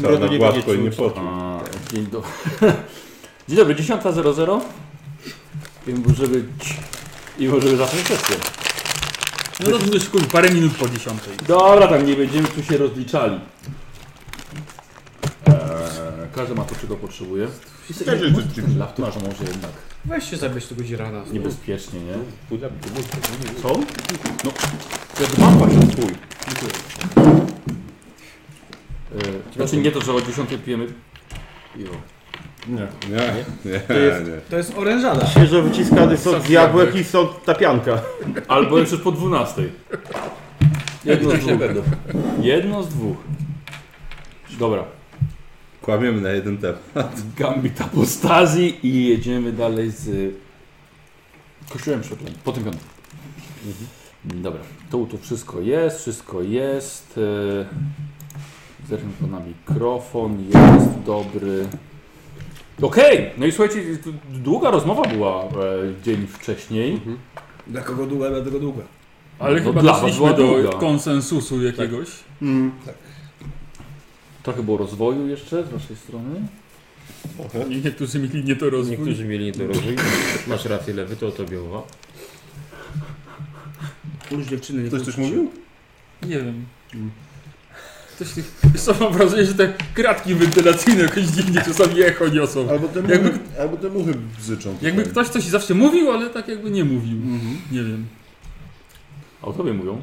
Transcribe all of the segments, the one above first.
Bruno nie gładko i będzie nie czuć. potem. A, Dzień dobry. Dzień dobry, 10.00 i możemy, ć- i możemy zacząć sesję. No to już kurwa, parę minut po dziesiątej. Dobra, tam nie będziemy tu się rozliczali. Eee, każdy ma to, czego potrzebuje. Każdy Może ty- ty- ten laptop może, może jednak Weź się zabierz tego dzirana. niebezpiecznie, nie? Chuda, bo- bo- Co? No, ja dbam właśnie. Chuj. Eee, znaczy nie to, że o 10 pijemy piwo. Nie, nie, nie, To jest- nie. To jest orężada. Świeżo wyciskany sok z jabłek i sok tapianka. Albo jeszcze po 12. Jedno z dwóch. Jedno z dwóch. Dobra. Kłamiemy na jeden temat. Gambit apostazji i jedziemy dalej z y, kościołem świetlnym, po tym piątym. Mhm. Dobra, to tu wszystko jest, wszystko jest. e, Zerknę tu na mikrofon, jest dobry. Okej, no i słuchajcie, d- długa rozmowa była e, dzień wcześniej. Dla kogo długa, dla tego długa. Ale No chyba dla was doszliśmy była do długa. konsensusu jakiegoś. Mm. Trochę było rozwoju jeszcze z waszej strony. Tak. I Niektórzy mieli nie to rozwój. Niektórzy mieli niedorozwój. Masz rację, lewy, to o tobie mowa. Już dziewczyny nie Ktoś kłóci coś się. mówił? Nie wiem. Mm. Coś tych... Wiesz co, mam wrażenie, że te kratki wentylacyjne jakoś dziwnie czasami echo niosą. Albo te muchy, Jakby- albo te muchy bzyczą. Jakby Tak. tutaj. ktoś coś zawsze mówił, ale tak jakby nie mówił. Mhm. Nie wiem. A o tobie mówią.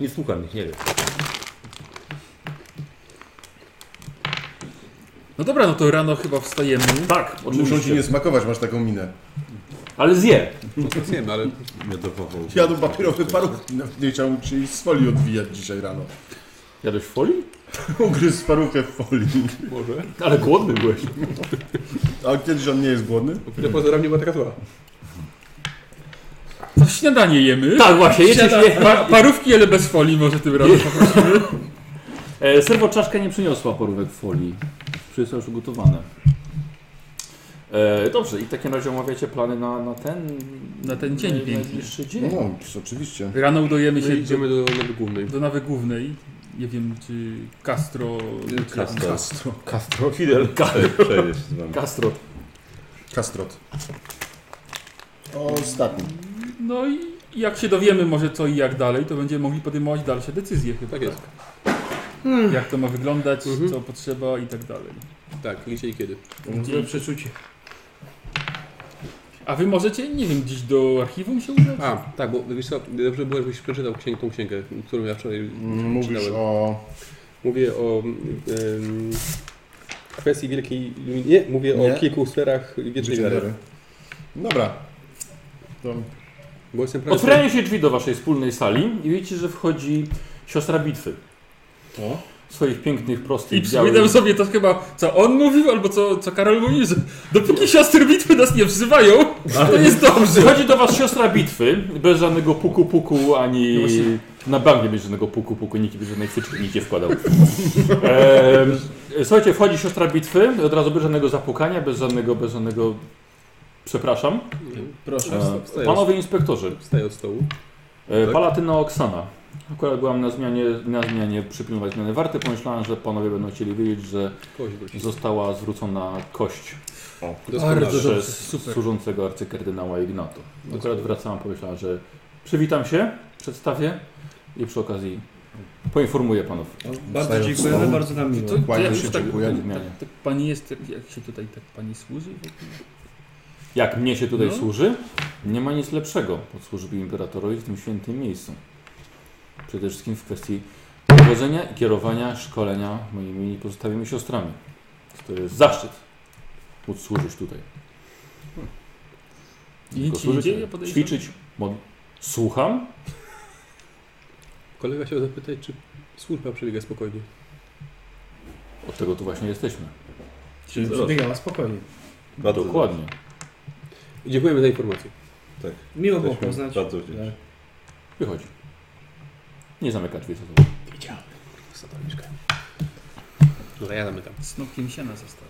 Nie słucham ich, nie wiem. No dobra, no to rano chyba wstajemy. Tak, Muszą oczywiście. ci nie smakować, masz taką minę. Ale zje. No Wiem, ale Miodowowo. Jadą papierowy parówki. No, Nie chciałbym się i z folii odwijać dzisiaj rano. Jadłeś w folii? Ugryzł parówkę w folii. Może. Ale głodny byłeś. A kiedyś on nie jest głodny? wbrew pozorom nie była taka zła. To śniadanie jemy. Tak, właśnie, jecie Śniada... śmie- Pa parówki, ale bez folii może tym razem. E, serwo czaszka nie przyniosła porówek w folii. Przyniosła już ugotowane. E, dobrze, i w takim razie omawiacie plany na, na ten... Na ten dzień na, piękny. najbliższy dzień. No, oczywiście. Rano udajemy No się i idziemy do nowy głównej. do nawy głównej. Nie wiem, czy Castro... Castro. Kastro. Castro Fidel. Tak. Ka- Przejeść z wami. Castro. Kastrot. Ostatni. No i jak się dowiemy może co i jak dalej, to będziemy mogli podejmować dalsze decyzje chyba. Tak jest. Jak to ma wyglądać, Mhm. co potrzeba i tak dalej. Tak, gdzie i kiedy. Złe przeczucie. A wy możecie, nie wiem, gdzieś do archiwum się udać? A, tak, bo wiesz co, dobrze by było, żebyś przeczytał księg, tą księgę, którą ja wczoraj Mówisz czytałem. o... Mówię o em, kwestii wielkiej... Nie, mówię Nie. o kilku sferach wiecznej Życie wiary. wiary. Dobra. To... Bo jestem prawie... Otwierają się drzwi do waszej wspólnej sali i wiecie, że wchodzi siostra bitwy. To? W swoich pięknych, prostych, I przypominam sobie to chyba, co on mówił, albo co, co Karol mówił, że dopóki siostry bitwy nas nie wzywają, to jest dobrze. Przychodzi do was siostra bitwy, bez żadnego puku puku, ani No właśnie. na bank nie będzie żadnego puku puku, nikt nie będzie żadnej wtyczki nikt nie wkładał. Em, słuchajcie, wchodzi siostra bitwy, od razu bez żadnego zapukania, bez żadnego, bez żadnego... Przepraszam. Proszę. E, panowie inspektorzy, Wstaję od stołu. e, Palatyna Oksana. Akurat byłam na zmianie, na zmianie przypilnować zmiany warty, pomyślałem, że panowie będą chcieli wiedzieć, że Kogoś wrócić. została zwrócona kość Doskonale. Bardzo dobrze, przez super. służącego arcykardynała Ignato. Akurat wracałam, pomyślałam, że przywitam się, przedstawię i przy okazji poinformuję panów Bardzo dziękujemy, bardzo nam no, miło. To, to Kłaniam jak się, już tak, o tej dziękuję. zmianie. tak pani jest, jak się tutaj tak pani służy? Jak mnie się tutaj No. służy, nie ma nic lepszego od służby imperatorowi w tym świętym miejscu. Przede wszystkim w kwestii dowodzenia i kierowania szkolenia moimi pozostałymi siostrami. To jest zaszczyt móc służyć tutaj. I nic się nie służyć, dzieje, podejrzewam? ćwiczyć, mod- słucham, Kolega chciał zapytać, czy służba przebiega spokojnie. od tego tu właśnie jesteśmy. Czyli przebiegała spokojnie. Bardzo Dokładnie. Dziękujemy za informację. Miło było Jesteśmy poznać. Bardzo wdzięczni. Wychodzi. Nie zamyka drzwi za sobą. Sataniczka. Dobra, ja zamykam. Snopkiem siana zostawię.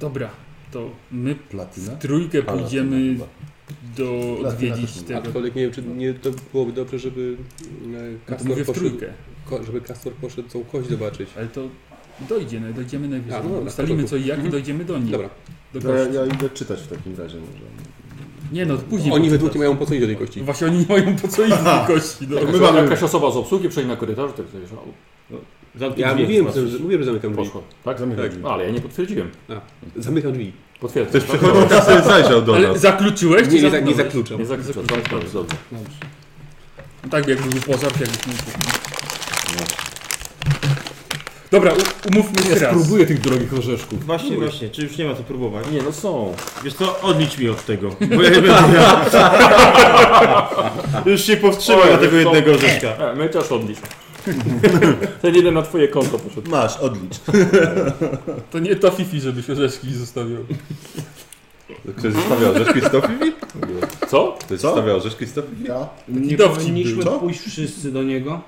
Dobra, to my Platyna? trójkę Palatyna pójdziemy chyba. do Platyna odwiedzić też nie ma. tego. Aczkolwiek nie wiem, czy nie to byłoby dobrze, żeby e, No To Kastor mówię w poszedł- trójkę. ko- żeby Kastor poszedł tą kość zobaczyć. Ale to dojdzie, no, dojdziemy najwyżej. A, no dobra, Ustalimy spoko. co i jak i Mhm. dojdziemy do nich. Dobra, Do To ja, kości. ja idę czytać w takim razie może. Nie no, oni później. poczytasz. we dwóch nie mają po co iść do tej kości. Właśnie oni nie mają po co iść do tej kości. No. To my Jakaś- mamy- Jakaś osoba z obsługi przejmie korytarz, tak sobie że- o, Ja drzwi, mówiłem, patrz. że, mówiłem, że zamykam drzwi. poszło. Tak? Zamykam. A, ale ja nie potwierdziłem. Zamykam drzwi. Potwierdzam. Ktoś przechodzi, tak sobie zajrzał do Ale nas. zakluczyłeś? Nie, czy nie, za- nie zamknąłeś? zakluczam. Nie zakluczam. Dobrze, dobrze. Dobrze. Tak, jakby był pożar, jakbyś nie No. Dobra, u- umówmy się raz. tych drogich orzeszków. Właśnie, właśnie, czy już nie ma co próbować? Nie, no są. Wiesz co, odlicz mi od tego, bo ja nie będę Już się powstrzymaj Oj, od tego wiesz co? jednego orzeszka. E, my też odlicz. Ten jeden na twoje konto poszedł. Masz, odlicz. To nie ta Fifi, żebyś orzeszki zostawił. Ktoś zostawiał orzeszki z topiwi? Co? Ktoś Co? zostawiał orzeszki z topiwi? Ja? Nie dowcip powinniśmy był, co? pójść wszyscy do niego.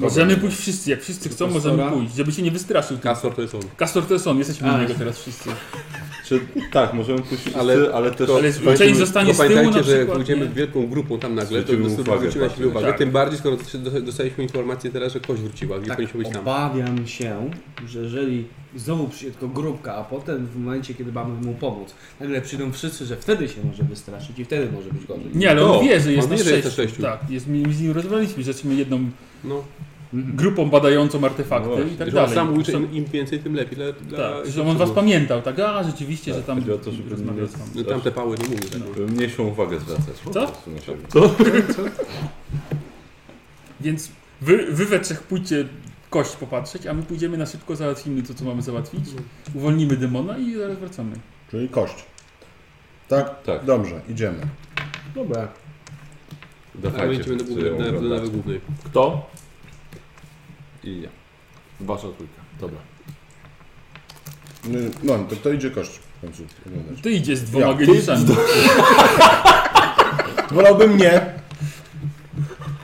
Możemy pójść wszyscy, jak wszyscy chcą, możemy Kastora? pójść, żeby się nie wystraszył. Kastor to jest on. Kastor to jest on, jesteśmy u A. niego teraz wszyscy. Czy, tak, możemy pójść wszyscy, Ale- ale, ale też... Ale część Pamiętajmy- zostanie bo z tyłu na Pamiętajcie, że jak przykład. pójdziemy nie? wielką grupą tam nagle, to Zwrócimy uwagę, zwróciła się patrzcie. uwagę. Tak. Tym bardziej, skoro dosta- dostaliśmy informację teraz, że kość wróciła, nie Tak, powinniśmy być tam. obawiam się, że jeżeli znowu przyjdzie tylko grupka, a potem w momencie, kiedy mamy mu pomóc, nagle przyjdą wszyscy, że wtedy się może wystraszyć i wtedy może być gorzej. Nie, ale on No, wie, że jest on na wie, że jest na sześciu. sześciu. Tak, jest, my my z nim rozmawialiśmy, że jesteśmy jedną No, grupą badającą artefakty No właśnie, i tak że on dalej. sam uczy, Są- im, im więcej, tym lepiej. Dla, dla tak, że on wszystkich. was pamiętał, tak? A, rzeczywiście, że tam chodzi o to, żeby rozmawiał nie- z wami. No, Tamte pały nie mówią. Tak. Mniejszą uwagę zwracać. Po Co? prostu na siebie. Więc wy, wy we trzech pójdźcie kość popatrzeć, a my pójdziemy na szybko, załatwimy to, co mamy załatwić, uwolnimy demona i zaraz wracamy. Czyli kość. Tak? Tak. Dobrze, idziemy. Dobra. A my idziemy Tak, do, wszyscy do, do, do oglądać. nawy głównej. Kto? I ja. Wasza trójka. Dobra. Y, No, to, to idzie kość w końcu oglądać. Ty idziesz z dwoma Ja, ty geniuszami. Wolałbym nie.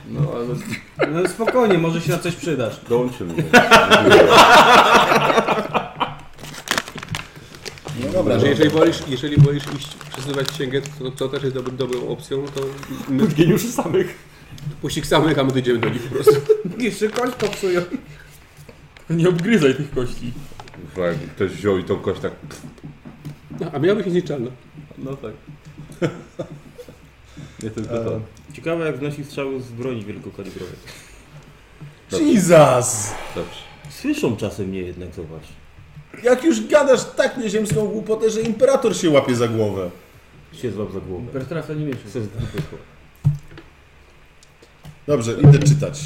No ale No spokojnie, może się na coś przydasz. dołączy mnie. No Że dobra, no. Znaczy, jeżeli wolisz, jeżeli wolisz iść przesuwać księgę, to, to też jest dobrą, dobrą opcją, no to my Geniuszy samych. puścik samych, a my dojdziemy do nich po prostu. Jeszcze kość popsują. Nie obgryzaj tych kości. Jak ktoś wziął i tą kość tak... A miała być niezniszczalna. No tak. Nie tylko to. Ciekawe jak wnosi strzały z broni wielkokalibrowej. Jesus! Dobrze. Słyszą czasem mnie jednak, zobacz. Jak już gadasz tak nieziemską głupotę, że imperator się łapie za głowę. Się złap za głowę. Bertrasa nie mieszka. Chcę z dupy chłop. Dobrze, idę czytać.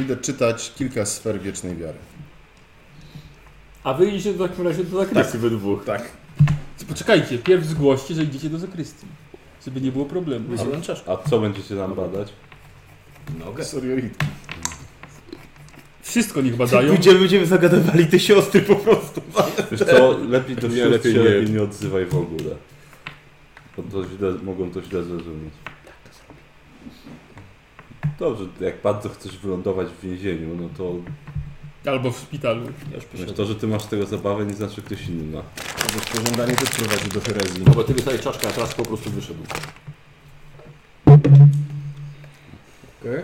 Idę czytać kilka sfer wiecznej wiary. A wy idziecie w takim razie do zakresu tak. we dwóch. Tak. Poczekajcie, pierw zgłoście, że idziecie do zakrystii. Żeby nie było problemu. Wysyłam czaszkę. A co będziecie nam badać? Nogę. Seriolitki. Wszystko niech badają. będziemy zagadywali te siostry po prostu. Wiesz co, lepiej do Nie, sióstr lepiej się nie. lepiej nie odzywaj w ogóle. Bo to źle, mogą to źle zrozumieć. Dobrze, jak bardzo chcesz wylądować w więzieniu, no to Albo w szpitalu. Ja już wiesz, piszę. to, że ty masz z tego zabawę, nie znaczy, że ktoś inny ma. Bo pożądanie też prowadzi do herezji. No bo ty dostajesz czaszkę, a teraz po prostu wyszedł. Okej.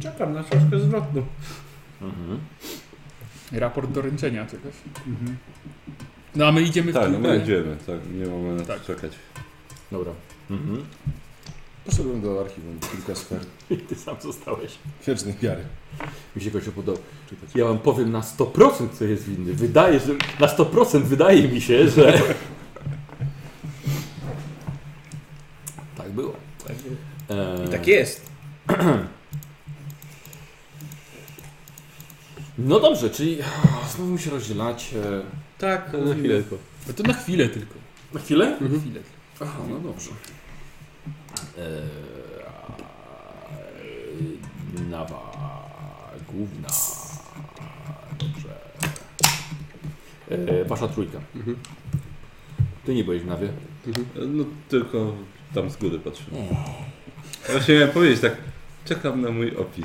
Czekam na troszkę zwrotną. Mhm. Raport doręczenia czegoś. Mhm. No a my idziemy Tak, w no my trójkę. idziemy, tak, nie mamy na Tak. co czekać. Dobra. Mhm. Poszedłem do archiwum. Kilka sfer I ty sam zostałeś. wiecznej wiary. Mi się Gosiu podoba. Ja wam powiem na 100% co jest winny. Wydaje, że na 100% wydaje mi się, że... tak było. Eee, Tak jest. No dobrze, czyli znowu się rozdzielać. e- Tak. Na chwilę tylko. No to na chwilę tylko. Na chwilę? Na Mhm. chwilę. Aha, no dobrze. Eee, nawa, główna. Dobrze. Eee, wasza trójka. Mhm. Ty nie byłeś w nawie. No tylko tam z góry patrzę. Właśnie miałem powiedzieć tak, czekam na mój opis.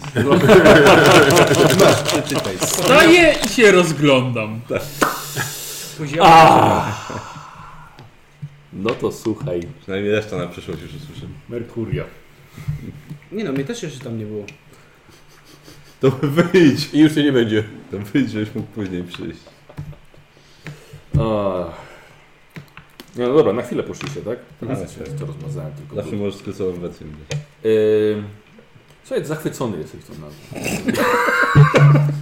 Staję i się rozglądam. Tak. No to słuchaj. Przynajmniej reszta na przyszłość już usłyszę. Merkuria. Nie no, mnie też jeszcze tam nie było. To wyjdź. I już się nie będzie. To wyjdź, żebyś mógł później przyjść. Ach. No dobra, na chwilę poszliście, tak? Mhm. Ja się to rozmazałem tylko. Zawsze możesz skresować wersję. Yy, słuchaj, zachwycony jesteś tą nazwą.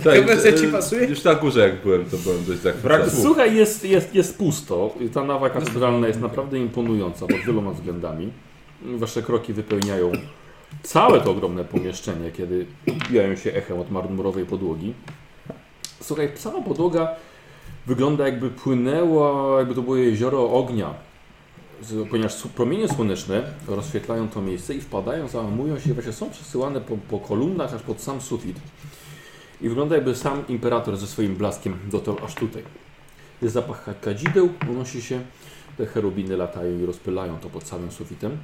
Tak, wersja ci e, pasuje? Już na górze jak byłem, to byłem dość tak Brak zachwycony. Słuchaj, jest, jest, jest pusto. Ta nawa katedralna jest naprawdę imponująca pod wieloma względami. Wasze kroki wypełniają całe to ogromne pomieszczenie, kiedy odbijają się echem od marmurowej podłogi. Słuchaj, cała podłoga wygląda jakby płynęła, jakby to było jezioro ognia. Z- Ponieważ su- promienie słoneczne rozświetlają to miejsce i wpadają, załamują się, właśnie są przesyłane po, po kolumnach aż pod sam sufit. I wygląda jakby sam imperator ze swoim blaskiem dotarł aż tutaj. Jest zapach kadzideł, unosi się, te cherubiny latają i rozpylają to pod samym sufitem.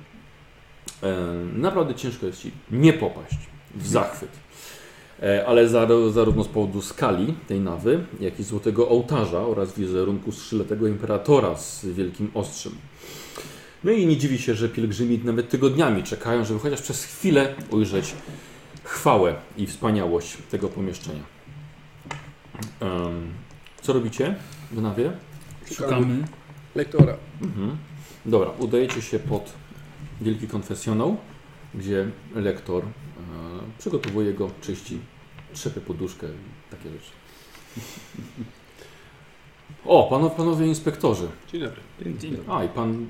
E, Naprawdę ciężko jest ci nie popaść w zachwyt. E, Ale zaro- zarówno z powodu skali tej nawy, jak i złotego ołtarza oraz wizerunku strzyletego imperatora z wielkim ostrzem. No i nie dziwi się, że pielgrzymi nawet tygodniami czekają, żeby chociaż przez chwilę ujrzeć chwałę i wspaniałość tego pomieszczenia. Em, Co robicie w nawie? Szukamy. Lektora. Mhm. Dobra, udajecie się pod wielki konfesjonał, gdzie lektor e, przygotowuje go, czyści, trzepie poduszkę, i takie rzeczy. O, pano, panowie inspektorzy. Dzień dobry. A, i pan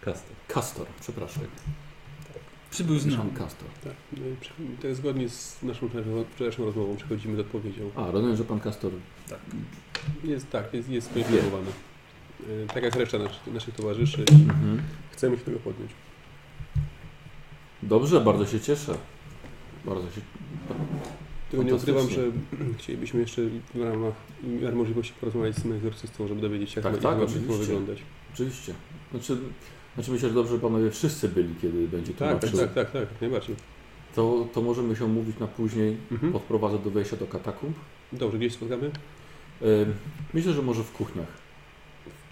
Kastor. Kastor, przepraszam. Przybył z Pan nami. Kastor. Tak, no i przy- tak zgodnie z naszą przerwą- wczorajszą rozmową przechodzimy do odpowiedzią. A, rozumiem, że pan Kastor Jest tak, jest, jest poinformowany. Y, Tak jak reszta nas, naszych towarzyszy, mhm. chcemy się tego podjąć. Dobrze, bardzo się cieszę. Bardzo się... Tylko nie Fantastycznie. ukrywam, że chcielibyśmy jeszcze w ramach w miarę możliwości porozmawiać z tym egzorcystą, żeby dowiedzieć się, jak Tak, ma ich tak, ma- oczywiście. ma wyglądać. Oczywiście. Znaczy, znaczy myślę, że dobrze że panowie wszyscy byli, kiedy będzie Tak, tak, tłumaczył. tak, tak, tak, najbardziej. To, to możemy się omówić na później. Mhm. Podprowadzę do wejścia do katakumb. Dobrze, gdzieś spotkamy? Ym, Myślę, że może w kuchniach.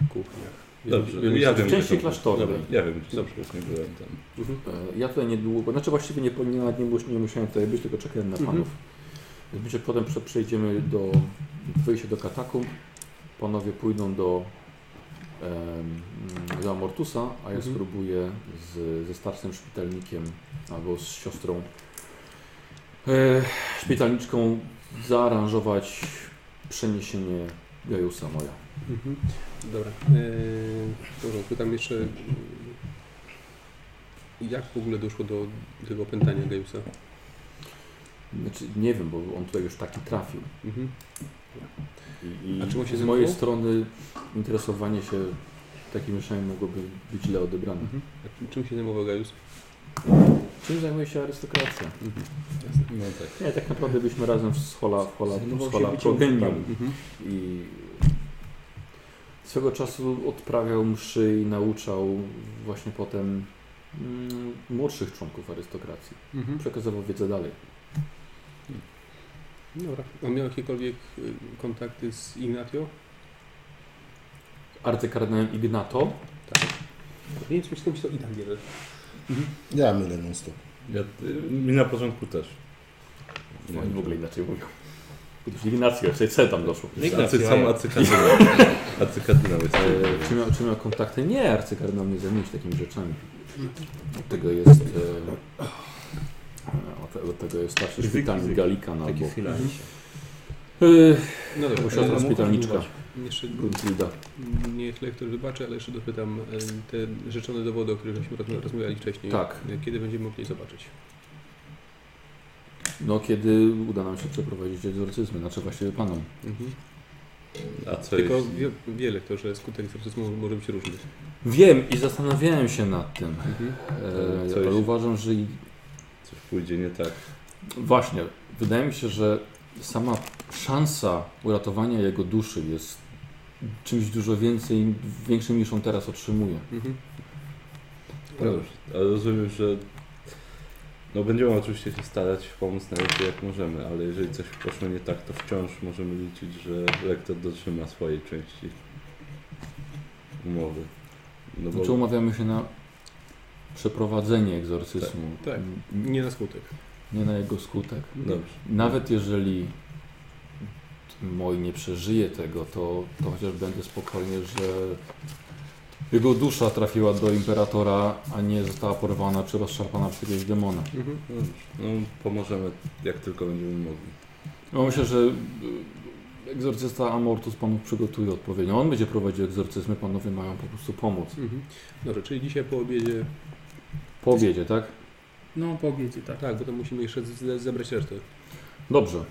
W kuchniach. Dobrze, Wielu- ja W wiem. części gdzie to- klasztornej. Dobra, Ja wiem, gdzie Dobrze. dobrze, nie byłem tam. Mhm. E, Ja tutaj niedługo, znaczy właściwie nie, nie, nie, mus- nie musiałem tutaj być, tylko czekałem na Mhm. panów. Więc myślę, że potem prze- przejdziemy do wyjścia do katakumb. Panowie pójdą do, em, mm, do Amortusa, a ja Mhm. spróbuję z, ze starszym szpitalnikiem albo z siostrą e, szpitalniczką zaaranżować przeniesienie Gajusa moja. Mhm. Dobra. E, Yy, dobrze, pytam jeszcze, yy, jak w ogóle doszło do tego opętania Geusa? Znaczy, nie wiem, bo on tutaj już taki trafił. Mhm. I, i A czemu się z zajmował? mojej strony interesowanie się takim mieszaniem mogłoby być źle odebrane. A czym- czym się zajmował Gaius? Czym zajmuje się arystokracja? No tak. Nie, tak naprawdę byliśmy razem z Hola, Hola, Zajmował z Hola się byciem Progenium kapłanem. Mhm. i swego czasu odprawiał mszy i nauczał właśnie potem mm, młodszych członków arystokracji. Mhm. Przekazywał wiedzę dalej. Dobra. A miał jakiekolwiek yy, kontakty z Ignatio? Arcykardynałem Ignato, Nie wiem, czy myślałem, że to Ignatio. Ja mylę non stop. Ja, y, mi na początku też. oni w ogóle inaczej mówią. Ignacio, jeszcze co tam doszło? Acy, sam acykardynał. Acykardynał jest. E, czy, miał, czy miał kontakty? Nie, arcykardynał nie zajmuje się takimi rzeczami. Od tego jest. E, e, od, te- od tego jest starszy szpitalnik Galikan albo. Takie chwilami się. E, No dobra. albo siostra Yy, szpitalniczka Jeszcze Brunhilda. niech lektor wybaczy, ale jeszcze dopytam yy, te rzeczone dowody, o których żeśmy rozma- rozmawiali wcześniej. Tak. Yy, Kiedy będziemy mogli je zobaczyć? No, kiedy uda nam się przeprowadzić egzorcyzmy, znaczy właściwie panom. Mhm. A co Tylko jest? wie, wie lektor, że skutek egzorcyzmu może być różny. Wiem i zastanawiałem się nad tym. Mhm. E, Coś- ale uważam, że i- Coś pójdzie nie tak. właśnie, wydaje mi się, że sama szansa uratowania jego duszy jest czymś dużo więcej, większym niż on teraz otrzymuje. Mhm. No dobrze, ale rozumiem, że no będziemy oczywiście się starać pomóc najlepiej jak możemy, ale jeżeli coś poszło nie tak, to wciąż możemy liczyć, że lektor dotrzyma swojej części umowy. No Znaczy bo umawiamy się na przeprowadzenie egzorcyzmu. Tak, tak. Nie na skutek. nie na jego skutek. Dobrze. Nawet jeżeli moi nie przeżyje tego, to, to chociaż będę spokojny, że jego dusza trafiła do imperatora, a nie została porwana czy rozszarpana przez jakiegoś demona. Mhm. Dobrze. No, pomożemy jak tylko będziemy mogli. No, myślę, że y, egzorcysta Amortus panów przygotuje odpowiednio. On będzie prowadził egzorcyzmy, panowie mają po prostu pomóc. Mhm. Dobrze, czyli dzisiaj po obiedzie. Po obiedzie, tak? No, po obiedzie, tak. Tak, bo to musimy jeszcze ze- zebrać resztę. Dobrze.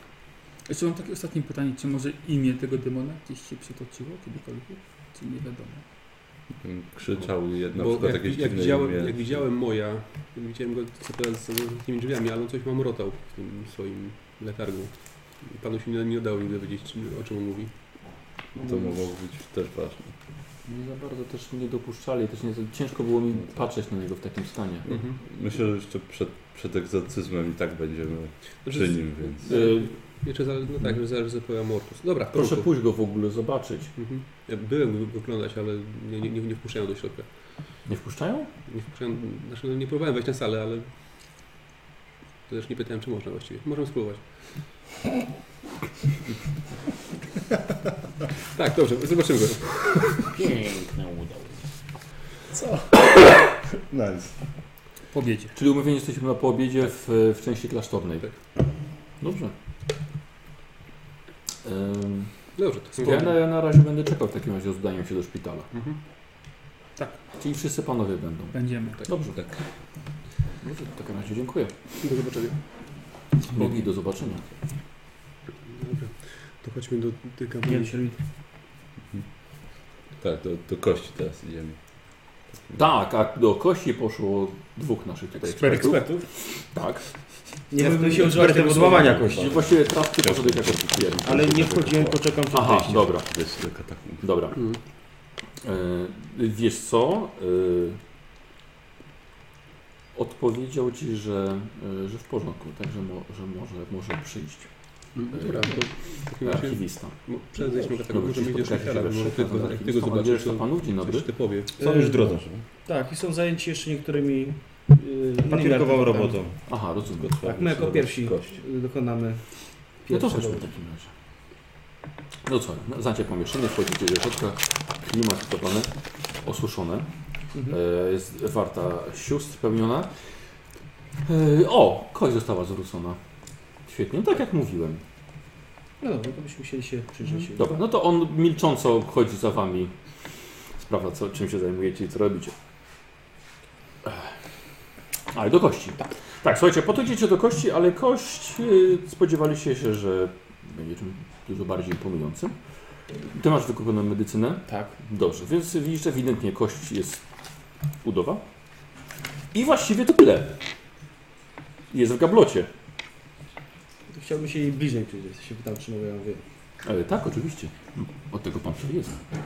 Jeszcze mam takie ostatnie pytanie, czy może imię tego demona gdzieś się przytoczyło kiedykolwiek? Czy nie wiadomo? Krzyczał jedna Bo na przykład jak, jakieś jak, dziwne widziałem, imię. jak widziałem moja, widziałem go co teraz za zamkniętymi drzwiami, ale on coś mamrotał w tym swoim letargu. I Panu się nie, nie udało mi dowiedzieć, czy- o czym on mówi. To mogło być też ważne. Nie za bardzo też nie dopuszczali, też nie, ciężko było mi patrzeć na niego w takim stanie. Mhm. Myślę, że jeszcze przed, przed egzorcyzmem i tak będziemy przy Znaczy, nim, więc... Y, jeszcze za, no tak, że zaraz zapoja Mortus. Dobra, proszę ruchu. pójść go w ogóle zobaczyć. Mhm. Ja byłem go wyglądać, ale nie, nie, nie, nie wpuszczają do środka. Nie wpuszczają? Nie wpuszczają, znaczy no nie próbowałem wejść na salę, ale to też nie pytałem, czy można właściwie. Możemy spróbować. tak, dobrze, zobaczymy go. Piękne udało. Nice. Po obiedzie. Czyli umówieni jesteśmy na poobiedzie w, w części klasztornej. Tak. Dobrze. Ym, Dobrze, to ja, na, ja na razie będę czekał w takim razie o zdaniu się do szpitala. Mhm. Tak. Czyli wszyscy panowie będą. Będziemy. Dobrze. Tak. Dobrze, w takim razie dziękuję. Do zobaczenia. Bogi, do zobaczenia. Dobra. To chodźmy do tych Nie, gabinetu. się Tak, do, do kości teraz idziemy. Tak, a do kości poszło dwóch naszych tutaj ekspertów. Ekspertów? Tak. Nie bym będę się się używać używać tego tego słowa. złamania kości. Czyli właściwie trafki poszedł jako pierwszy. Ale nie wchodziłem, poczekam przed Aha, wejściem. dobra, Weź tak- do katakumb. dobra. Mhm. Yy, wiesz co? Yy, odpowiedział ci, że, yy, że w porządku, także mo, że może, może przyjść Mhm. Dobra, to w takim razie archiwista. mo- przed zejściem No, katakomb bo możemy Tak. ci iść do szpitala, spotkacie się we bo trzech, tylko, razem jak tylko archistą. Mam nadzieję, zobaczysz, że to to pan ludzi dobry. coś ty powie. Są już drodze. Tak, i są zajęci jeszcze niektórymi y, yy, innymi Papierkową artefaktami. robotą. Aha, rozumiem. Tak, my jako pierwsi Kości. y, dokonamy No to pierwszego. chodźmy w takim razie. No co, no, znacie pomieszczenie, wchodzicie do środka, klimat stopowane, osuszone, Mhm. e, jest warta sióstr pełniona. E, o, kość została zwrócona. Świetnie, tak jak mówiłem. No dobra, to byśmy chcieli się przyjrzeć. Dobra, no to on milcząco chodzi za wami, sprawdza co, czym się zajmujecie i co robicie. Ech. Ale do kości. Tak, słuchajcie, po to idziecie do kości, ale kość yy, spodziewaliście się, że będzie czymś dużo bardziej imponującym. Ty masz wykupioną medycynę? Tak. Dobrze, więc widzisz, że ewidentnie kość jest udowa. I właściwie to tyle. Jest w gablocie. To Chciałbym się jej bliżej przyjrzeć. Się pytam, czy mogę ją wyjąć. E, tak, oczywiście. Od tego pan tu jest. To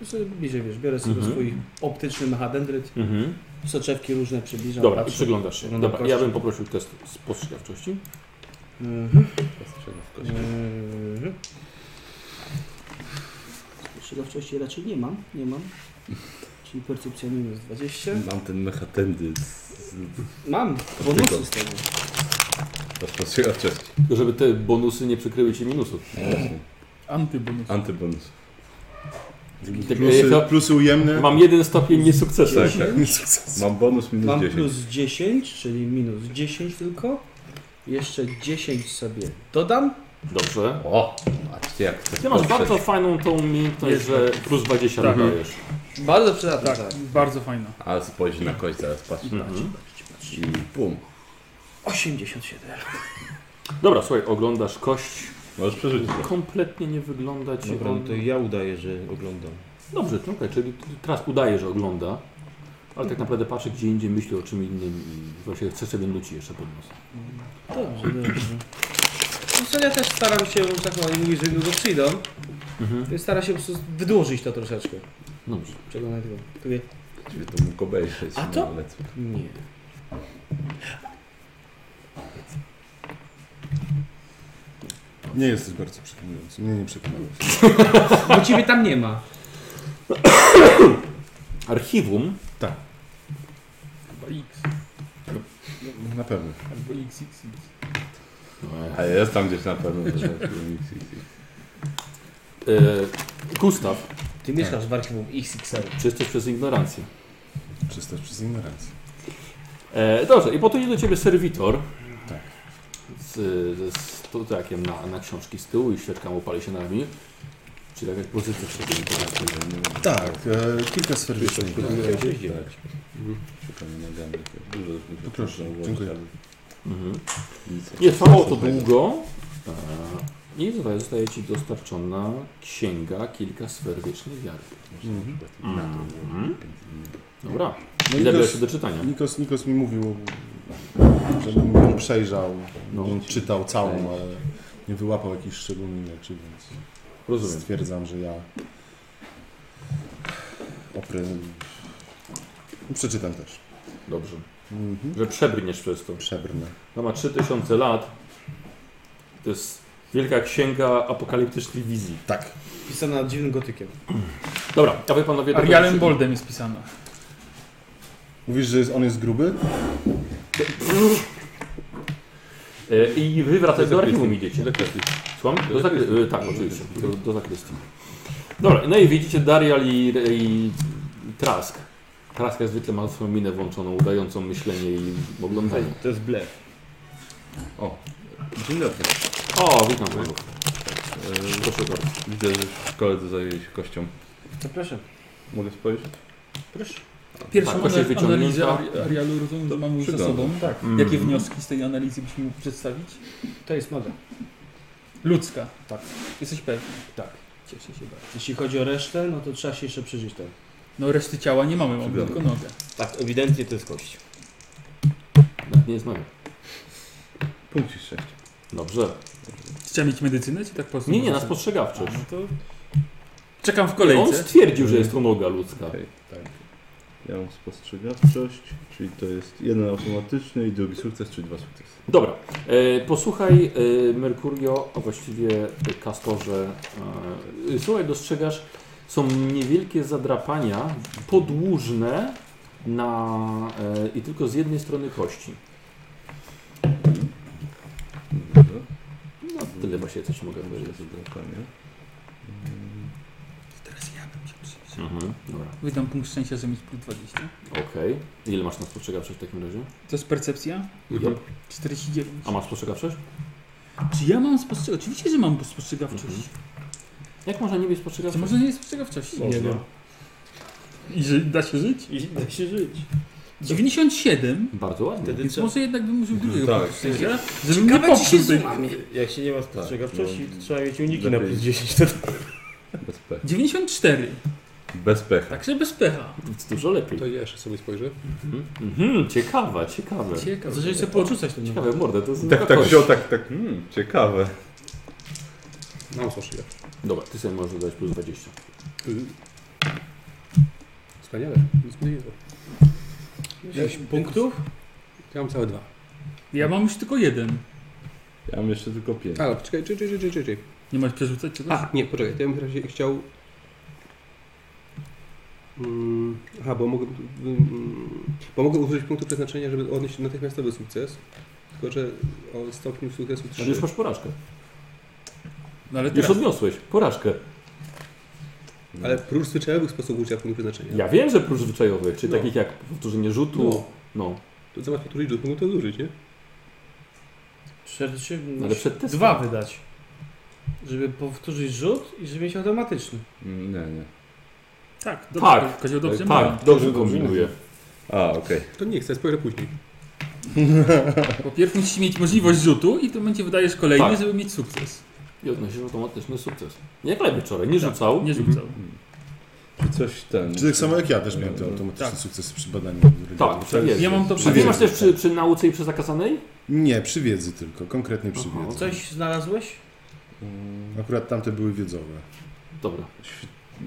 no sobie bliżej, wiesz, biorę sobie Mhm. swój optyczny machadendryt, Mhm. soczewki różne No, przybliżam. Dobra, i patrzę. przyglądasz się. Oglądam Dobra, kości. ja bym poprosił test spostrzegawczości. Mhm. Strzelam w kości. Mhm. Spostrzegawczości raczej nie mam, nie mam. Czyli percepcja minus 20. Mam ten mechatendy z... z... Mam, bonusy z tego. z... z... Tylko żeby te bonusy nie przykryły ci minusów. Antybonus. Antybonus. Tak, Plusy, ja- plusy ujemne. Mam jeden stopień niesukcesu. Tak, tak. Mam bonus minus Mam 10. plus 10, czyli minus 10 tylko. Jeszcze 10 sobie dodam. Dobrze. O! Patrzcie jak to Ty masz poprzeć. bardzo fajną tą umiejętność, Jest że plus 20 Tak. dodajesz. Bardzo przydatne. Tak, bardzo fajna. A spojrzyj na kość zaraz, Tak. patrz. Mhm. I bum. 87. Dobra, słuchaj, oglądasz kość. Możesz przerzucić. Kompletnie nie wygląda ci Dobra, on... no to ja udaję, że oglądam. Dobrze, no okej, czyli teraz udaje, że ogląda. Ale Mhm. tak naprawdę patrzy gdzie indziej, myśli o czym innym i właśnie chce sobie nuci jeszcze pod nos. Dobrze, dobrze. No co, ja też staram się, bo tak oni mówili, że niedługo przyjdą, Mhm. więc staram się po prostu wydłużyć to troszeczkę. Dobrze. Czego na tego? Mówię, Ciebie to mógł obejrzeć. A to- no, ale co? nie. Nie jesteś bardzo przekonujący. Mnie nie przekonałeś. Bo ciebie tam nie ma. Archiwum Chyba X. No, Na pewno. Albo XXX. A jest tam gdzieś na pewno. że- E, Gustaw, Ty mieszkasz w archiwum XXL. czystość przez ignorancję. Czystość przez ignorancję. E, dobrze, i potem idzie do ciebie serwitor. Tak. Z, z, z tutakiem na, na książki z tyłu i świeczka mu pali się na ramieniu. Czyli tak jak pozycja się Tak, e, kilka sfer Tak. wyższych. Mhm. Szukamy nogami. Dużo już To proszę, można ułożyć, dziękuję. ale mhm. nic. Nie trwało to długo. E, I tutaj zostaje ci dostarczona księga kilka sfer wiecznej wiary. Mhm. Mhm. Dobra, No i zabierasz się Nikos, do czytania. Nikos, Nikos mi mówił, żebym ją przejrzał, No. no. czytał całą, ale nie wyłapał jakichś szczególnych rzeczy, więc Rozumiem. stwierdzam, że ja oprę... przeczytam też. Dobrze. Mhm. Że przebrniesz przez to. Przebrnę. Ona ma 3000 lat. To jest wielka księga apokaliptycznej wizji. Tak. Pisana dziwnym gotykiem. Dobra, a wy panowie... tego Arialem przy- Boldem jest pisana. Mówisz, że jest- on jest gruby? E, I wy wracacie do archiwum zakrystii. idziecie. Do zakrystii. Słucham? Do Do zakry... e, tak, oczywiście. Do, do zakrystii. Dobra, no i widzicie Darial i, i Trask. Trask jak zwykle ma swoją minę włączoną, udającą myślenie i oglądanie. To jest blef. Dzień dobry. O, witam panów. E, Proszę bardzo. Widzę, że koledzy zajęli się kością. Zapraszam. Mogę spojrzeć? Proszę. Pierwszą Tak, właśnie ana- wyciągnięta. analizę no. Ari- Arialu rozumiem, że mamy już za przyglądam. sobą. Tak, Mhm. Jakie wnioski z tej analizy byśmy mógł przedstawić? to jest moda. Ludzka. Tak. Jesteś pewny? Tak. Cieszę się bardzo. Jeśli chodzi o resztę, no to trzeba się jeszcze przyjrzeć temu. No reszty ciała nie mamy, mamy Przyglądam. tylko nogę. Tak, ewidentnie to jest kość. Nawet nie jest moja. Punkcik 6. Dobrze. Chciałem mieć medycynę, czy tak po prostu? Nie, nie, na A, spostrzegawczość. no to... Czekam w On kolejce. stwierdził, że jest to noga ludzka. Okej, tak. Ja mam spostrzegawczość, czyli to jest jeden automatyczny i drugi sukces, czyli dwa sukcesy. Dobra, e, posłuchaj e, Mercurio, a właściwie e, Kastorze. E, słuchaj, dostrzegasz, są niewielkie zadrapania podłużne na, e, i tylko z jednej strony kości. Dobrze. No, tyle właśnie coś mogę powiedzieć. Zadanie. Teraz ja bym cię przyjrzał. Mhm, dobra, Wydam punkt szczęścia, że mieć plus 20. okej. Ile masz na spostrzegawczość w takim razie? To jest percepcja? Mhm. 49. A masz spostrzegawczość? Czy ja mam spostrzegawczość? Oczywiście, że mam spostrzegawczość. Jak można nie być Czy spostrzegawczość? może nie jest spostrzegawczość? Można. I że da się żyć? I da się żyć. 97. Bardzo ładnie. Wtedy Więc trzeba... może jednak bym użył drugiego Tak. punktu szczęścia, żebym nie popsuł tej... Jak się nie ma spostrzegawczości, Tak, no. to trzeba mieć uniki na Lepiej. plus 10 wtedy. Bez pecha. 94. Bez pecha. Także bez pecha. Dużo lepiej. To ja jeszcze sobie spojrzę. Mhm. Mhm, ciekawe, ciekawe. Ciekawe. Zaczęli sobie porzucać ten Ciekawe mordę, to jest Tak, tak wziął, tak, tak. Hmm, ciekawe. Mam spostrzegawczość. Dobra, ty sobie możesz dać plus 20. Y, Wspaniale. Nic mnie nie było. Jakiś punktów? Ja mam całe dwa. Ja mam już tylko jeden. Ja mam jeszcze tylko pięć. Ale poczekaj, czy, czy, czy, czy, czy, czy. Nie masz przerzucać czegoś? A, nie, poczekaj, to ja bym razie chciał... Mm, aha, bo mogę, mm, bo mogę użyć punktu przeznaczenia, żeby odnieść natychmiastowy sukces. Tylko, że o stopniu sukcesu Ale już 3. masz porażkę. No ale Już teraz. odniosłeś porażkę. Ale prócz zwyczajowych sposobów użycia punktu przeznaczenia. Ja wiem, że prócz zwyczajowych, czyli No. takich jak powtórzenie rzutu, no. To zamiast powtórzyć do punktu, to zużyć, nie? Przed, czy, Ale przed testem. dwa wydać. Żeby powtórzyć rzut i żeby mieć automatyczny. Mm, Nie, nie. Tak, Tak. dobrze. Kozioł dobrze tak, dobrze kombinuję. A, okej. To nie chcę, spojrzę później. ma. Po pierwsze musisz mieć możliwość rzutu i to będzie wydajesz kolejny, Tak. żeby mieć sukces. Tak, I odnosisz automatyczny sukces. Jak lepiej wczoraj, nie rzucał. Mhm. Nie rzucał. Czy coś ten. Czy tak samo jak ja też miałem te Mhm. automatyczne Tak. sukcesy przy badaniu Tak, religii? przy wiedzy. Ja mam to A Przy nie wiedzy. masz też przy, przy nauce i przy zakazanej? Nie, przy wiedzy tylko, konkretnie przy Aha. wiedzy. Coś znalazłeś? Mm, Akurat tamte były wiedzowe. Dobra. ś-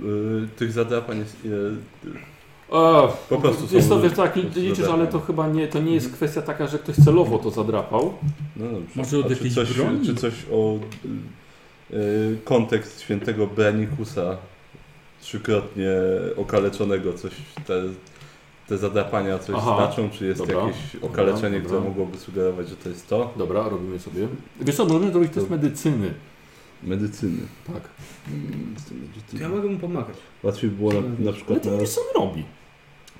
y, Tych zadapań jest ile? E, Po prostu są jest to, wiesz, różne. tak, Są liczysz, zadania. ale to chyba nie, to nie jest kwestia taka, że ktoś celowo to zadrapał. No dobrze. Może od A czy jakiejś coś, broni? Czy coś o y, y, kontekst świętego Branikusa trzykrotnie okaleczonego, coś te, te zadrapania coś Aha, znaczą, czy jest dobra, jakieś okaleczenie, dobra. które mogłoby sugerować, że to jest to? Dobra, robimy sobie. Wiesz co, możemy zrobić test medycyny. Medycyny. Tak. Mm, z tym To medycyny. ja mogę mu pomagać. Łatwiej było na, na Ale przykład ty na, nie wiesz, co on robi.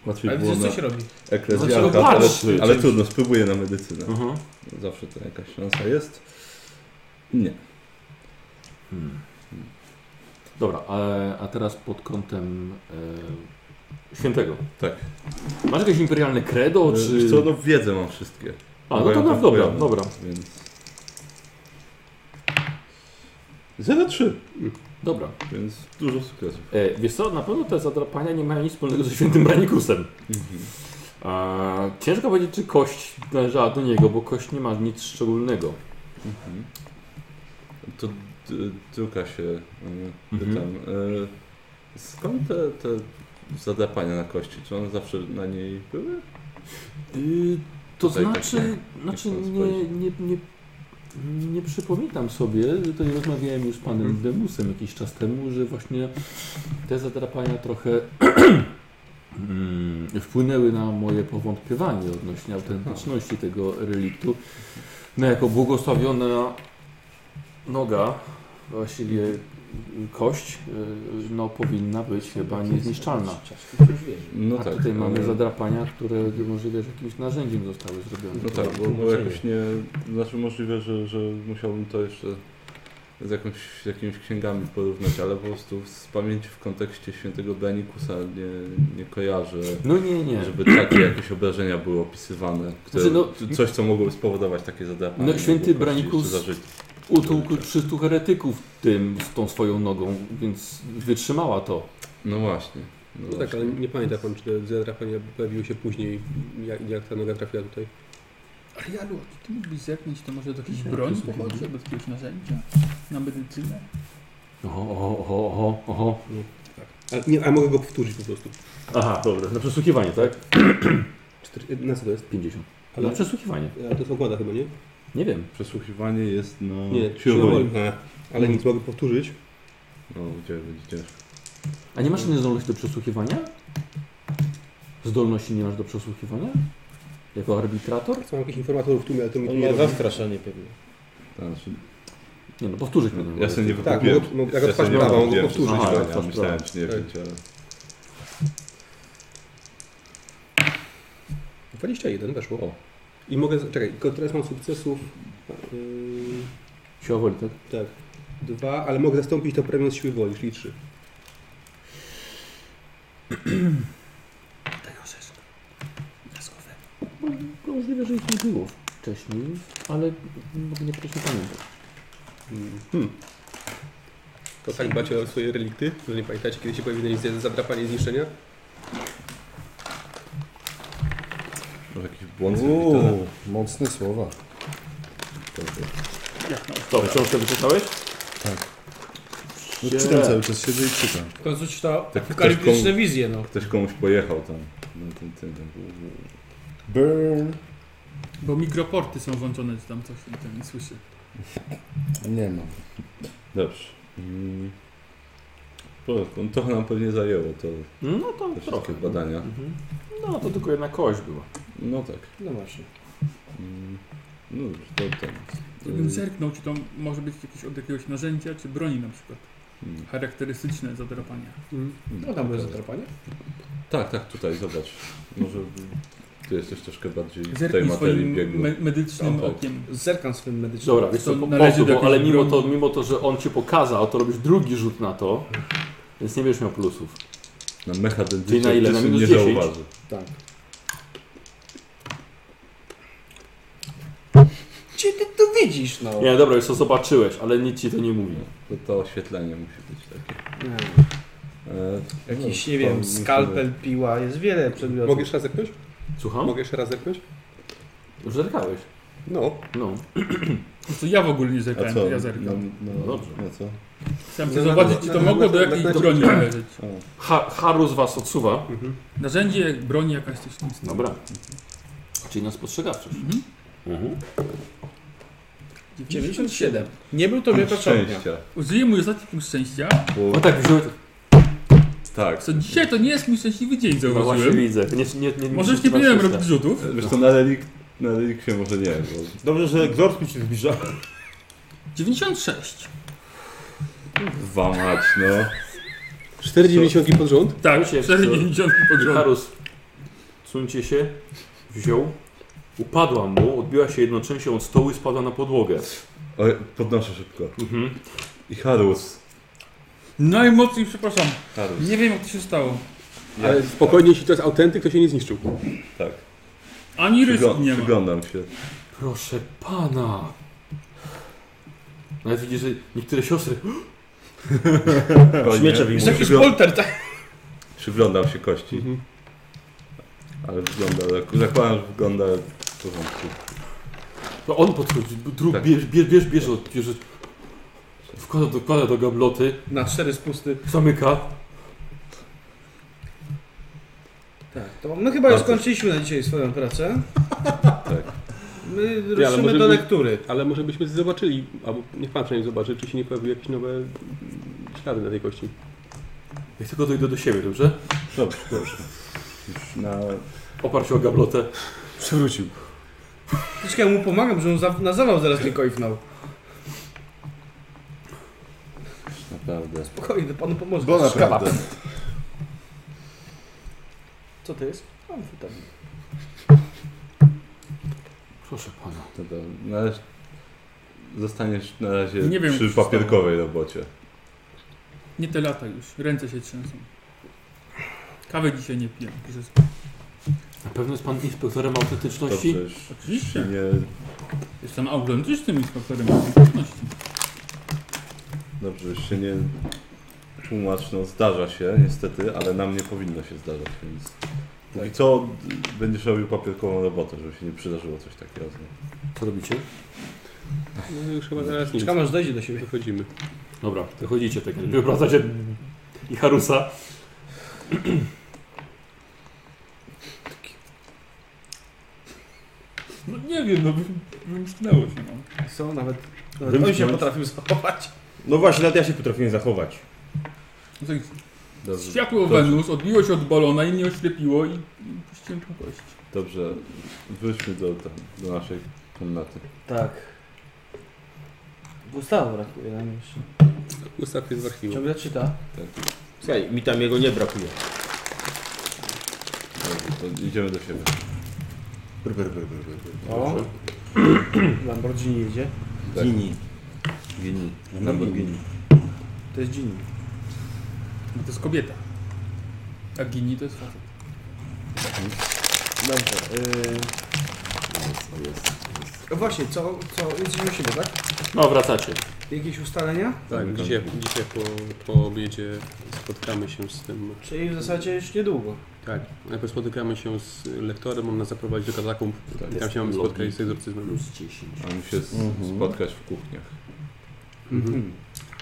łatwiej Ale było widzisz, na coś robi. Dlaczego eklezjarka, ale, patrzy? ale trudno, spróbuję na medycynę. Mhm. Zawsze to jakaś szansa jest. Nie. Hmm. Dobra, a, a teraz pod kątem e, świętego. Tak. Masz jakieś imperialne credo, czy... Wiesz Co, no wiedzę mam wszystkie. A, no to Mają dobra, tam dobra, pojazd, dobra. Więc... 0,3, dobra. więc dużo sukcesów. E, wiesz co, na pewno te zadrapania nie mają nic wspólnego ze świętym Branikusem. E, ciężko powiedzieć, czy kość należała do niego, bo kość nie ma nic szczególnego. Mhm. To d- druga się y, Mhm. pytam. Y, Skąd te, te zadrapania na kości? Czy one zawsze na niej były? Y, to Tutaj tak znaczy, nie- znaczy nie chcąc nie, powiedzieć. nie, nie, nie przypominam sobie, że to rozmawiałem już z panem Mhm. Demusem jakiś czas temu, że właśnie te zadrapania trochę mm, wpłynęły na moje powątpiewanie odnośnie autentyczności tego reliktu. No jako błogosławiona noga, właściwie kość, y, no powinna być chyba niezniszczalna. No A tak. tutaj mamy ale- zadrapania, które możliwe, że jakimś narzędziem zostały zrobione. No tak, bo, bo jakoś nie. Znaczy możliwe, że, że musiałbym to jeszcze z jakąś, jakimiś księgami porównać, ale po prostu z pamięci w kontekście świętego Benikusa nie, nie kojarzę. No nie, nie. Żeby takie jakieś obrażenia były opisywane, które, Znaczy, coś co mogłoby spowodować takie zadrapanie. No, na święty jego kości Branikus- jeszcze za życia. Utłukł 300 heretyków tym, z tą swoją nogą, więc wytrzymała to. No właśnie. No No tak, właśnie. ale nie pamięta pan, czy te zadrapania pojawiły się później, jak, jak ta noga trafiła tutaj. Ale Jalu, a czy ty mógłbyś zerknąć to może do jakiejś broni pochodzi, albo do jakiegoś narzędzia? Na medycynę? Oho, oho, oho, oho, oho. Ale, nie, a mogę go powtórzyć po prostu. Aha, dobra, na przesłuchiwanie, tak? Cztery, e, na co to jest? 50. Ale- Na przesłuchiwanie. Ale to jest okłada chyba, nie? Nie wiem. Przesłuchiwanie jest no, na Nie, siłowni. siłowni. Ale nic, mogę powtórzyć. No, gdzie będzie ciężko. A nie masz innej zdolności do przesłuchiwania? Zdolności nie masz do przesłuchiwania? Jako arbitrator? Są jakichś informatorów w tłumie, ale to mi On nie ma robi. zastraszenie pewnie. Znaczy, Nie no, powtórzyć będę. ja sobie nie Tak, wypowiedziałem. mogę, mogę, jako Ja sobie twarz nie prawa mogę wypowiedziałem powtórzyć. no, Aha, przesłuchiwania, jak twarz Myślałem, czy nie Tak. wziąć, ale... 21 weszło. O. I mogę, z- czekaj, tylko teraz mam sukcesów, yy, Siła woli, tak? tak, dwa, ale mogę zastąpić to premią z siły woli, czyli trzy. No, Możliwe, że ich nie było wcześniej, ale mogę nie proszę pamiętać. To tak dbacie o swoje relikty, że nie pamiętacie, kiedy się powinny zje- zadrapanie i zniszczenia? Może jakiś błąd zrealizowany. Uuu, mocne słowa. Co, książkę wyczytałeś? No, czytam cały czas, siedzę i czytam. W końcu czytał Tak, ktoś apokaliptyczne wizje, no. Ktoś komuś pojechał tam. No, ten, ten, ten. Burn. Bo mikroporty są włączone, czy tam coś i ten nie słyszy. Nie mam. Dobrze. Mm. Porządku, no trochę nam pewnie zajęło to, No to te trochę. wszystkie badania. Mhm. No to tylko jedna kość była. No tak. No właśnie. Mm. No dobrze, to ten. Mm. Gdybym zerknął, czy to może być jakieś od jakiegoś narzędzia, czy broni na przykład. Mm. Charakterystyczne zadrapania. No tam będzie zatrapanie. Tak, tak, tutaj, zobacz. Może ty jesteś troszkę bardziej w tej Zerknij materii swoim biegły. me- medycznym No tak. okiem. Zerkam swym medycznym. Dobra, wiesz co, To po, należy po, do bo, ale jakiejś mimo broni. to, mimo to, że on ci pokazał, to robisz drugi rzut na to, więc nie będziesz miał plusów. Na mecha ten Czyli na ile? Na minus nie 10? zauważy. Tak. Gdzie ty to widzisz, no? Nie, dobra, już to zobaczyłeś, ale nic ci to nie mówi. To, to oświetlenie musi być takie. Nie. E, Jakiś, no, nie to wiem, musimy- skalpel, piła, jest wiele przedmiotów. Mogę jeszcze raz zerknąć? Słucham? Mogę jeszcze raz zerknąć? Już zerkałeś. No. No. No To ja w ogóle nie A zerkałem, co? to ja zerkam. No, no, Dobrze. No co? Chciałem No, na- sobie zobaczyć, na- czy na- to na- mogło do na- jakiejś na- na- broni należeć. O, Ha, Harus was odsuwa. Mhm. Narzędzie, broni jakaś coś w tym stylu. Dobra. Czyli nas postrzegawczość. Mhm. Mhm. 97. Nie był to wielka czarnia. szczęścia. Użyję mój ostatni punkt szczęścia. Bo No tak, wziąłeś. Tak. Co dzisiaj to nie jest mój szczęśliwy dzień, No właśnie zauważyłem. widzę. Nie, nie, nie, nie, Możesz nie powinienem robić rzutów. Zresztą na relik... Na relikwie może nie, bo Dobrze, że egzorcizm się zbliża. 96. dwa mać, no. 4,90 pod rząd? Tak, Się 490 podrząd. Harus, suncie się, wziął, upadła mu, odbiła się jedną częścią od stołu i spadła na podłogę. Oj, podnoszę szybko. Mhm. I Harus. Najmocniej przepraszam. Harus. Nie wiem jak to się stało. Ale spokojnie, jeśli to jest autentyk, to się nie zniszczył. Tak. Ani rysu Przyglą- nie ma. przyglądam się. Proszę pana. Nawet widzisz, że niektóre siostry... Spokojnie. Śmiecze wyjmuję. Jakiś polter, tak? Przyglądam się kości, Mhm. ale wygląda... Zakładam, że wygląda w porządku. No on podchodzi, dru, Tak. bierz, bierz, bierz, bierze, od- bierze, wkłada, do- wkłada do gabloty, Na cztery spusty. zamyka. Tak, to my chyba już Bardzo. skończyliśmy na dzisiaj swoją pracę. Tak. My ale ruszymy może do by- lektury. Ale może byśmy zobaczyli, albo niech pan przynajmniej zobaczy, czy się nie pojawiły jakieś nowe mm, ślady na tej kości. Jak tylko dojdę do siebie, dobrze? Dobrze, dobrze. Już na... Oparł się o gablotę. Przewrócił. Troszkę mu pomagam, że on za, na zawał zaraz nie kojfnął. Naprawdę. Spokojnie, panu pomoże. Bo naprawdę. Co to jest? Amfetam. Proszę pana. Dobra, na razie... Zostaniesz na razie Nie wiem, przy co się papierkowej robocie. Nie te lata już. Ręce się trzęsą. Kawy dzisiaj nie piję. piszę sobie. Na pewno jest pan inspektorem Dobrze, autentyczności? już Oczywiście. nie... Jestem autentycznym inspektorem autentyczności. Dobrze, już się nie... Tłumacz, no zdarza się niestety, ale nam nie powinno się zdarzać, więc... Póki co d- będziesz robił papierkową robotę, żeby się nie przydarzyło coś takiego. znowu. Co robicie? No już chyba zaraz nic. Czekam aż dojdzie do siebie. Wychodzimy. Dobra, wychodzicie tak, wywracacie i Harusa. No nie wiem, no wy- wymknęło się no. nam. Co? Nawet, No nawet on Wymknąć. się potrafił zachować. No właśnie, nawet ja się potrafiłem zachować. No tak, Dobrze, Światło Dobrze. Wenus odbiło się od balona i mnie oślepiło i, i puściłem tą kość. dobrze. Wróćmy do, do, do naszej komnaty. Tak. Gustawa brakuje nam jeszcze. Gustaw jest w archiwum. Ciągle czyta. Słuchaj, mi tam jego nie brakuje. Dobrze, to idziemy do siebie. Brr, brr, brr, brr, brr. O. Lamborghini jedzie. Tak. Gini. Gini. Lamborghini. To jest Gini. No to jest kobieta. A Gini to jest facet. Dobrze. Yy... O Właśnie, co, co, jesteśmy u siebie, tak? No, wracacie. Jakieś ustalenia? Tak, Zamykam. dzisiaj, dzisiaj po, po obiedzie spotkamy się z tym. Czyli w zasadzie już niedługo. Tak, najpierw spotykamy się z lektorem, on nas zaprowadzi do katakumb. Tak. I tam się mamy Lobby. spotkać z egzorcyzmem. Plus 10. Mamy się s- Mhm. spotkać w kuchniach. Hmm. Mhm.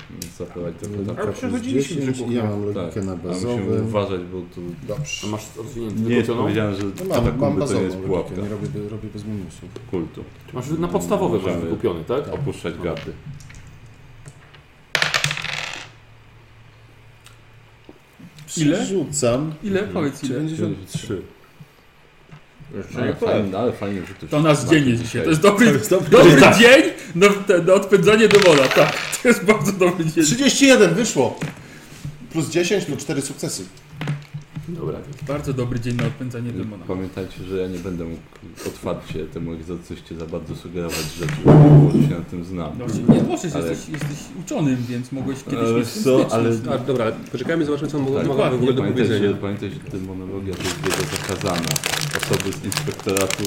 Więc zaprowadź do katakumb. A przechodziliśmy przy Ja mam logikę Tak, na a musimy bazowym. uważać, bo tu A Dobrze. masz rozwinięty nie jest wykocioną? powiedziane, że No mam, mam katakumby to nie jest bazową pułapka logikę, nie robię, robię bez minusów. kultu. Masz na podstawowe masz Możemy. wykupiony, tak? Opuszczać gaty. Ile? Przerzucam. Ile? Powiedz ile. 93. Ale fajnie, ale fajnie, że tu To nasz się- dzień jest dzisiaj. To jest dobry, To jest dobry dobry Tak. dzień na, na odpędzanie demona. Tak, to jest bardzo dobry dzień. 31 wyszło. Plus 10 plus 4 sukcesy. Dobra. Bardzo dobry dzień na odpędzanie demona. Pamiętajcie, że ja nie będę mógł otwarcie temu egzorcyście za bardzo sugerować rzeczy, bo się na tym znam. No, nie możesz, Ale- jesteś, jesteś uczonym, więc mogłeś kiedyś Ale mieć co, z tym styczność. ale- A, dobra, poczekajmy, zobaczymy co on ma- Tak, ma no, w ogóle do Pamiętaj, powiedzenia. że, pamiętaj, że demonologia to jest wiedza zakazana. Osoby z inspektoratu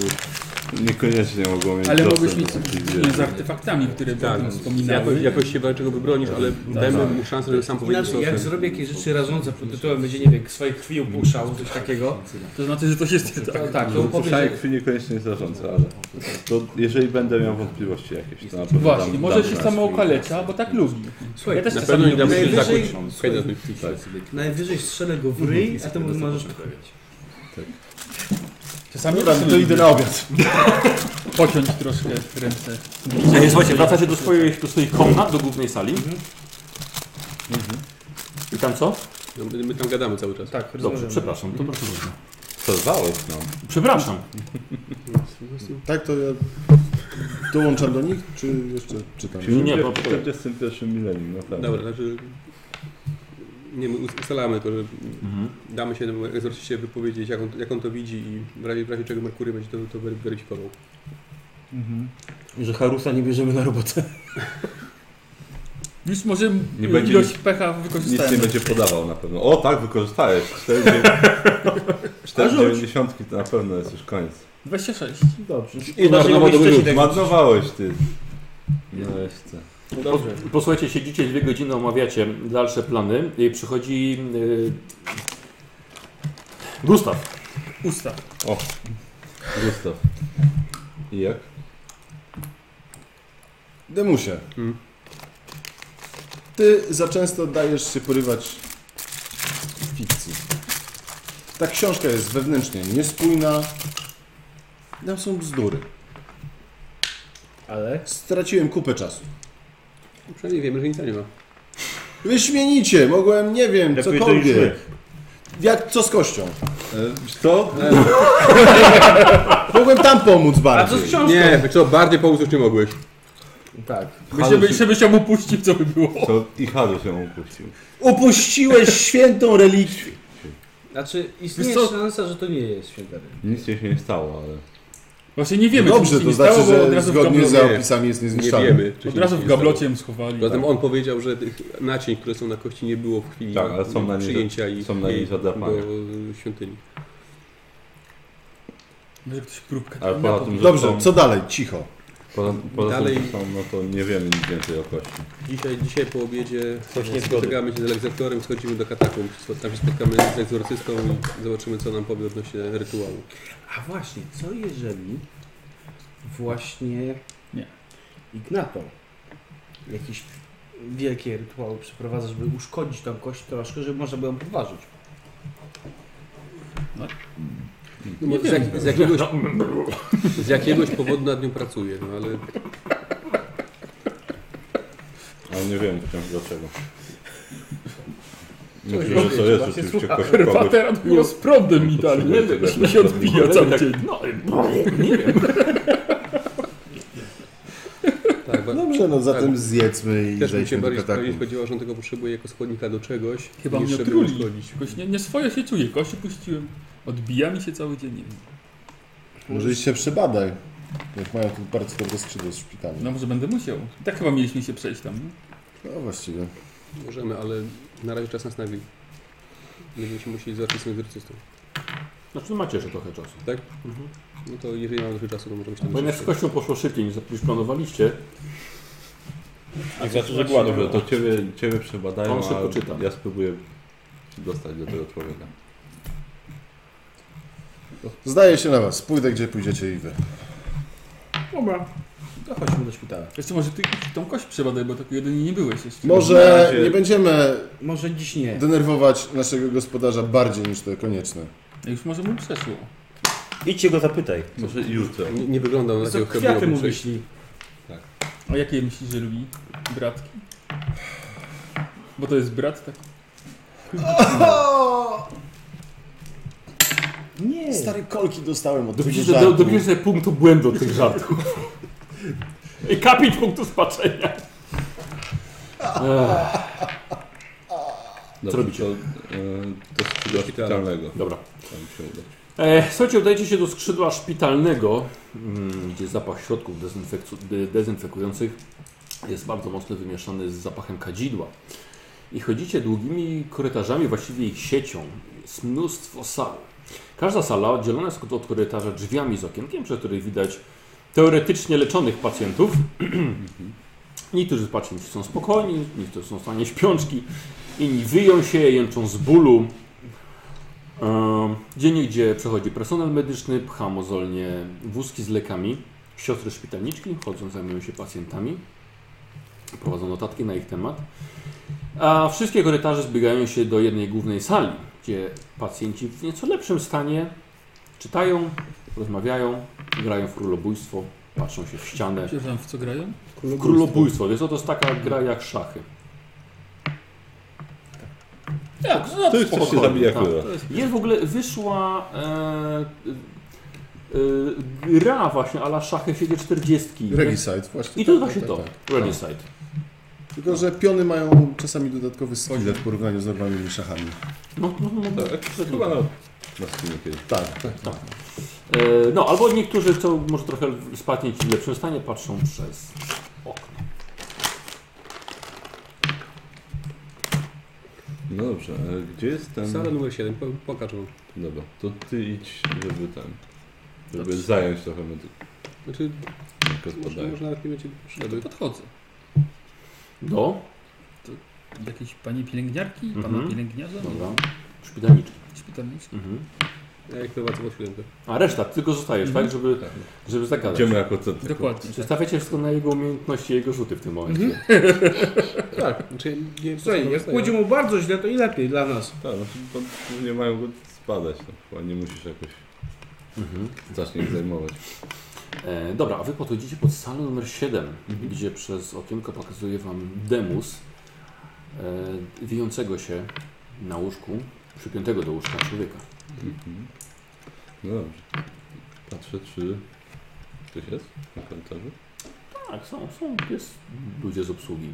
niekoniecznie mogą mieć Ale dostęp mogłeś mieć do takich styczność wiedzy. z artefaktami, które tak, no, Tak, wspominałeś. jakoś, jakoś się walczego wybronisz, ale Tak. dajmy mu szansę, żeby sam powiedział Inaczej, co jak zrobię jakieś rzeczy rażące pod tytułem będzie, nie wiem, swojej krwi upuszczał, coś takiego. To znaczy, że to się stało. To, tak, to No, powie, Słyszałem że... krwi niekoniecznie jest zarządca, ale to jeżeli będę miał wątpliwości jakieś, to na pewno Właśnie, dam- może dam się znać. samookalecia, bo tak lubi. Słuchaj, też Na pewno nie damy się Najwyżej- zakłuć. Słuchaj, na tym. najwyżej strzelę go w ryj, a temu możesz... Czasami To idę na obiad. pociąć troszkę ręce. Nie, słuchajcie, wracacie Mhm. do swoich, do swoich komnat, do głównej sali. I tam co? No, my, my tam gadamy cały czas. Tak, Dobrze, rozmawiamy. przepraszam, to bardzo dobrze. Przerwałeś nam. Przepraszam. Tak, to ja dołączam do nich, czy jeszcze czytam? Czyli nie, bo- w 41 milenium, naprawdę. Dobra, znaczy... Nie, my ustalamy to, że Mhm. damy się temu egzorcyście wypowiedzieć, jak on, jak on to widzi i w razie, w razie czego Merkury będzie to, to wery- weryfikował. Mhm. Że Harusa nie bierzemy na robotę. Już może Nie nie będzie ilość pecha Nic nie wykorzystałem. będzie podawał na pewno. O tak, wykorzystałeś. 4,9 490 to na pewno jest już koniec. 26. Dobrze. I marnował marnowałeś wcześniej ty. tak- Marnowałeś ty. No jeszcze. Dobrze. Posłuchajcie, siedzicie dwie godziny, omawiacie dalsze plany i przychodzi yy, Gustaw. Usta. Gustaw. I jak? Demusie, Mm. ty za często dajesz się porywać fikcji. Ta książka jest wewnętrznie niespójna. Tam są bzdury. Ale? Straciłem kupę czasu. Przynajmniej wiemy, że nic nie ma. Wyśmienicie, mogłem, nie wiem, Lepiej to niż my. cokolwiek. Jak, co z kością? Co? Mogłem tam A pomóc co z bardziej. książką? Nie, co, bardziej pomóc już nie mogłeś. Tak. Myślę, że byś ją opuścił, co by było. Co? I Haru się opuścił. Opuściłeś świętą relikwię. Znaczy, Wiesz istnieje co? szansa, że to nie jest święta religia. Nic się nie stało, ale... Właśnie nie No wiemy, czy Dobrze, nic się to nie stało, znaczy, bo od że razu w zgodnie z gablocie, gablocie. opisami jest Nie niezniszczalny. wiemy. czy się od razu nic nie w stało. gablocie ją schowali. Tak. Zatem on powiedział, że tych naczyń, które są na kości, nie było w chwili Tak, ale są na niej- przyjęcia i są na niej i zadrapane. do y, świątyni. Może ktoś grupkę Ale tam poza tym, że Dobrze, są, co dalej? Cicho. Poza, poza Dalej- tym, że są, no to nie wiemy nic więcej o kości. Dzisiaj, dzisiaj po obiedzie Coś nie spotykamy się z elektorem, schodzimy do katakumb, tam się spotkamy z egzorcystą i zobaczymy, co nam powie odnośnie rytuału. A właśnie, co jeżeli właśnie Nie. Ignato jakieś wielkie rytuały przeprowadza, żeby uszkodzić tą kość troszkę, żeby można było ją podważyć. No, bo z, jak, z, jakiegoś, z jakiegoś powodu nad nią pracuję, no ale Ale nie wiem wciąż dlaczego. Coś Myślę, że robić, to jest właśnie rzeczywiście słucha. kogoś, kogoś Herbatera była z prądem i dalej. Potrzebuję tego, Mi się jak odbija cały Tak, dzień. no, nie wiem. tak, ba- Dobrze, no zatem zjedzmy i też mi się zejdźmy do bardziej bardziej katakumb. spodziewał, że on tego potrzebuje jako składnika do czegoś, Chyba niż mnie żeby otruli. uszkodzić. Jakoś nie, nie swoje się czuję, kości puściłem. Odbija mi się cały dzień, nie wiem. Może iść się przebadaj. Jak mają tu bardzo dobre skrzydło z szpitala. No może będę musiał. I Tak chyba mieliśmy się przejść tam, nie? No właściwie. Możemy, ale na razie czas nas nagli. Będziemy się musieli zobaczyć z egzorcystą. Znaczy macie jeszcze trochę czasu. Tak? Mhm. No to jeżeli mamy dużo czasu, to możemy się tam Bo jednak z kością poszło szybciej niż niż planowaliście. Jak znaczy, że Dokładnie, dobrze, to ciebie, ciebie On przebadają, szybko a czyta. ja spróbuję dostać do tego człowieka. Zdaje się na was. Pójdę gdzie pójdziecie i wy. To chodźmy do szpitala. Jeszcze może ty tą kość przebadaj, bo tak jedynie nie byłeś jeszcze. Na Może razie- nie będziemy Może dziś nie. denerwować naszego gospodarza bardziej niż to konieczne. A Już może mu przeszło. Idźcie go zapytaj. Może jutro. Nie, nie wygląda on na Co takiego, kto kwiaty miałby mu przejść. wyślij. A jakie myślisz, że lubi bratki? Bo to jest brat, tak? Nie. Stary kolki dostałem od Dopisz tego do, żartu. dopisz sobie punktu błędu od tych żartów. I kapić punktu spaczenia. Ech, Dobrze, robicie? To, e, to skrzydła szpitalnego. dobra. Tam się uda. E, słuchajcie, udajcie się do skrzydła szpitalnego, mm, gdzie zapach środków dezynfekcu- de- dezynfekujących jest bardzo mocno wymieszany z zapachem kadzidła. I chodzicie długimi korytarzami, właściwie ich siecią. Jest mnóstwo sal. Każda sala oddzielona jest od- od korytarza drzwiami z okienkiem, przez których widać teoretycznie leczonych pacjentów. Niektórzy z pacjenci są spokojni, niektórzy są w stanie śpiączki, inni wyją się, jęczą z bólu. Ehm, Gdzie nigdzie przechodzi personel medyczny, pcha mozolnie wózki z lekami. Siostry szpitalniczki chodzą, zajmują się pacjentami, prowadzą notatki na ich temat. A wszystkie korytarze zbiegają się do jednej głównej sali, gdzie pacjenci w nieco lepszym stanie czytają, rozmawiają, grają w królobójstwo, patrzą się w ścianę. Przepraszam, w co grają? Królobójstwo, wiesz, co, to jest taka gra jak szachy. Tak, no, To już coś się spokojnie, zabija tak. króla. Jest w ogóle, wyszła e, e, gra właśnie, ala szachy siedzi 40. Regicide, właśnie. I to jest Tak, właśnie tak, to. tak. Regicide. Tylko, że piony mają czasami dodatkowy skill w porównaniu z normalnymi szachami. No, no, no, Tak, przed- chyba na, na Steamie kiedyś. Tak, tak. E, No, albo niektórzy chcą może trochę spadnieć w lepszym stanie, patrzą przez okno. No dobrze, e, gdzie jest ten... Sala numer 7, po, pokaż mu. Dobra, to ty idź, żeby ten... Żeby zająć trochę medyków. Znaczy, tylko może, odpadają. może nawet nie będzie potrzeby. Podchodzę. Do? Do jakiejś pani pielęgniarki, pana Mhm. pielęgniarza, Dobra. Szpitalniczka. szpitalniczki. Mhm. Ja jak prowadzę pod siódemkę. A reszta, tylko zostajesz, Mhm. tak? Żeby, żeby zagadać. Idziemy jako co ty. Dokładnie. tak. Zostawiacie wszystko na jego umiejętności, jego rzuty w tym momencie. Tak, znaczy nie... Słuchaj, jak dostaję. pójdzie mu bardzo źle, to i lepiej dla nas. Tak, znaczy to nie mają go spadać, no, chyba nie musisz jakoś Mhm. zacznie ich zajmować. E, dobra, a wy podchodzicie pod salę numer 7, Mhm. gdzie przez okienko pokazuje wam Demus, e, wijącego się na łóżku, przypiętego do łóżka człowieka. Mhm. No dobrze. Patrzę, czy ktoś jest na korytarzu. Tak, są, są, jest ludzie z obsługi.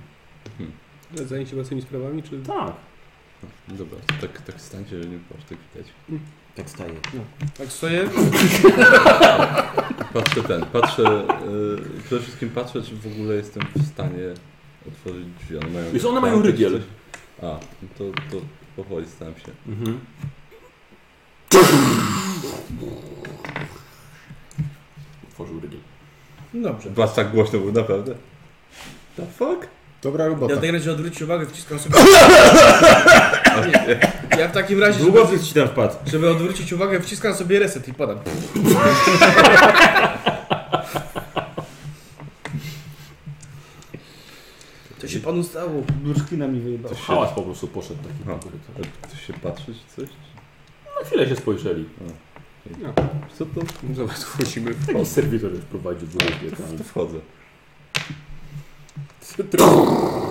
Zajęcie własnymi sprawami, czy... Tak. No, Dobra, tak, tak stańcie, że nie patrz tak widać. Tak staje. Tak stoję? Patrzę ten, patrzę, yy, przede wszystkim patrzę, czy w ogóle jestem w stanie otworzyć drzwi. One mają, Wiesz, one mają rygiel. coś- A, no to, to powoli staram się. Mhm. Otworzył rygiel. Dobrze. Was tak głośno było, naprawdę? The fuck? Dobra Ja robota. w tej razie odwrócić uwagę, wciskam sobie... Nie. Ja w takim razie, żeby, Długo ci tam wpadł. żeby odwrócić uwagę, wciskam sobie reset i padam. Co się panu stało? Bursztyna mi wyjebała. Coś się, Hałas po prostu poszedł taki No. po korytarzu. coś się patrzy, czy coś? Na chwilę się spojrzeli. Co to? No Zobacz, wchodzimy. Taki serwitor już prowadził dwóch To wchodzę.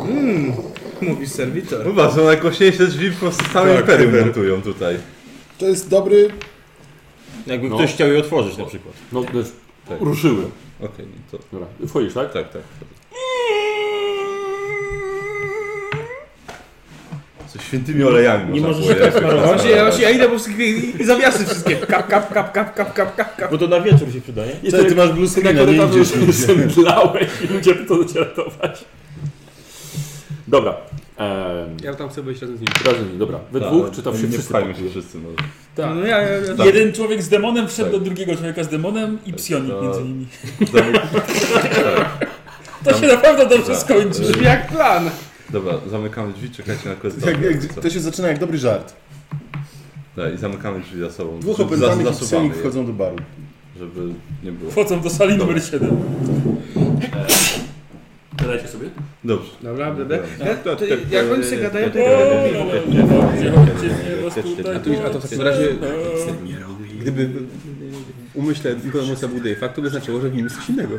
Mmm, mówi serwitor. Chyba są najgłośniejsze no, drzwi po całym tak, imperium montują tutaj. To jest dobry... Jakby No. ktoś chciał je otworzyć na przykład. No, to jest- Tak. ruszyły. Okej, no to... Dobra, wchodzisz, tak? Tak, tak. Co świętymi olejami Nie można Tak, możesz było się tak jakoś smarować. nazwać. Właśnie, ja, właśnie, ja idę po wszystkich i, i zawiasy wszystkie. Kap, kap, kap, kap, kap, kap, kap, kap. Bo to na wieczór się przydaje. Jest Wtedy tak- ty masz blue Na screena, nie korytarzu idziesz już nigdzie. zemdlałeś i ludzie chcą cię ratować. Dobra. Ehm, Ja tam chcę wejść razem z nim. razem, dobra. We Tak, dwóch, czy tam oni się nie wszyscy pchają się pakuje? wszyscy, no. Tak. No ja, ja, ja. Tak. Jeden człowiek z demonem wszedł do Tak. drugiego człowieka z demonem i Tak, psionik to- między nimi. Zamyk- To się naprawdę dobrze tak. skończy. Y, Brzmi jak plan. Dobra, zamykamy drzwi, czekajcie na korytarz. Jak, jak, to się zaczyna jak dobry żart. Tak, I zamykamy drzwi za sobą. Dwóch Za- opętanych i zasuwamy psionik je, wchodzą do baru. Żeby nie było. Wchodzą do sali numer 7. Gadajcie sobie. Dobrze. Dobra, bebe. Tak, Ja, tak, to, tak, jak oni tak, sobie gadają, to tak, ja tak, będę tak. mówił. A, tu, a to w takim razie, gdyby w umyśle Nikodemusa był Dejfak, to by znaczyło, że w nim jest coś innego.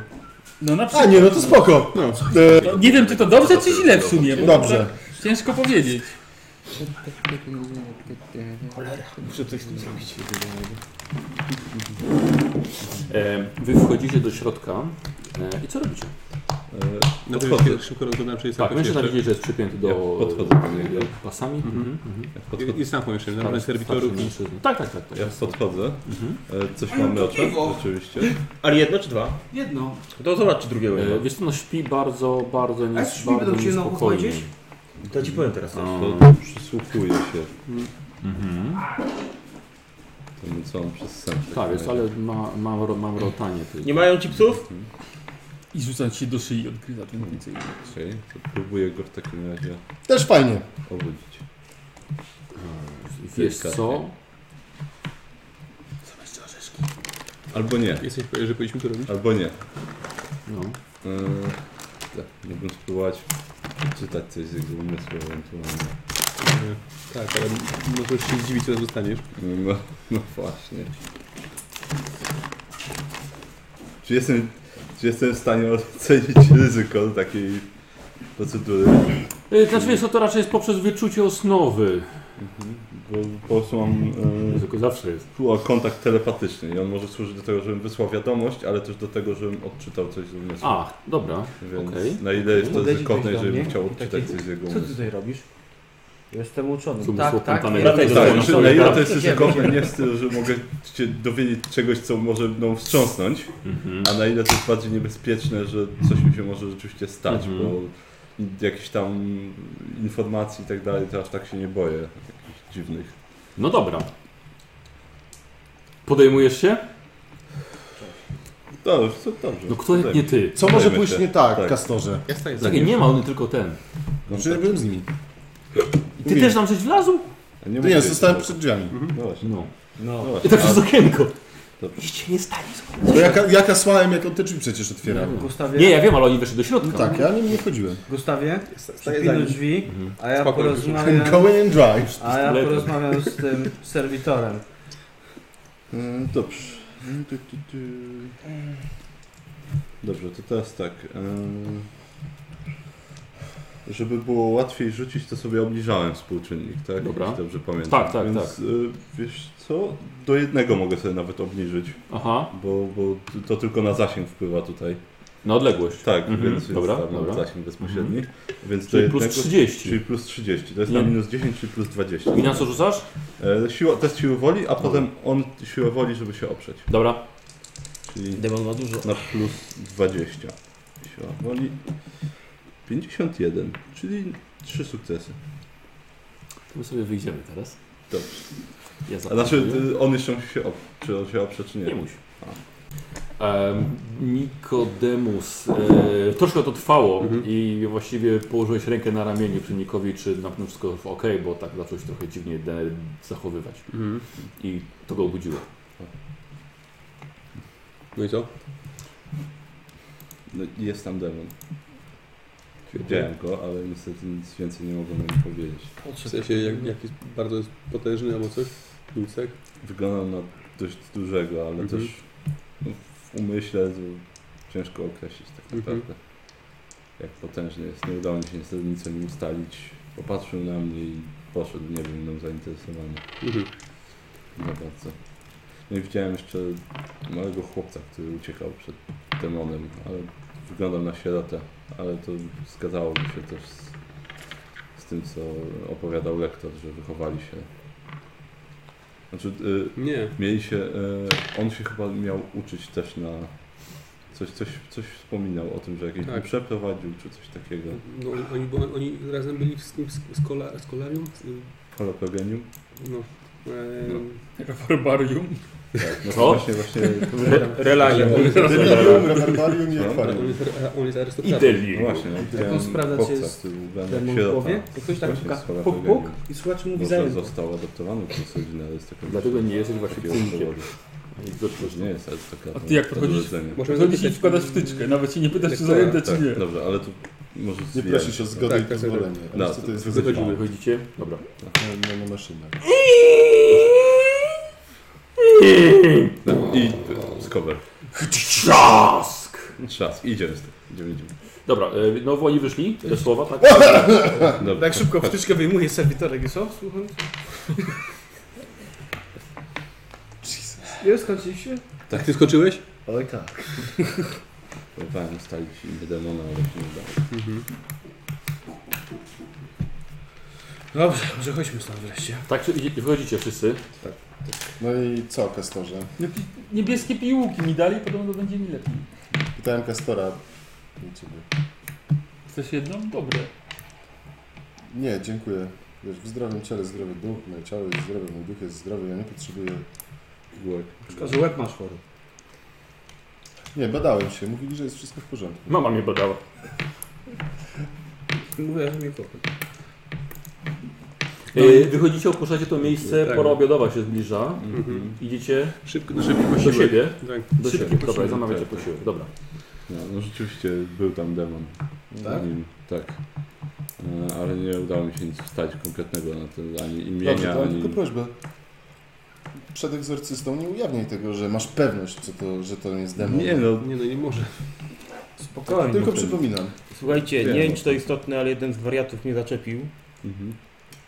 No na A przykład. nie, no to spoko. No. E, To Nie wiem, czy to dobrze, czy źle w sumie. Bo tak dobrze. Ciężko powiedzieć. E, wy wchodzicie do środka. E, I co robicie? No to Podchodzę. szybko- szybko rozglądam, czy jest Tak, jakoś mężczyzna jeszcze. widzicie, że jest przypięty do Ja podchodzę do niego. pasami. Mhm. Mhm. Podchodzę. Jest na pomieszczeniu, na Starszy serwitorów. mężczyzna. Tak, tak, tak. tak. Ja podchodzę. E, Coś mamy oczy, rzeczywiście. Ale jedno czy dwa? Jedno. To zobacz czy drugiego nie E, ma. wiesz co, no śpi bardzo, bardzo, nie, A śpi, bardzo będą cię znowu niespokojnie. chodzić? To ci powiem teraz. No. To przysłuchuję się temu, co on przez sen. w Mhm. Tak, takim jest, razie. ale ma, mam, ro- mam rotanie. tylko. Nie mają ci psów? I rzucać się do szyi odgryza ten więcej. Okej, to próbuję go w takim razie Też fajnie. obudzić. Wiesz co? Albo nie, Jesteś pewien, że powinniśmy to robić? albo nie. No. Yy, tak, mógłbym spróbować czytać coś z jego umysłu ewentualnie. Tak, ale możesz się zdziwić, co zostaniesz. No, no właśnie. Czy jestem, czy jestem w stanie ocenić ryzyko takiej procedury? E, Y, Znaczy wiesz, co, to raczej jest poprzez wyczucie osnowy. Mhm. Bo po prostu mam e, Ryzyko zawsze jest. Była kontakt telepatyczny i on może służyć do tego, żebym wysłał wiadomość, ale też do tego, żebym odczytał coś z umysłu. A, dobra. Więc okej. na ile jest to Podejdzie ryzykowne, ktoś do jeżeli mnie chciał i odczytać taki, coś z jego Co ty umysłu. tutaj robisz? Jestem uczony. Z umysłu Tak, tak. opętanego. nie, Dlatego tak, dzwonię. Tak, że na ile to jest Idziemy, ryzykowne, idziemy. nie w stylu, że mogę cię dowiedzieć czegoś, co może mną wstrząsnąć, Mhm. a na ile to jest bardziej niebezpieczne, że coś mi się może rzeczywiście stać, Mhm. bo jakichś tam informacji i tak dalej, to aż tak się nie boję. Jakichś dziwnych. No dobra. Podejmujesz się? Dobrze, to dobrze. No kto jak nie ty? Co może Zajmę pójść się. nie tak, Tak. Kastorze? Ja staję za Czekaj, nim. nie ma, on tylko ten. No przecież ja byłem z nimi. I ty też nam żeś wlazł? A Nie, Nie, mówię, nie zostałem tak. przed drzwiami. No właśnie. No. No No. właśnie. I tak A- przez okienko. Dobrze. Iście nie stali. słuchaj. Bo jaka, jaka słałem, jak on te drzwi przecież No. otwierał. Gustawie, Nie, ja wiem, ale oni weszli do środka. No tak, ja nim nie wchodziłem. Gustawie, Staję za przypilnuj nim. drzwi, a ja Spokojnie. porozmawiam, Going and drive. a ja Pistoletem. porozmawiam z tym serwitorem. E, Dobrze. Tu, tu, tu. Dobrze, to teraz tak. e, Żeby było łatwiej rzucić, to sobie obniżałem współczynnik, tak? Dobra. Jeśli dobrze pamiętam. Tak, tak, Więc, tak. e, Wiesz co? Do jednego mogę sobie nawet obniżyć, Aha, bo, bo to tylko na zasięg wpływa tutaj. na odległość. Tak, Mhm, więc, więc dobra, tam mam dobra. Mhm. zasięg bezpośredni. Więc do Czyli jednego, plus 30. Czyli plus 30. To jest Ile? na minus 10, czyli plus 20. I na co No. rzucasz? E, Siła, test siły woli, a potem on siłę woli, żeby się oprzeć. Dobra. Czyli Demon ma dużo. na plus 20. Siła woli 51, czyli 3 sukcesy. To my sobie wyjdziemy teraz. Dobrze. Ja A znaczy zaatakuję. y, on jeszcze musi się op- czy on się oprze, czy nie. Nie musi. Em, Nikodemus, e, troszkę to trwało Mhm. i właściwie położyłeś rękę na ramieniu przynikowi, czy na pewno wszystko ok, bo tak zacząłeś trochę dziwnie de- zachowywać. Mhm. I to go obudziło. No i co? No, jest tam demon. Wiedziałem go, ale niestety nic więcej nie mogłem mu powiedzieć. W sensie, jak, Mhm. jak jest bardzo jest potężny albo coś? Lucek? Wyglądał na dość dużego, ale Mhm. też no, w umyśle to ciężko określić tak Mhm. naprawdę. Jak potężny jest. Nie udało mi się niestety nic o nim ustalić. Popatrzył na mnie i poszedł, nie był mną zainteresowany. Mhm. Nie bardzo. No i widziałem jeszcze małego chłopca, który uciekał przed demonem, ale wyglądał na sierotę, ale to zgadzałoby się też z, z tym, co opowiadał lektor, że wychowali się. Znaczy, y, Mhm. Nie. mieli się, y, on się chyba miał uczyć też na... Coś, coś, coś wspominał o tym, że jakieś Tak. przeprowadził czy coś takiego. No, oni, bo oni razem byli z tym z, z, kola, z kolarium? Z, Holopogenium? no. Eee, No. Herbarium. Tak, no Co? to właśnie, właśnie... Relacje. Delirium, herbarium i No. on, akwarium. jest, on jest I arystokratą. No deli. właśnie, no, widziałem sprawdzać chłopca, jest który był ubrany jak Demon w sierota. głowie? To ktoś tak Właśnie puka, No z Holopogenium. puk, puk i słuchacz mówi Może zając. został adoptowany przez rodzinę arystokratyczną. Dlatego nie jesteś właśnie Takiego cynikiem. powodu. Dobrze, Może nie jest arystokratą. A ty jak podchodzisz? Rodzenia. Możemy Możesz ci zapytać- wkładać wtyczkę, nawet się nie pytasz czy Tak, zajęte czy tak, nie. Dobrze, ale tu może Nie zwijamy prosisz się. o zgodę Tak, i tak, tak. pozwolenie. No, Ale co to jest to wyzwanie? wychodzimy. Wychodzicie? Dobra. Na- Na, na maszynach. No, I y, z cover. Trzask! Trzask. Idziemy z tym. Idziemy, idziemy. Dobra, e, no oni wyszli, te słowa, tak? Dobra. Tak szybko wtyczkę wyjmuje serwitorek i co? Słuchaj. Nie skończyliście? Tak, ty skoczyłeś? Ale tak. Próbowałem ustalić imię demona, ale się nie udało. Dobrze, może chodźmy stąd wreszcie. Tak, czy idzie- wychodzicie wszyscy. No i co, Kastorze? No, pi- Niebieskie piłki mi dali, podobno będzie mi lepiej. Pytałem Kastora. u ciebie. Chcesz jedną? Dobre. Nie, dziękuję. Wiesz, w zdrowym ciele zdrowy duch, moje ciało jest zdrowe, mój duch jest zdrowy, ja nie potrzebuję Głek. Tylko, że łeb masz chory. Nie, badałem się, mówili, że jest wszystko w porządku. Mama mnie badała. No. Mówię, że mnie kocha. E, Wychodzicie, opuszczacie to miejsce, Tak. pora obiodowa się zbliża. Mhm. Idziecie Szybko, no szybko do posiłek. siebie. Tak. Szybki Do siebie. Dobra, posiłek. zamawiacie tak, tak. posiłek. Dobra. No, no rzeczywiście był tam demon. Tak? Nim, tak. E, Ale nie udało mi się nic ustalić konkretnego na tym, ani imienia, Dobrze, to mam ani... tylko prośbę. Przed egzorcystą nie ujawniaj tego, że masz pewność, co to, że to jest demon. Nie no, Nie no, nie może. Spokojnie. Tylko przypominam. Słuchajcie, Wiem. nie wiem czy to istotne, ale jeden z wariatów mnie zaczepił mhm.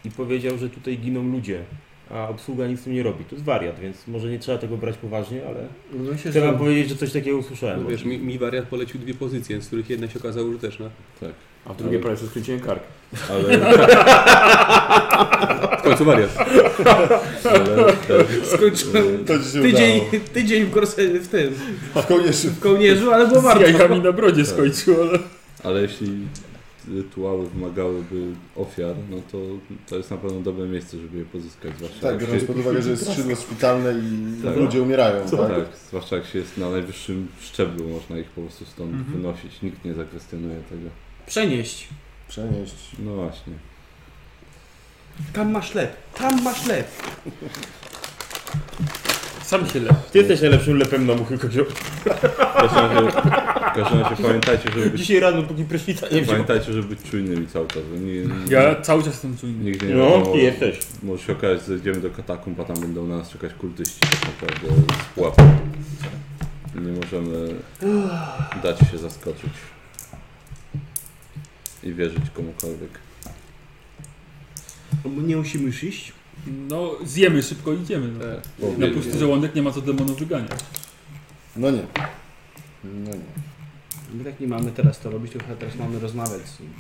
i i powiedział, że tutaj giną ludzie, a obsługa nic z tym nie robi. To jest wariat, więc może nie trzeba tego brać poważnie, ale No myślę, chcę że wam powiedzieć, że coś takiego usłyszałem. No wiesz, mi, mi wariat polecił dwie pozycje, z których jedna się okazała użyteczna. A w drugiej prawie przez skręciłem kark. Ale, W końcu wariat. ale Skończyłem To ci się tydzień, udało. tydzień w, gorse, w tym, W kołnierzu. w kołnierzu, ale było Z warto. jajami na brodzie Tak. skończył, ale... Ale jeśli rytuały wymagałyby ofiar, no to to jest na pewno dobre miejsce, żeby je pozyskać. Zwłaszcza Tak, jak biorąc się, pod uwagę, że jest skrzydło szpitalne i Tak. ludzie umierają, tak? tak, zwłaszcza jak się jest na najwyższym szczeblu, można ich po prostu stąd Mhm. wynosić. Nikt nie zakwestionuje tego. Przenieść. Przenieść. No właśnie. Tam masz lep, tam masz lep. Sam się lepiej. Ty jesteś najlepszym lepem na muchy kozioł. W każdym razie, w każdym razie pamiętajcie, żeby być, Dzisiaj rano, póki prysznica nie wziął. pamiętajcie, żeby być czujnymi cały czas. bo Nie, Ja cały czas jestem czujny. Nigdy nie No, wiadomo, ty jesteś. Może się okazać, że idziemy do katakumb, a tam będą na nas czekać kultyści tak naprawdę z pułapką. Nie możemy dać się zaskoczyć i wierzyć komukolwiek. Nie musimy już iść. No, zjemy szybko i idziemy. No. Tak. Bo Na wie- pusty żołądek nie ma co demonów wyganiać. No nie. No nie. My tak nie mamy teraz to robić, tylko teraz mamy rozmawiać. z nim.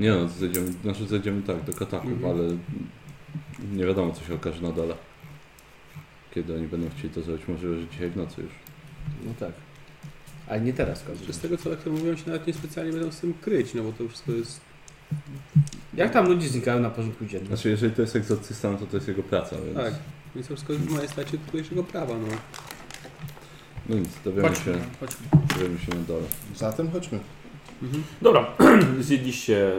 Nie no, zejdziemy, znaczy zejdziemy tak, do katakumb, Mhm. ale nie wiadomo co się okaże na dole. Kiedy oni będą chcieli to zrobić, może że dzisiaj w nocy już. No tak. Ale nie teraz, każdy. Że Z tego co lektor mówią, się nawet niespecjalnie będą z tym kryć, no bo to wszystko jest... Jak tam ludzie znikają na porządku dziennym? Znaczy jeżeli to jest egzorcysta, no to to jest jego praca, więc Tak. Więc to wszystko w majestacie tutejszego prawa, no. no nic, dowiemy Chodźmy, się, chodźmy. dowiemy się na dole. Zatem chodźmy. Mhm. Dobra, zjedliście...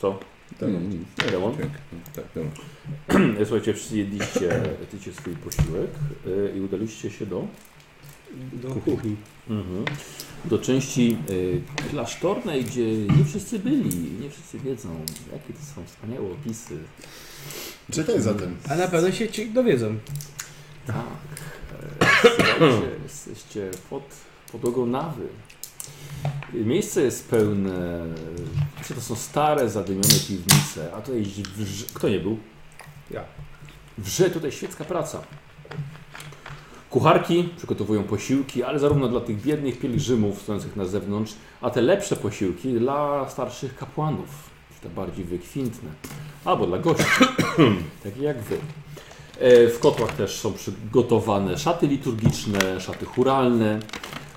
Co? Tak, no, nic, Nie wiadomo. dźwięk, no, tak, dobra. Słuchajcie, wszyscy jedliście tycie swój posiłek y, i udaliście się do... mhm, Do kuchni. Do części y, klasztornej, gdzie nie wszyscy byli, nie wszyscy wiedzą, jakie to są wspaniałe opisy. Czekaj zatem. A na pewno się ci dowiedzą. Tak. E, Słuchajcie, jesteście pod podłogą nawy. I Miejsce jest pełne. Co to są stare, zadymione piwnice. A tutaj wrze, kto nie był? Ja. Wrze tutaj świecka praca. Kucharki przygotowują posiłki, ale zarówno dla tych biednych pielgrzymów stojących na zewnątrz, a te lepsze posiłki dla starszych kapłanów, czy te bardziej wykwintne, albo dla gości, takich jak wy. E, W kotłach też są przygotowane szaty liturgiczne, szaty churalne,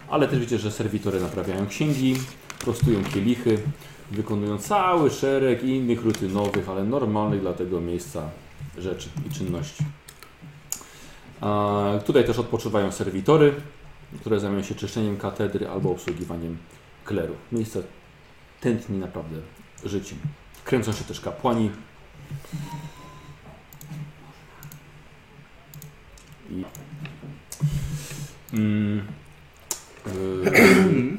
ale też wiecie, że serwitory naprawiają księgi, prostują kielichy, wykonują cały szereg innych rutynowych, ale normalnych dla tego miejsca rzeczy i czynności. E, Tutaj też odpoczywają serwitory, które zajmują się czyszczeniem katedry albo obsługiwaniem kleru. Miejsce tętni naprawdę życiem. Kręcą się też kapłani, I... Mm. Yy,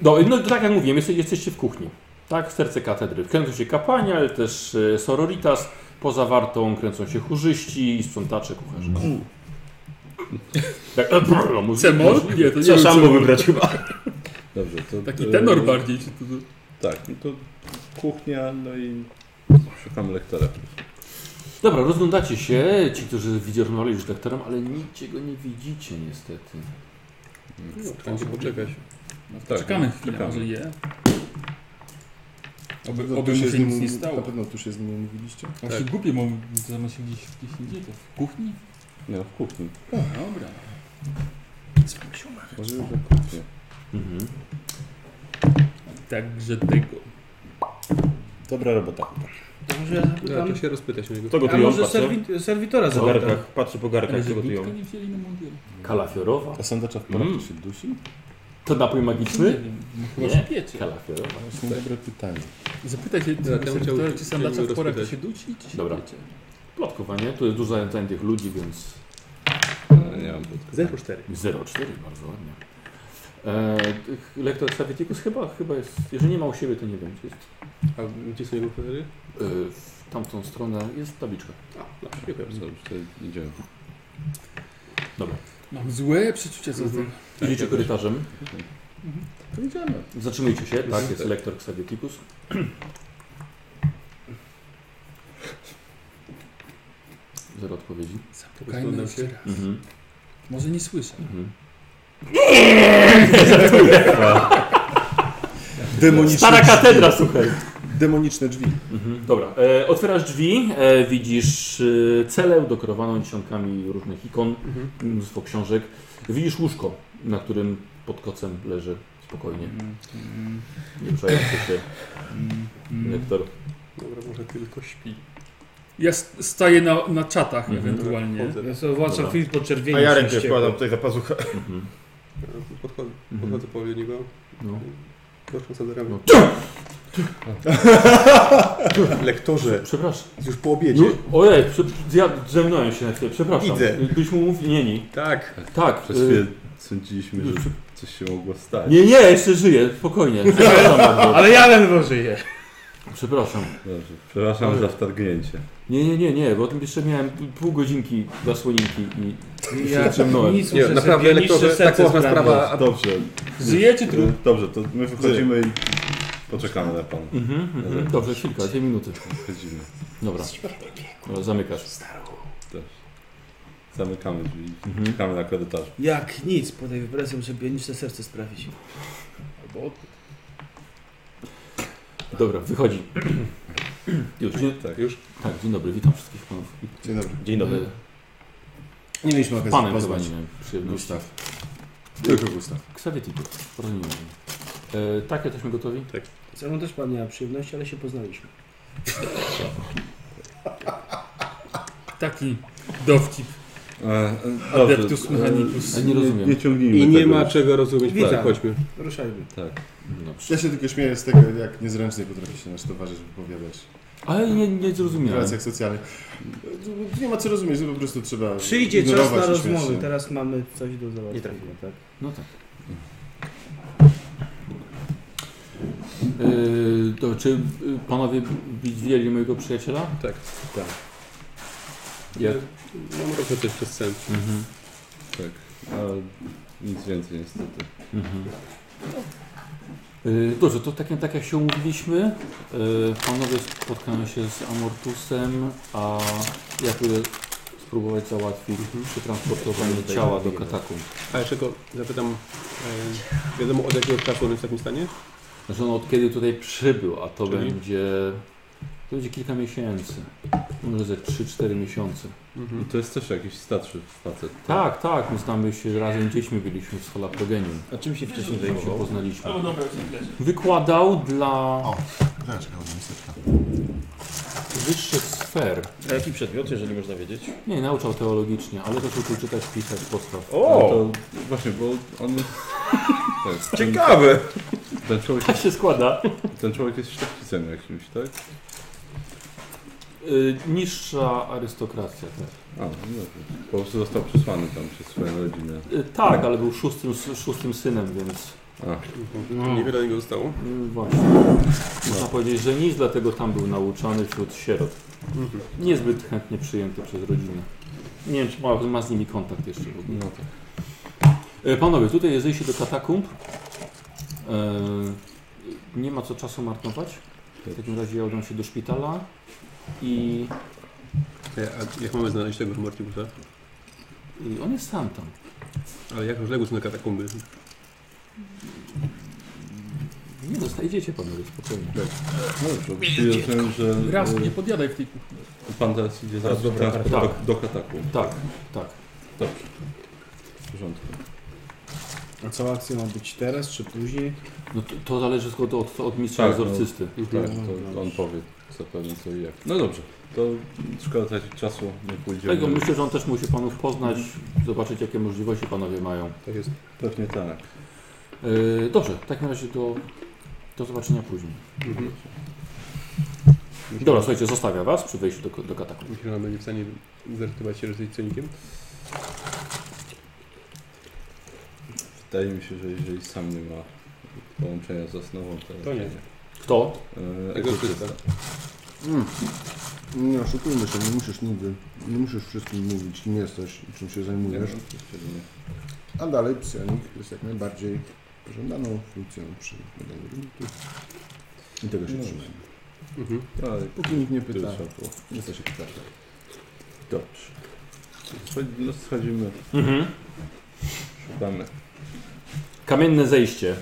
No, no tak jak mówiłem, jeste, jesteście w kuchni. Tak, serce katedry. Kręcą się kapłani, ale też e, sororitas. Poza wartą kręcą się chórzyści i sprzątacze, kucharze. Tak, e, brr, muzy- Cemol? muzy- Nie, to nie Trzeba był szambo cemol. wybrać chyba. Dobrze, to... Taki e, tenor bardziej. Czy to, Tak, no to kuchnia, no i szukamy lektora. Dobra, rozglądacie się, ci, którzy widzieli, rozmawiali już z doktorem, ale niczego nie widzicie niestety. Mm. No, Trzeba się poczekać. Tak, No czekamy chwilę, czekamy. może je. Na Oby, pewno oby No, tu mu się tak. z nim nic nie mówi- stało. Na pewno tu się z nim mówiliście. Właśnie Tak. głupie, bo zamiast się gdzieś, gdzieś indziej, to w kuchni? Nie, w kuchni. Dobra. Może już w kuchni. Mhm. Także tego. Dobra robota. To może ja Ja, zapytam. to się rozpytać o niego. To A gotują, może patrzę. serwi- serwitora Po zapytam. garkach, patrzę po garkach, co Ale gotują. budka nie wzięli na mundial. Kalafiorowa. A sandacza w porach Mm. się dusi? To napój Nie magiczny? wiem, no chyba Nie. się piecze. Kalafiorowa. To są dobre pytanie. Zapytaj się Ja tego bym sektora, chciał- czy sandacza w chciałbym porach rozpytać. się duci, czy się Dobra. piecze. Plotkowanie, tu jest dużo zajętań tych ludzi, więc E, Nie mam podkazania. 04. 0,4 bardzo ładnie. E, ch- lektor Savitikus chyba, chyba jest, jeżeli nie ma u siebie, to nie wiem, czy jest. A gdzie są jego kolery? E, w tamtą stronę jest tabliczka. A, no, dobrze, dziękuję bardzo. Dobrze, to idziemy. Mam złe przeczucia co z tego. Idziecie korytarzem, Mhm. Mhm. zatrzymujcie się, tak, jest lektor Savitikus. Zero odpowiedzi. Zapukajmy jeszcze raz. Mhm. Może nie słyszę. Mhm. Demoniczne Stara drzwi. katedra, słuchaj. Demoniczne drzwi. Mhm, dobra, e, otwierasz drzwi, e, widzisz e, celę dekorowaną dziesiątkami różnych ikon, Mhm. mnóstwo książek. Widzisz łóżko, na którym pod kocem leży spokojnie. Mm, Nie przejmuj się, lektor. Dobra, może tylko śpi. mm. Ja s- staję na, na czatach Mhm. ewentualnie. Podchodzę, Ja sobie włączam Dobra. film po czerwieni. A ja się rękę wściekłem. wkładam tutaj za pazuchę. Mhm. podchodzę, Mhm. podchodzę powoli do niego, No. proszę za ramię. No. Lektorze, Przepraszam. już po obiedzie. No, ojej, prze, ja zemnąłem się na chwilę, przepraszam. Idę. Byś mu mówił, nie, nie. Tak, Tak, Przez e, chwilę sądziliśmy, już że przy- coś się mogło stać. nie, nie, jeszcze żyję, spokojnie. Przepraszam bardzo. Ale ja ledwo żyję. Przepraszam. Dobrze, przepraszam Ale- za wtargnięcie. Nie, nie, nie, nie, bo o tym jeszcze miałem pół godzinki zasłoninki i Ja Ciemnąłem. nic nie, muszę naprawdę sobie niszczy lektorze, tak serce poważna sprawy. sprawa, a Dobrze, Żyje czy trup? e, dobrze, to my wychodzimy i poczekamy na pana. Mhm, mhm. Dobrze, chwilka, dwie minuty. Wychodzimy. Dobra. Dobra, Zamykasz. Zamykamy drzwi, Mhm. czekamy na korytarz. Jak nic, podaj wypresję, żeby bioniczne serce sprawić. Dobra, wychodzi. Już, dzień, Tak. już tak, dzień dobry, witam wszystkich panów. E, Dzień dobry. Dzień dobry. Nie mieliśmy okazji Panem chyba pozwać. nie miałem przyjemności. Gustaw. Tylko Gustaw. Ksawie Tipu, porozumiałem. E, tak, jesteśmy gotowi? Ze mną też pan miała przyjemność, ale się poznaliśmy. Taki dowcip. E, e, dobrze, Adeptus e, mechanicus. Ja nie rozumiem. Nie ciągnijmy I nie tego. ma czego rozumieć, Witam. tak, chodźmy. Ruszajmy. Tak. Dobrze. Ja się tylko śmieję z tego, jak niezręcznie potrafi się nasz towarzysz wypowiadać. Ale nie, nie W zrozumiałem. relacjach socjalnych. Nie ma co rozumieć, że po prostu trzeba Przyjdzie czas ignorować na i rozmowy, śmiać się. teraz mamy coś do załatwienia, tak? No tak. E, to czy y, panowie widzieli mojego przyjaciela? Tak. Tak. Jak? Mam rozmowę też przez sen. Mhm. Tak, ale nic więcej niestety. Mhm. Y, Dobrze, to tak, tak jak się umówiliśmy, y, panowie spotkają się z Amortusem, a ja pójdę spróbować załatwić przetransportowanie ciała do katakumb. A jeszcze go zapytam, e, wiadomo od jakiego czasu on jest w takim stanie? Znaczy on od kiedy tutaj przybył, a to Czyli? będzie to będzie kilka miesięcy, może ze 3-4 miesiące. I to jest też jakiś starszy facet. Tak, tak, my znamy się razem, dziećmi byliśmy z Holaprogenium, A czym się wcześniej tam się zajmował? poznaliśmy. No dobra, już nie leży. Wykładał dla O. Zaczekaj, bo miseczka. wyższych sfer. A jaki przedmiot, jeżeli można wiedzieć? Nie, nauczał teologicznie, ale też uczył czytać, pisać, podstaw. Ale O! No To, właśnie, bo on jest... Tak, ten, Ciekawe! ten, człowiek, Tak się składa. ten człowiek jest szlachcicem jakimś, tak? Y, niższa arystokracja też. A, no dobrze. Po prostu został przesłany tam przez swoją rodzinę. Y, tak, ale był szóstym, szóstym synem, więc A, Mhm. Niewiele do niego zostało. y, właśnie. Można powiedzieć, że nic, dlatego tam był nauczany wśród sierot. Niezbyt chętnie przyjęty przez rodzinę. Nie wiem, czy ma, ma z nimi kontakt jeszcze. w ogóle. no tak. Y, panowie, tutaj jest zejście do katakumb. Y, nie ma co czasu marnować. W takim razie ja udam się do szpitala i E, a jak mamy znaleźć tego Mortiusa? y, on jest sam tam. Ale jak rozległy są te katakumby? Nie, zostajecie panowie spokojnie. No dobrze, czyli rozumiem, że Raz, e, nie podjadaj w tej kuchni. pan teraz idzie zaraz do, do, tak. do kataku. Tak, tak. Dobrze. W porządku. A cała akcja ma być teraz czy później? No to, to zależy tylko od, od mistrza Tak, egzorcysty. Tak, No, to on powie zapewne co i jak. No dobrze, to szkoda tracić czasu, nie pójdziemy. Tego myślę, że on też musi panów poznać, zobaczyć jakie możliwości panowie mają. Tak jest. Pewnie tak. Yy, dobrze, w takim razie do, do zobaczenia później. Mhm. Dobra, słuchajcie, zostawiam was przy wejściu do, do katakumb. Myślę, że on będzie w stanie zrezygnować się z jej cenikiem. Wydaje mi się, że jeżeli sam nie ma połączenia z osnową, to... To nie. Kto? E, Egzorcysta. egzorcysta. Mm. Nie oszukujmy się, nie musisz nigdy, nie musisz wszystkim mówić, kim jesteś i czym się Nie, no, zajmujesz. oczywiście, że nie. A dalej psionik jest jak najbardziej pożądaną funkcją przy badaniu rynku. I tego się No. trzymajmy. Mhm. Ale Póki nikt nie pyta, Pyta. nie co się pytać. Dobrze. Chodź- No schodzimy, Mhm. szukamy. Kamienne zejście.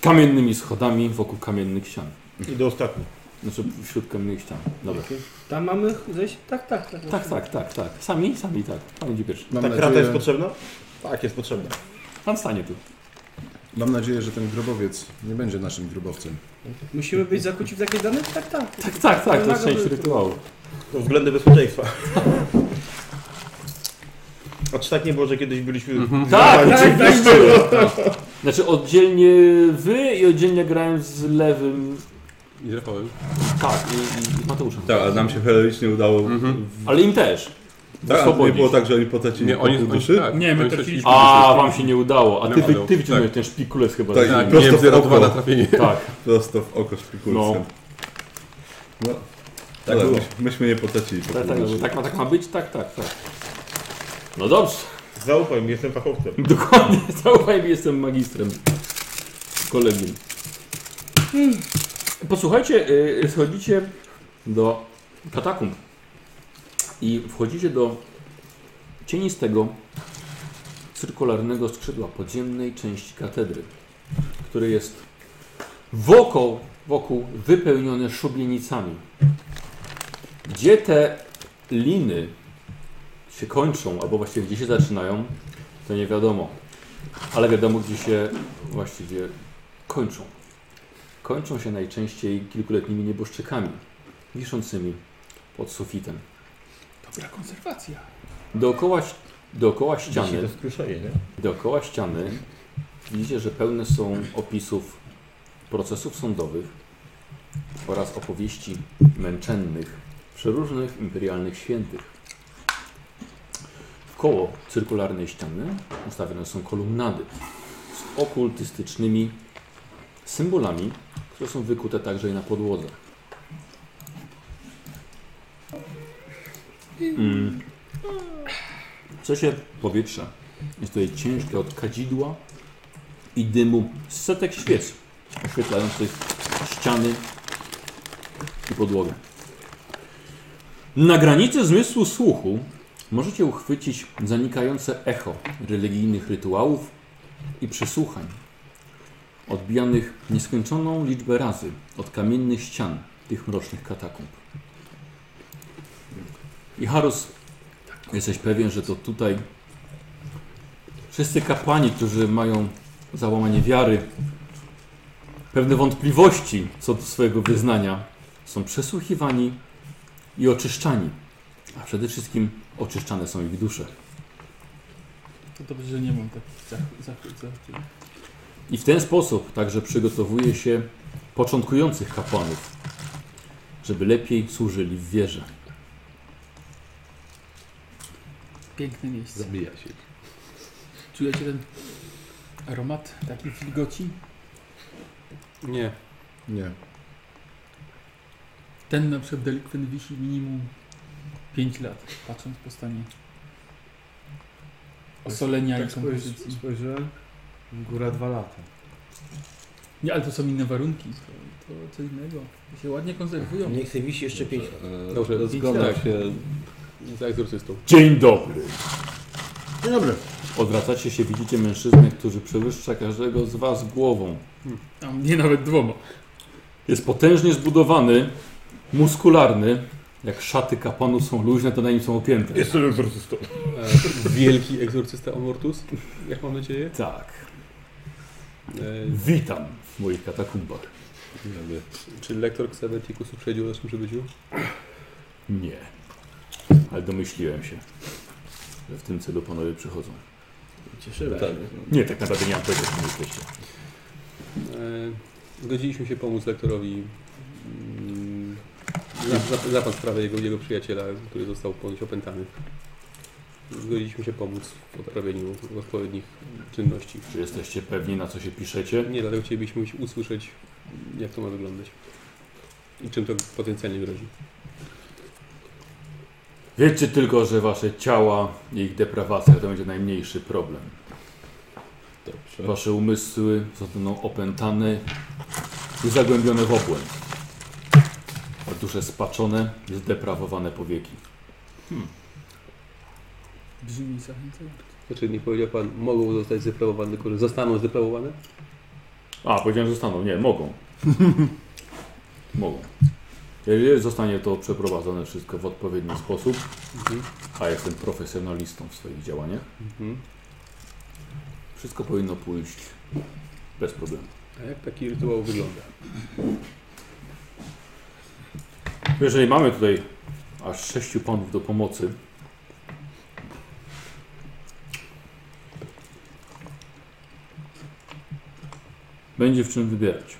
Kamiennymi schodami wokół kamiennych ścian. I do ostatni. Znaczy wśród kamiennych ścian. Dobra. Tam mamy zejść? Tak, tak, tak. Tak, tak, tak, tak. Sami, sami, tak. Pan idzie pierwszy. Mam Ta nadzieję, krata jest potrzebna? Tak, jest potrzebna. Pan stanie tu. Mam nadzieję, że ten grobowiec nie będzie naszym grobowcem. Musimy być zakuci w takie dane? Tak, tak. Tak, tak, tak, to jest część rytuału. To względy bezpieczeństwa. A czy tak nie było, że kiedyś byliśmy... Tak, tak, tak, Znaczy oddzielnie wy i oddzielnie grałem z lewym. I z Rafałem. Tak, i, i Mateuszem. Tak, ale nam się heroicznie udało. Mhm. W... Ale im też. Tak, ale nie Swobodnie. było tak, że oni potracili Nie, oni, pokój oni duszy? tak. Nie, my Oni trafiliśmy. A, wam się nie udało. A ty, Nie wy, udało. ty wyciągnąłeś ten szpikulec chyba. Tak, z- i Tak, prosto miałem w 0,2 oko. na trafienie. tak. Prosto w oko szpikulcem. No. No. No, Tak ale było. myśmy, myśmy nie potracili Tak, pokój tak, duszy. tak, ma, tak ma być? Tak, tak, tak. No dobrze. Zaufaj mi, jestem fachowcem. Dokładnie, zaufaj mi, jestem magistrem. Kolegium. Posłuchajcie, y, schodzicie do katakumb i wchodzicie do cienistego, cyrkularnego skrzydła podziemnej części katedry, które jest wokół, wokół wypełnione szubienicami, gdzie te liny się kończą, albo właściwie gdzie się zaczynają, to nie wiadomo. Ale wiadomo, gdzie się właściwie kończą. Kończą się najczęściej kilkuletnimi nieboszczykami, wiszącymi pod sufitem. Dobra konserwacja. Dookoła, ś- dookoła Dzisiaj ściany, to skruszenie, nie? dookoła ściany widzicie, że pełne są opisów procesów sądowych oraz opowieści męczennych przeróżnych imperialnych świętych. Wkoło cyrkularnej ściany ustawione są kolumnady z okultystycznymi symbolami, które są wykute także i na podłodze. Mm. Co się powietrze? Jest tutaj ciężkie od kadzidła i dymu z setek świec oświetlających ściany i podłogę. Na granicy zmysłu słuchu możecie uchwycić zanikające echo religijnych rytuałów i przesłuchań, odbijanych nieskończoną liczbę razy od kamiennych ścian tych mrocznych katakumb. I Harus, jesteś pewien, że to tutaj wszyscy kapłani, którzy mają załamanie wiary, pewne wątpliwości co do swojego wyznania, są przesłuchiwani i oczyszczani. A przede wszystkim oczyszczane są ich dusze. No To dobrze, że nie mam tak takich zachwyt. Zach- zach- zach- I w ten sposób także przygotowuje się początkujących kapłanów, żeby lepiej służyli w wierze. Piękne miejsce. Zabija się. Czujecie ten aromat, taki wilgoci? Nie. Nie. Ten na przykład delikwent wisi minimum 5 lat, patrząc po stanie osolenia Tak i spojrzy- kompozycji. spojrzyłem. Góra dwa lata. Nie, ale to są inne warunki. To, to co innego. To się ładnie konserwują. Niech sobie wisi jeszcze pięć. E, Dobrze, Zgoda zgoda się. Za egzorcystą. Dzień dobry! Dzień dobry. Odwracacie się, widzicie mężczyznę, który przewyższa każdego z was głową. A mnie nawet dwoma. Jest potężnie zbudowany, muskularny. Jak szaty kapłanów są luźne, to na nim są opięte. Jestem egzorcystą. E, wielki egzorcysta Omortus, jak mam nadzieję. Tak. E, Witam w moich katakumbach. czy lektor Xavetikus uprzedził o naszym przybyciu? Nie. Ale domyśliłem się, że w tym celu panowie przychodzą. Cieszymy Tak. Nie, tak naprawdę nie mam pojęcia, kim jesteście. E, Zgodziliśmy się pomóc lektorowi. mm, Za, za, za pan sprawę jego, jego przyjaciela, który został ponoć opętany. Zgodziliśmy się pomóc w odprawieniu odpowiednich czynności. Czy jesteście pewni, na co się piszecie? Nie, dlatego chcielibyśmy usłyszeć, jak to ma wyglądać. I czym to potencjalnie grozi. Wiecie tylko, że wasze ciała i ich deprawacja to będzie najmniejszy problem. Dobrze. Wasze umysły zostaną opętane i zagłębione w obłęd. A dusze spaczone, zdeprawowane powieki. Brzmi zachęcająco. Znaczy nie powiedział pan, mogą zostać zdeprawowane, tylko że zostaną zdeprawowane? A, powiedziałem, że zostaną. Nie, mogą. mogą. Jeżeli zostanie to przeprowadzone wszystko w odpowiedni sposób, a jestem profesjonalistą w swoich działaniach, Mhm. wszystko powinno pójść bez problemu. A jak taki rytuał wygląda? Jeżeli mamy tutaj aż sześciu panów do pomocy, będzie w czym wybierać.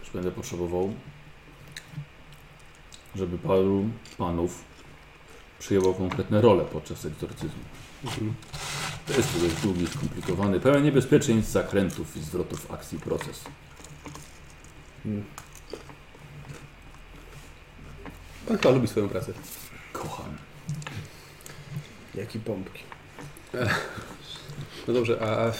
Też będę potrzebował, żeby paru panów przyjęło konkretne role podczas egzorcyzmu. Mhm. To jest dość długi, skomplikowany, pełen niebezpieczeństw, zakrętów i zwrotów akcji proces. Pan chyba lubi swoją pracę. Kocham. Jaki pompki. No dobrze, a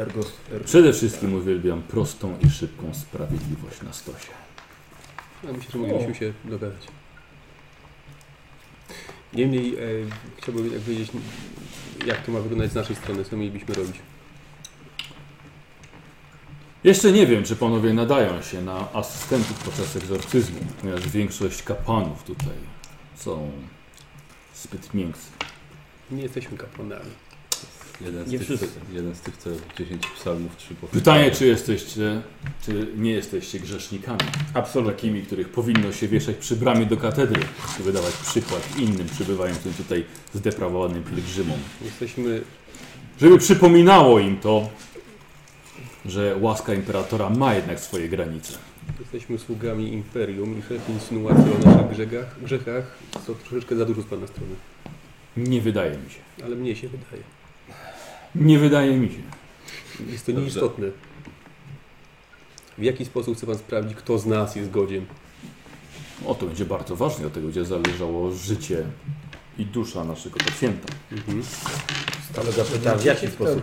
Ergo... ergo. Przede wszystkim uwielbiam prostą i szybką sprawiedliwość na stosie. Ja myślę, że moglibyśmy się dogadać. Niemniej e, chciałbym jak wiedzieć, jak to ma wyglądać z naszej strony, co mielibyśmy robić. Jeszcze nie wiem, czy panowie nadają się na asystentów podczas egzorcyzmu, ponieważ większość kapłanów tutaj są zbyt miękcy. Nie jesteśmy kapłanami. Jeden z, Nie tych, wszyscy. jeden z tych, co 10 psalmów, 3 Pytanie, czy jesteście, czy nie jesteście grzesznikami, Absolutnie. takimi, których powinno się wieszać przy bramie do katedry, żeby dawać przykład innym przybywającym tutaj zdeprawowanym pielgrzymom. Jesteśmy Żeby przypominało im to, że łaska imperatora ma jednak swoje granice. Jesteśmy sługami imperium i wszelkie insynuacje o naszych grzechach, grzechach to troszeczkę za dużo z Pana strony, Nie wydaje mi się. ale mnie się wydaje. Nie wydaje mi się. Jest to Dobrze. nieistotne. W jaki sposób chce Pan sprawdzić, kto z nas jest godzien? O, to będzie bardzo ważne, od tego będzie zależało życie i dusza naszego pacjenta. Mhm. Ale zapytałem, w jaki sposób?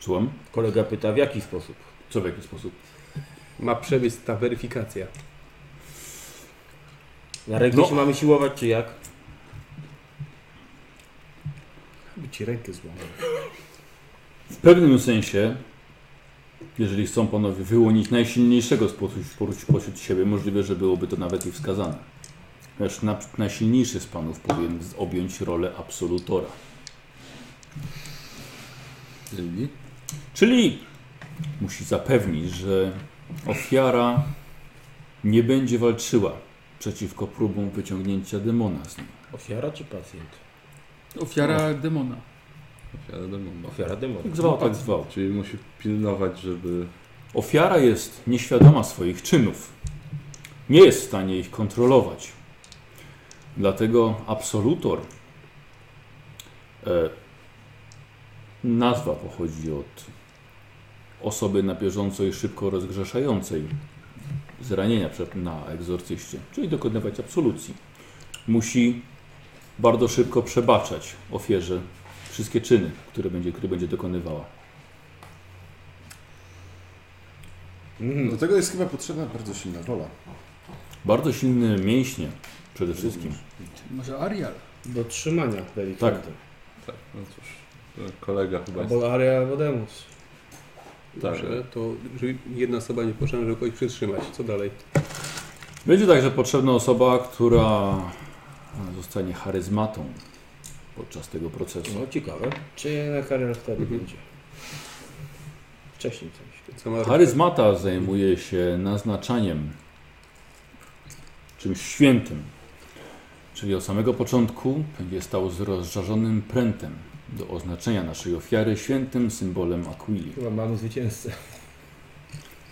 Słucham? Kolega pyta, w jaki sposób? Co w jaki sposób? Ma przebiec ta weryfikacja. Na rękę No. się mamy siłować, czy jak? By ci rękę złamał. W pewnym sensie, jeżeli chcą panowie wyłonić najsilniejszego spośród, spośród- spośród siebie, możliwe, że byłoby to nawet i wskazane. Lecz na, najsilniejszy z panów powinien z- objąć rolę absolutora. Czyli? Czyli musi zapewnić, że ofiara nie będzie walczyła przeciwko próbom wyciągnięcia demona z niej. Ofiara czy pacjent? Ofiara demona. Ofiara demona. Ofiara demona. Jak zwał, tak zwał. Czyli musi pilnować, żeby... Ofiara jest nieświadoma swoich czynów. Nie jest w stanie ich kontrolować. Dlatego absolutor e, nazwa pochodzi od osoby na bieżąco i szybko rozgrzeszającej zranienia przed, na egzorcyście, czyli dokonywać absolucji. Musi bardzo szybko przebaczać ofierze wszystkie czyny, które będzie, które będzie dokonywała. Do tego jest chyba potrzebna bardzo silna rola. Bardzo silne mięśnie przede wszystkim. Może Arial. Do trzymania delikatnie. Tak. Tak, no cóż. Kolega Tak. chyba jest... Albo Area Vodemus. Tak, Dobrze, to żeby jedna osoba nie poszła, żeby kogoś przytrzymać. Co dalej? Będzie także potrzebna osoba, która zostanie charyzmatą podczas tego procesu. No ciekawe. Czy jednak Arial wtedy Mhm. będzie? Wcześniej coś. Sama Charyzmata zajmuje się naznaczaniem czymś świętym. Czyli od samego początku będzie stał z rozżarzonym prętem do oznaczenia naszej ofiary świętym symbolem Aquili. Chyba mamy zwycięzcę.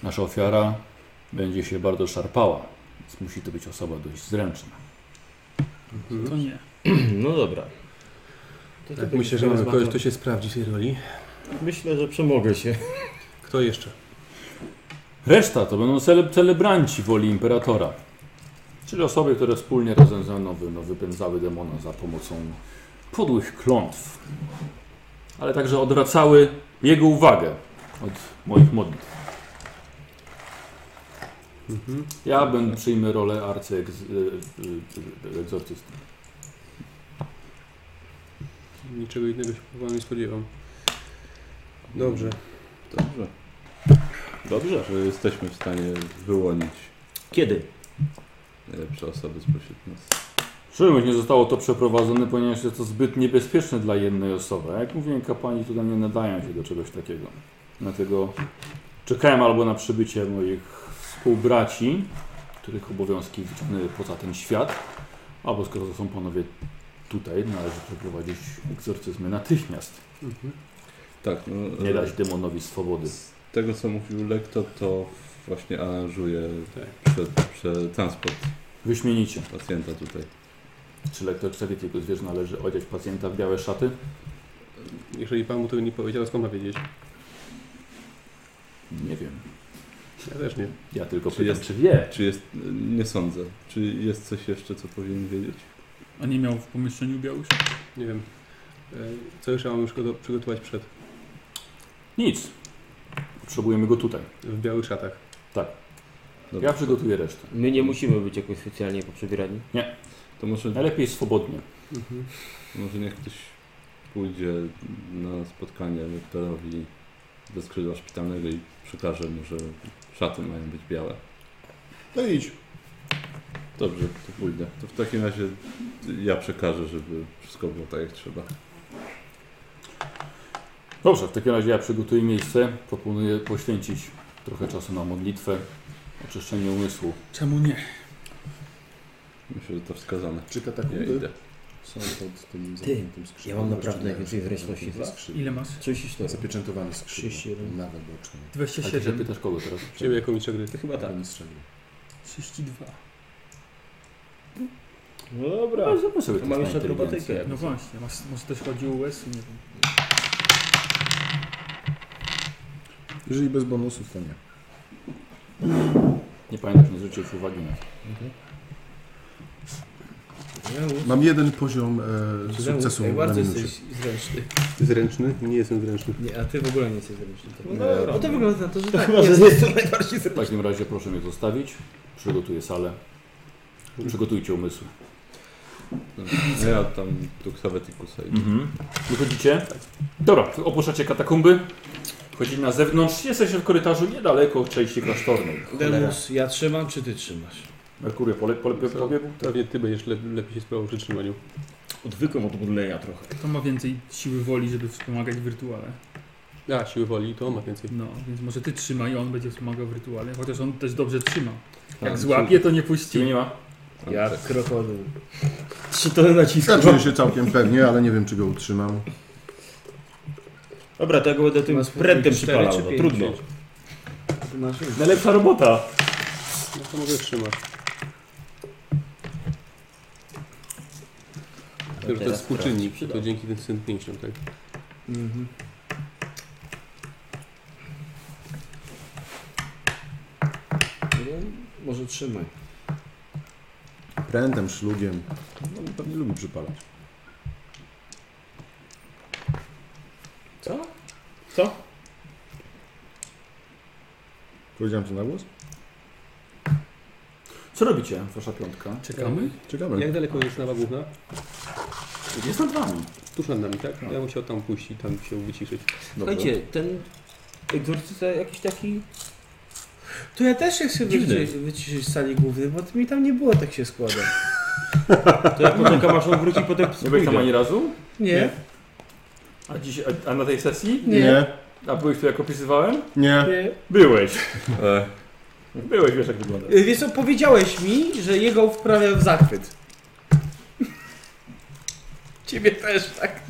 Nasza ofiara będzie się bardzo szarpała, więc musi to być osoba dość zręczna. Mhm. To nie. No dobra. To tak, myślę, że mamy kogoś, kto się sprawdzi w tej roli. Myślę, że przemogę się. Kto jeszcze? Reszta to będą cele, celebranci woli imperatora. Czyli osoby, które wspólnie razem ze mną wy- no, wypędzały demona za pomocą podłych klątw, ale także odwracały jego uwagę od moich modlitw. Mhm. Ja będę przyjmę rolę e, arcyegzorcysty. Niczego innego się chyba nie spodziewam. Dobrze. Dobrze. Dobrze, że jesteśmy w stanie wyłonić Kiedy? najlepsze osoby spośród nas. Czemu nie zostało to przeprowadzone, ponieważ jest to zbyt niebezpieczne dla jednej osoby. A Jak mówiłem, kapłani tutaj nie nadają się do czegoś takiego. Dlatego czekałem albo na przybycie moich współbraci, których obowiązki wyciągnęły poza ten świat, albo skoro to są panowie tutaj, należy przeprowadzić egzorcyzmy natychmiast. Mhm. Tak, no, Nie e, dać demonowi swobody. Z tego co mówił Lekto, to właśnie aranżuje prze, prze transport Tak. Wyśmienicie. pacjenta tutaj. Czy lektor przewietniku zwierz należy odziać pacjenta w białe szaty? Jeżeli pan mu tego nie powiedział, skąd ma wiedzieć? Nie wiem. Ja też nie. Ja tylko Czy pytam, jest- czy wie. Czy jest. Nie sądzę. Czy jest coś jeszcze, co powinien wiedzieć? A nie miał w pomieszczeniu białusz? Nie wiem. E, Co jeszcze mamy przygoto- przygotować przed? Nic. Potrzebujemy go tutaj. W białych szatach. Dobra. Ja przygotuję resztę. My nie musimy być jakoś specjalnie poprzebierani. To może, Najlepiej swobodnie. Mhm. może niech ktoś pójdzie na spotkanie lektorowi do skrzydła szpitalnego i przekaże mu, że szaty mają być białe. No idź. Dobrze, to pójdę. To w takim razie ja przekażę, żeby wszystko było tak jak trzeba. Dobrze, w takim razie ja przygotuję miejsce. Proponuję poświęcić trochę czasu na modlitwę, oczyszczenie umysłu. Czemu nie? Myślę, że to wskazane. Czy Ja katakumby idę. są pod tym zamkniętym skrzydłem? ja mam naprawdę Jeszcze nie, najwięcej zręczności. zamknięte skrzydło. Ile masz? 34. Zapieczętowane skrzydło. 31. Nawet boczne. Ale ty się 27. pytasz kogo teraz? Ciebie jako mistrza gry. Chyba tak. Mistrzem. 32. No dobra. Ale zróbmy sobie To test mam na jeszcze inteligencję. akrobatykę. No właśnie, masz, może też chodzi o US, nie wiem. Jeżeli bez bonusów, to nie. Nie pamiętasz, nie zwróciłeś uwagi na to. Mam jeden poziom e, Czy sukcesu Jak na bardzo minusie. jesteś zręczny. Zręczny? Nie jestem zręczny. Nie, a ty w ogóle nie jesteś zręczny. No dobra. No to wygląda na to, że To tak. chyba, że jest. jest to najbardziej W takim razie proszę mnie zostawić. Przygotuję salę. Przygotujcie umysł. Dobrze. A No Ja tam tuksowe tikusa idę. Mhm. Wychodzicie? Dobra, opuszczacie katakumby. Wchodzicie na zewnątrz. Jesteście w korytarzu niedaleko od części klasztornej. Demus, ja trzymam, czy ty trzymasz? Merkurio, pole, pole, pole, pobiegł? Pewnie ty będziesz le lepiej się sprawował przy trzymaniu. Odwykłem od modlenia trochę. Kto ma więcej siły woli, żeby wspomagać w rytuale? A, siły woli to ma więcej. No, więc może ty trzymaj, on będzie wspomagał w rytuale, chociaż on też dobrze trzyma. Tam Jak złapie, to nie puści. Ciebie nie ma? Tam Ja tak. krokodyl. Trzy tony nacisku. Ja czuję się całkiem pewnie, ale nie wiem, czy go utrzymam. Dobra, to ja go będę tym Masz prętem cztery przypalał. czy No, pięć? trudno. Ty masz Najlepsza robota. No to mogę trzymać. Tylko, że to teraz jest współczynnik, sprawdź, to dzięki tym syntnięciom, tak? Mhm. No, Może trzymaj. Prętem, szlugiem. No, pewnie lubi przypalać. Co? Co? Powiedziałem to na głos? Co robicie, wasza piątka? Czekamy? Ciekawe. Jak daleko jest nawa główna? Jest nad wami. Tuż nad nami, tak? Ja bym chciał tam pójść i tam się wyciszyć. Słuchajcie, ten egzorcysta jakiś taki... To ja też się chcę Dziwny. wyciszyć, wyciszyć z sali głównej, bo mi tam nie było, tak się składa. To jak poczekam aż on wróci, potem Nie byłeś tam pójdę. ani razu? Nie? A, dziś, a, a na tej sesji? Nie. Nie. A byłeś tu jak opisywałem? Nie. Nie. Byłeś. E, Byłeś, wiesz jak wygląda. Y, Wiesz co, powiedziałeś mi, że jego wprawia w zachwyt. Ciebie też, tak?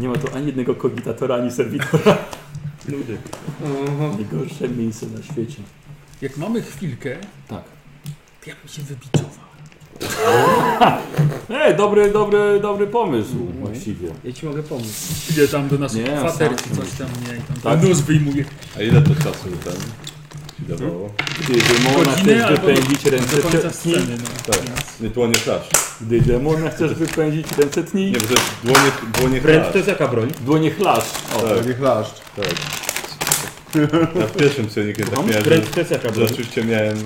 Nie ma tu ani jednego kogitatora, ani serwitora. Nudy. Mhm. Oho. Najgorsze miejsce na świecie. Jak mamy chwilkę, Tak. to ja bym się wybiczował. Ej, dobry, dobry, dobry pomysł Mhm. właściwie. Ja ci mogę pomóc. Idę tam do naszych Nie, kwater sam czy coś tam, nie, i tam Tak. nóż wyjmuję. a ile to czasu ten Dawało. Gdy demona Godzinę chcesz albo wypędzić ręce Do końca czetki, sceny, no. Tak. Nie dłonie flash. gdy demona chcesz wypędzić ręce tni, Nie, bo to jest dłonie, dłonie Wręcz flash. to jest jaka broń? dłonie chlasz. O, Tak. Taki chlaszcz. Tak. Ja w pierwszym cienikiem tak miałem, że, Wręcz to jest jaka że broń? oczywiście miałem e,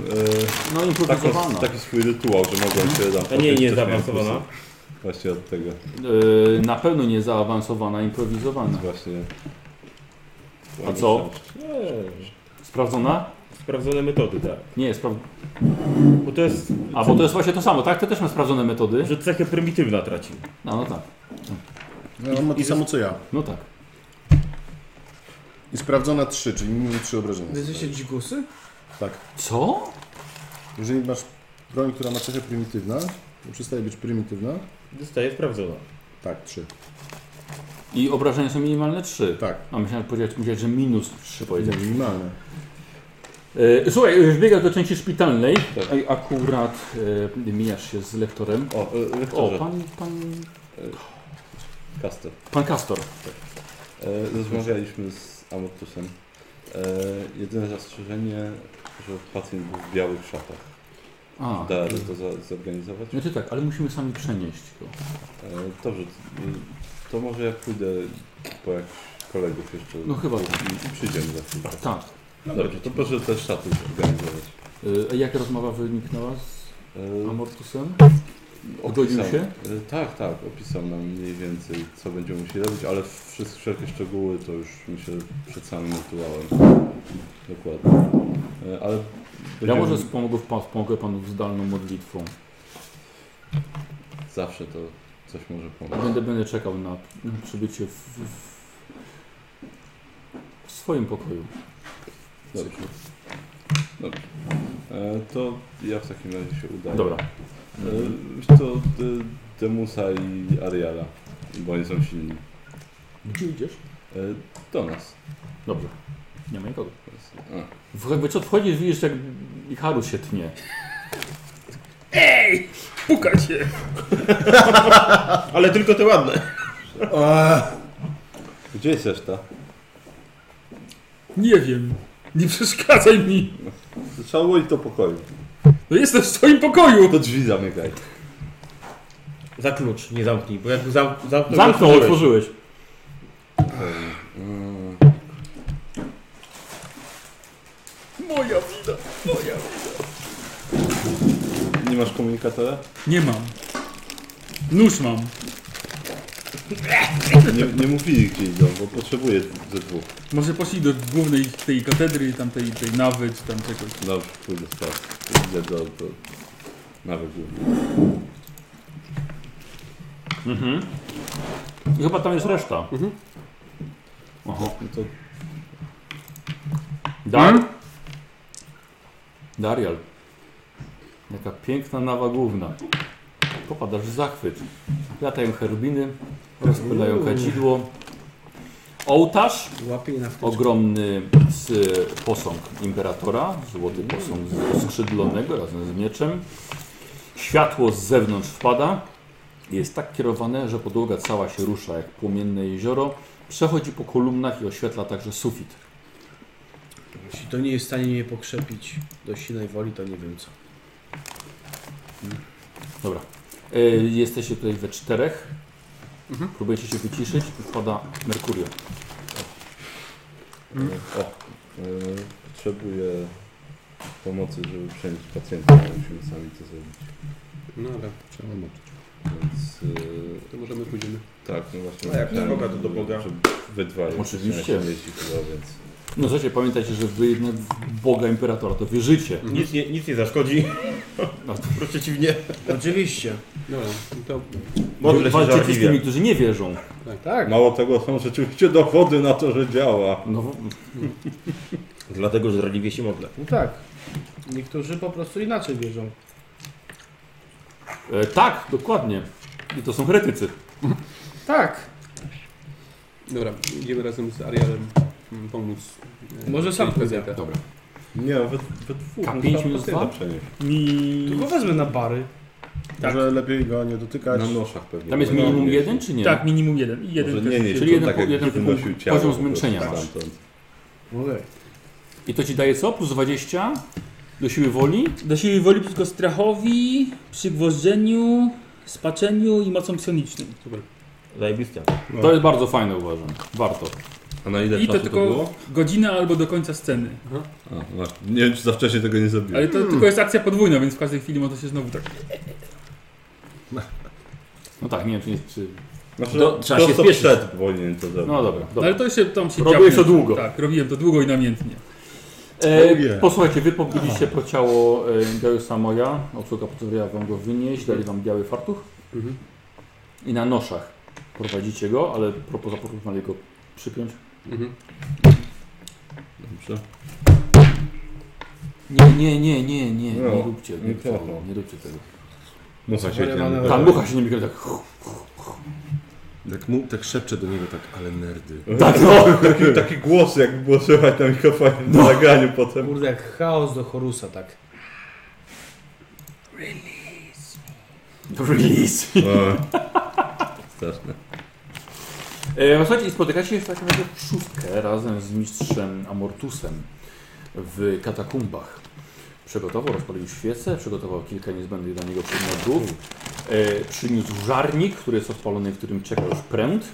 no taką, Tak, improwizowana. taki swój rytuał, że Mhm. mogłem się tam... A nie, poczuć, nie, coś miałem zaawansowana. po prostu. Właśnie od tego. Yy, na pewno nie zaawansowana, improwizowana. Właśnie. A co? Eee, Sprawdzona? Sprawdzone metody, tak. Nie, spraw... Bo to jest, A, bo to jest właśnie to samo, tak? To też ma sprawdzone metody. że cechę prymitywna traci. No, no tak, No, on ma to samo co ja. no tak. I sprawdzona 3, czyli minimum 3 obrażenia. Wy jesteście dzigusy? Tak. Co? Jeżeli masz broń, która ma cechę prymitywna, to przestaje być prymitywna. Zostaje sprawdzona. Tak, 3. I obrażenia są minimalne 3. Tak. A myślałem, powiedzieć, myślałem że minus 3 powiedziałem. Minimalne. E, słuchaj, e, wbiegasz do części szpitalnej. Tak. Ej, akurat e, mijasz się z lektorem. O, e, O, lektorze, pan, pan, Kastel. pan Kastor. E, Rozmawialiśmy z Amortusem. E, jedyne zastrzeżenie, że pacjent był w białych szatach. A, Da radę to za, zorganizować? E, znaczy tak, ale musimy sami przenieść go. dobrze, t- to może ja pójdę po jakichś kolegów jeszcze No chyba tak. i, i przyjdziemy za chwilę. Tak. Dobrze, to proszę te szaty zorganizować. E, jak rozmowa wyniknęła z E, Amortusem? Opisał- Zgodził się? e, Tak, tak, opisał nam mniej więcej, co będziemy musieli robić, ale wszystkie wszelkie szczegóły to już myślę przed samym rytuałem. Dokładnie. E, Ale Ja będziemy- może pomogę, pomogę panu zdalną modlitwą. zawsze to coś może pomóc. Będę, będę czekał na przybycie w, w, w swoim pokoju. Dobrze. Dobrze. E, to ja w takim razie się udaję. Dobra. E, wiesz co, D- Demusa i Ariala, bo oni są silni. Gdzie idziesz? E, do nas. Dobrze. Nie ma nikogo. A. W- Jakby co wchodzisz, widzisz jak ich Harus się tnie. Puka cię! Ale tylko te ładne. Gdzie jest reszta? Nie wiem. Nie przeszkadzaj mi. Trzeba było iść do pokoju. No jestem w swoim pokoju. To drzwi zamykaj. Za klucz, nie zamknij, bo jak zam, zamknął, Zamknął, otworzyłeś. otworzyłeś. Mm, Moja wina. nie masz komunikatora? Nie mam. Nóż mam. Nie, nie mówili gdzie idą, bo potrzebuję ze dwóch. Może poszli do głównej tej katedry, tamtej tej nawy, czy tam czegoś. Dobrze, pójdę spać. Idę do, do... Nawet głównie. Mhm. I chyba tam jest reszta. Mhm. Oho. No to Dar? Darial. Jaka piękna nawa główna. Popadasz w zachwyt. Latają herbiny, rozpylają kadzidło. Ołtarz, Łapie je na wtyczkę. ogromny z posąg imperatora, złoty posąg z- skrzydlonego razem z mieczem. Światło z zewnątrz wpada. Jest tak kierowane, że podłoga cała się rusza jak płomienne jezioro. Przechodzi po kolumnach i oświetla także sufit. Jeśli to nie jest w stanie mnie pokrzepić do silnej woli, to nie wiem co. Dobra. E, jesteście tutaj we czterech. Próbujecie się wyciszyć i wpada Merkurio. O, y, potrzebuję pomocy, żeby przenieść pacjenta, ale musimy sami to zrobić. No ale Trzeba moczyć. Więc y, to możemy pójdziemy. tak, no właśnie. A jak myślałem, do Boga, to do żeby- Boga. żeby Wy dwa Oczywiście. się mieści chyba, więc... No słuchajcie, pamiętajcie, że wy jednak w Boga Imperatora to wierzycie. Nic nie, nic nie zaszkodzi. No. Wprost Przeciwnie. Oczywiście. No, to Modlę się Walczycie z tymi, żarliwie. którzy nie wierzą. Tak. Mało tego, są rzeczywiście dowody na to, że działa. No, w- Dlatego, że żarliwie się modlę. No tak. Niektórzy po prostu inaczej wierzą. e, tak, dokładnie. I to są heretycy. Tak. dobra, idziemy razem z Arielem mm, pomóc. e, Może sam przejść pójdę. pacjenta. Dobra. Nie, we, we dwóch. K no, pięć trzeba minus pacjenta dwa? przenieść. Mi... Tylko wezmę na bary. Tak. Może lepiej go nie dotykać. Na noszach pewnie. Tam jest No, minimum nie. jeden, czy nie? Tak, minimum jeden. I jeden Może też nie, nie, jest. Czyli to jeden tak po- jak jeden wynosił poziom ciało po prostu zmęczenia masz. stamtąd. Okej. I to ci daje co? Plus 20 do siły woli. Do siły woli przeciwko strachowi, przygwożdżeniu, spaczeniu i mocą psionicznym. Zajebiste. To jest bardzo fajne, uważam. Warto. A na ile I to czasu tylko- to było? Godzina albo do końca sceny. A, właśnie. nie wiem, czy za wcześnie tego nie zrobiłem. Ale to Hmm. tylko jest akcja podwójna, więc w każdej chwili można się znowu tak... No tak, nie wiem, czy. nie- czy... Znaczy, to- No, trzeba się to spieszyć. przed powinien to zrobić. No dobra, No dobra. ale to się tam się Robiłeś działo. to długo. Tak, robiłem to długo i namiętnie. E, posłuchajcie, wy pobudziliście po ciało e, Gaiusa Moja. Obsługa pozwoliła wam go wynieść, dali wam biały fartuch. Mhm, I na noszach prowadzicie go, ale propos zaproponowali go przypiąć. mhm, Dobrze. Nie, nie, nie, nie, nie, No, nie róbcie, nie nie róbcie tego, wolno. nie róbcie tego. Mucha no się Wariowane- Ta mucha się nie miga, tak, Tak, mu, tak szepczę do niego, tak, ale nerdy. tak no. Taki, taki głos, jakby było słychać na mikrofonie na nagraniu potem. Kurde, jak chaos do Horusa, tak. Release. Straszne. E, słuchajcie, i spotykacie się w takim razie w szóstkę razem z mistrzem Amortusem w katakumbach. Przygotował, rozpalił świecę, przygotował kilka niezbędnych dla niego przedmiotów. E, przyniósł żarnik, który jest odpalony, w którym czeka już pręt.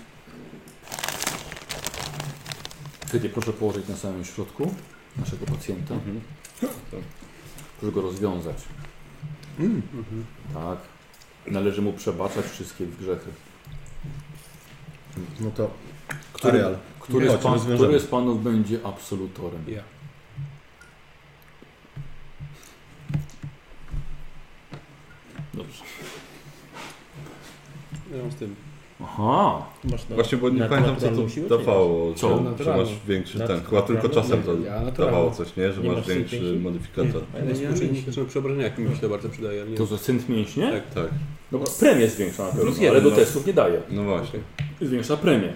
Kiedy proszę położyć na samym środku naszego pacjenta. Proszę go rozwiązać. mhm. Tak. Należy mu przebaczać wszystkie grzechy. No to... Który- Areal. Który, Nie, z, pan, rozwiążemy. który z panów będzie absolutorem? Ja. Dobrze. Ja mam z tym. Aha, Masz na... Właśnie, bo nie Na pamiętam co naturalną siłę, czy to dawało, Co? że, że Naturalną. masz większy Znaczy, Nat- ten. Chyba no tylko naturalną? czasem to Ja naturalną. dawało coś, nie? Że Nie masz masz tej większy pięści? modyfikator. A ja nie mięśnie. wiem, czy przy obrażeniach mi się to bardzo przydaje, ale nie to za synt mięśnie? Tak. Tak, No bo premię zwiększa na Plus pewno, jeden, ale do no. testów nie daje. no właśnie. Zwiększa premię.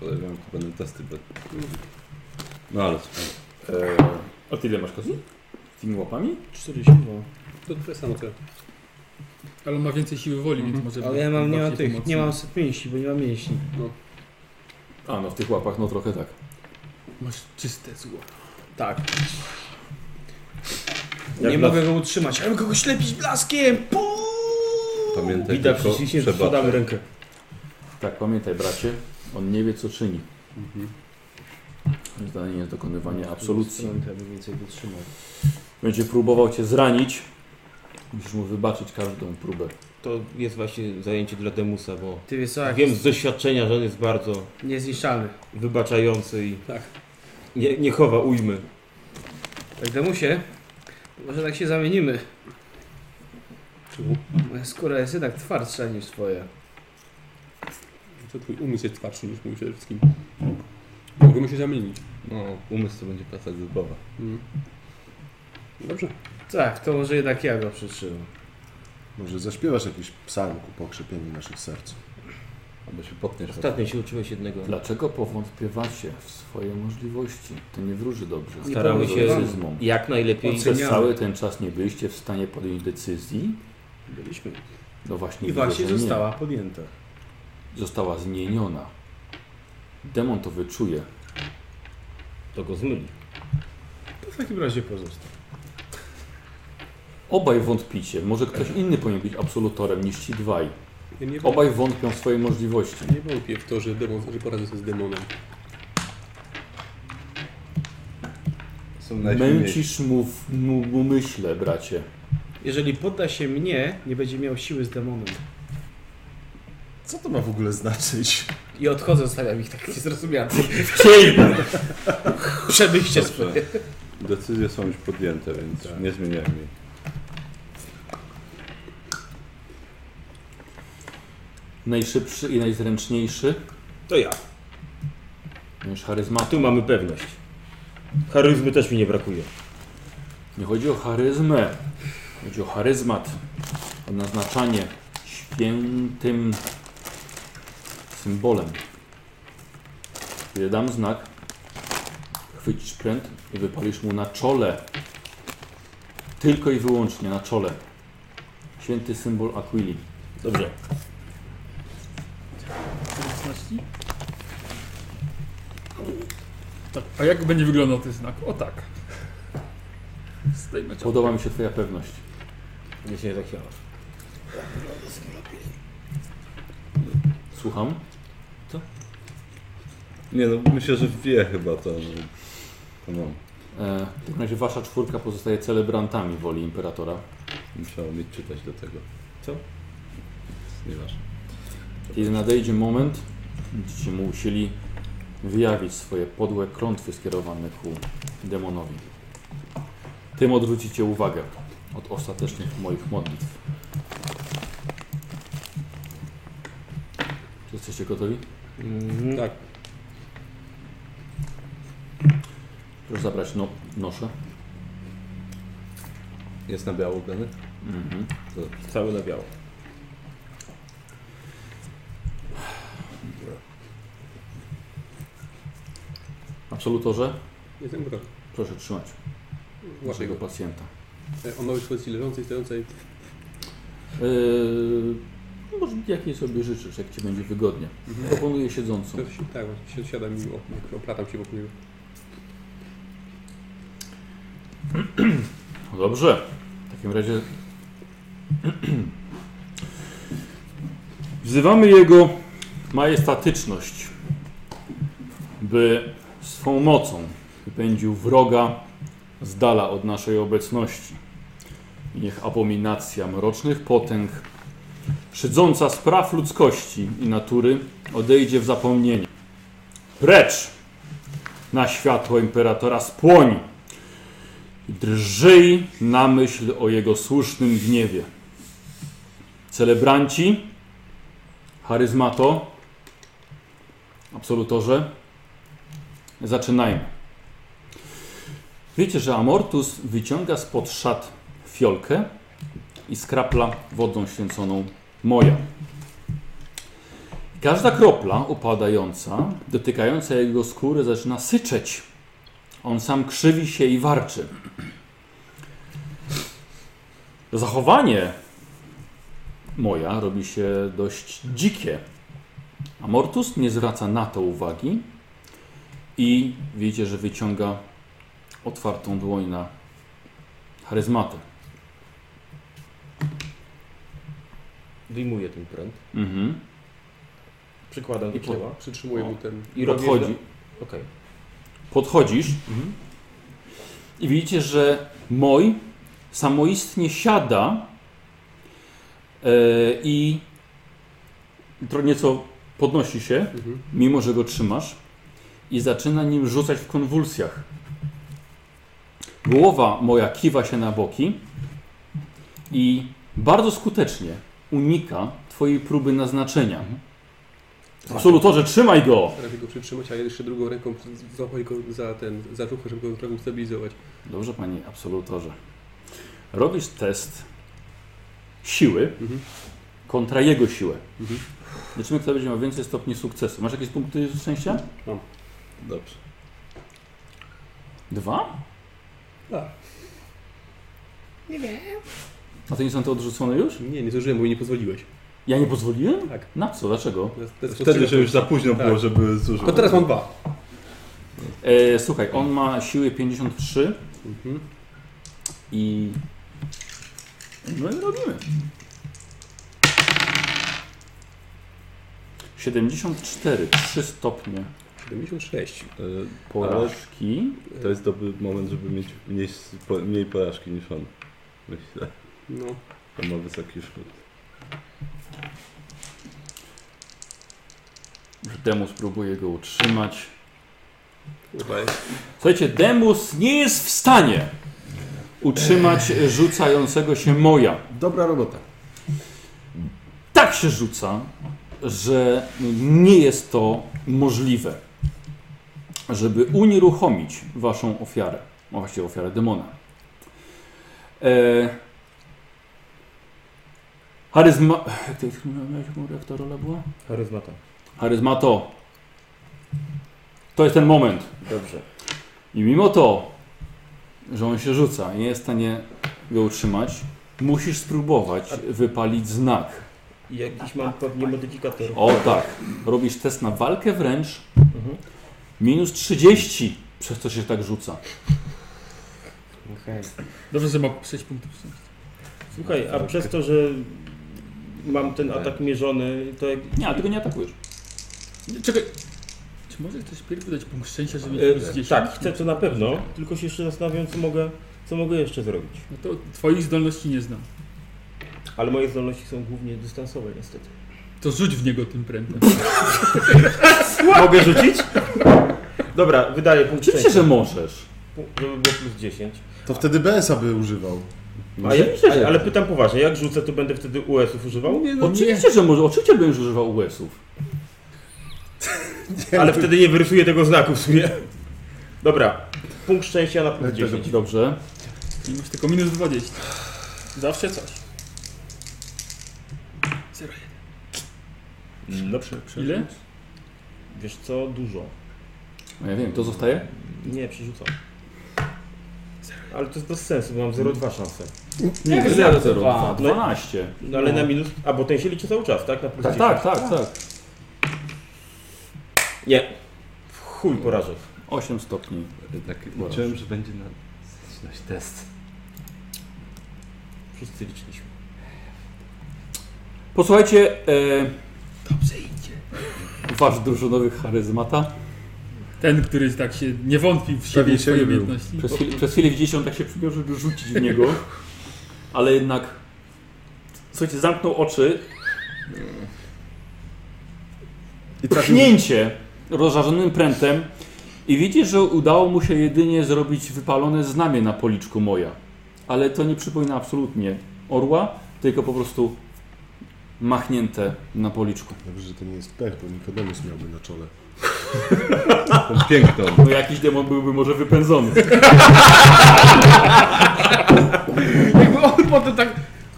Podejrzewam, to będą testy. Bo... No ale co? E, a ty ile masz kozy? Z tymi łapami? 42. To tyle samo co. Ale on ma więcej siły woli, Mhm. więc może... Ale być ja mam, nie mam bardziej tych, pomocny. nie mam set mięśni, bo nie mam mięśni. A no w tych łapach no trochę tak. Masz czyste zło. Tak. Jak nie dla- mogę go utrzymać. Ale kogo ślepić blaskiem! Puuu! Pamiętaj Bida tylko przyciśnie, trzeba. sprzedamy rękę. Tak, pamiętaj bracie, on nie wie co czyni. Mhm. Zdanie jest dokonywanie absolucji. Aby więcej wytrzymał. Będzie próbował cię zranić. Musisz mu wybaczyć każdą próbę. To jest właśnie zajęcie dla Demusa, bo Ty wiesz co, jak wiem z doświadczenia, że on jest bardzo niezniszczalny. wybaczający i Tak. nie, nie chowa ujmy. Tak Demusie, może tak się zamienimy. Moja skóra jest jednak twardsza niż twoja. To twój umysł jest twardszy niż mój przede wszystkim. Mogę się zamienić. No, umysł to będzie praca grupowa. Mm. Dobrze. Tak, to może jednak ja go przytrzymam. Może zaśpiewasz jakiś psalm ku pokrzepieniu naszych serc. Albo się potniesz. Ostatnio się uczyłeś jednego. Dlaczego powątpiewacie w swoje możliwości? To nie wróży dobrze. Nie Staramy powiem, że się Decyzmą. jak najlepiej. Przez Oceniamy. cały ten czas nie byliście w stanie podjąć decyzji. Byliśmy. No właśnie I widzę, właśnie że nie. została podjęta. Została zmieniona. Demon to wyczuje. To go zmyli. To w takim razie pozostań. Obaj wątpicie. Może ktoś inny powinien być absolutorem niż ci dwaj. Ja nie, Obaj wątpią w swoje możliwości. nie wątpię w to, że, demon, że poradzę sobie z demonem. Są Męcisz mu w mu, mu myśle, bracie. Jeżeli podda się mnie, nie będzie miał siły z demonem. Co to ma w ogóle znaczyć? I odchodzę, zostawiam ich tak niezrozumianych. Chciej! Przemyślcie Dobrze. swoje. Decyzje są już podjęte, więc nie zmieniajmy ich. Najszybszy i najzręczniejszy. To ja. Miesz charyzmatu. Tu mamy pewność. Charyzmy też mi nie brakuje. Nie chodzi o charyzmę. Chodzi o charyzmat. O naznaczanie świętym symbolem. Kiedy dam znak, chwycisz pręt i wypalisz mu na czole. Tylko i wyłącznie na czole. Święty symbol Aquili. Dobrze. Tak. A jak będzie wyglądał ten znak? O tak. Zdejmę cię. Podoba mi się twoja pewność. Nie się nie zachwiało. Słucham? Nie no, myślę, że wie chyba to. No. To no, E, w takim razie wasza czwórka pozostaje celebrantami woli imperatora. musiał mieć czytać do tego. Co? Nieważne. Kiedy nadejdzie moment, będziecie mu musieli wyjawić swoje podłe klątwy skierowane ku demonowi. Tym odwrócicie uwagę od ostatecznych moich modlitw. Czy jesteście gotowi? Mhm. Tak. Proszę zabrać no, noszę. Jest na biało ubrany? Mhm. Cały na biało. Absolutorze, Jestem gotowy. proszę trzymać Łapię naszego go. pacjenta. E, On ma już pozycji leżącej, stojącej. Yy, może jakiej sobie życzysz, jak ci będzie wygodnie. Proponuję siedzącą. To się, tak, si- siadam i o- oplatam się wokół niego. No Dobrze. W takim razie. Wzywamy jego majestatyczność, by swą mocą wypędził wroga z dala od naszej obecności. I niech abominacja mrocznych potęg, szydząca z praw ludzkości i natury, odejdzie w zapomnienie. Precz na światło imperatora spłoń! Drżyj na myśl o jego słusznym gniewie. Celebranci, charyzmato, absolutorze, zaczynajmy. Wiecie, że Amortus wyciąga spod szat fiolkę i skrapla wodą święconą moja. Każda kropla opadająca, dotykająca jego skóry, zaczyna syczeć. On sam krzywi się i warczy. Zachowanie moja robi się dość dzikie. Amortus nie zwraca na to uwagi i widzicie, że wyciąga otwartą dłoń na charyzmatę. Wyjmuję ten pręt. Mhm. Przykładam do I po- ciała. Przytrzymuję O. mu ten. I robię... Podchodzi, Okej. Mhm. podchodzisz i widzicie, że Moj samoistnie siada e, i tro- nieco podnosi się, Mhm. mimo że go trzymasz, i zaczyna nim rzucać w konwulsjach. Głowa moja kiwa się na boki i bardzo skutecznie unika Twojej próby naznaczenia. Absolutorze, trzymaj go! Staram się go przytrzymać, a jeszcze drugą ręką przy- złapać go za ten, za ruch, żeby go trochę ustabilizować. Dobrze, panie absolutorze. Robisz test siły Mhm. kontra jego siłę. Mhm. Zobaczymy, kto będzie miał więcej stopni sukcesu. Masz jakieś punkty szczęścia? Dobrze. Dwa? A. A to nie są te odrzucone już? Nie, nie zużyłem, bo mi nie pozwoliłeś. Ja nie pozwoliłem? Tak. Na co? Dlaczego? To jest- to jest Wtedy, że już za późno Tak. było, żeby zużyć. To teraz mam dwa. E, słuchaj, on ma siły 53 Mhm. i... No i robimy. 74, 3 stopnie 76. Y, porażki. To jest dobry moment, żeby mieć mniej, s- po- mniej porażki niż on. Myślę. No. On ma wysoki szkód. Demus próbuje go utrzymać. Chyba jest. Słuchajcie, Demus nie jest w stanie utrzymać rzucającego się moja. Dobra robota. Tak się rzuca, że nie jest to możliwe, żeby unieruchomić waszą ofiarę, a właściwie ofiarę demona. E... Charyzma... Jak to miałeś, jak ta rola była? Charyzmata. Charyzmato. To jest ten moment. Dobrze. I mimo to, że on się rzuca i nie jest w stanie go utrzymać, musisz spróbować wypalić znak. I Jakiś mam pewnie modyfikator. O tak, robisz test na walkę wręcz. Mhm. Minus 30. przez co się tak rzuca. Okej. Dobrze, że ma 6 punktów szczęścia. Słuchaj, a przez to, że mam ten atak mierzony, to jak... Nie, ale tego nie atakujesz. Czekaj. Czy może ktoś pierwszy dać punkt szczęścia, żeby E, mieć plus 10? tak, chcę to na pewno, tylko się jeszcze zastanawiam, co mogę, co mogę jeszcze zrobić. No to twoich zdolności nie znam. Ale moje zdolności są głównie dystansowe, niestety. To rzuć w niego tym prętem. Mogę rzucić? Dobra, wydaję punkt Oczywiście, szczęścia, że możesz. żeby było plus 10. To wtedy Bensa by używał. A ja myślę, No, że, Ale- ale pytam poważnie, jak rzucę, to będę wtedy US-ów używał? no Oczywiście, że możesz. Oczywiście będziesz używał US-ów. Ale wtedy nie wyrysuję tego znaku w sumie. Dobra, punkt szczęścia na plus Tak, tak, 10. Dobrze. I masz tylko minus 20. Zawsze coś. Mm, Dobrze. Ile? Wiesz co, dużo. No Ja wiem, to zostaje? Nie, przerzucam. Ale to jest bez sensu, bo mam 0,2 szanse. Nie, Jak zero, zero, zero, dwa. 12. No ale na minus... A, bo ten się liczy cały czas, tak? Na plus Tak, tak, 10. tak, tak. Nie. W Chuj porażek. 8 stopni. Jednak liczyłem, że będzie na coś test. Wszyscy liczyliśmy. Posłuchajcie. E... Dobrze idzie. Wasz drużynowy charyzmata. Ten, który tak się nie wątpił w siebie Pewnie i swoje siebie był. umiejętności. Przez chwilę, przez chwilę widzieliście, on tak się przybił, żeby rzucić w niego. Ale jednak. Słuchajcie, zamknął oczy. I trafił, Pchnięcie rozżarzonym prętem. I widzisz, że udało mu się jedynie zrobić wypalone znamie na policzku moja. Ale to nie przypomina absolutnie orła, tylko po prostu machnięte na policzku. Dobrze, że to nie jest pech, bo Nikodemus miałby na czole. Tą piękną. No jakiś demon byłby może wypędzony. Jakby on potem tak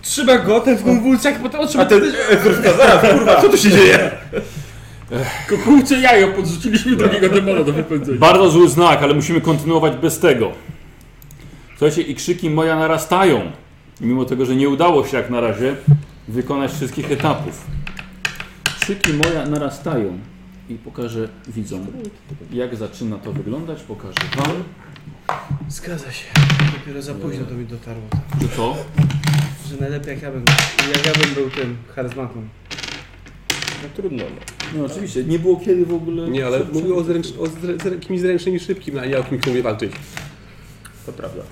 trzyma go, ten w konwulsjach, potem otrzyma... A ten... Kukułcze jajo podrzuciliśmy drugiego demona do wypędzenia. Bardzo zły znak, ale musimy kontynuować bez tego. Słuchajcie, i krzyki moja narastają. Mimo tego, że nie udało się jak na razie wykonać wszystkich etapów. Krzyki moja narastają. I pokażę widzom, jak zaczyna to wyglądać. Pokażę wam, Zgadza się. Dopiero za późno to mi dotarło. że to Że najlepiej jak ja bym, jak ja bym był tym charyzmatą. No trudno. No. No oczywiście, nie było kiedy w ogóle. Nie, ale mówił o, zręcz, o zrę, zrę, kimś zręcznym i szybkim, a nie o kimś, kto umie walczyć. To prawda.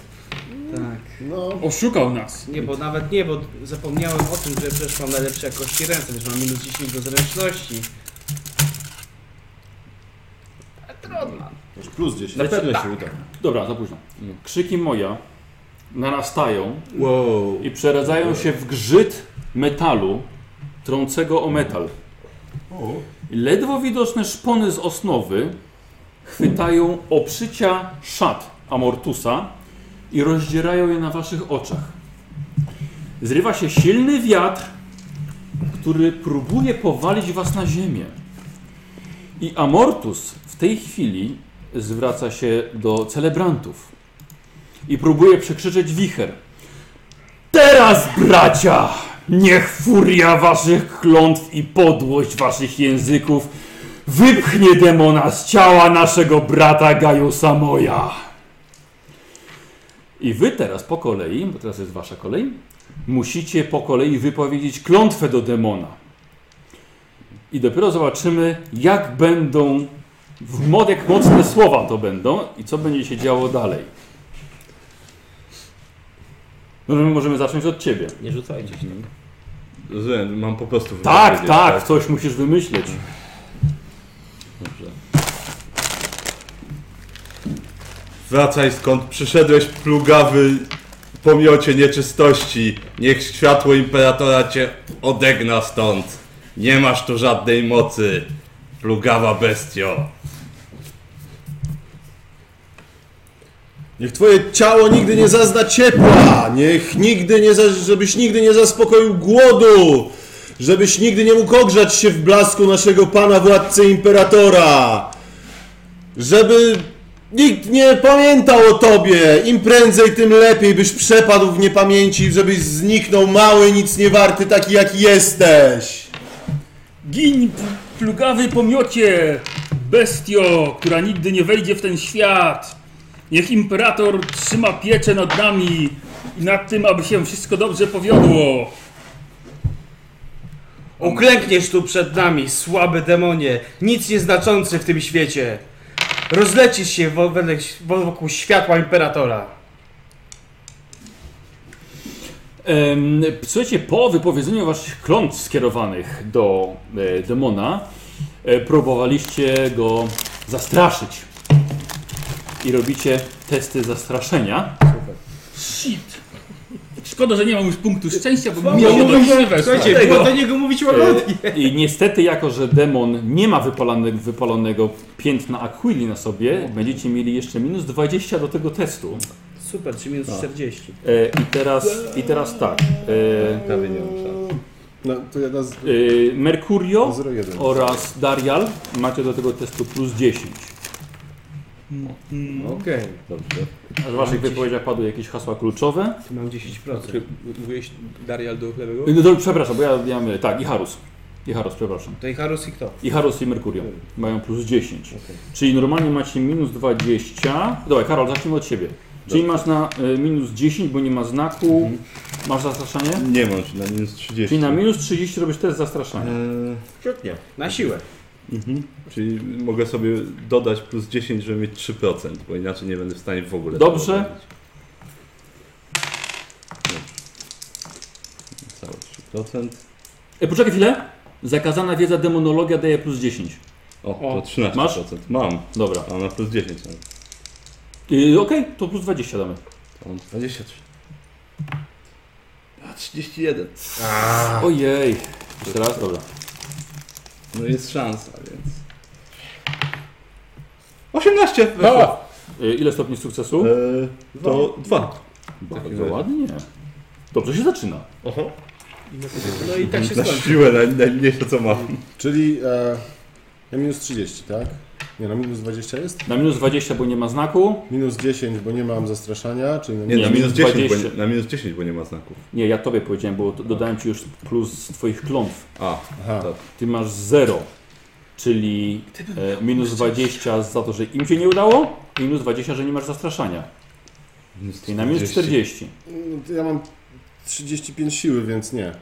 Tak. No, Oszukał nas. Nie, bo nawet nie, bo zapomniałem o tym, że przecież mam najlepsze jakości ręce, że mam minus 10 do zręczności. Ale trudno. już plus 10. Na pewno się uda. Dobra, za późno. Krzyki moja narastają Wow. i przeradzają się w grzyt metalu trącego o metal. Ledwo widoczne szpony z osnowy chwytają oprzycia szat Amortusa i rozdzierają je na waszych oczach. Zrywa się silny wiatr, który próbuje powalić was na ziemię. I Amortus w tej chwili zwraca się do celebrantów i próbuje przekrzyczeć wicher. Teraz, bracia, niech furia waszych klątw i podłość waszych języków wypchnie demona z ciała naszego brata Gajusa Moja. I wy teraz po kolei, bo teraz jest wasza kolej, musicie po kolei wypowiedzieć klątwę do demona. I dopiero zobaczymy, jak będą, w mod, jak mocne słowa to będą i co będzie się działo dalej. No, my możemy zacząć od ciebie. Nie rzucajcie się. Rozumiem, mam po prostu Tak, wypowiedzieć, tak, coś musisz wymyśleć. Dobrze. Wracaj skąd przyszedłeś, plugawy pomiocie nieczystości. Niech światło imperatora cię odegna stąd. Nie masz tu żadnej mocy, plugawa bestio. Niech twoje ciało nigdy nie zazna ciepła, niech nigdy nie za, żebyś nigdy nie zaspokoił głodu, żebyś nigdy nie mógł ogrzać się w blasku naszego pana władcy imperatora, żeby nikt nie pamiętał o tobie, im prędzej tym lepiej, byś przepadł w niepamięci, żebyś zniknął mały, nic nie warty, taki jaki jesteś. Gin, plugawy pomiocie! Bestio, która nigdy nie wejdzie w ten świat! Niech imperator trzyma pieczę nad nami i nad tym, aby się wszystko dobrze powiodło! Uklękniesz tu przed nami, słaby demonie, nic nieznaczący w tym świecie. Rozlecisz się wo- wedle- wokół światła imperatora. Em, Słuchajcie, po wypowiedzeniu waszych klątw skierowanych do e, demona, e, próbowaliście go zastraszyć. I robicie testy zastraszenia. Shit! Szkoda, że nie mam już punktu szczęścia, bo Słabo miałem mówisz. dobrze weszło. Słuchajcie, było do niego mówić łagodnie. I niestety, jako że demon nie ma wypalonego, wypalonego piętna Aquili na sobie, będziecie mieli jeszcze minus 20 do tego testu. Super, czy minus 40. E, I teraz, i teraz tak. E, Prawie nie mam szans. No to ja teraz e, Mercurio 0,1. oraz Darial macie do tego testu plus 10. Okej. Dobrze. A w waszych wypowiedziach padły jakieś hasła kluczowe. Tu mam 10%. Czy mówiłeś Darial do lewego? No, dobrze, przepraszam, bo ja miałem. Tak, i Harus. I Harus, przepraszam. To i Harus i kto? I Harus i Merkurio mają plus 10. Czyli normalnie macie minus 20. Dobra, Karol, zacznijmy od siebie. Czyli masz na y, minus 10, bo nie ma znaku. Masz zastraszanie? Nie mam się na minus 30. Czyli na minus 30 robisz test zastraszania. Eee, Świetnie. Na siłę. Czyli mogę sobie dodać plus 10, żeby mieć 3%, bo inaczej nie będę w stanie w ogóle. Dobrze. tego robić. Dobrze. Całe 3%. E, poczekaj chwilę. Zakazana wiedza demonologia daje plus 10. O, O, to 13%. masz? Mam. Dobra. A na plus 10 mam. Y, Okej, to plus 20 damy. To mam 23. A 31. Ojej. Jeszcze raz, dobra. No jest szansa, więc. 18! No. O! Y, ile stopni sukcesu? Eee, to Tak, 2. Bardzo ładnie. Dobrze się zaczyna. No i tak się Na skończy. siłę naj, najmniejsze co mam. Czyli e, ja minus 30, tak? Nie, no minus 20 jest? Na minus 20, bo nie ma znaku. Minus 10, bo nie mam zastraszania, czyli no na Nie, Nie, na, minus... minus 10, bo 20. nie, na minus 10, bo nie ma znaków. Nie, ja tobie powiedziałem, bo to- dodałem ci już plus z twoich klątw. A, Aha. tak. Ty masz 0, czyli e, minus 20 za to, że im się nie udało, i minus 20, że nie masz zastraszania. Minus Czyli na minus 40. No, to ja mam 35 siły, więc nie.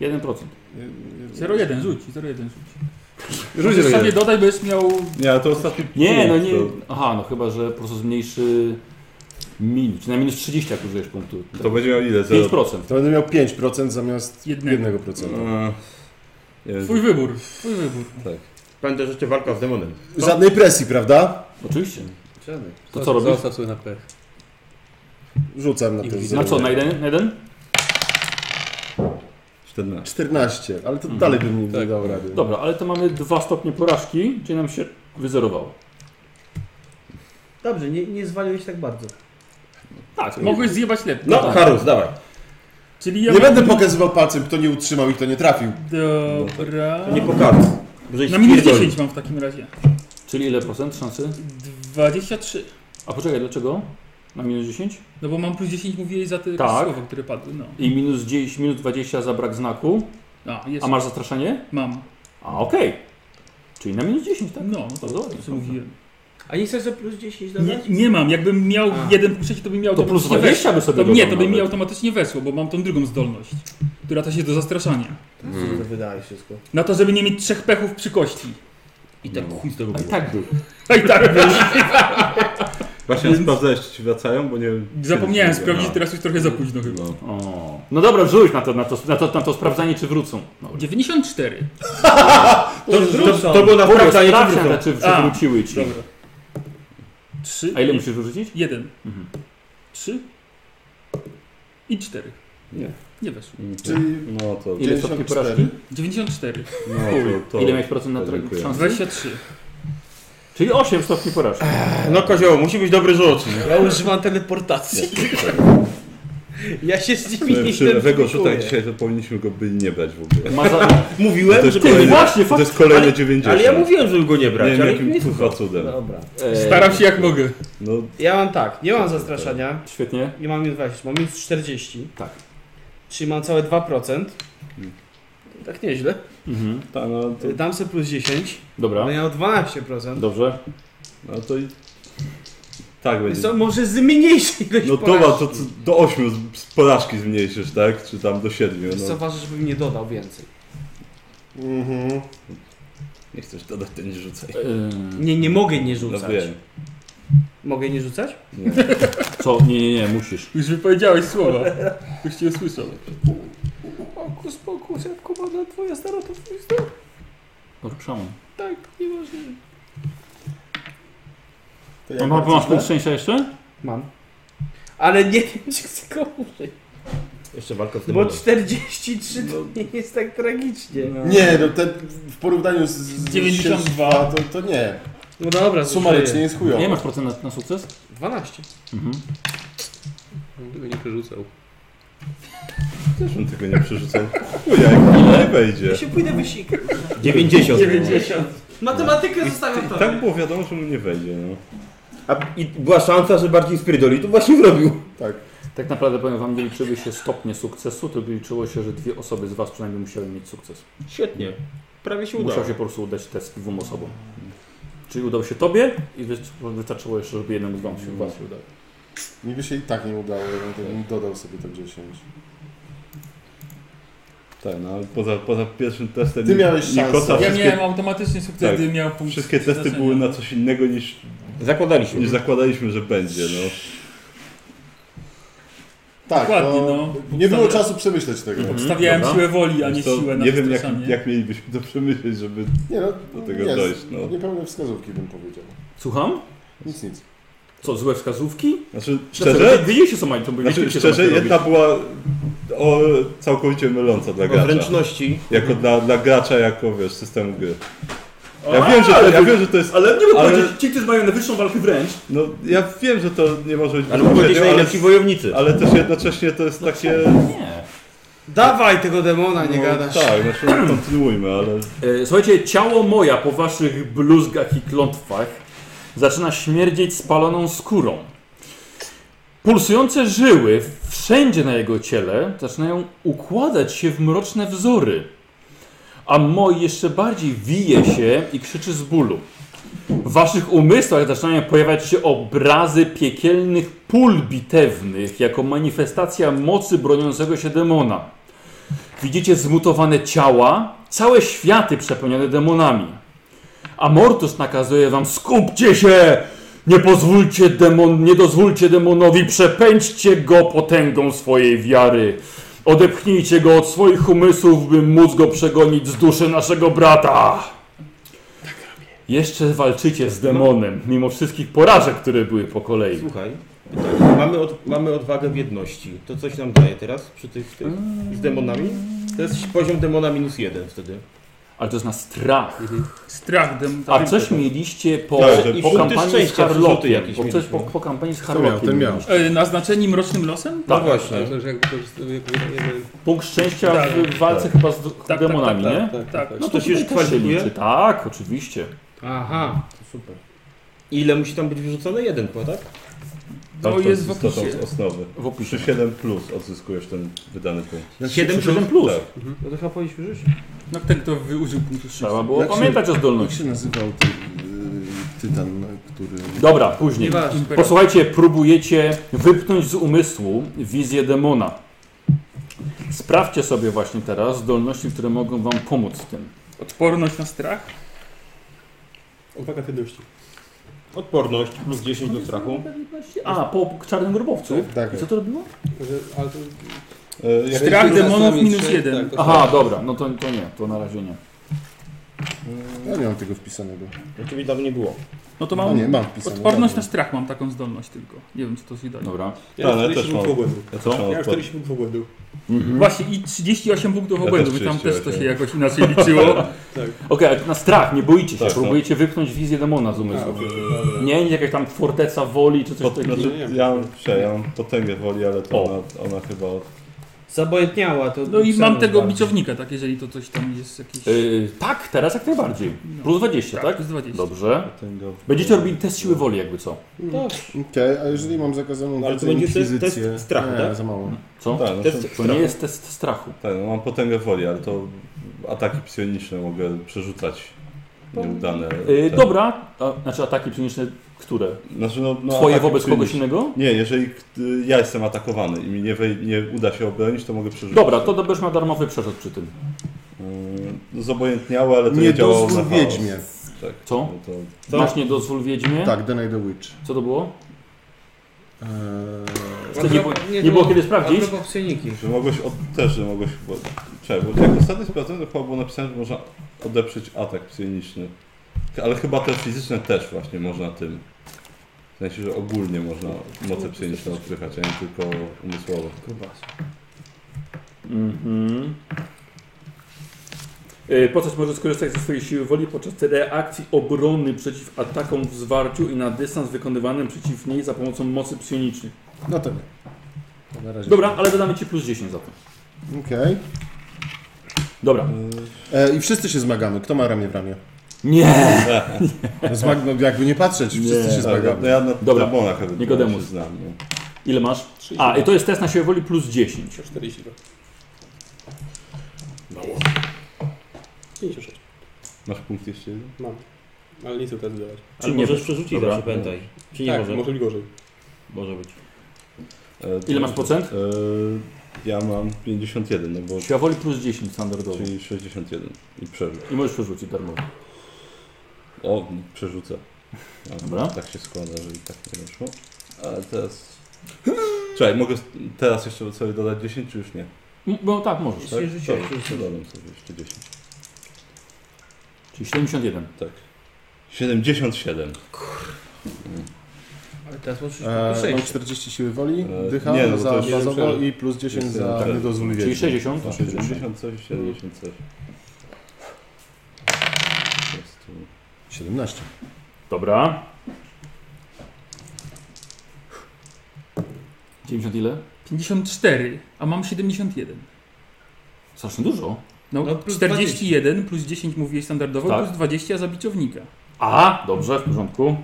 1%. 0,1 rzuć, 0,1 rzuć. Rzuć Możesz jeden. sobie dodaj, bo jest miał... Nie, ale to ostatni. Nie, no punkt, nie. To, Aha, no chyba, że po prostu zmniejszy minus. Czyli na minus 30, jak użyjesz punktu. to będzie miał ile? 0? 5%. To będę miał 5% zamiast Jednego. No. 1%. Eee, nie wiem. Twój wybór, twój wybór. Pamiętaj, że to walka z demonem. Żadnej presji, prawda? Oczywiście. Żadnych. To co robisz? Zostaw sobie na pech. Rzucam na ten Na zero. co? Na jeden? Na jeden? 14. 14, ale to dalej bym nie Tak. dał rady. Mhm. Dobra, ale to mamy dwa stopnie porażki, czyli nam się wyzerowało. Dobrze, nie, nie zwaliłeś tak bardzo. Tak, Mogłeś zjebać lepiej. No, Tak. Harus, dawaj. Czyli ja Nie mam- będę pokazywał palcem, kto nie utrzymał i kto nie trafił. Dobra... Nie po kart. Na minus 10 mam w takim razie. Czyli ile procent szansy? 23. A poczekaj, dlaczego? Na minus 10? No bo mam plus 10 mówiłeś za te Tak. słowa, które padły. No. I minus 10, minus 20 za brak znaku. A, jest. A masz zastraszenie? Mam. A okej. Czyli na minus 10, tak? No, to Dobra, co mówiłem. A nie chcesz, że plus 10 Nie, dodać? znaczy- nie mam. Jakbym miał A. jeden punkt trzeci, to bym miał To plus automatycznie 20 by sobie weszło. To nie, dodał to by mi nawet. automatycznie weszło, bo mam tą drugą zdolność, która to się do zastraszania. Mm. To wydałeś wszystko. Na to, żeby nie mieć trzech pechów przy kości. I tak chuj z tego A było. i tak był. A i tak wiesz. Właśnie Więc- sprawdzałeś, czy ci wracają, bo nie Zapomniałem nie- sprawdzić, no. teraz już trochę za późno chyba. No. O. No dobra, rzuć na to, na to, na to, na to sprawdzanie, czy wrócą. No, Dobra. 94. To, to, to było na W ogóle sprawdzanie, czy sprawdzam, znaczy- wrócą. czy A, wróciły ci. Dobra. 3. A ile musisz wyrzucić? 1. Mhm. 3. I 4. Nie. Nie weszło. Czyli No to. Ile stopni 94? porażki? 94. No, to, to Ile miałeś procent na to tra- dziękuję. szansę? 23. Czyli 8 stopni porażki. No kozioł, musi być dobry rzut. Ja używam teleportacji. Ja się z nimi nie tak. Przy lewego rzuta identyfikuję. dzisiaj to powinniśmy go by nie brać w ogóle. Ma za... To Mówiłem, jest że... Ty, kolejne, właśnie, to jest fakt. kolejne 90. Ale ja mówiłem, żeby go nie Nie brać. wiem ale jakim nie... kurwa cudem. Dobra. e, Staram się jak mogę. No, Ja mam tak, nie mam zastraszania. Świetnie. Tak. Nie mam minus 20, mam minus 40. Tak. Hmm. Czyli mam całe 2%. Tak nieźle. Mhm. Ta, no, to... Dam sobie plus 10. Dobra, No ja o 12%. dobrze. No to i... Tak Więc będzie. co, może zmniejszy ilość No to, porażek. ma- to, to do 8 z, z porażki zmniejszysz, tak? Czy tam do 7. Wiesz co, No. ważne, żebym nie dodał więcej. Mhm. Nie chcesz dodać, to nie rzucaj. Ym, Nie, nie mogę nie No rzucać. wiem. Mogę nie rzucać? Nie. Co? Nie, nie, nie, musisz. Już wypowiedziałeś słowa. Ktoś cię usłyszał. Okus pokus, jak komanda twoja stara, to twój Dobrze, przełom. tak, nieważne. To A jak tak, ma, No, masz chcesz? punkt szczęścia jeszcze? Mam. Ale nie wiem, czy chcę go użyć. Jeszcze walka z Bo demonem. 43 to No. nie jest tak tragicznie. Nie, no te, w porównaniu z... z 92. To, to nie. No dobra, Sumarycznie jest chujowo. Nie masz procent na, na sukces? 12. Mhm. Gdyby nie przerzucał. Też on tego nie przerzucał. Chuja, jak nie wejdzie. Ja się pójdę wysikać. 90. Matematykę zostawiam I to. tak było wiadomo, że mu nie wejdzie, no. A i była szansa, że bardziej spierdoli, to właśnie zrobił. Tak naprawdę powiem wam, nie liczyły się stopnie sukcesu, tylko liczyło się, że dwie osoby z was przynajmniej musiały mieć sukces. Świetnie. Prawie się udało. Musiał się po prostu udać test dwóm osobom. Czyli udał się tobie i wy- wystarczyło jeszcze, żeby jednemu z wam się, was się udało. Mi by się i tak nie udało, jakbym tego nie dodał sobie tak 10. Tak, no ale poza, poza pierwszym testem Ty miałeś Nikota szansę. Ja wszystkie, miałem automatycznie sukces, Tak. gdy miał punkt wszystkie testy przeznaczenia. były na coś innego niż, Zakładaliśmy. niż zakładaliśmy, że będzie, no. Tak, Dokładnie, to no. nie było Podstawia- czasu przemyśleć tego. Mhm. Stawiałem Dobra. siłę woli, a nie To siłę na nie wiem, jak, przestraszanie. jak mielibyśmy to przemyśleć, żeby... Nie no, Do tego nie, dojść, no. niepełne wskazówki bym powiedział. Słucham? Nic, nic. Co, złe wskazówki? Znaczy, Znaczy, szczerze, wy- Widzieliście co mają, to znaczy, byliście szczerze jedna była o, całkowicie myląca dla O gracza. wręczności. Jako dla, dla gracza, jako, wiesz, systemu gry. Ja A, wiem, że to, ale ja wy- wiem, że to jest... Ale nie mogę Ale- powiedzieć, ci, którzy mają najwyższą walkę wręcz, No, ja wiem, że to nie może być Ale mógł być bezpośrednio, ale, najlepsi wojownicy. ale też jednocześnie to jest takie... nie. Dawaj tego demona, nie no, gadasz. Tak, znaczy kontynuujmy, ale... E, Słuchajcie, ciało moja po waszych bluzgach i klątwach zaczyna śmierdzieć spaloną skórą. Pulsujące żyły wszędzie na jego ciele zaczynają układać się w mroczne wzory, a moi jeszcze bardziej wije się i krzyczy z bólu. W waszych umysłach zaczynają pojawiać się obrazy piekielnych pól bitewnych jako manifestacja mocy broniącego się demona. Widzicie zmutowane ciała, całe światy przepełnione demonami. Amortus nakazuje wam, skupcie się! Nie pozwólcie demon, nie dozwólcie demonowi, przepędźcie go potęgą swojej wiary. Odepchnijcie go od swoich umysłów, by móc go przegonić z duszy naszego brata. Jeszcze walczycie z demonem, mimo wszystkich porażek, które były po kolei. Słuchaj, pytanie. Mamy, od, mamy odwagę w jedności. To coś nam daje teraz przy tych, tych z demonami? To jest poziom demona minus jeden wtedy. Ale to jest na strach. Strach dem... A coś mieliście po, Tak, że po punkty kampanii z szczęścia, przyrzuty Harlokiem. jakieś Po, coś po, mieliśmy. po kampanii z no. miał, Harlokiem. ten miał. mieliście. E, Naznaczeni mrocznym losem? No Tak. właśnie. Myślę, że jak wykorzystuje jako jeden... Punkt szczęścia Tak. w walce chyba z d- tak, demonami, tak, nie? Tak, Tak. tak, tak. No to się już tutaj też kwalifikuje? liczy. Tak, oczywiście. Aha. To super. Ile musi tam być wyrzucone? Jeden, chyba, tak? To Warto No, jest w istotą opisie. z osnowy. W opisie. Przy 7 plus odzyskujesz ten wydany punkt. 7 7 plus. Tak. No to chyba powinniśmy rzucić. No ten, kto wyużył punktu Trzeba szczęścia. było Jak się- pamiętać o Jak zdolności. się nazywał ten yy, tytan, który... Dobra, później. Nieważne. Posłuchajcie, próbujecie wypchnąć z umysłu wizję demona. Sprawdźcie sobie właśnie teraz zdolności, które mogą wam pomóc w tym. Odporność na strach? Uwaga, pewności. Odporność plus 10 do strachu. A, po czarnym grobowcu? Tak. I co to robiło? Że- Ale to... E, jak- Strach demonów Znamić, minus że- jeden. tak, to Aha, dobra, no to, to nie, to na razie nie. Ja nie mam tego wpisanego. Oczywiście dawno nie było. No to No mam... nie, mam wpisane. Odporność na dobra. strach mam taką zdolność tylko. Nie wiem, czy to się daje. No, Dobra. Ja Ale Tak, ale też też mam. mam. Ogłędu. Ja Co? też mam Ja już odporność. 40 punktów ogłędu. Właśnie i 38 punktów mhm. Ja obłędu, też by tam też to się 38. jakoś inaczej liczyło. Okej, ale na strach, nie boicie się, Tak, no. próbujecie wypchnąć wizję demona z umysłu. Tak. Nie, nie jakaś tam forteca woli czy coś Pot, takiego. znaczy, ja, mam- prze- ja mam potęgę woli, ale to O. ona, ona chyba od Zabojętniała to. No i mam Xenos tego bardziej. biczownika, tak, jeżeli to coś tam jest jakieś... Y, Yy, tak, teraz jak najbardziej. No. Plus 20, tak? Plus 20. Dobrze. Będziecie No robili test siły woli, jakby co. No, Okej, a jeżeli mam zakazaną Ale to wiedzę będzie test- inkwizycję? test strachu, nie, tak? za mało. Co? Tak, no, Test- To nie jest test strachu. tak, no, mam potęgę woli, ale to ataki psioniczne mogę przerzucać. Nieudane. Yy, te- dobra, a, znaczy ataki psychiczne, które? Znaczy, no, no, Twoje ataki wobec kogoś psioniczne. innego? Nie, jeżeli k- y, ja jestem atakowany i mi nie, wej- nie uda się obronić, to mogę przerzucić. Dobra, to będziesz miał darmowy przerzut przy tym. Yy, zobojętniałe, ale to nie, Nie działało dozwól na chaos. wiedźmie. Tak, Co? no to Co? Masz nie dozwól wiedźmie? Tak, Denai the Witch. Co to było? Eee, To nie, było- nie było kiedy sprawdzić? Albo psioniki. Że mogłeś od, też, że mogłeś chyba... Czekaj, bo jak ostatnio sprawdzałem, to chyba było napisane, że można odeprzeć atak psioniczny. Ale chyba te fizyczne też właśnie można tym. W sensie, że ogólnie można moce psioniczne odpychać, a nie tylko umysłowo. Mhm. Y, Postać może skorzystać ze swojej siły woli podczas reakcji obrony przeciw atakom w zwarciu i na dystans wykonywanym przeciw niej za pomocą mocy psionicznych. no to nie. To na razie. Dobra, ale dodamy Ci plus 10 za to. Okej. Dobra. E, I wszyscy się zmagamy. Kto ma ramię w ramię? Nie! No Zmag... no, jakby nie patrzeć, wszyscy Nie, się Tak, no zmagamy. ja na Dobra. demonach ewentualnie się Nikodemus. znam. no. Nie? Ile masz? A, i to jest test na siłę woli plus 10. 42. Mało. 56. Masz punkt jeszcze jeden? Mam. Ale nie chcę teraz dawać. Czyli Czy nie możesz wiesz. przerzucić Dobra. zawsze, pamiętaj. Czy nie tak, może? może być gorzej. Może być. E, Ile to- masz procent? E, ja mam 51, no bo... Siła woli plus 10 standardowo. Czyli 61 i przerzut. I możesz przerzucić darmowo. O, przerzucę. A, Dobra. Tak się składa, że i tak nie wyszło. Ale teraz... Czekaj, mogę s- teraz jeszcze sobie dodać 10, czy już nie? M- No tak, możesz. Tak? Jeszcze rzuciłeś, To- rzuciłeś. Dodam sobie jeszcze 10. Czyli 71. Tak. 77. Ale teraz możesz E, no, mam eee, 40 siły woli, E, dycha nie, no to za jest bazowo przerzut. i plus 10 Jest, za tak. niedozwól Czyli wiedzy. 60. No, 70 coś, 70 coś. Po prostu. 17. Dobra. 90 ile? 54, a mam 71. Strasznie dużo. No, No, plus 41 plus 10 mówiłeś standardowo, Tak. plus 20 za biczownika. A, dobrze, w porządku.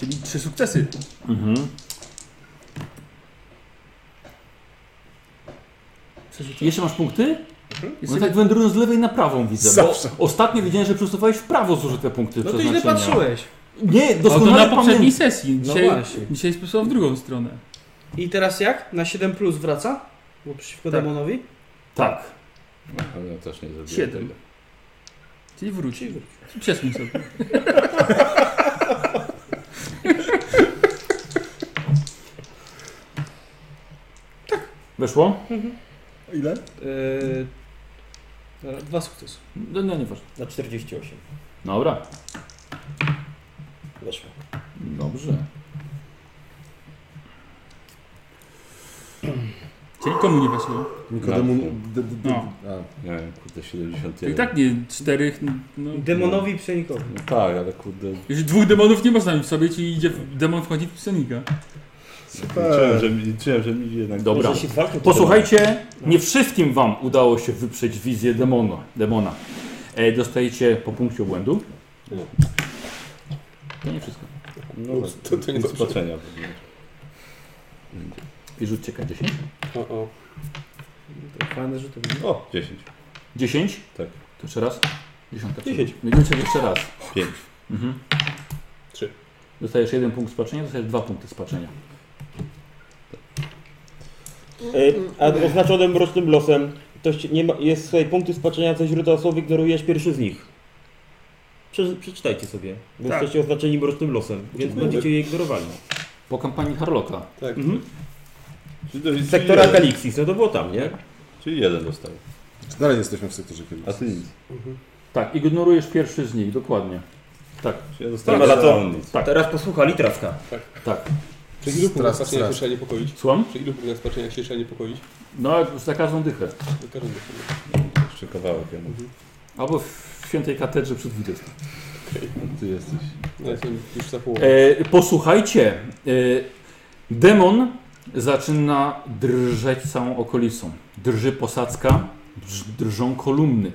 Czyli trzy sukcesy. Mhm. Przerzucam. Jeszcze masz punkty? No Jest tak wędrują z lewej na prawą widzę. Zawsze. Bo ostatnio widziałem, że przesuwałeś w prawo zużyte punkty No to przeznaczenia. źle patrzyłeś. Nie, O, to doskonale na pamiętam. poprzedniej sesji. No Dzisiaj, właśnie. dzisiaj spisałem w drugą stronę. I teraz jak? Na 7 plus wraca? Bo przeciwko Tak. demonowi? Tak. Ale ja też nie zrobiłem Siedem. tego. Czyli wróci. Przesuń sobie. Weszło? Ile? Yy, dobra, dwa sukcesy. No nie, nieważne. Na 48. Dobra. Weszło. Dobrze. Czyli komu nie weszło? Nikodemu... No. D, d, d, No. a. Nie wiem, kurde, 71. To i tak nie czterech. No, Demonowi i psienikowi. No tak, ale kurde, już dwóch demonów nie można mieć w sobie, ci idzie demon wchodzi w psionika. liczyłem, że, mi- liczyłem, że mi jednak... No, Dobra. Jeśli dwa, to- Posłuchajcie, No. nie wszystkim wam udało się wyprzeć wizję demona. demona. E, dostajecie po punkcie błędu. To nie wszystko. No, to- to nie nic dobrze. patrzenia. I rzućcie K10. O, o. Fajne, że to O, 10. 10? Tak. To jeszcze raz? Dziesiątka. Dziesięć. Dziesiątka jeszcze raz. 5. Mhm. Trzy. Dostajesz jeden punkt spaczenia, dostajesz dwa punkty spaczenia. E, A oznaczony mrocznym losem. To ci- nie ma, jest swoje punkty spaczenia ze źródła słów, ignorujesz pierwszy z nich. Prze, przeczytajcie sobie. Bo Tak. jesteście oznaczeni mrocznym losem, więc będziecie je ignorowali. Po kampanii Harloka. Tak. Czyli, do- czyli, Sektora jeden, Kalixis, no to było tam, nie? czyli jeden dostał. Dalej jesteśmy w sektorze kiedyś. A ty nic. Tak, ignorujesz pierwszy z nich, dokładnie. Czyli ja dostałem ma za ale co. on nic. Tak. Teraz posłucha litrawka. Tak. Przez ilu punktów Strasz, spaczenia się strasz. trzeba niepokoić? Słucham? Przez ilu punktów spaczenia się trzeba niepokoić? No, jak za każdą dychę. Do każdego. Jeszcze kawałek ja mówię. Albo w świętej katedrze przed 20. Ty jesteś. No, jestem już za połowę. E, posłuchajcie, e, demon Zaczyna drżeć całą okolicą. Drży posadzka, drż, drżą kolumny.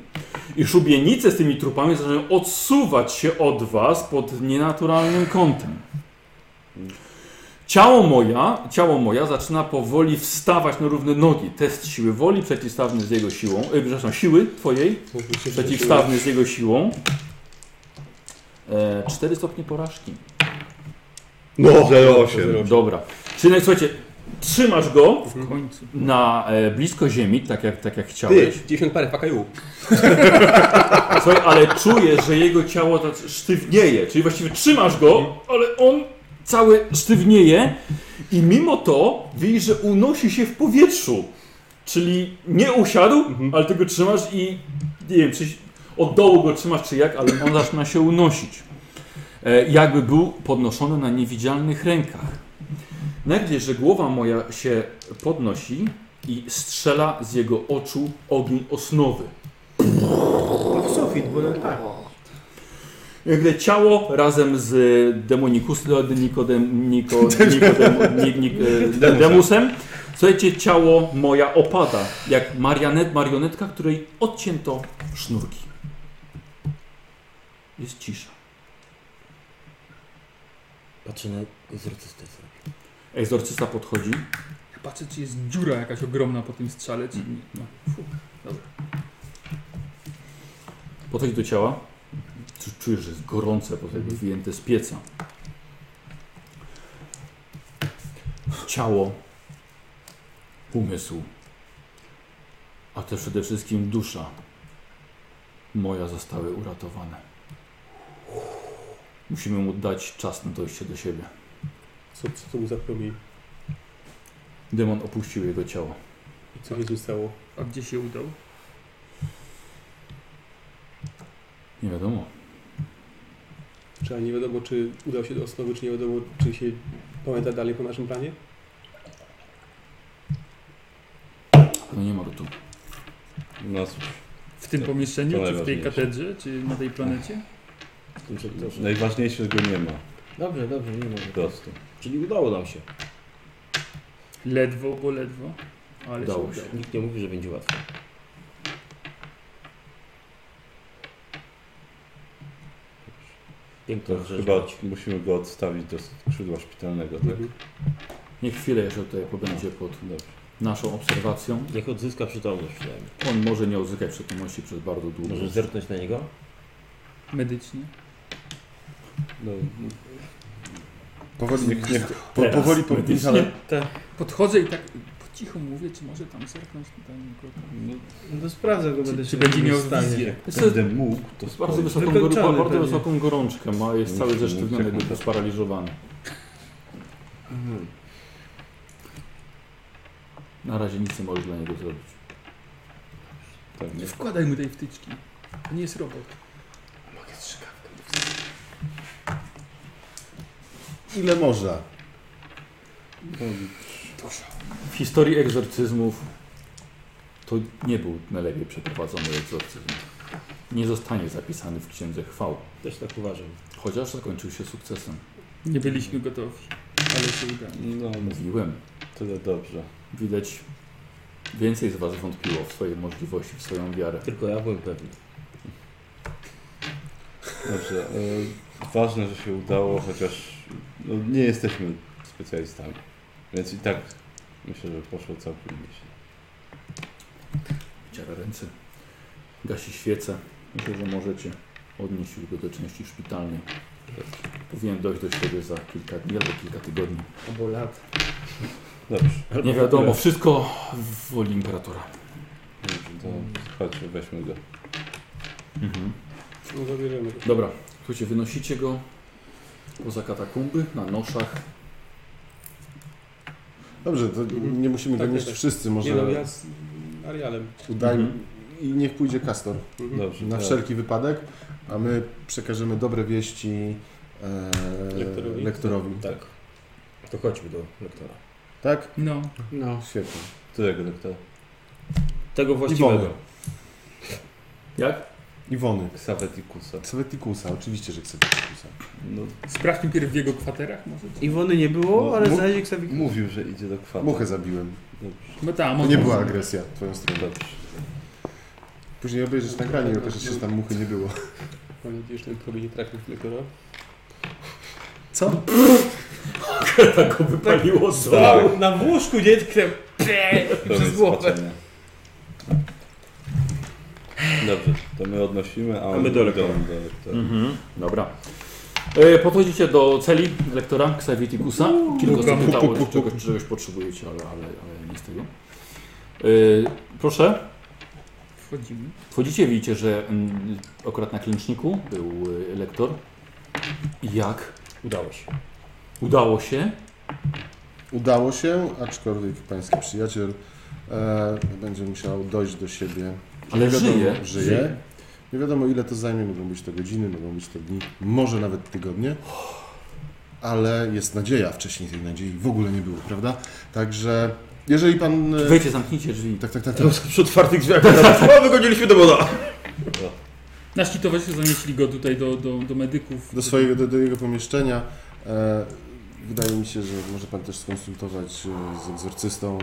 I szubienice z tymi trupami zaczynają odsuwać się od was pod nienaturalnym kątem. Ciało moja, ciało moja zaczyna powoli wstawać na równe nogi. Test siły woli przeciwstawny z jego siłą. E, przepraszam, siły twojej przeciwstawny z jego siłą. E, 4 stopnie porażki. No, 0,8. Dobra. Czyli słuchajcie, trzymasz go W końcu. na e, blisko ziemi, tak jak, tak jak Ty, chciałeś. 90 parę, pakaju. Słuchaj, ale czujesz, że jego ciało tak sztywnieje. Czyli właściwie trzymasz go, ale on cały sztywnieje i mimo to widzisz, że unosi się w powietrzu. Czyli nie usiadł, ale ty go trzymasz i nie wiem, czy od dołu go trzymasz, czy jak, ale on zaczyna się unosić. E, jakby był podnoszony na niewidzialnych rękach. Nagle, że głowa moja się podnosi i strzela z jego oczu ogień osnowy. W sufit, bo tak. Gdy ciało razem z demonikus, nikodem, niko, nikodem, ni, ni, e, demusem, słuchajcie, ciało moja opada, jak marionet, marionetka, której odcięto sznurki. Jest cisza. Patrzę na egzorcystę. sobie. Egzorcysta podchodzi. Patrzę, czy jest dziura jakaś ogromna po tym strzale, czy Mhm. nie. No. Podchodzi do ciała. Czu- Czujesz, że jest gorące, bo Mhm. jakby wyjęte z pieca. Ciało, umysł, a też przede wszystkim dusza moja zostały uratowane. Musimy mu dać czas na dojście do siebie. Co, co to mu za promień? Demon opuścił jego ciało. I co się z nim stało? A gdzie się udał? Nie wiadomo. Czy a nie wiadomo, czy udał się do osnowy, czy nie wiadomo, czy się pamięta dalej po naszym planie? No nie ma go tu. No cóż, W tym To- pomieszczeniu, to czy w tej najważniejsze. katedrze, czy na tej planecie? najważniejsze, że go nie ma. Dobrze, dobrze, nie Po mogę. prostu. Czyli udało nam się. Ledwo, bo ledwo. Ale się Udało się. udało. Nikt nie mówi, że będzie łatwo. To Piękna rzecz. chyba musimy go odstawić do skrzydła szpitalnego, tak? Mhm. Niech chwilę jeszcze tutaj pobędzie pod no, Dobrze. naszą obserwacją. Niech odzyska przytomność przynajmniej. On może nie odzyskać przytomności przez bardzo długo. Może zerknąć na niego? Medycznie. No, no, Powoli, niech, niech, po, powoli, powoli, medycznie. ale Podchodzę i tak po cichu mówię, czy może tam zerknąć tutaj nikogo. No to sprawdzę go, będę Czy, się czy będzie w miał stanie. wizję? Jest będę mógł, to to bardzo, spojrzę. wysoką, Wykończony goru- bardzo pewnie. wysoką gorączkę ma, jest cały Musi mieć zesztywniony, jakąś- jakby sparaliżowany. Mhm. Na razie nic nie możesz dla niego zrobić. Tak, Nie nie? wkładaj mu tej wtyczki. To nie jest robot. ile można? W historii egzorcyzmów to nie był najlepiej przeprowadzony egzorcyzm. Nie zostanie zapisany w Księdze Chwał, Też tak uważam. chociaż zakończył się sukcesem. Nie byliśmy gotowi, ale się udało. No, Mówiłem, tyle dobrze. widać więcej z Was wątpiło w swoje możliwości, w swoją wiarę. Tylko ja byłem pewny. Dobrze. E, ważne, że się udało, chociaż no, nie jesteśmy specjalistami. Więc i tak myślę, że poszło całkiem nieźle. Ciara ręce, gasi świecę. Myślę, że możecie odnieść już go do części szpitalnej. Powinien dojść do siebie za kilka dni albo kilka tygodni. Albo lat. Dobrze. Nie wiadomo, wszystko w woli imperatora. Dobrze, to chodźmy, weźmy go. Mhm. No zabierzemy go. Dobra, słuchajcie, wynosicie go poza katakumby na noszach. Dobrze, to nie musimy Tak, go nieść tak. wszyscy, Nie no, może ja z Arialem. udajmy. Mhm. I niech pójdzie Kastor. Dobrze. Na tak. wszelki wypadek, a my przekażemy dobre wieści e, Lektorowi? lektorowi. Tak. To chodźmy do lektora. Tak? No, No. Świetnie. Którego doktora? Tego właściwego. Iwony. Jak? Iwony. Ksawetikusa. Ksawetikusa, oczywiście, że Ksawetikusa. No, Sprawdźmy pierw w jego kwaterach może. Iwony nie było, No, ale mu- znaleźli Ksawik. mówił, że idzie do kwatery. Muchę zabiłem. No tam, To on... nie była agresja w twoją stronę. Dobrze. Później obejrzysz nagranie, bo też jeszcze tam muchy nie było. Mam nadzieję, że ten kobiet nie trafił w lektora. Co? Tak go wypaliło z Tak. Na łóżku nie tknę. Koniec Przez głowę. patrzenia. Dobrze, to my odnosimy, a, A on my do lektora. Do lektora. Mhm, dobra. E, podchodzicie do celi lektora Xavitikusa. Kilka osób pytało, czy czegoś, czy czegoś potrzebujecie, ale, ale, ale nie z tego. E, proszę, Wchodzimy. wchodzicie, widzicie, że mm, akurat na kliniczniku był y, lektor. Jak? Udało się. Udało się? Udało się, aczkolwiek pański przyjaciel e, będzie musiał dojść do siebie. Ale wiadomo, żyje. żyje. Nie wiadomo ile to zajmie, mogą być to godziny, mogą być to dni, może nawet tygodnie. Ale jest nadzieja, wcześniej tej nadziei w ogóle nie było, prawda? Także jeżeli pan... e, Wejdźcie, zamknijcie drzwi. Tak, tak, tak. tak. Teraz przy otwartych drzwiach. O, wygoniliśmy demona! Nasi towarzysze zanieśli go tutaj do, do, do medyków. Do swojego, do, do jego pomieszczenia. E, wydaje mi się, że może pan też skonsultować e, z egzorcystą,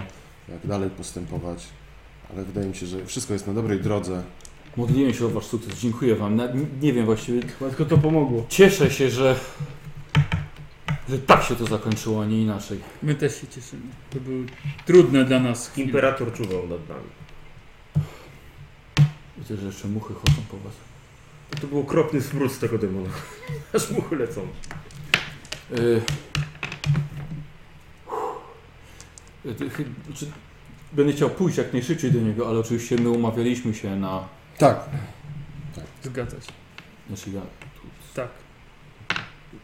jak dalej postępować. Ale wydaje mi się, że wszystko jest na dobrej drodze. Modliłem się o wasz sukces, dziękuję wam. Na, nie wiem właściwie, Chyba tylko to pomogło. cieszę się, że, że tak się to zakończyło, a nie inaczej. My też się cieszymy. To były trudne dla nas chwile. Imperator czuwał nad nami. Widzę, że jeszcze muchy chodzą po was. To był okropny smród z tego demona. Aż muchy lecą. Y, y, ty- chy- Czy... Będę chciał pójść jak najszybciej do niego, ale oczywiście my umawialiśmy się na... Tak, Zgadza się. Znaczy ja... Tu, Tak.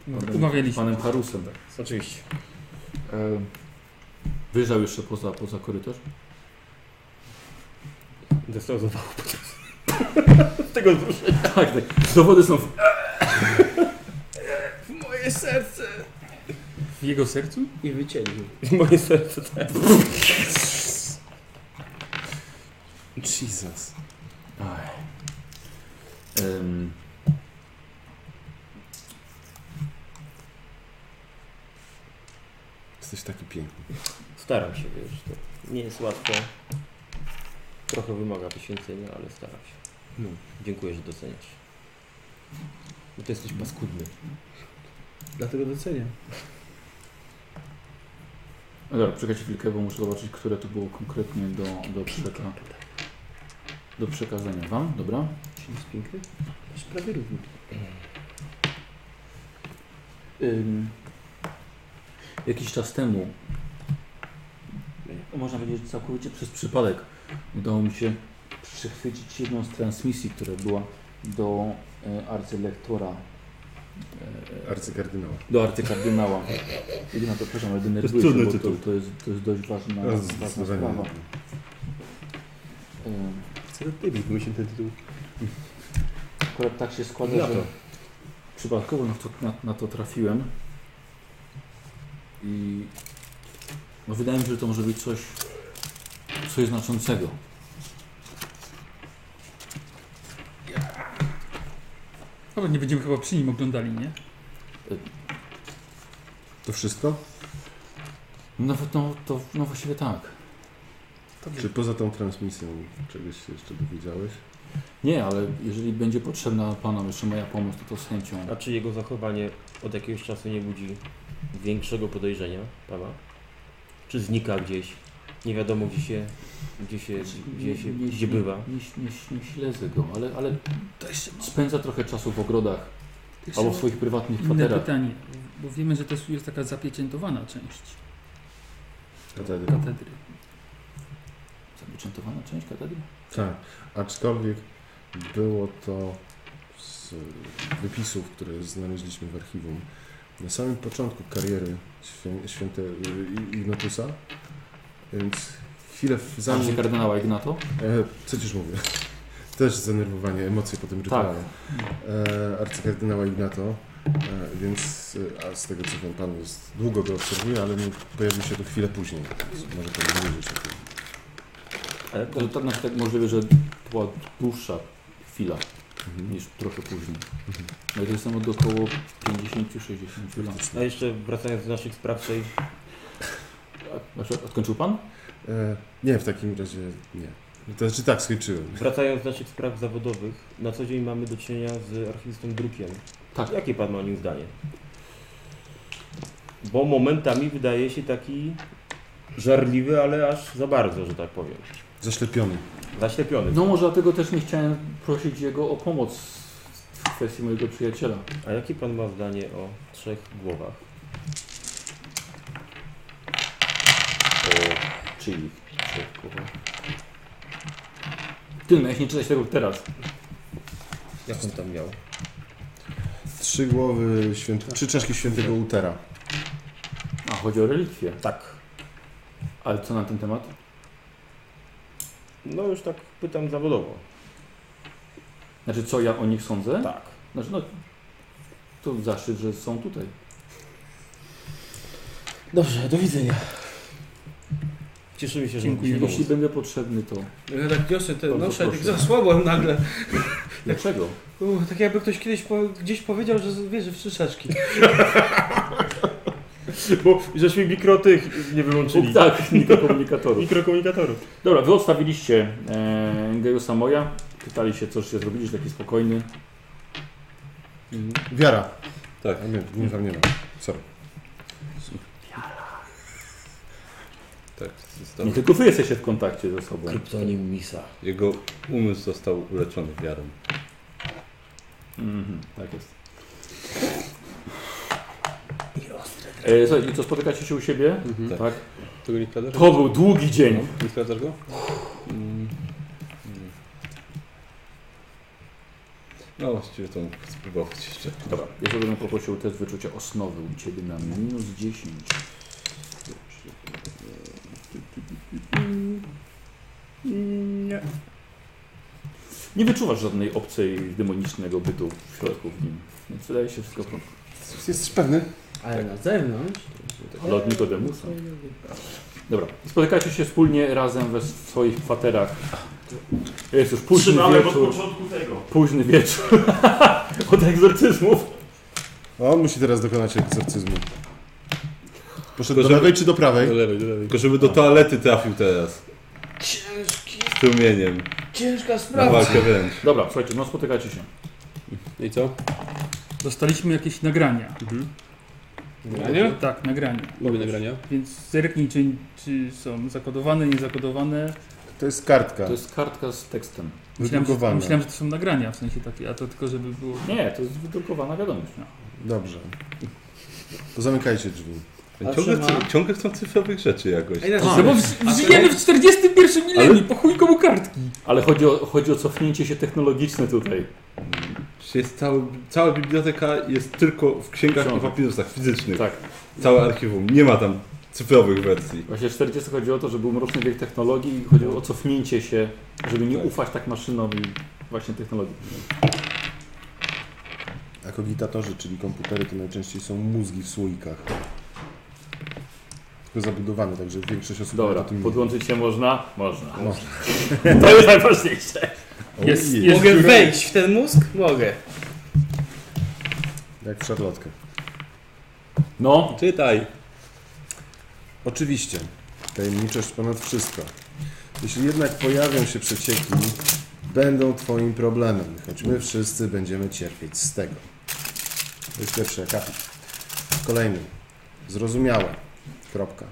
z panem, Umawialiśmy. panem Harusem. Oczywiście. Y, Wyjrzał jeszcze poza, poza korytarz. Dostał zawału podczas tego wzruszenia. Tak, tak. Dowody są w... Moje serce. W jego sercu? I wycięli. Moje serce, tak. Jesus. Aj. Ym. Jesteś taki piękny. Staram się, wiesz, to nie jest łatwe. Trochę wymaga poświęcenia, ale staram się. No. Dziękuję, że doceniasz. Bo ty jesteś paskudny. Dlatego doceniam. No Dobra, czekajcie chwilkę, bo muszę zobaczyć, które to było konkretnie do, do, przeka... do przekazania wam. Dobra. Czy jest piękny? Jest prawie równy. Ym, jakiś czas temu, można powiedzieć całkowicie przez przypadek, udało mi się przechwycić jedną z transmisji, która była do e, arcylektora, e, Arcykardynała. do arcykardynała. Jedyna to, przepraszam, ale jest denerwuję się, trudny bo to, tytuł. to, jest, to jest dość ważna, No, ważna Zdecydowanie. sprawa. Ym, Co to ty wymyślił ten tytuł? Akurat tak się składa, Na to. że przypadkowo na to, na, na to trafiłem. I no wydaje mi się, że to może być coś, coś znaczącego. Dobra, nie będziemy chyba przy nim oglądali, nie? To wszystko? No, no, to, no właściwie tak. Czy poza tą transmisją czegoś się jeszcze dowiedziałeś? Nie, ale jeżeli będzie potrzebna panom jeszcze moja pomoc, to, to z chęcią. A czy Znaczy jego zachowanie od jakiegoś czasu nie budzi większego podejrzenia pana? Czy znika gdzieś? Nie wiadomo gdzie się, gdzie się, gdzie, się, gdzie bywa. Znaczy, Nie, nie, nie, nie śledzę go, ale, ale spędza trochę czasu w ogrodach albo w swoich prywatnych Inne kwaterach. pytanie, bo wiemy, że też jest taka zapieczętowana część Katedra. katedry. Zapieczętowana część katedry? Tak. Aczkolwiek było to z wypisów, które znaleźliśmy w archiwum. Na samym początku kariery świę, święte y, Ignotusa, więc chwilę w- Zanim zanim... Znaczy kardynała Ignato? E, co ciż mówię? Też zdenerwowanie, emocje po tym rytuale. E, arcykardynała Ignato, e, więc e, a z tego co wiem, pan jest, długo go obserwuje, ale mi- pojawił się tu chwilę później. więc Może pan nie wiedzieć o tym. tak To tak, tak możliwe, że to była dłuższa chwila. niż trochę później. Mhm. No i to jest tam od około 50-60 lat. A jeszcze wracając do naszych spraw, tutaj Znaczy, odkończył pan? E, nie, w takim razie nie. To znaczy tak, skończyłem. Wracając do naszych spraw zawodowych, na co dzień mamy do czynienia z archiwistą Drukiem. Tak. Jakie pan ma o nim zdanie? Bo momentami wydaje się taki żarliwy, ale aż za bardzo, że tak powiem. Zaślepiony. Zaślepiony. No może dlatego też nie chciałem prosić jego o pomoc w kwestii mojego przyjaciela. A jakie pan ma zdanie o trzech głowach? Czyli Ty, miałeś nie czytać tego teraz. Jak on tam miał? Trzy głowy, święt... trzy czaszki świętego Utera. A, chodzi o relikwie. Tak. Ale co na ten temat? No już tak pytam zawodowo. Znaczy, co ja o nich sądzę? Tak. Znaczy, no, to zaszczyt, że są tutaj. Dobrze, do widzenia. Cieszymy się, że Dziękuję. mogliśmy Jeśli pomóc. będę potrzebny, to Ja tak niosę te, Bardzo noszę, tak proszę. zasłabłem nagle. dlaczego? Uff, tak jakby ktoś kiedyś po, gdzieś powiedział, że wierzy w szyszeczki. Bo żeśmy mikro tych nie Czyli... wyłączyli. Tak, mikrokomunikatorów. Mikrokomunikatorów. Dobra, wy odstawiliście e, Gejusa Moja. Pytali się, co się zrobiliście, taki spokojny. Wiara. Tak. A nie, nie, tam nie ma. Sorry. Tak, został. Nie tylko wy jesteście w kontakcie ze sobą. Kryptonim Misa. Jego umysł został uleczony wiarą. Mhm, tak jest. E, słuchajcie, co spotykacie się u siebie? Tak. Tak. mhm. Tego nie sprawdzasz? To był długi dzień. Nie sprawdzasz go? No właściwie to mógł spróbować jeszcze. Dobra, ja sobie bym poprosił test wyczucia osnowy u Ciebie na minus 10. Nie. Nie wyczuwasz żadnej obcej demonicznego bytu w środku w nim. Więc wydaje się wszystko w porządku. Jesteś pewny? Ale na zewnątrz. Ale od Nikodemusa. Dobra, spotykacie się wspólnie razem we swoich kwaterach. Jest już późny wieczór. początku tego. Późny wieczór. od egzorcyzmów. On musi teraz dokonać egzorcyzmu. Poszedł do Tylko, żeby- lewej czy do prawej? Do lewej, do lewej. Tylko żeby do toalety trafił teraz. Ciężki, Z tłumieniem. ciężka Na sprawa. walkę wręcz. Dobra, słuchajcie, no spotykacie się. No I co? Dostaliśmy jakieś nagrania. Nagrania? Tak, nagrania. Mamy nagrania. Więc zerknij, czy, czy są zakodowane, niezakodowane. To jest kartka. To jest kartka z tekstem. Myślałem, że, Wydrukowane. myślałem, że to są nagrania, w sensie takie, a to tylko żeby było... Nie, to jest wydrukowana wiadomość. No. Dobrze. To zamykajcie drzwi. A Ciągle, trzyma? chcą- ciągle chcą cyfrowych rzeczy jakoś. Ej, na No bo Tak. A w- żyjemy w 41 milenium, po chuj komu kartki. Ale chodzi o, chodzi o cofnięcie się technologiczne tutaj. Przecież Jest cały, cała biblioteka jest tylko w księgach i Książek. papirusach fizycznych. Tak. Całe archiwum. Nie ma tam cyfrowych wersji. Właśnie w 40 chodziło o to, że był mroczny wiek technologii i chodziło o cofnięcie się, żeby nie Tak. ufać tak maszynom i właśnie technologii. Tak, A kogitatorzy, czyli komputery, to najczęściej są mózgi w słoikach. Tylko zabudowane, także większość osób Dobra, nawet o tym nie podłączyć się można? Można. wie. Można. To jest najważniejsze. O, Jest- jej, jest- Mogę wejść w ten mózg? Mogę. Jak w szarlotkę. No, Czytaj. Oczywiście. Tajemniczość ponad wszystko. Jeśli jednak pojawią się przecieki, będą Twoim problemem, choć my wszyscy będziemy cierpieć z tego. To jest pierwszy akapit. Kolejny. Zrozumiałe. Kropka.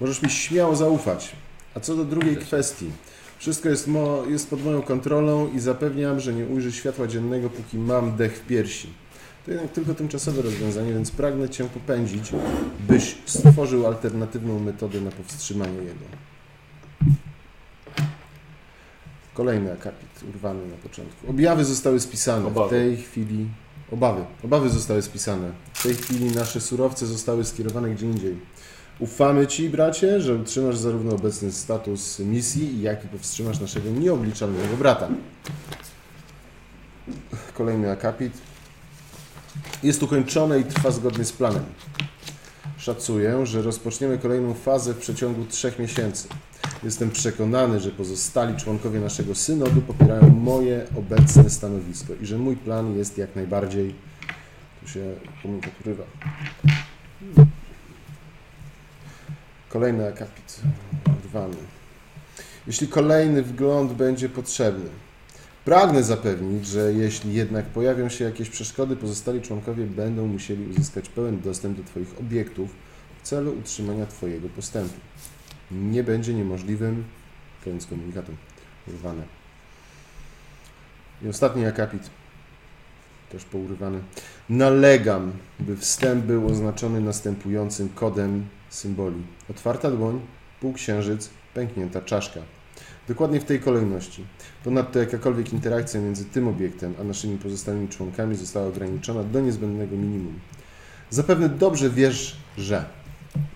Możesz mi śmiało zaufać. A co do drugiej kwestii. Wszystko jest, mo- jest pod moją kontrolą i zapewniam, że nie ujrzy światła dziennego, póki mam dech w piersi. To jednak tylko tymczasowe rozwiązanie, więc pragnę Cię popędzić, byś stworzył alternatywną metodę na powstrzymanie jego. Kolejny akapit, urwany na początku. Objawy zostały spisane. Obawy. W tej chwili. Obawy. Obawy zostały spisane. W tej chwili nasze surowce zostały skierowane gdzie indziej. Ufamy Ci, bracie, że utrzymasz zarówno obecny status misji, jak i powstrzymasz naszego nieobliczalnego brata. Kolejny akapit. Jest ukończone i trwa zgodnie z planem. Szacuję, że rozpoczniemy kolejną fazę w przeciągu trzech miesięcy. Jestem przekonany, że pozostali członkowie naszego synodu popierają moje obecne stanowisko i że mój plan jest jak najbardziej. Tu się komunikat urywa. Kolejny akapit rwany. Jeśli kolejny wgląd będzie potrzebny, pragnę zapewnić, że jeśli jednak pojawią się jakieś przeszkody, pozostali członkowie będą musieli uzyskać pełen dostęp do Twoich obiektów w celu utrzymania Twojego postępu. Nie będzie niemożliwym, koniec komunikatu, urwane. I ostatni akapit, też pourywany. Nalegam, by wstęp był oznaczony następującym kodem symboli. Otwarta dłoń, półksiężyc, pęknięta czaszka. Dokładnie w tej kolejności. Ponadto jakakolwiek interakcja między tym obiektem a naszymi pozostałymi członkami została ograniczona do niezbędnego minimum. Zapewne dobrze wiesz, że.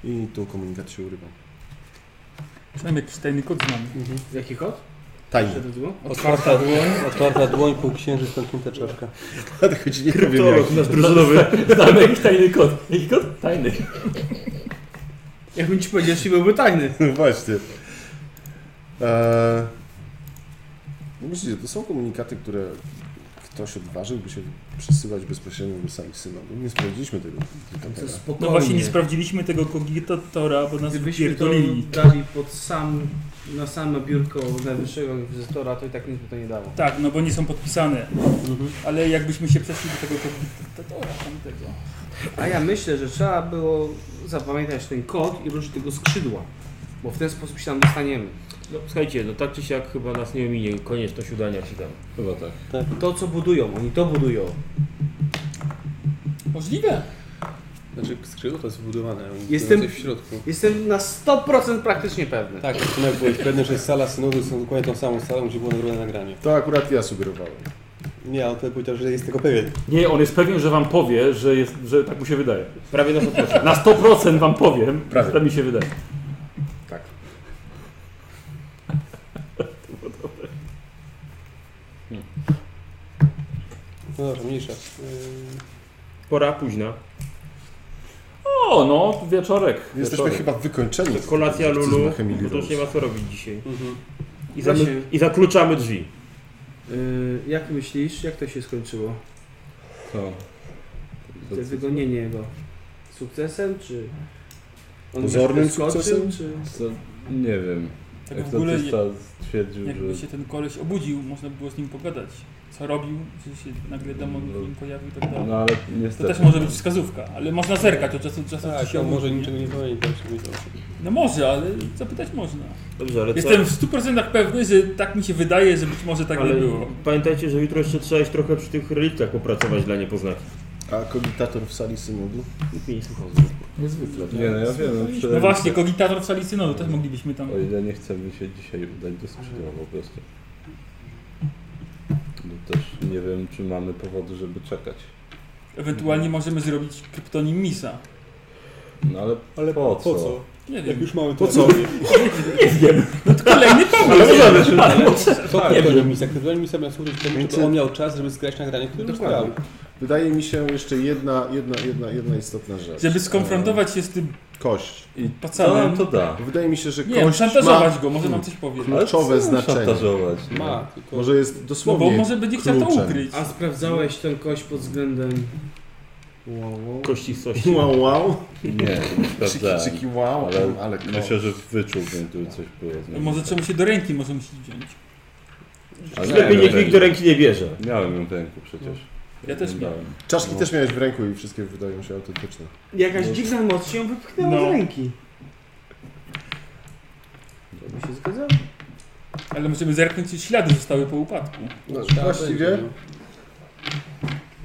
I tu komunikat się urywa. Przynajmniej jakiś tajny kod znamy. Jaki kod? Tajnie. Mhm. Otwarta dłoń, No. otwarta dłoń, półksiężyc, pęknięta czaszka. Choć nie powiem jak. Znamy jakiś tajny kod. Jaki kod? Tajny. Jakbym ci powiedział, jeśli byłby tajny. No Właśnie. Eee, no myślicie, to są komunikaty, które ktoś odważyłby się przesyłać bezpośrednio do samych synodów. Nie sprawdziliśmy tego. To spokojnie. No właśnie, nie sprawdziliśmy tego kogitatora, bo nas Gdybyśmy to pierdolili. dali pod sam, na samo biurko najwyższego inwizytora, to i tak nic by to nie dało. Mhm. Tak, no bo nie są podpisane. Ale jakbyśmy się przeszli do tego kogitatora tamtego. A ja myślę, że trzeba było zapamiętać ten kod i ruszyć tego skrzydła, bo w ten sposób się tam dostaniemy. No słuchajcie, no tak czy siak chyba nas nie ominie konieczność udania się tam. Chyba tak. To, co budują, oni to budują. Możliwe. Znaczy skrzydło to jest wbudowane, oni Jestem- Jestem... w środku. Jestem na 100% praktycznie pewny. Tak, zaczyna byłeś pewny, że sala synodu jest dokładnie tą samą salą, gdzie było nagrane nagranie. To akurat ja sugerowałem. Tak. Nie, on wtedy powiedział, że jest tego pewien. Nie, on jest pewien, że wam powie, że, jest, że tak mu się wydaje. Prawie nas odproszę. Na 100% wam powiem, Prawie. tak mi się wydaje. No dobra, mniejsza. Yy, Pora późna. O, no, wieczorek. Jesteśmy wieczorek. chyba wykończeni. Kolacja z- z- z- z- z- Lulu, z- z- z- bo to już nie ma co robić dzisiaj. mhm. I, Ja zamy- się- I zakluczamy drzwi. Yy, jak myślisz, jak to się skończyło? To. Te wygonienie go sukcesem, czy... On Pozornym skoczył, sukcesem? Czy... Co? Nie wiem. Tak w ogóle, Egzotysta stwierdził, jakby że się ten koleś obudził, można by było z nim pogadać. Co robił, czy się nagle demon w nim pojawił i tak dalej. No ale To też niestety. może być wskazówka, ale można zerkać od czasu do czasu. Tak, czy się on może obudzi, nie? niczego nie pamiętał, czy nie wiedział. No może, ale zapytać można. Dobrze, ale Jestem w 100% pewny, że tak mi się wydaje, że być może tak nie było. Pamiętajcie, że jutro jeszcze trzeba iść trochę przy tych reliktach popracować dla niepoznaki. A kogitator w sali synodu? Nikt mnie nie słuchał. Niezwykle. Nie no ja wiem. No, No przynajmniej- właśnie, kogitator w sali synodu też moglibyśmy tam... O ile nie chcemy się dzisiaj udać do skrzydła po prostu. No też nie wiem, czy mamy powody, żeby czekać. Ewentualnie możemy zrobić kryptonim Misa. No ale, Ale po, Po co? co? Nie Jak wiem. już mamy Po to co? Nie wiem. No to kolejny pomysł. możemy, Ale może. Co nie tak, wiem. Misa? Kryptonim Misa miał służyć temu, żeby on miał czas, żeby skrać nagranie, które już Dokładnie. grał. Wydaje mi się jeszcze jedna, jedna, jedna, jedna istotna rzecz. Żeby skonfrontować się z tym Kość. I co pacanem. nam No, to da? Wydaje mi się, że Nie, kość szantażować ma go, może nam coś powie. kluczowe co znaczenie. Szantażować. no? Ma, tylko... Może jest No bo dosłownie może będzie chciał to kluczem. ukryć. A sprawdzałeś ten kość pod względem... Wow, wow. Kości sości. Wow, wow. Nie, nie sprawdzałem. Czyki, czyki, wow. tak. Ale Ale kość. Myślę, że wyczułbym tu coś było. z nim. No Może czemu się do ręki może musi wziąć. Ale Lepiej miałem niech rękę. nikt do ręki nie bierze. Miałem ją w ręku przecież. Ja też miałem. Dałem. Czaszki No. też miałeś w ręku i wszystkie wydają się autentyczne. Jakaś dziwna moc się ją wypchnęła No. z ręki. To by się zgadzało. Ale możemy zerknąć, czy ślady zostały po upadku. No, Trzeba właściwie tak, będzie,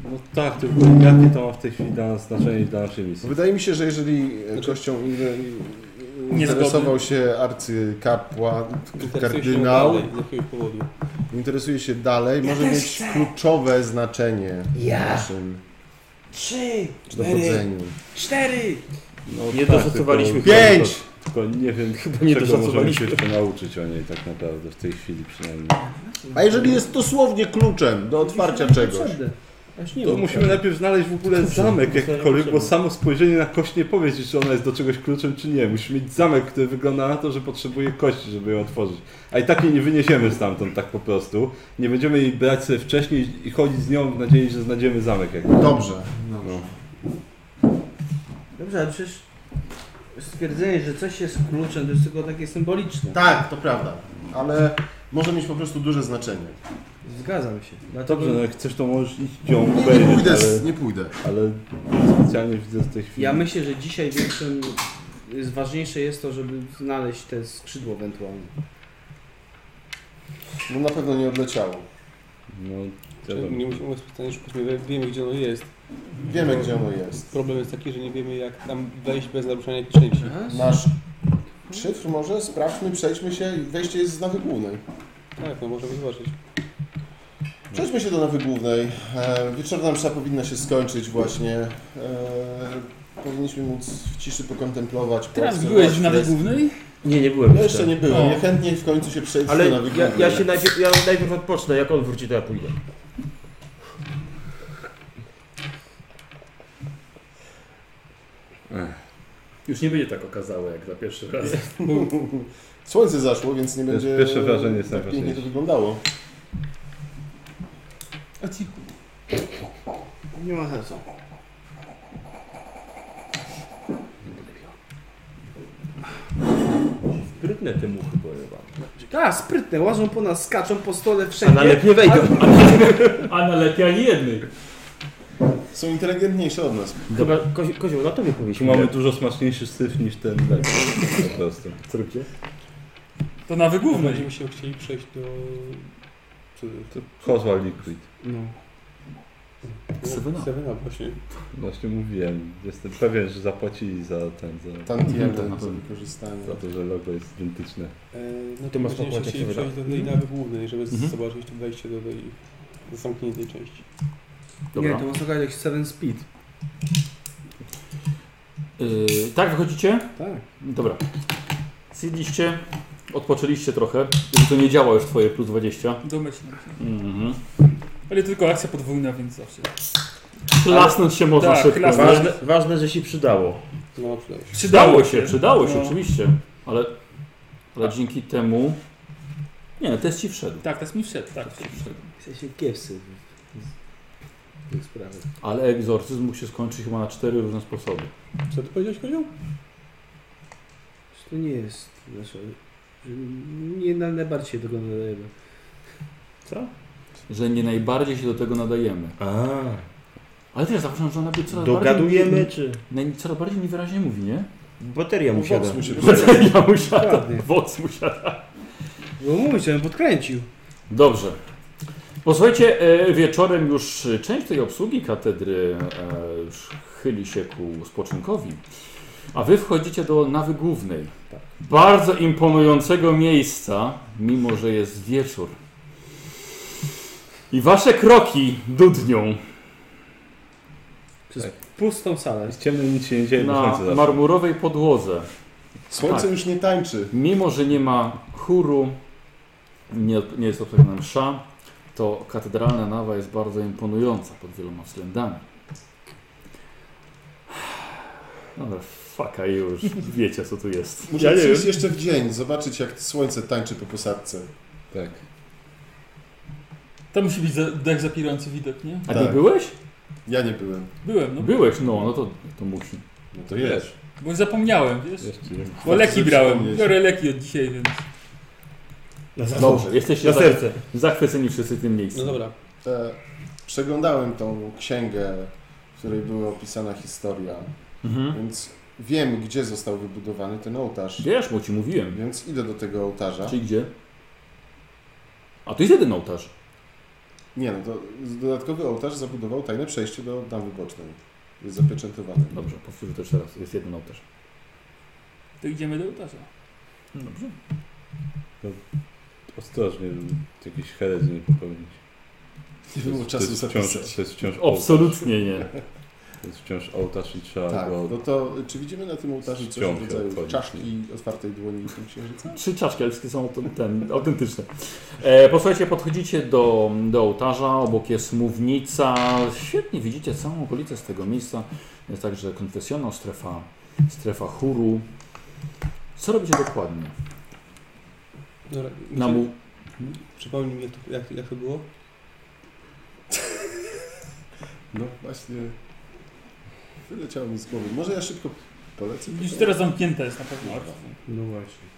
No tak, tylko jakie to ma w tej chwili dla nas znaczenie i dla naszej misji? wydaje mi się, że jeżeli e, kością inne- interesował się arcykapłan, no. Interesuje się kardynał, dalej, Z jakiegoś powodu. interesuje się dalej, może mieć kluczowe znaczenie w naszym Trzy, dochodzeniu. cztery. No, Nie doszacowaliśmy tylko- chyba. Pięć! Tylko nie wiem, Chyba nie czego możemy się doszacowaliśmy. jeszcze nauczyć o niej tak naprawdę, w tej chwili przynajmniej. A jeżeli jest dosłownie kluczem do otwarcia czegoś? Właśnie To musimy najpierw znaleźć w ogóle zamek jakkolwiek, bo samo spojrzenie na kość nie powie ci, czy ona jest do czegoś kluczem, czy nie. Musimy mieć zamek, który wygląda na to, że potrzebuje kości, żeby ją otworzyć. A i tak jej nie wyniesiemy stamtąd tak po prostu. Nie będziemy jej brać sobie wcześniej i chodzić z nią w nadziei, że znajdziemy zamek jakiś. Dobrze. No. Dobrze, ale przecież stwierdzenie, że coś jest kluczem, to jest tylko takie symboliczne. Tak, to prawda. Ale może mieć po prostu duże znaczenie. Zgadzam się. Dlatego Dobrze, no jak chcesz to możesz iść ją Nie, nie obejrzeć, pójdę, ale, z- nie pójdę. ale specjalnie widzę z tej chwili. ja myślę, że dzisiaj większym jest, ważniejsze jest to, żeby znaleźć te skrzydło ewentualnie. No na pewno nie odleciało. No, wiadomo. Nie musimy specjalnie szukać, my wiemy gdzie ono jest. Wiemy, gdzie ono jest. Problem jest taki, że nie wiemy jak tam wejść bez naruszenia jakiejś części. Nasz szyfr może? Sprawdźmy, przejdźmy się. Wejście jest z nawy głównej. Tak, no możemy zobaczyć. Przejdźmy się do nawy głównej. E, Wieczorna msza powinna się skończyć właśnie. E, Powinniśmy móc w ciszy pokontemplować. Teraz poobserwować byłeś w nawet freski. głównej? No. Nie, nie byłem Ja jeszcze. jeszcze nie byłem. O. Ja chętnie w końcu się przejdę Ale do nawy ja, głównej. ja się najpierw, ja najpierw odpocznę, jak on wróci, to ja pójdę. Już nie będzie tak okazałe jak za pierwszy raz. Słońce zaszło, więc nie To jest będzie pierwsze wrażenie, jest tak pięknie to najważniejsze. wyglądało. A cicho. Nie ma sensu. Sprytne te muchy, powiem wam. Tak, sprytne, łażą po nas, skaczą po stole wszędzie. nie wejdą. A najlepiej ani jednej. Są inteligentniejsze od nas. Chyba, kozi, kozioł, na tobie Tu powieśmy. mamy dużo smaczniejszy syf niż ten lepszy. Po prostu. Trupie. To na wygłównej. Będziemy się chcieli przejść do... Co to? Kozła Liquid. No. Seven Up. Sevena właśnie. Właśnie mówiłem, jestem pewien, że zapłacili za ten, za, Tantiemy Mhm, na za pewno. wykorzystanie. za to, że logo jest identyczne. E, No Ty to masz będziemy się pokładzie, chcieli się wyda. przejść do tej nawy głównej, żeby Mhm. zobaczyć to wejście do tej zamkniętej części. Dobra. Nie, to można grać jak Seven Speed. Yy, tak, wychodzicie? Tak. Dobra. Zjedliście, odpoczęliście trochę, żeby to nie działa już twoje plus 20. Domyślam się. Mhm. Ale to tylko akcja podwójna, więc zawsze. Klasnąć się można tak, szybko. klasnąć. nie? Ważne, ważne, że się przydało. No przydało się. Przydało się, przydało się, No. oczywiście. Ale, ale dzięki temu... Nie, test ci wszedł. Tak, teraz mi wszedł, tak. Wszedł. Chce się kiepsy w tych sprawach. Ale egzorcyzm mógł się skończyć chyba na cztery różne sposoby. Co ty powiedziałeś kozioł? Że To nie jest nasze... że Nie na najbardziej się tego nadajemy. Że nie najbardziej się do tego nadajemy. A, Ale też zauważam, że ona by coraz dogadujemy No, bardziej... czy... Dogadujemy? Coraz bardziej niewyraźnie mówi, nie? Bateria mu siada. Vox musi Ja musiała, Dokładnie. woc musiała. Bo mówisz, żebym podkręcił. Dobrze. Posłuchajcie, e, wieczorem już część tej obsługi katedry e, już chyli się ku spoczynkowi, a wy wchodzicie do nawy głównej. Tak. Bardzo imponującego miejsca, mimo że jest wieczór. I wasze kroki dudnią Pustą salę. Z ciemnym nic się nie dzieje, bo No, na słońce zawsze. marmurowej podłodze. Słońce Tak. już nie tańczy. Mimo, że nie ma chóru, nie, nie jest obsługiwana msza, to katedralna nawa jest bardzo imponująca pod wieloma względami. Dobra, faka już, wiecie co tu jest. Muszę Ja nie przyjść wiem. jeszcze w dzień, zobaczyć jak słońce tańczy po posadce. Tak. To musi być za, dech zapierający widok, nie? A nie Tak. byłeś? Ja nie byłem. Byłem, no. Byłeś, no, no to, to musi. No to jest. Bo zapomniałem, wiesz? Jeszcze nie. Bo leki brałem. przypomnieć. Biorę leki od dzisiaj, więc... Dobrze, jesteście Na za, serce. zachwyceni wszyscy tym No miejscem. dobra. E, przeglądałem tą księgę, w której była opisana historia, Mhm. więc wiem, gdzie został wybudowany ten ołtarz. Wiesz, bo ci mówiłem. Więc idę do tego ołtarza. Czyli gdzie? A tu jest jeden ołtarz. Nie no, to dodatkowy ołtarz zabudował tajne przejście do damy bocznej. Jest zapieczętowane. No, Dobrze, powtórzę to jeszcze raz, jest jeden ołtarz. To idziemy do ołtarza. Dobrze. Ostrożnie, żeby jakiś herez nie popełnić. Nie To było jest- czasu to jest wciąż, zapisać. To jest wciąż Absolutnie nie. Więc wciąż ołtarz i trzeba Tak, go... no to czy widzimy na tym ołtarzu coś Ściąg w się rodzaju odchodzi. czaszki otwartej dłoni i księżyca? Trzy czaszki elskie są ten, ten, autentyczne. E, posłuchajcie, podchodzicie do, do ołtarza, obok jest mównica. Świetnie widzicie całą okolicę z tego miejsca. Jest także konfesjonal, strefa, strefa chóru. Co robicie dokładnie? Dobra, Na mu... Przypomnij mi, jak to, jak, jak to było? No właśnie, wyleciało mi z głowy. Może ja szybko polecę? Już teraz zamknięte jest na pewno. No właśnie.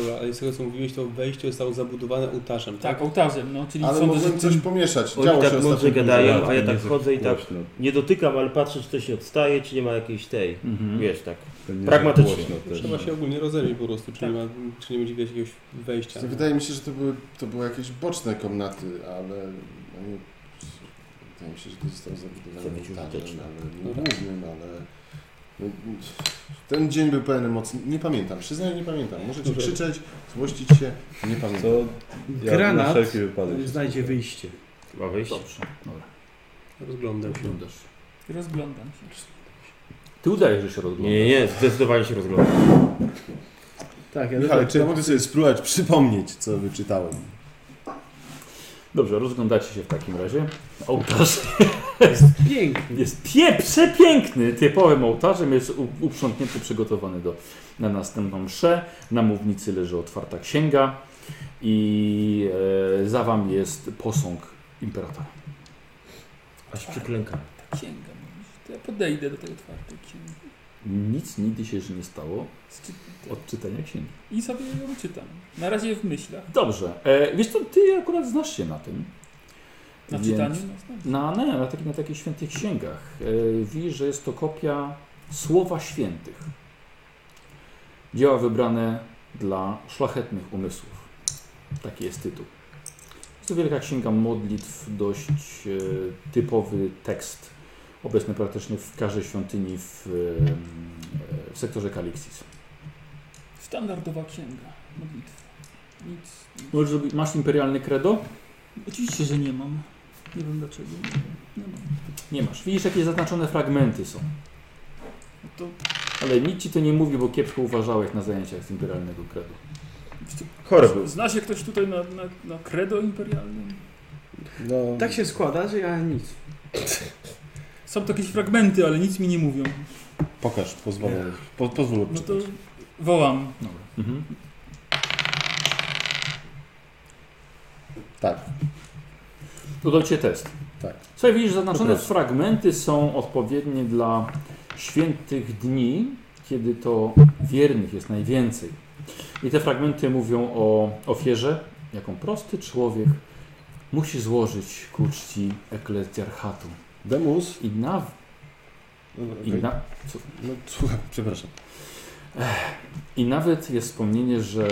Dobra, ale z tego co mówiłeś, to wejście zostało zabudowane ołtarzem, tak? Tak, ołtarzem, no, czyli Ale sądzę, że mogłem coś tym- pomieszać. Oni Działo się tak ostatnio mądrze dużo. gadają, a ja Nie tak za chodzę i tak głośno. nie dotykam, ale patrzę, czy coś się odstaje, czy nie ma jakiejś tej. Mhm. Wiesz, tak. To nie za Pragmatycznie. głośno też. Trzeba się ogólnie rozejrzeć po prostu, czy, nie, ma, czy nie będzie widać jakiegoś wejścia. Wydaje mi się, że to były, to były jakieś boczne komnaty, ale oni, wydaje mi się, że to zostało zabudowane Zrobić ołtarzem, użyteczne. ale nie głównym, ale no, ten dzień był pełen emocji. Nie pamiętam, przyznaję, nie pamiętam. Możecie Dobrze. krzyczeć, złościć się, nie Co? pamiętam. Ja na Granat wszelki wypadek. się Znajdzie wyjście. Ma wyjść. Dobrze, dobra. Rozglądam się. Wyglądasz. Rozglądam się. Ty udajesz, że się rozglądasz. Nie, nie, nie, zdecydowanie się rozglądam. Tak, ja Michał, czy ja mogę sobie spróbować przypomnieć, co wyczytałem? Dobrze, rozglądacie się w takim razie. Ołtarz Pięknie. Jest pie, przepiękny, typowym ołtarzem, jest u- uprzątnięty, przygotowany do, na następną mszę. Na mównicy leży otwarta księga i e, za wam jest posąg imperatora. Aż przyklękam. Ta księga, mówisz. to ja podejdę do tej otwartej księgi Nic nigdy się jeszcze nie stało od czytania księgi. i sobie ją czytam. Na razie w myślach. Dobrze, e, wiesz co, ty akurat znasz się na tym. Na Więc- czytaniu? No, znam. Na, na, na, takich, na takich świętych księgach. E, widzisz, że jest to kopia Słowa Świętych. Dzieła wybrane dla szlachetnych umysłów. Taki jest tytuł. Jest to wielka księga modlitw, dość e, typowy tekst, obecny praktycznie w każdej świątyni w, e, w sektorze Kalixis. Standardowa księga. Modlitwa. Nic. nic. Możesz zrobić- Masz imperialny credo? Oczywiście, że nie mam. Nie wiem dlaczego. Nie mam. Nie masz. Widzisz, jakieś zaznaczone fragmenty są. No to Ale nic ci to nie mówi, bo kiepsko uważałeś na zajęciach z imperialnego credo. Chory był. zna się ktoś tutaj na, na, na kredo imperialnym? No, Tak się składa, że ja nic. Są to jakieś fragmenty, ale nic mi nie mówią. pokaż, pozwolę. Po, pozwól No to odczytać. wołam. Mhm. Tak. Udał Cię test. Tak. Słuchaj, widzisz, zaznaczone Poproszę. fragmenty są odpowiednie dla świętych dni, kiedy to wiernych jest najwięcej. I te fragmenty mówią o ofierze, jaką prosty człowiek musi złożyć ku czci eklezjarchatu. Demus. I na... Dobra, I okej. na No, słucham, przepraszam. I nawet jest wspomnienie, że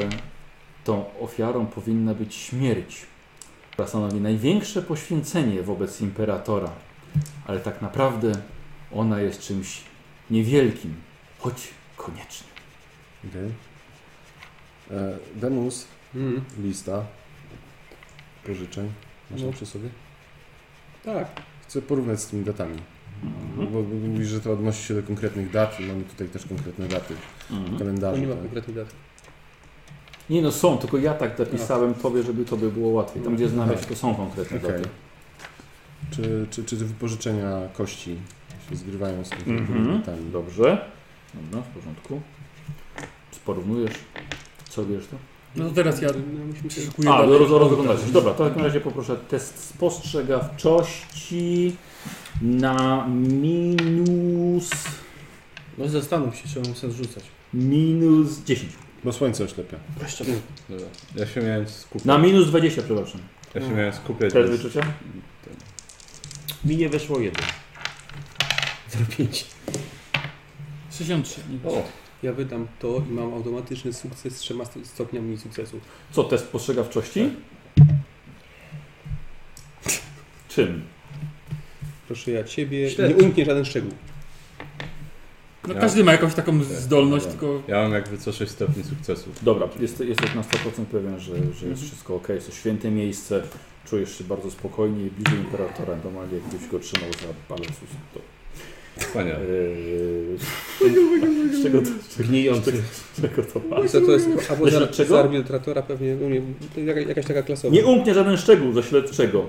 tą ofiarą powinna być śmierć, która stanowi największe poświęcenie wobec imperatora. Ale tak naprawdę ona jest czymś niewielkim, choć koniecznym. Okej. E, Demus, Mhm. lista pożyczeń. Masz ją przy sobie? Tak. Chcę porównać z tymi datami. Bo mówisz, że to odnosi się do konkretnych dat i mamy tutaj też konkretne daty w No kalendarzu. nie ma tak? konkretnych dat. Nie no, są, tylko ja tak napisałem tobie, żeby tobie było łatwiej. Tam gdzie znaleźć, to są konkretne Okej. daty. Czy, czy, czy te wypożyczenia kości się zgrywają z tymi Mhm. datami? Dobrze. Dobra, w porządku. Porównujesz. Co tak? robisz to? No to teraz ja No, musimy się... szykuję Tak, A, dalej. roz, rozglądacie się. Dobra, to w takim razie poproszę test spostrzegawczości na minus, No zastanów się, czy mam sens rzucać. minus 10. Bo słońce oślepia. Dobra. Ja się miałem skupiać. Na minus 20, przepraszam. Ja No. się miałem skupiać. Test Bez... wyczucia? Mi nie weszło jeden. 63. Nie O, ja wydam to i mam automatyczny sukces z trzema sto- stopniami sukcesu. Co, test spostrzegawczości? Tak. Czym? Proszę ja ciebie, Cztery. nie umknie żaden szczegół. No Ja- każdy ma jakąś taką zdolność, Dobra. tylko Ja mam jakby co 6 stopni sukcesu. Dobra, jeste- jesteś na 100% pewien, że, że jest wszystko ok, jest to święte miejsce, czujesz się bardzo spokojnie i bliżej imperatora, normalnie jakbyś go trzymał za balans. To. Wspaniale. Eee, Z czego to, Gnijący. z czego to ma? Wiesz co, to jest albo Myślisz, za, czego? za arbitratora pewnie, no nie, to jaka, jakaś taka klasowa. Nie umknie żaden szczegół Mhm. ze śledczego.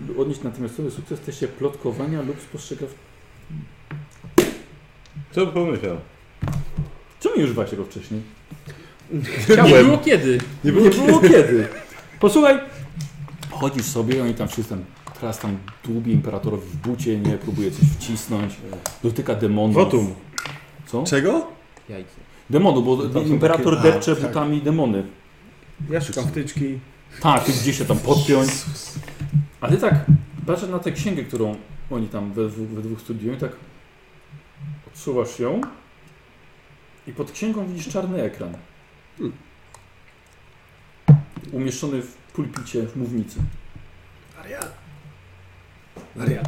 By odnieść natychmiastowy sukces w teście plotkowania lub spostrzegaw... Co pomyślał? Czemu nie używałeś tego wcześniej? Nie było kiedy. Nie było, nie było kiedy. Posłuchaj. Chodzisz sobie i oni tam wszyscy tam, teraz tam dłubie imperatorowi w bucie, nie? Próbuje coś wcisnąć. Dotyka demonów. Wotum. Co? Czego? Jajce. Demonu, bo Tam są imperator takie- a, depcze tak. butami demony. Ja szukam wtyczki. Tak, ty gdzieś się tam podpiąć. A ty tak, patrzę na tę księgę, którą oni tam we, dwóch- we dwóch studiują i tak odsuwasz ją i pod księgą widzisz czarny ekran. Umieszczony w pulpicie, w mównicy. Maria.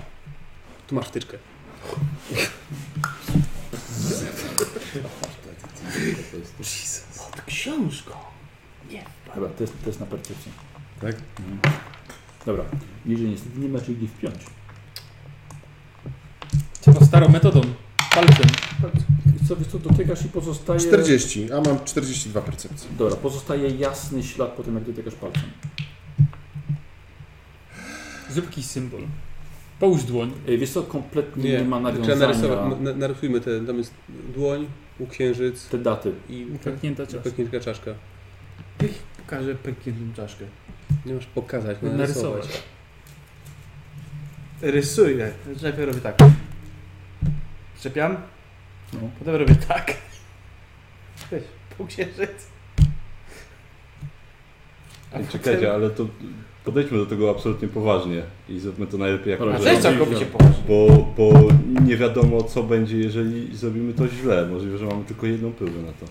Tu masz tyczkę. Dobra, to jest, to jest na percepcję. Tak? Mhm. Dobra, jeżeli niestety nie ma czyli gdzie wpiąć. Trzeba starą metodą. Palcem. Co, wiesz co, dotykasz i pozostaje... 40, a mam 42 percepcji. Dobra, pozostaje jasny ślad po tym, jak dotykasz palcem. Zrób jakiś symbol. Połóż dłoń. Ej, E, Wiesz co, kompletnie nie, Nie, ma Trzeba narysować, nawiązania. na- narysujmy te, tam jest dłoń, uksiężyc Te daty. i Uczerpnięta czas. pęknięta czaszka. Pokażę pękniętą czaszkę. Nie masz pokazać, narysować. Narysować. Rysuję. Najpierw robię tak. Czepiam. No. Potem robię tak. Weź, półksiężyc. Ej, czekajcie, ale to podejdźmy do tego absolutnie poważnie i zróbmy to najlepiej jak Dobra, tak, A Że- to jest możemy. całkowicie poważne. Bo, bo nie wiadomo co będzie, jeżeli zrobimy to źle. Możliwe, że mamy tylko jedną próbę na to.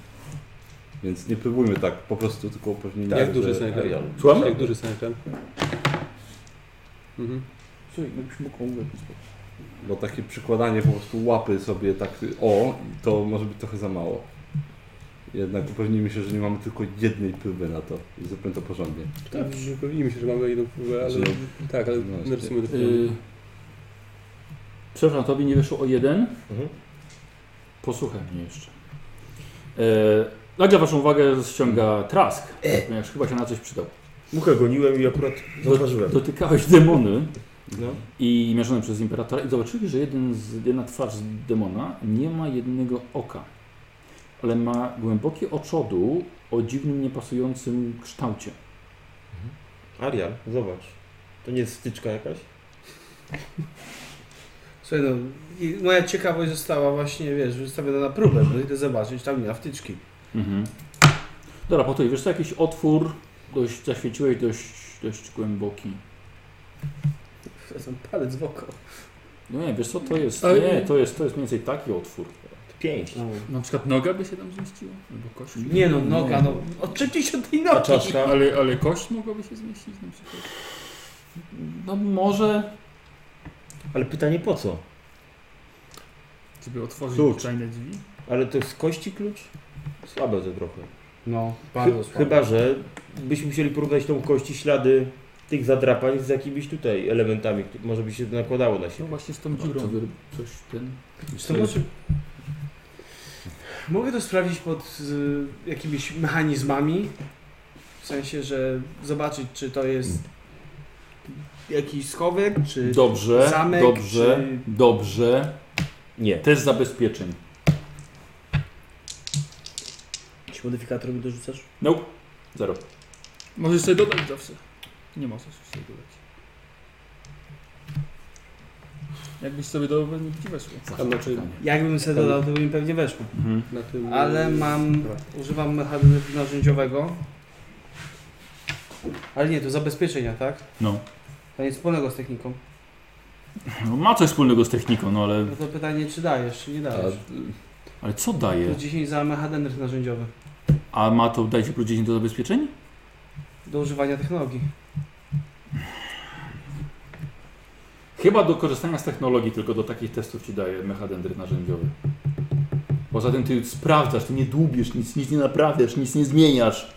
Więc nie próbujmy tak, po prostu tylko upewnienie. Tak, Jak że- duży jest tak, ekran? Słucham? Jak duży jest ekran? Mhm. Słuchaj, jakbyś mógł omówić. Bo takie przykładanie po prostu łapy sobie tak o, to może być trochę za mało. Jednak upewnijmy się, że nie mamy tylko jednej próby na to i zróbmy to porządnie. Tak, upewnijmy się, że mamy jedną próbę, ale Znaczy, tak, ale no, narysujmy to. Yy, przepraszam, tobie nie wyszło o jeden? Mhm. Posłuchaj mnie jeszcze. Yy, nagle waszą uwagę ściąga Trask, ponieważ chyba się na coś przydał. Muchę goniłem i akurat zauważyłem. Dotykałeś demony No. i mieszane przez imperatora i zobaczyli, że jeden z, jedna twarz z demona nie ma jednego oka, ale ma głębokie oczodu o dziwnym, niepasującym kształcie. Arial, zobacz. To nie jest styczka jakaś? Słuchaj no, i moja ciekawość została właśnie, wiesz, wystawiona na próbę, bo idę zobaczyć, tam nie ma wtyczki. Mhm. Dobra, po to wiesz co, jakiś otwór dość zaświeciłeś dość, dość głęboki. Wracam palec w oko. No nie, wiesz co, to jest, Ale- nie, to jest, to jest mniej więcej taki otwór. Pięć. Na przykład noga by się tam zmieściła? Albo kość? Nie no, noga, no, odczepcie się od tej nogi. czaszka? Ale, ale kość mogłaby się zmieścić na przykład. No może, Ale pytanie po co? Żeby otworzyć Klucz. tajne drzwi. Ale to jest kości klucz? Słabe to trochę. No, Chy- bardzo słabo. Chyba, że byśmy musieli porównać tą kości ślady tych zadrapań z jakimiś tutaj elementami, które może by się nakładało na No siebie. właśnie z tą no, to dziurą. wy- coś ten... To znaczy, mogę to sprawdzić pod y, jakimiś mechanizmami? W sensie, że zobaczyć, czy to jest jakiś schowek, czy... Dobrze, Zamek, dobrze, czy- dobrze. Nie. Test zabezpieczeń. Czy modyfikator mi dorzucasz? No, zero. Możesz sobie dodać zawsze. Nie możesz sobie dodać. Jakbyś sobie dodał, pewnie by ci weszło. Tam na tym, Jakbym sobie dodał, to by mi pewnie weszło. Mhm. na tym... Ale mam, Dobra. używam mechanizmu narzędziowego. Ale nie, to zabezpieczenia, tak? No. To nic wspólnego z techniką. no, ma coś wspólnego z techniką, no ale, No to pytanie, czy dajesz, czy nie A, dajesz. ale co To daje? 10 za mechanizm narzędziowy. A ma to, dajcie plus 10 do zabezpieczeń? Do używania technologii. Chyba do korzystania z technologii, tylko do takich testów ci daje mechadendryt narzędziowy. Poza tym ty sprawdzasz, ty nie dłubisz, nic, nic nie naprawiasz, nic nie zmieniasz.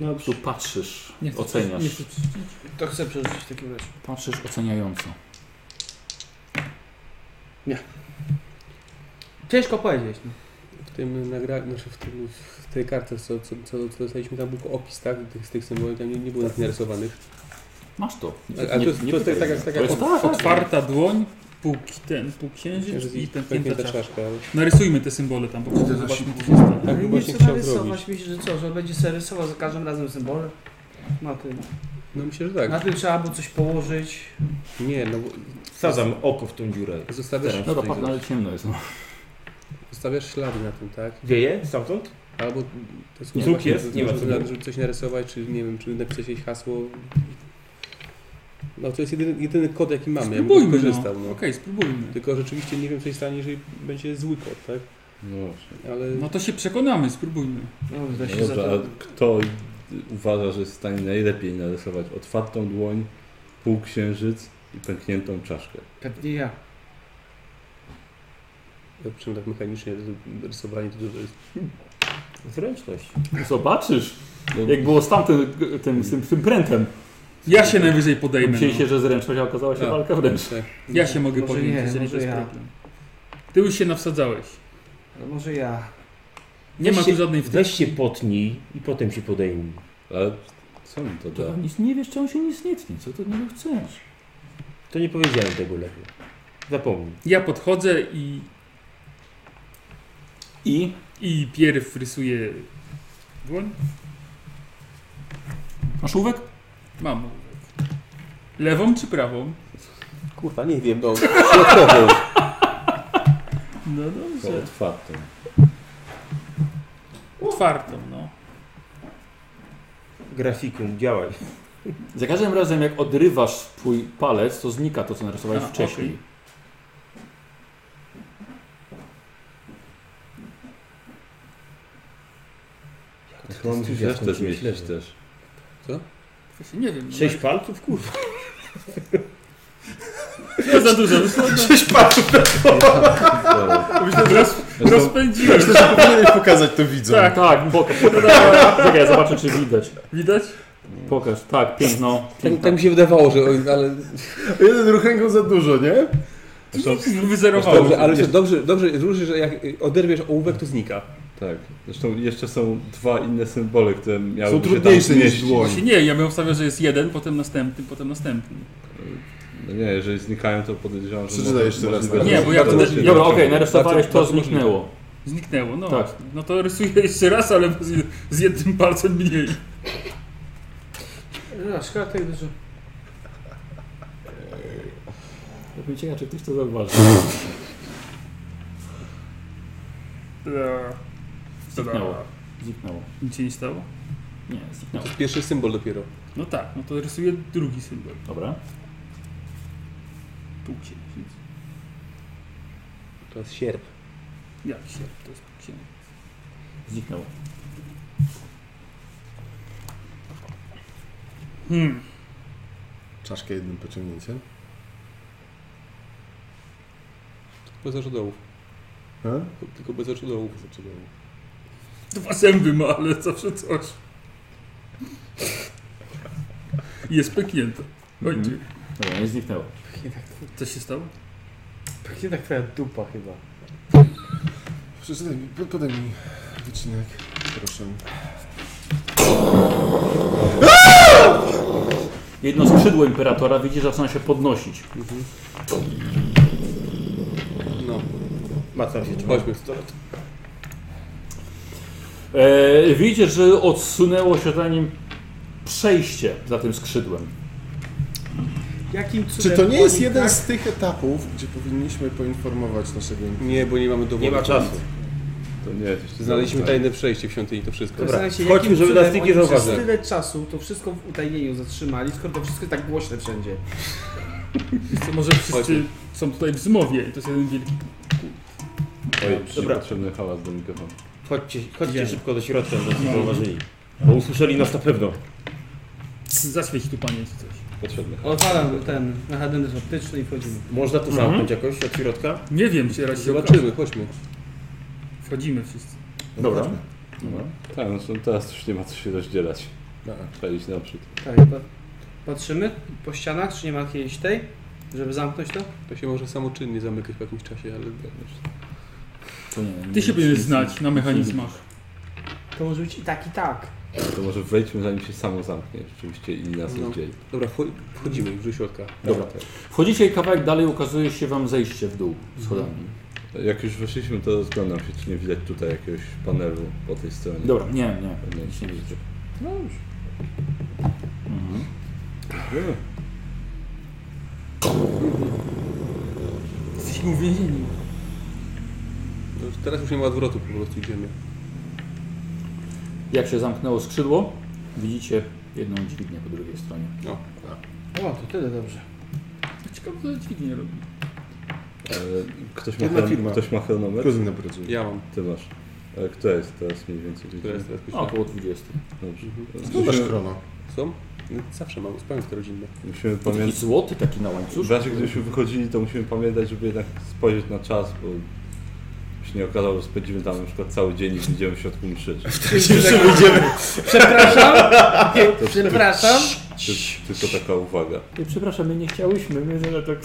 No, Tu patrzysz, Nie chcę- oceniasz. nie chcę- To chcę przerzucić w takim razie. Patrzysz oceniająco. Ciężko powiedzieć. No. W tym nagraniu, znaczy w, tym, w tej kartce, co, co, co, co dostaliśmy, tam był opis, tak? Tych, z tych symboli tam nie, nie było nic narysowanych. Masz to. A, a to jest, to jest tak, tak, tak To jak jest- od- tak, tak. Otwarta dłoń, pół, ki- ten, pół księżyc tak. i ten pięta czaszka. czaszka. Narysujmy te symbole tam, po prostu zobaczmy co się stanie. Tak Ale bym nie właśnie chce chciał narysować, zrobić. myślę, że co, że on będzie sobie rysował za każdym razem symbole? Na tym. No myślę, że tak. Na tym trzeba było coś położyć. Nie, no Wsadzam oko w tą dziurę. bo zostawiasz, No to patrz, ale ciemno jest. No. zostawiasz ślady na tym, tak? Wieje stamtąd? Albo to Nie, właśnie- Zuk jest, nie ma żeby- cudu. żeby coś narysować, czy nie wiem, czy napisać jakieś hasło. No to jest jedyny, jedyny kod, jaki mamy. Ja bym Spróbujmy, korzystał. no. No. Okej, spróbujmy. Tylko rzeczywiście nie wiem, co się stanie, jeżeli będzie zły kod, tak? No właśnie. Ale No to się przekonamy, spróbujmy. No, da się No za dobrze, to. a kto uważa, że jest w stanie najlepiej narysować otwartą dłoń, półksiężyc i pękniętą czaszkę? Pewnie ja. ja przy czym tak mechanicznie rysowanie to dużo jest. Zręczność. Zobaczysz, jak było z tamtym tym, tym, tym prętem. Ja się najwyżej podejmę. Myśleli No. się, że zręczność, a okazała się A. walka wręcz. Tak. Ja się mogę Może podjąć, nie, jeżeli może to jest ja. problem. Ty już się nawsadzałeś. Ale może ja. Nie ma Weź się- tu żadnej wtedy. Weź się potnij i potem się podejmij. Ale co mi to To da? tam nic nie wiesz, czemu się nic nie tni, co ty od niego chcesz? To nie powiedziałem tego lepiej. Zapomnij. Ja podchodzę i, I i pierw rysuję dłoń. masz ołówek? Mam ołówek. Lewą czy prawą? Kurwa, nie wiem, no. No To dobrze. otwartą. Otwartą, no. Grafikum, działaj. Za każdym razem, jak odrywasz swój palec, to znika to, co narysowałeś A, wcześniej. Chyba musisz studia resztę skończyłeś, zmieścić nie wiem. też. Właśnie nie wiem. Sześć palców? Kurwa. No, za dużo. Sześć palców! Dobra. Myślę, że roz, Zresztą rozpędziłem. Myślę, że powinieneś pokazać to widzom. Tak, tak, pokaż. Czekaj, ja zobaczę, czy widać. Widać? Pokaż, tak, piękno. Tak, piękno. tak mi się wydawało, że ale Jeden ruch ręką za dużo, nie? Wyzerowało. dobrze, ale się dobrze, dobrze jest różnie, że jak oderwiesz ołówek, to znika. Tak. Zresztą jeszcze są dwa inne symbole, które miały Są trudniejsze niż dłoń. Właśnie nie, ja bym obstawiał, że jest jeden, potem następny, potem następny. No nie, jeżeli znikają, to podejrzewam, że... Przeczytaj może- jeszcze raz możliwe, teraz. że Nie, bo ja bardzo też- się Dobra, nauczyłem. okej, narysowałeś, Bardzo- to bardzo zniknęło. Zniknęło, no. Tak. No to rysuję jeszcze raz, ale z, z jednym palcem mniej. No, szkoda tego, że... Jestem ciekaw, czy ktoś to zauważy. Eee, No. Zniknęło. Zniknęło. Nic się nie stało? Nie, zniknęło. To jest pierwszy symbol dopiero. No tak, no to rysuję drugi symbol. Dobra. Półksiężyc. To jest sierp. Jak się to jest półksiężyc? Zniknęło. Hmm. Czaszkę jednym pociągnięciem. Bez oczodołów. A? Tylko bez oczodołów. Dwa zęby ma, ale zawsze coś. Jest pęknięte. Ojciec, Mhm. Dobra, nie zniknęło. co się stało? Pewnie tak twoja dupa chyba. Przeczytaj mi, po- podaj mi wycinek. Proszę. Jedno skrzydło imperatora widzisz, że zaczyna się podnosić. Mhm. No. Macam się, Chodźmy. E, widzisz, że odsunęło się za nim przejście za tym skrzydłem. Jakim Czy cudem to nie jest oni jeden tak- z tych etapów, gdzie powinniśmy poinformować naszego... Nie, bo nie mamy dowodu. Nie ma czasu. To nie jest jeszcze Znaleźliśmy tak. tajne przejście w świątyni, to wszystko. Dobra, Zastanawiam się, chodźmy, jakim żeby cudem nas nikt nie oni przez zauważył. tyle czasu to wszystko w utajnieniu zatrzymali, skoro to wszystko jest tak głośne wszędzie. To może wszyscy Ojciec. są tutaj w zmowie i to jest jeden wielki... Oj, Dobra. niepotrzebny hałas do mikrofonu. Chodźcie, chodźcie Idziemy. szybko do środka, żeby nas No. nie zauważyli. Bo usłyszeli nas na pewno. Zaświeć tu panie czy coś. Potrzebny hałas. Odpalam ten mechanizm optyczny i wchodzimy. Można to Mhm. No. zamknąć jakoś od środka? Nie wiem, czy raz się okaże. Zobaczymy, chodźmy. Wchodzimy wszyscy. Dobra. Dobra. Mhm. Tak, no, to teraz już nie ma co się rozdzielać. No, Trzeba iść naprzód. Tak, pa- patrzymy po ścianach, czy nie ma jakiejś tej? Żeby zamknąć to? To się może samoczynnie zamykać po jakimś czasie, ale wiesz, To nie, nie Ty się powinieneś znać na mechanizmach. To może być i tak, i tak. No To może wejdźmy zanim się samo zamknie rzeczywiście i nas No. rozdzieli. Dobra, wcho- wchodzimy już do środka. Dobra. Wchodzicie kawałek dalej, ukazuje się wam zejście w dół schodami. Mhm. Jak już weszliśmy, to rozglądam się, czy nie widać tutaj jakiegoś panelu po tej stronie. Dobra, nie, nie. Pewnie Nic nie widzicie. Jesteśmy uwięzieni. No już teraz już nie ma odwrotu, po prostu idziemy. Jak się zamknęło skrzydło, widzicie jedną dźwignię po drugiej stronie. No, O, to tyle dobrze. Ciekawe, co dźwignię robi. E, Ktoś ma, Jedna chron- firma. ktoś ma chronometr? Kuzyn nam pracuje. ja mam. Ty masz. E, Kto jest teraz mniej więcej? To jest teraz O, Około 20. Dobrze. Skąd masz chrono? Są? No, Zawsze mam, spełniam te rodzinne. Musimy Taki pamiętać. złoty, taki na W łańcuszku. razie gdybyśmy wychodzili, to musimy pamiętać, żeby jednak spojrzeć na czas, bo się nie okazało, że spędzimy tam na przykład cały dzień i będziemy w środku mszy. Przepraszam? Przepraszam? Ty- Tylko taka uwaga. Przepraszam, my nie chciałyśmy, my że tak...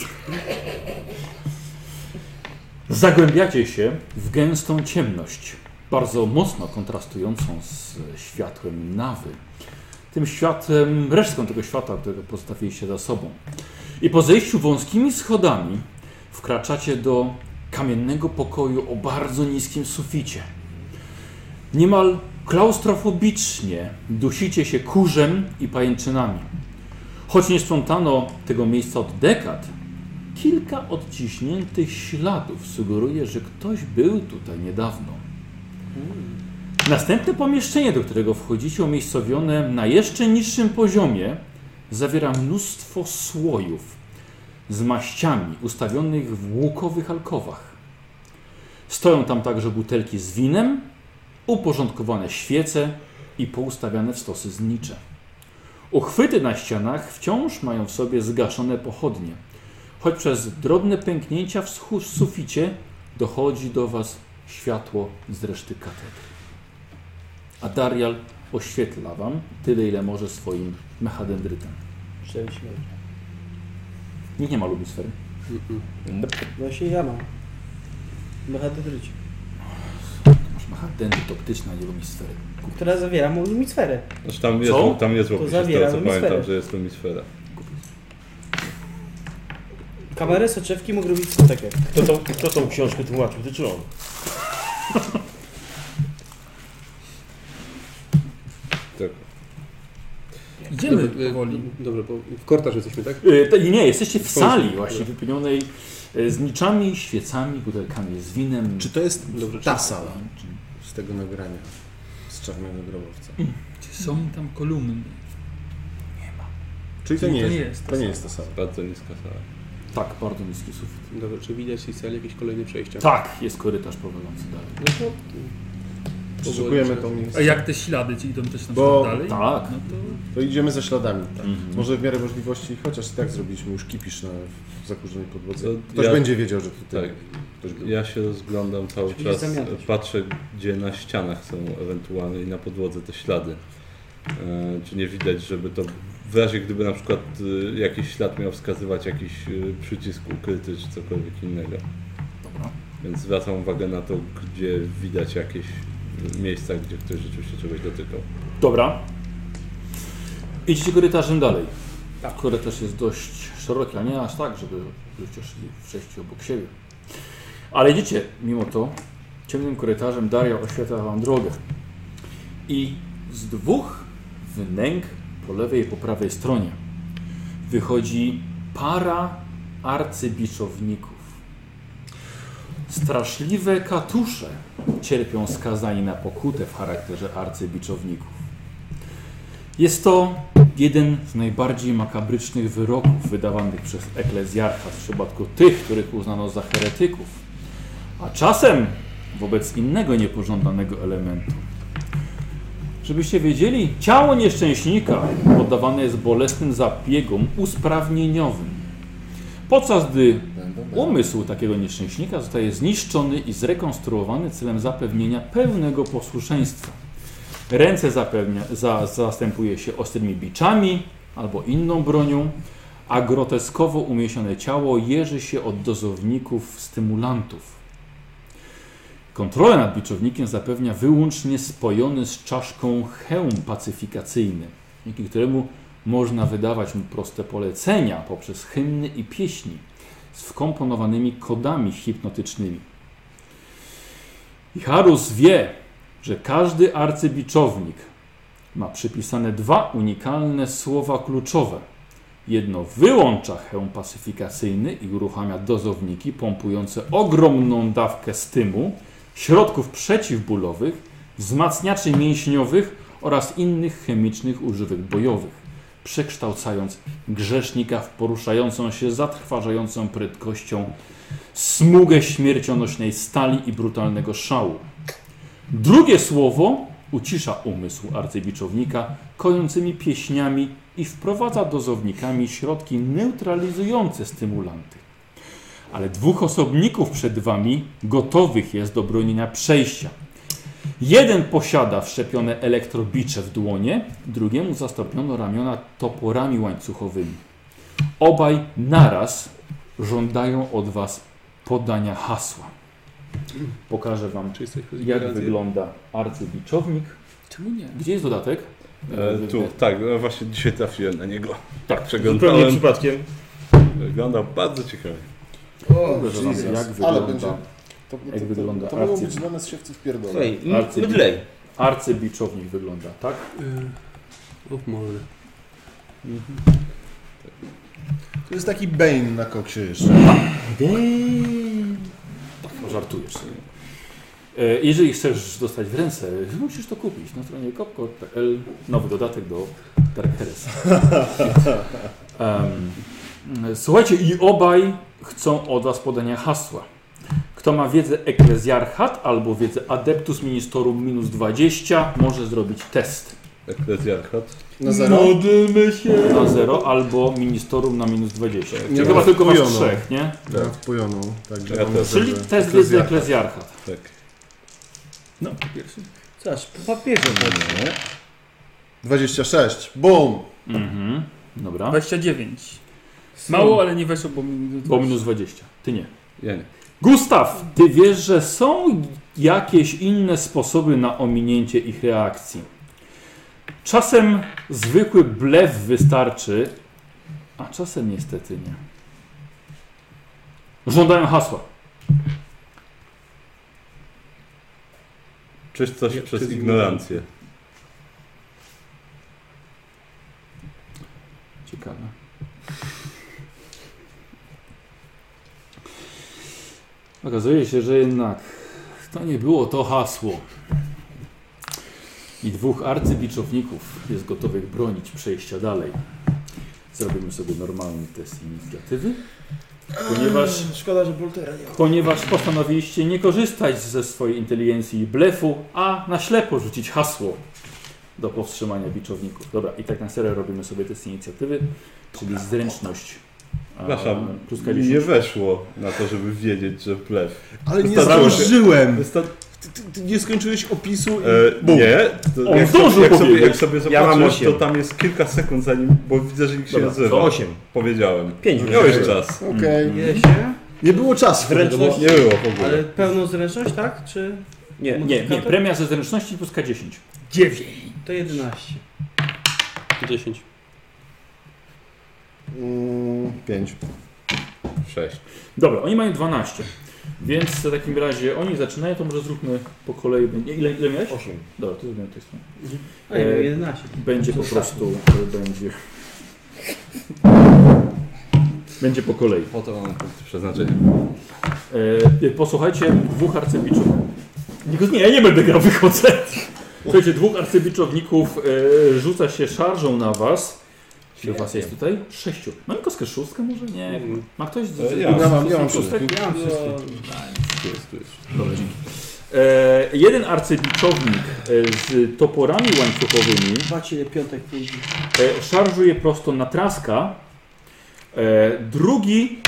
Zagłębiacie się w gęstą ciemność, bardzo mocno kontrastującą z światłem nawy. Tym światłem, resztką tego świata, którego postawiliście za sobą. I po zejściu wąskimi schodami wkraczacie do kamiennego pokoju o bardzo niskim suficie. Niemal klaustrofobicznie dusicie się kurzem i pajęczynami. Choć nie sprzątano tego miejsca od dekad, kilka odciśniętych śladów sugeruje, że ktoś był tutaj niedawno. Następne pomieszczenie, do którego wchodzicie, umiejscowione na jeszcze niższym poziomie, zawiera mnóstwo słojów z maściami ustawionych w łukowych alkowach. Stoją tam także butelki z winem, uporządkowane świece i poustawiane w stosy znicze. Uchwyty na ścianach wciąż mają w sobie zgaszone pochodnie, choć przez drobne pęknięcia w schu- w suficie dochodzi do Was światło z reszty katedry. A Darial oświetla Wam tyle, ile może swoim mechadendrytem. Cztery śmierci. Nikt nie ma lumisfery. Właśnie No ja mam. Mechadydryć. Masz mechadendryt optyczny, a nie lumisfery. Która zawiera mu lumisferę. Znaczy tam jest, Co? tam jest To łopis, zawiera z tego co lumisferę. pamiętam, że jest lumisfera. Kamerę, soczewki mógł robić skotekę. Kto tą, kto tą książkę tłumaczył? Ty czy on? Tak. Idziemy Dobra, powoli. e, Dobrze, bo w kortarz jesteśmy, tak? Y, te- nie, jesteście w Polsce. sali właśnie wypełnionej y, z niczami, świecami, butelkami z winem. Czy to jest Dobrze, ta sala z tego nagrania? Z czarnego grobowca. Czy są tam kolumny? Czyli to nie, To jest, nie jest ta to nie jest ta sala. Bardzo niska sala. Tak, bardzo niski sufit. Dobra, czy widać w tej sali jakieś kolejne przejścia? Tak, jest korytarz prowadzący dalej. No to... Przeszukujemy to A miejsce. jak te ślady, czy idą też na Bo- przykład dalej? Tak. No to... To idziemy za śladami. Mhm. Może w miarę możliwości, chociaż i tak zrobiliśmy już kipisz na zakurzonej podłodze. To Ktoś ja- będzie wiedział, że tutaj Tak. ktoś był. Ja się rozglądam cały Czyli czas, zamiatać. patrzę gdzie na ścianach są ewentualnie i na podłodze te ślady. E, Czy nie widać, żeby to w razie gdyby na przykład y, jakiś ślad miał wskazywać jakiś y, przycisk ukryty czy cokolwiek innego. Dobra. Więc zwracam uwagę na to, gdzie widać jakieś y, miejsca, gdzie ktoś rzeczywiście czegoś dotykał. Dobra. Idźcie korytarzem dalej. Korytarz jest dość szeroki, ale nie aż tak, żeby ludzie szli w sześciu obok siebie. Ale idziecie mimo to ciemnym korytarzem. Daria oświetla wam drogę. I z dwóch wnęk po lewej i po prawej stronie wychodzi para arcybiczowników. Straszliwe katusze cierpią skazani na pokutę w charakterze arcybiczowników. Jest to jeden z najbardziej makabrycznych wyroków wydawanych przez eklezjarcha w przypadku tych, których uznano za heretyków, a czasem wobec innego niepożądanego elementu. Żebyście wiedzieli, ciało nieszczęśnika poddawane jest bolesnym zabiegom usprawnieniowym, podczas gdy Umysł takiego nieszczęśnika zostaje zniszczony i zrekonstruowany celem zapewnienia pełnego posłuszeństwa. Ręce zapewnia, za, zastępuje się ostrymi biczami albo inną bronią, a groteskowo umiesione ciało jeży się od dozowników stymulantów. Kontrolę nad biczownikiem zapewnia wyłącznie spojony z czaszką hełm pacyfikacyjny, dzięki któremu można wydawać mu proste polecenia poprzez hymny i pieśni z wkomponowanymi kodami hipnotycznymi. I Harus wie, że każdy arcybiczownik ma przypisane dwa unikalne słowa kluczowe. Jedno wyłącza hełm pacyfikacyjny i uruchamia dozowniki pompujące ogromną dawkę stymu, środków przeciwbólowych, wzmacniaczy mięśniowych oraz innych chemicznych używek bojowych, przekształcając grzesznika w poruszającą się zatrważającą prędkością smugę śmiercionośnej stali i brutalnego szału. Drugie słowo ucisza umysł arcybiczownika kojącymi pieśniami i wprowadza dozownikami środki neutralizujące stymulanty. Ale dwóch osobników przed Wami gotowych jest do bronienia przejścia. Jeden posiada wszczepione elektrobicze w dłonie, drugiemu zastąpiono ramiona toporami łańcuchowymi. Obaj naraz żądają od Was podania hasła. Pokażę Wam, Czy jesteś przez jak ignorancję? wygląda arcybiczownik. Czemu nie? Gdzie jest dodatek? E, tu, tak, no właśnie dzisiaj trafiłem na niego. Tak, Zupełnie przeglądałem. przypadkiem. Wyglądał bardzo ciekawie. O, Dobrze, że Jesus. nam- jak Ale wygląda- będzie. To, jak to, wygląda to, to mogą akcja. być dla nas siewcy w pierdole. Słuchaj, Arcy- mydlej. Arcybiczownik wygląda, tak? Lub może. To jest taki Bane na koksie jeszcze. No, Żartujesz. E, Jeżeli chcesz dostać w ręce, musisz to kupić na stronie kopko.pl. Nowy dodatek do Dark Heresy. Em, słuchajcie, i obaj chcą od Was podania hasła. Kto ma wiedzę Eklezjarchat albo wiedzę Adeptus Ministerum minus 20 może zrobić test Eklezjarchat. Na No. zero. Módlmy się. na 0 albo Ministerum na minus 20. Tak, Czyli ja chyba tylko masz wkujono. no. trzech, nie? Ja wpojoną, tak, także Ja mam też. Czyli dobrze. test wiedzy Eklezjarchat. Tak. No, pierwszy. Co aż po papierze chodzi. 26. Boom! Mhm. Dobra. 29. Mało, ale nie weszło, bo minus Bo minus 20. Ty nie. Ja nie. Gustaw, ty wiesz, że są jakieś inne sposoby na ominięcie ich reakcji. Czasem zwykły blef wystarczy, a czasem niestety nie. Żądają hasła. Czyż coś Ja- przez przez ignorancję? Ciekawe. Okazuje się, że jednak to nie było to hasło. I dwóch arcybiczowników jest gotowych bronić przejścia dalej. Zrobimy sobie normalny test inicjatywy, ponieważ Eee, Szkoda, że Boltera nie ma. ponieważ postanowiliście nie korzystać ze swojej inteligencji i blefu, a na ślepo rzucić hasło do powstrzymania biczowników. Dobra, i tak na serio robimy sobie test inicjatywy, czyli zręczność. a, Przepraszam, plus K10. nie weszło na to, żeby wiedzieć, że plew. Ale nie Wystarczyło. zdążyłem. Wysta- Ty, ty, ty nie skończyłeś opisu i... E, Bum. nie, to On jak, zdążył sobie, jak, sobie, powiedzieć. jak sobie Ja mam zobaczysz, to osiem. tam jest kilka sekund zanim, bo widzę, że nikt się nie Dobra, odzywa. to 8. Powiedziałem. 5 Miałeś czas. Okej. Wie się, Nie było czasu. Zręczność? Nie było w ogóle. ale pełną zręczność, tak? Czy Nie. Nie, nie, premia ze zręczności plus K10. 9. to 11? 10. Mm, 5. Sześć. Dobra, oni mają 12. Więc w takim razie oni zaczynają, to może zróbmy po kolei. Nie, Ile, ile miałeś? 8. Dobra, to zrobimy tej stronie. A No nie, E, 11. Będzie po prostu, e, będzie... Będzie po kolei. Po to mam punkty przeznaczenia. E, posłuchajcie dwóch arcybiczów. Nikt nie, ja nie będę grał, wychodzę. Słuchajcie, dwóch arcybiczowników e, rzuca się szarżą na was. Czy was jest tutaj? Sześciu. Mam kostkę szóstkę może? Nie. Ma ktoś? Z, E, ja. z- Ja mam- z- ja mam z- kostek? szóstkę. Ja mam wszystkie. Tu jest, tu jest. Dobra, dzięki. E, jeden arcybiczownik e, z toporami łańcuchowymi Zobaczcie ile piątek pójdzie. e, szarżuje prosto na traska. E, drugi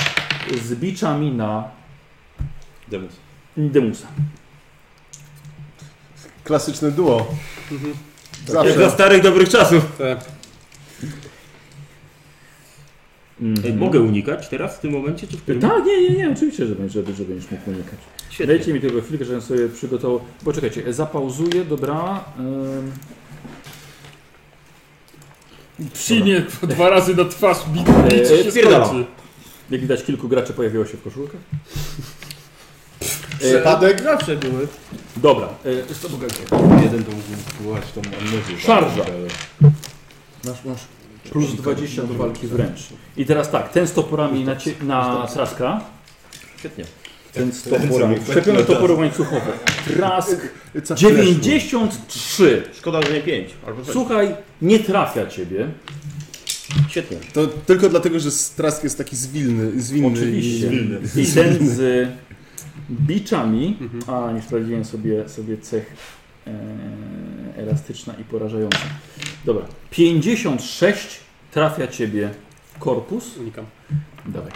z biczami na Demus. Indemusa. Klasyczne duo. Jak za Zawsze. starych dobrych czasów. Tak. Ej, Mhm. Mogę unikać teraz w tym momencie, czy w którym? Tak, nie, nie, nie, oczywiście, że będziesz, że że będziesz mógł unikać. Dajcie mi tylko chwilkę, żebym sobie przygotował. Poczekajcie, zapauzuję, dobra. Ym... Przyjmie po dwa razy na twarz, bit, bit Eee, się pierdolam. skończy. Jak widać, kilku graczy pojawiło się w koszulkach. E, Przypadek? Zawsze były. Dobra, e, co pokażę? Jeden to mógł spływać tą amnezję. Szarża. Masz, masz. Plus 20 do walki wręcz. I teraz tak, ten z toporami na, cie, na Traska. Świetnie. Ten z toporami. Przepiony toporu łańcuchowy. Trask Co? 93. Tak, Szkoda, że nie 5. Albo coś. No Słuchaj, nie trafia ciebie. Świetnie. To tylko dlatego, że Strask jest taki zwilny. zwinny Oczywiście. I... I ten z y, biczami. A, nie sprawdziłem sobie, sobie cech e, elastyczna i porażająca. Dobra. 56 trafia ciebie w korpus. Unikam. Dawaj.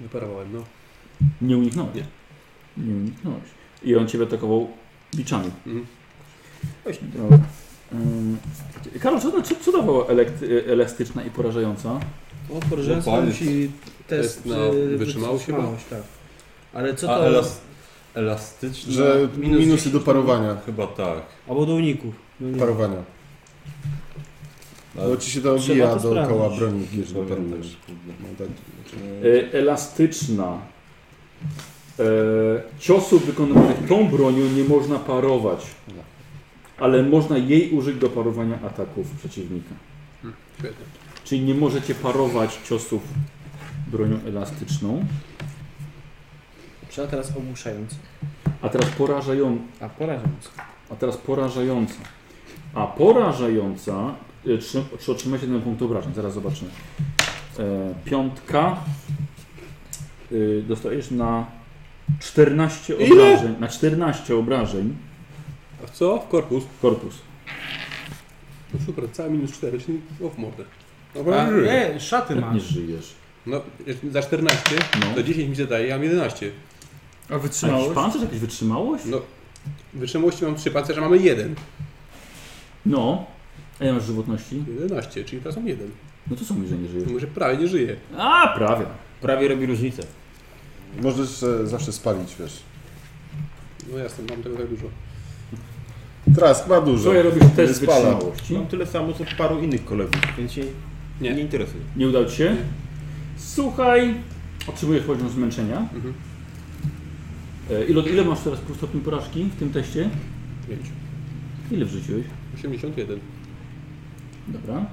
Wyparowałem, no. Nie uniknąłeś. Nie. Nie uniknąłeś. I on ciebie atakował biczami. Mhm. Właśnie. Dobra. Ym, Karol, co, znaczy, co, co dawało elekt- elastyczna i porażająca? O, porażający No, no, panie, musi test, test na y, wytrzymałość chyba? wytrzymałość, tak. Ale co A to... elas- elastyczne? Że Minus minusy do parowania. Chyba tak. Albo do uników. No nie. Parowania. Ale Bo ci się to trzeba obija to dookoła sprawdzić. broni, jeżeli Pamiętam, parujesz. że kurde. No tak. E, elastyczna. E, ciosów wykonywanych tą bronią nie można parować. Ale można jej użyć do parowania ataków przeciwnika. Świetnie. Czyli nie możecie parować ciosów bronią elastyczną. Trzeba teraz ogłuszając. A teraz porażają, A, porażając. A teraz porażająca. A porażająca. y, Czy, czy otrzymać jeden punkt obrażeń? Zaraz zobaczymy. E, piątka. Y, dostajesz na 14 obrażeń. Na 14 obrażeń A w co? W korpus. korpus. No super, cała minus 4, czyli o w mordę. A, Dobra, żyję. nie, szaty Jak nie masz. żyjesz. No, za 14 No. to 10 mi zadaje, ja mam 11. A A jakiś wytrzymałość? pancerz, jakaś wytrzymałość? No, wytrzymałości mam 3 pancerza, mamy 1. No. A ja masz żywotności? 11, czyli teraz mam 1. No to co mówi, że nie żyjesz? Może prawie nie żyję. A, prawie. Prawie robi różnicę. Możesz e, zawsze spalić, wiesz. No jasne, mam tego tak dużo. Trask ma dużo. Co ja robisz test Nie spala. wytrzymałości? Mam tyle samo co paru innych kolegów, więc się Nie. nie, interesuje. Nie udał ci się? Słuchaj, otrzymujesz poziom zmęczenia. Mhm. E, Ile, ile masz teraz pół stopni porażki w tym teście? 5. Ile wrzuciłeś? 81. Dobra.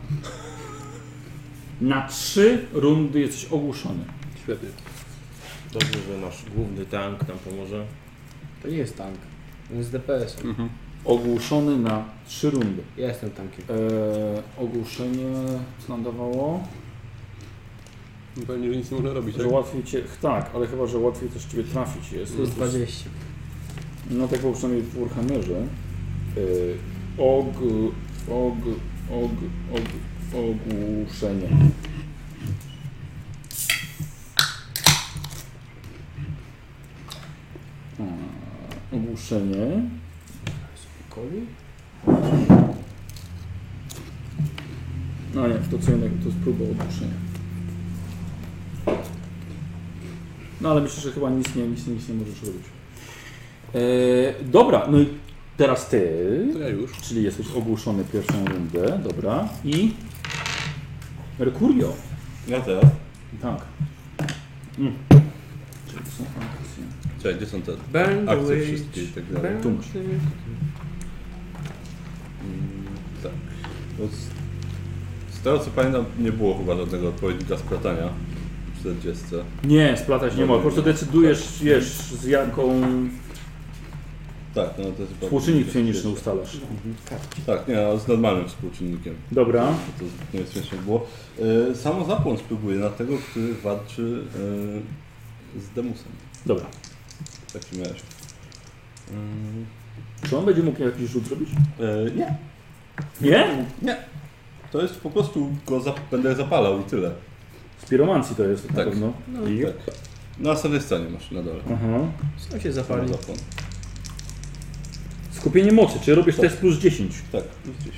Na trzy rundy jesteś ogłuszony. Świetnie. Dobrze, że nasz główny tank nam pomoże. To nie jest tank. To jest DPS. Ogłuszony na trzy rundy. Ja jestem tankiem. E, ogłuszenie co nam dawało? No Pewnie, że nic nie można robić, Że tak? łatwiej cię. Tak, ale chyba, że łatwiej też ciebie trafić jest. Plus 20. No tak było przynajmniej w Warhammerze. Yy, og, og, og, og, ogłuszenie. A, Ogłuszenie. No nie, to co innego, to jest próba ogłuszenia. No ale myślę, że chyba nic nie, nic, nie- nic nie możesz robić. E, dobra, no i teraz ty, To ja już. czyli jesteś ogłuszony pierwszą rundę, dobra. I Mercurio. Ja teraz. Tak. Mm. Czyli to są akcje. Czekaj, gdzie są te Burn the akcje witch. wszystkie i tak dalej? Tu masz. Tak. No z, z tego co pamiętam, nie było chyba żadnego odpowiednika splatania w 40. Nie, splatać nie ma. Po prostu decydujesz, wiesz, z jaką Tak, no to jest chyba- współczynnik psioniczny ustalasz. Tak, nie, no, z normalnym współczynnikiem. Dobra. To nie śmieszne było. E, samo zapłon spróbuję na tego, który walczy e, z Demusem. Tak Dobra. W takim razie. Czy on będzie mógł jakiś rzut zrobić? E, nie, Nie? to jest po prostu go za, będę zapalał i tyle. Z piromancji to jest na Tak. pewno. I... Tak. Na następnej stronie masz na dole. Aha. Co się Samo zapali? zapłon. Skupienie mocy, czy robisz Tak. test plus 10? Tak, plus 10.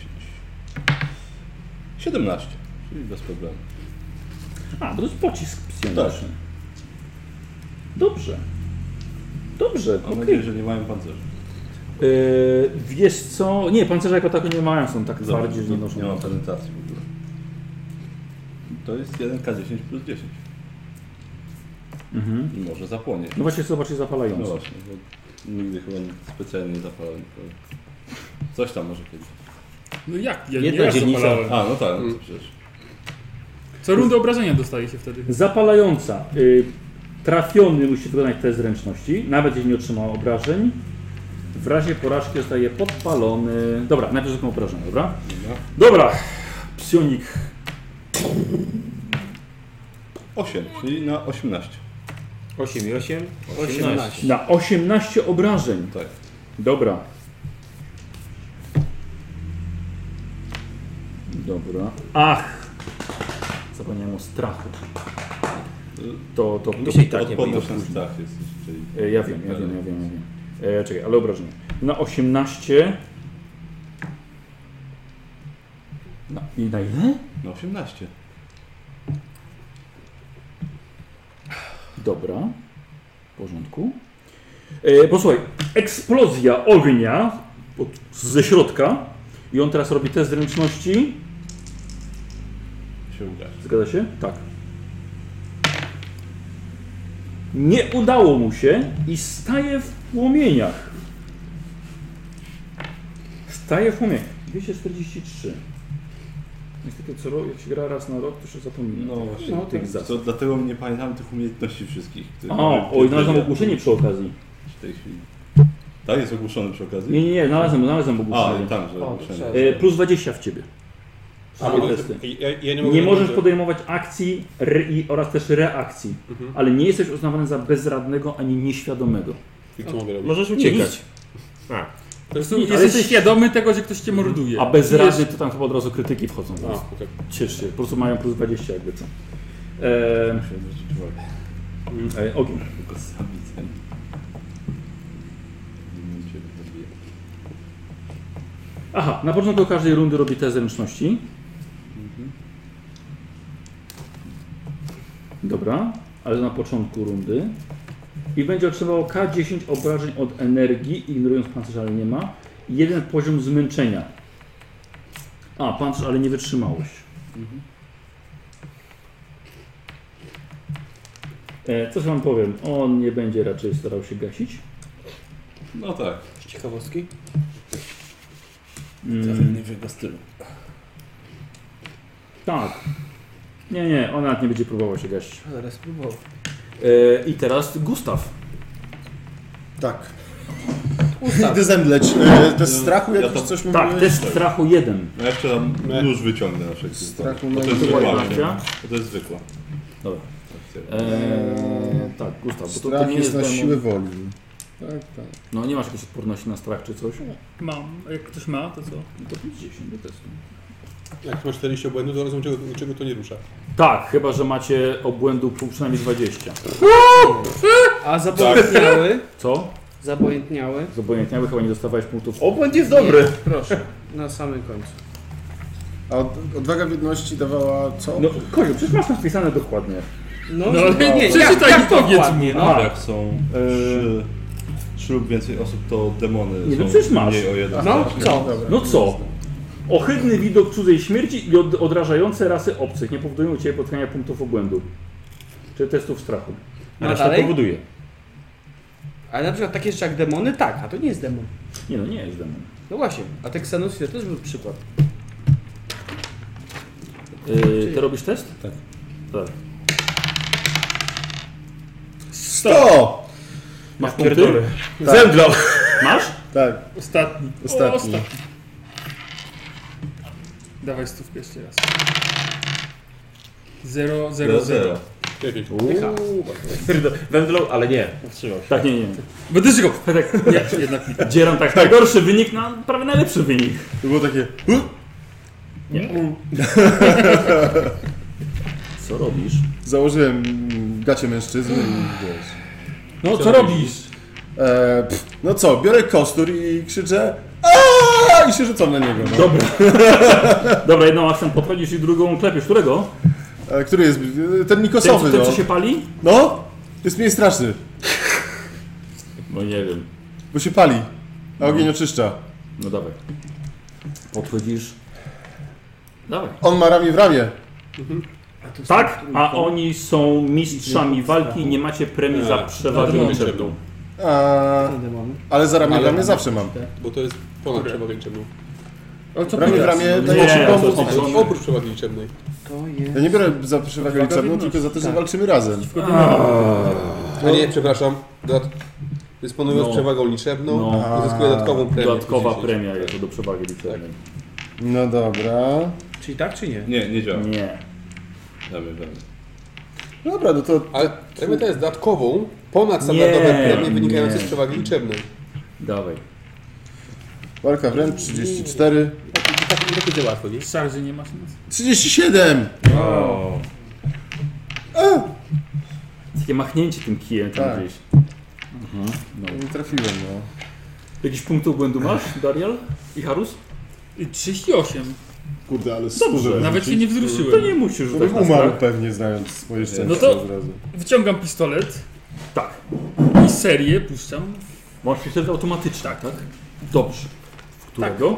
17, czyli bez problemu. A, to jest pocisk Tak. psioniczny. Dobrze. Dobrze, Mam okej. nadzieję, że nie mają pancerzy. Yy, wiesz co? Nie, pancerze jako tako nie mają, są tak Dobra, twardzi, że nie noszą. Nie mam prezentacji w ogóle. To jest 1K10 plus 10. Mhm. I może zapłonie. No właśnie, zobaczcie zapalające. No właśnie, bo nigdy chyba nikt specjalnie nie zapalał nikogo. Coś tam może kiedyś. No jak? Ja Jedna nie raz dzielnica. zapalałem. A, no tak, no Mm. to przecież. Co rundę obrażenia dostaje się wtedy. Zapalająca. Y, Trafiony musi wykonać test zręczności, nawet jeśli nie otrzymał obrażeń. W razie porażki zostaje podpalony. Dobra, najpierw tylko obrażenia, dobra? Dobra, psionik. 8, czyli na 18. 8 i 8? 18. Na 18 obrażeń. Tak. Dobra. Dobra. Ach! Zapomniałem o strachu. To, to, to, Dzisiaj to tak nie pójdę podnoszę później. strach jest jeszcze i- E, Ja wiem, ja wiem, ja wiem, ja wiem. E, czekaj, ale obrażenia. Na 18. Na, I na ile? Na 18. Dobra. W porządku. E, posłuchaj, eksplozja ognia od, ze środka. I on teraz robi test zręczności. Się uda. Zgadza się? Tak. Nie udało mu się i staje w płomieniach. Staje w płomieniach. 243. Niestety, co ro- jak się gra raz na rok, to się zapomina. No właśnie, tych zasad. to dlatego nie pamiętam tych umiejętności wszystkich. które mamy A, w oj, tej znalazłem chwili. ogłoszenie przy okazji. W tej chwili. Tak jest ogłoszony przy okazji? Nie, nie, nie, znalazłem, znalazłem A, tak. ogłoszenie. i tam, że ogłoszenie. E, plus 20 w ciebie. A, Swoje mogę- testy. ja- ja nie nie, mogę- nie możesz mogę. podejmować akcji re, i, oraz też reakcji, Mhm. ale nie jesteś uznawany za bezradnego ani nieświadomego. I co mogę robić? Możesz Nie, uciekać. nic. A. To jest, Ale jesteś, świadomy tego, że ktoś cię morduje. A bezradny to tam chyba od razu krytyki wchodzą. A, tak. okej. Ciesz się, po prostu mają plus 20 jakby co. Eee, e, ogień. Tylko sami ten. Nie wiem, czy to zrobię. Aha, na początku każdej rundy robi test zręczności. Dobra, ale na początku rundy. I będzie otrzymał K10 obrażeń od energii, ignorując pancerz, ale nie ma. I Jeden poziom zmęczenia. A, pancerz, ale nie wytrzymałeś. E, co wam powiem? On nie będzie raczej starał się gasić. No tak. Z ciekawostki? Mm, jego stylu. tak. Nie, nie, on nawet nie będzie próbował się gasić. Zaraz próbował. E, I teraz Gustaw. Tak. Idę zemdleć. E, test strachu, jak Ja już to- coś tak, mówiłeś? test strachu jeden. No jeszcze tam Nie. nóż wyciągnę na wszelki Strachu wypadek, bo na to jeden. jest zwykła. Dwadzieścia. Bo To jest zwykła. Dobra. E, tak, Gustaw, bo to- to Strach nie jest jest na demon. siłę woli. Tak, tak. No nie masz jakiejś odporności na strach czy coś? Mam. A Jak ktoś ma, to co? To 50 do testu. Jak masz 40 obłędów, to rozumiem, czego, czego to nie rusza. Tak, chyba że macie obłędu pół- przynajmniej 20. A zapamiętniały? Co? Zapamiętniały? Zobojętniały chyba nie dostawałeś punktów. Obłęd jest dobry. Proszę, na samym końcu. A od, odwaga biedności dawała co? No Koziu, przecież masz tam wpisane dokładnie. No, No, ale nie, przeczytaj jak- jak i powiedz dokładnie, mi. mi. No. A, jak są trzy, trzy lub więcej osób, to demony Nie, są no przecież masz. mniej o jeden. No co? Ohydny widok cudzej śmierci i od, odrażające rasy obcych nie powodują u Ciebie potkania punktów obłędu. Czy testów strachu. No Reszta dalej? powoduje. Ale na przykład takie rzeczy jak demony, tak, a to nie jest demon. Nie no, nie jest demon. No właśnie, a Texanus to też był przykład. Yy, ty robisz test? Tak. tak. 100! Masz Ja punkty? pierdolę. Tak. Zemdlał. Masz? Tak. Ostatni. Ostatni. O, ostatni. Dawaj stówkę jeszcze raz. 0, 0, 0. Wędlą, ale nie, wstrzymał się. Tak, nie, nie. Będę go. Tak, nie, jednak nie. Dzieram tak, Tak. najgorszy wynik na prawie najlepszy wynik. To było takie... Nie. Co robisz? Założyłem gacie mężczyzny i wiesz. No, co robisz? E, pff, no co, biorę kostur i krzyczę Aaaa! I się rzucam na niego. No. Dobra. Dobra, jedną akcją podchodzisz i drugą klepiesz. Którego? E, Który jest? e, Ten Ten, nikosowy, ten no. co się pali? No, jest mniej straszny, No nie wiem. bo się pali. A ogień oczyszcza. No dawaj. Podchodzisz. Dawaj. On ma ramię w ramię. Tak, a oni są mistrzami walki, nie macie premii Tak. za przewagę No. liczebną. A... Ale za ramię w ramię zawsze mam. Bo to jest ponad przewagę liczebną. Ale co Ramię w teraz? ramię Tak. Nie, daje ci to pomóc. są- Oprócz, oprócz przewagi liczebnej. To jest... Ja nie biorę za przewagę liczebną, tylko za to, że walczymy razem. A nie, przepraszam. Dodat... Dysponując No. przewagą liczebną, No. uzyskuje dodatkową premię. Dodatkowa 10. premia jako do Tak. przewagi liczebnej. No dobra. Czyli tak czy nie? Nie, nie działa. Nie. Damy, damy. Dobra, no to Ale premia ta jest dodatkową, ponad standardowe Nie, premie wynikające nie. z przewagi liczebnej. Dawaj. walka wręcz 34. Tak, tak będzie łatwo, nie? Szarży nie masz nic. 37! Takie machnięcie tym kijem tam Tak. gdzieś. Mhm. Nie trafiłem, no. Jakiś punkt błędu masz, Darial? I Harus? I 38. Kurde, ale skórze Nawet się nie To wzruszyłem. nie musisz To bym rzucać na umarł strach. pewnie, znając swoje szczęście No to- od razu. Wyciągam pistolet Tak. i serię puszczam Masz pistolet automatyczny, tak? Dobrze. W którego?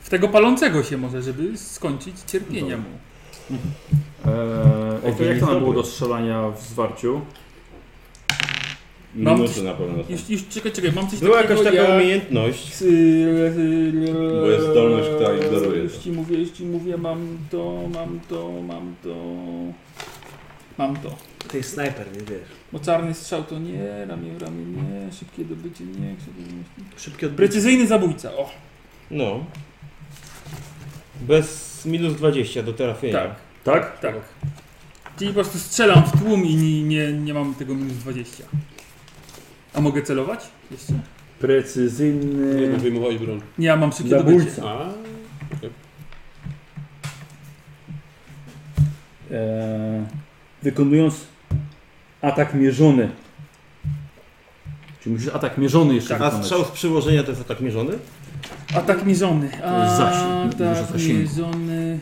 w tego palącego się może, żeby skończyć cierpienia mu. Eee, jak, to- Ogień jak jest to nam było dobry. do strzelania w zwarciu? No. Mam- Minuty na pewno. są. Już, już czekaj, czekaj, mam coś Była takiego jakaś taka jak- umiejętność. Yy, yy, Bo jest zdolność, która yy, ignoruje Już to. ci mówię, już ci mówię, mam to, mam to, mam to. Mam to. To jest snajper, nie wiesz. Mocarny strzał to nie, ramię w ramię nie, szybkie dobycie nie, krzywienie nie. Szybki odbryt. Precyzyjny zabójca, o, No. Bez minus 20 do trafienia. tak, Tak? tak. Czyli po prostu strzelam w tłum i nie, nie, nie mam tego minus 20. A mogę celować? Jeszcze? Nie, bo Precyzyjny wyjmowałeś broń. Nie, ja mam szybkie dobycie. zabójca. A, Eee, wykonując atak mierzony. Czyli musisz atak mierzony jeszcze A wykonać. strzał z przyłożenia to jest atak mierzony? Atak tak mierzony. To jest zasięg, dużo Atak zasięgu. mierzony.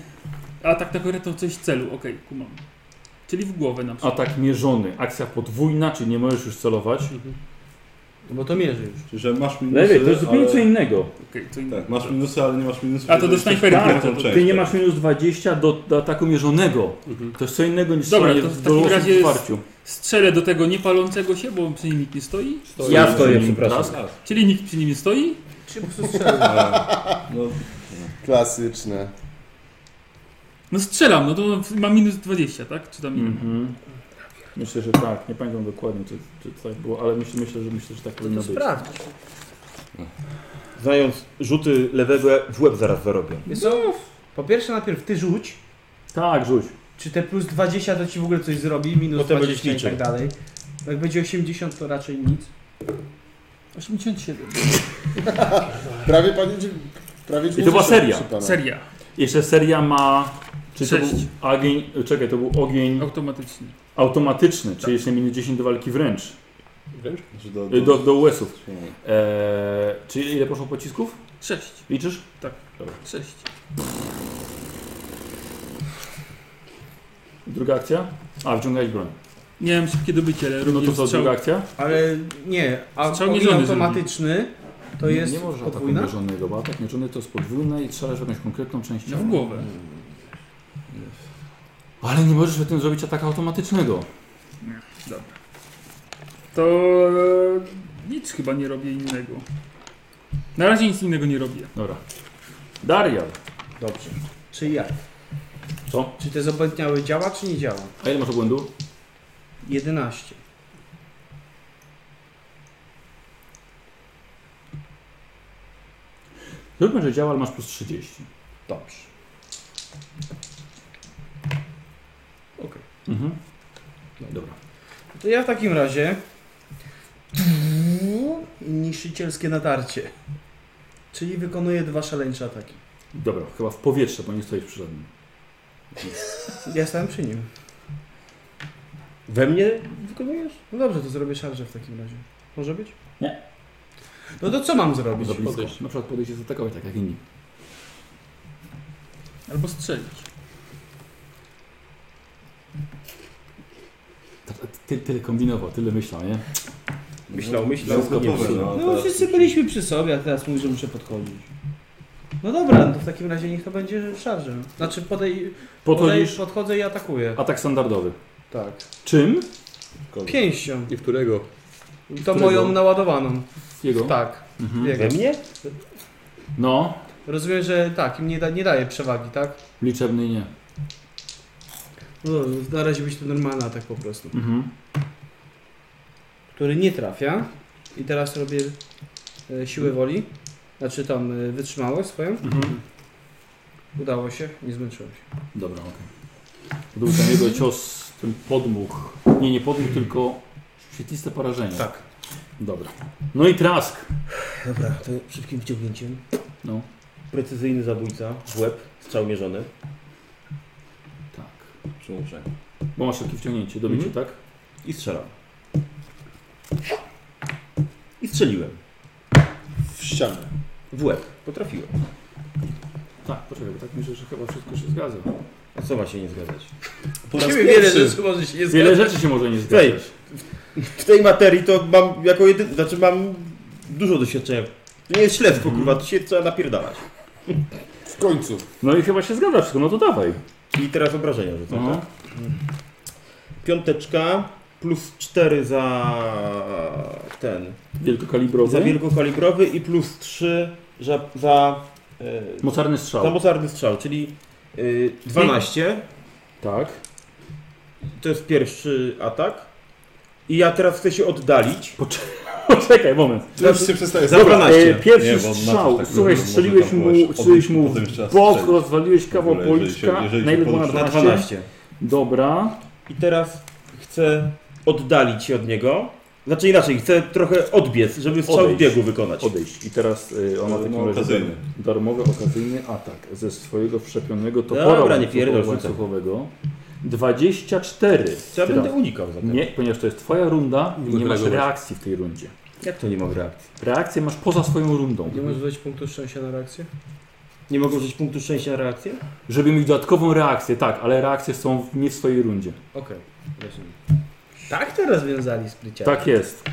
Atak na korę to coś w celu, okej, kumam. Czyli w głowę na przykład. Atak mierzony, akcja podwójna, czyli nie możesz już celować. No bo to mierzy już. Że masz minusy, Lepiej, to jest zupełnie ale... co innego. Okej, co innego. Tak, masz minusy, ale nie masz minusów. A to do jeżeli jesteś snajperki. konkretną Tak, to część, Ty nie tak. masz minus 20 do, do ataku mierzonego. Mhm. To jest co innego niż Dobra, strzelanie to w do takim losu razie w jest- otwarciu. Strzelę do tego niepalącego się, bo przy nim nikt nie stoi. Ja stoję, przepraszam. Raz. Czyli nikt przy nim nie stoi. Czy po prostu strzela? No, Klasyczne. No strzelam, no to mam minus 20, tak? Czy tam nie wiem. Mhm. Myślę, że tak. Nie pamiętam dokładnie, czy, czy tak było, ale myślę, myślę, że, myślę, że tak powinno być. Sprawdź. Znając rzuty lewego, ja w łeb zaraz zarobię. Wiesz co? Po pierwsze najpierw ty rzuć. No. Tak, rzuć. Czy te plus 20 to ci w ogóle coś zrobi, minus Potem będziesz 20 i tak liczył. dalej. Jak będzie 80 to raczej nic. 87. Prawie panie... dzie- Prawie I to była 90 seria. przy pana. Seria. Jeszcze seria ma. Czy to Sześć. był ogień. Czekaj, to był ogień Automatycznie. automatyczny, czyli jeszcze minus 10 do walki wręcz. wręcz? że do, Y, Do, do US-ów. No. Eee, czyli ile poszło pocisków? 6. Liczysz? 6. Druga akcja? A, wciągałeś broń. Nie wiem szybkie dobycie, ale No to robię co, strzał. druga akcja? Ale nie, a Strzał ogień mierzony automatyczny to jest Nie możesz ataku podwójna? mierzonego, bo atak mierzony to jest podwójne i strzelasz w jakąś konkretną część ciała. No W głowę. Ale nie możesz w tym zrobić ataku automatycznego. To e, nic chyba nie robię innego. Na razie nic innego nie robię. Dobra. Darial. Dobrze. Czy jak? Co? Czy te zobędniały działa, czy nie działa? A ile masz obłędu? 11. Zróbmy, że działa, ale masz plus 30. Dobrze. Mhm. Dobra. To ja w takim razie niszczycielskie natarcie. Czyli wykonuję dwa szaleńcze ataki. Dobra, chyba w powietrze, bo nie stoisz przy żadnym. Ja stałem przy nim. We mnie? Wykonujesz? No dobrze, to zrobię szarżę w takim razie. Może być? Nie. No to co mam zrobić? Za blisko. Na przykład podejść i zaatakować tak jak inni. Albo strzelić. Ty, tyle kombinował, tyle myślał, nie? Myślał, myślał, Wszystko gotowe, popsuł. no. No wszyscy byliśmy przy sobie, a teraz mówi, że muszę podchodzić. No dobra, no to w takim razie niech to będzie szarże. Znaczy podej... podej Podchodzisz? podchodzę i atakuję. Atak standardowy. Tak. Czym? Pięścią. I którego? To moją naładowaną. Jego? Tak. Mhm. Jego. We mnie? No, Rozumiem, że tak, im nie, da, nie daje przewagi, tak? liczebny nie. No, na razie być to normalny atak po prostu. Mhm. Który nie trafia. I teraz robię e, siłę woli. Znaczy tam e, wytrzymałość swoją. Udało się, nie zmęczyłem się. Dobra, okej. To był ten jego cios, ten podmuch. Nie, nie podmuch, tylko świetliste porażenie. Tak. Dobra. No i trask. Dobra, to szybkim wciągnięciem. No. Precyzyjny zabójca w łeb, strzał mierzony. Tak. Przyłączę. Bo masz takie wciągnięcie, dobicie, Mhm. tak? I strzelam. I strzeliłem. W ścianę. W łeb. Potrafiłem. Tak, poczekaj, bo tak myślę, że chyba wszystko się zgadza. A co ma się nie zgadzać? Po raz Wiele pierwszy. rzeczy może się nie Wiele zgadzać. rzeczy się może nie Tej, zgadzać. tak. w- w tej materii to mam jako jedyny, znaczy mam dużo doświadczenia. To nie jest śledztwo, Mhm. kurwa, to się trzeba napierdalać. W końcu. No i chyba się zgadza wszystko, no to dawaj. I teraz obrażenia rzucam, Mhm. No. tak? Piąteczka plus 4 za ten. Wielkokalibrowy? Mhm. Za wielkokalibrowy i plus 3 za. za e, Mocarny strzał. Za mocarny strzał, czyli y, 12. Tak. To jest pierwszy atak. I ja teraz chcę się oddalić. Poczekaj, moment. To już się przestaje Za Dobra, 12. e, pierwszy Nie, bo on strzał. ma tak, Słuchaj, może strzeliłeś tam mu, kogoś strzeliłeś odbić, mu potem trzeba w bok, strzelić. rozwaliłeś kawał W ogóle, jeżeli się- policzka. jeżeli Na się ile było na podniesie- Na 12? 12. Dobra. I teraz chcę oddalić się od niego. Znaczy inaczej, chcę trochę odbiec, żeby strzał Odejść. w biegu wykonać. Odejść. I teraz y, on ma No, taki okazyjny. darmowy, okazyjny atak ze swojego wszczepionego Dobra, topora nie pierdol, łańcuchowego- rzucam. łańcuchowego. 24. Co ja Teraz- będę unikał zatem. Nie, ponieważ to jest twoja runda i nie masz reagować. reakcji w tej rundzie. Jak to nie mam reakcji? Reakcję masz poza swoją rundą. Nie możesz dać punktu szczęścia na reakcję? Nie mogę użyć punktu szczęścia na reakcję? Żeby mieć dodatkową reakcję, tak, ale reakcje są w, nie w swojej rundzie. Okej, rozumiem. Tak to rozwiązali spryciarze. No tak. Tak jest.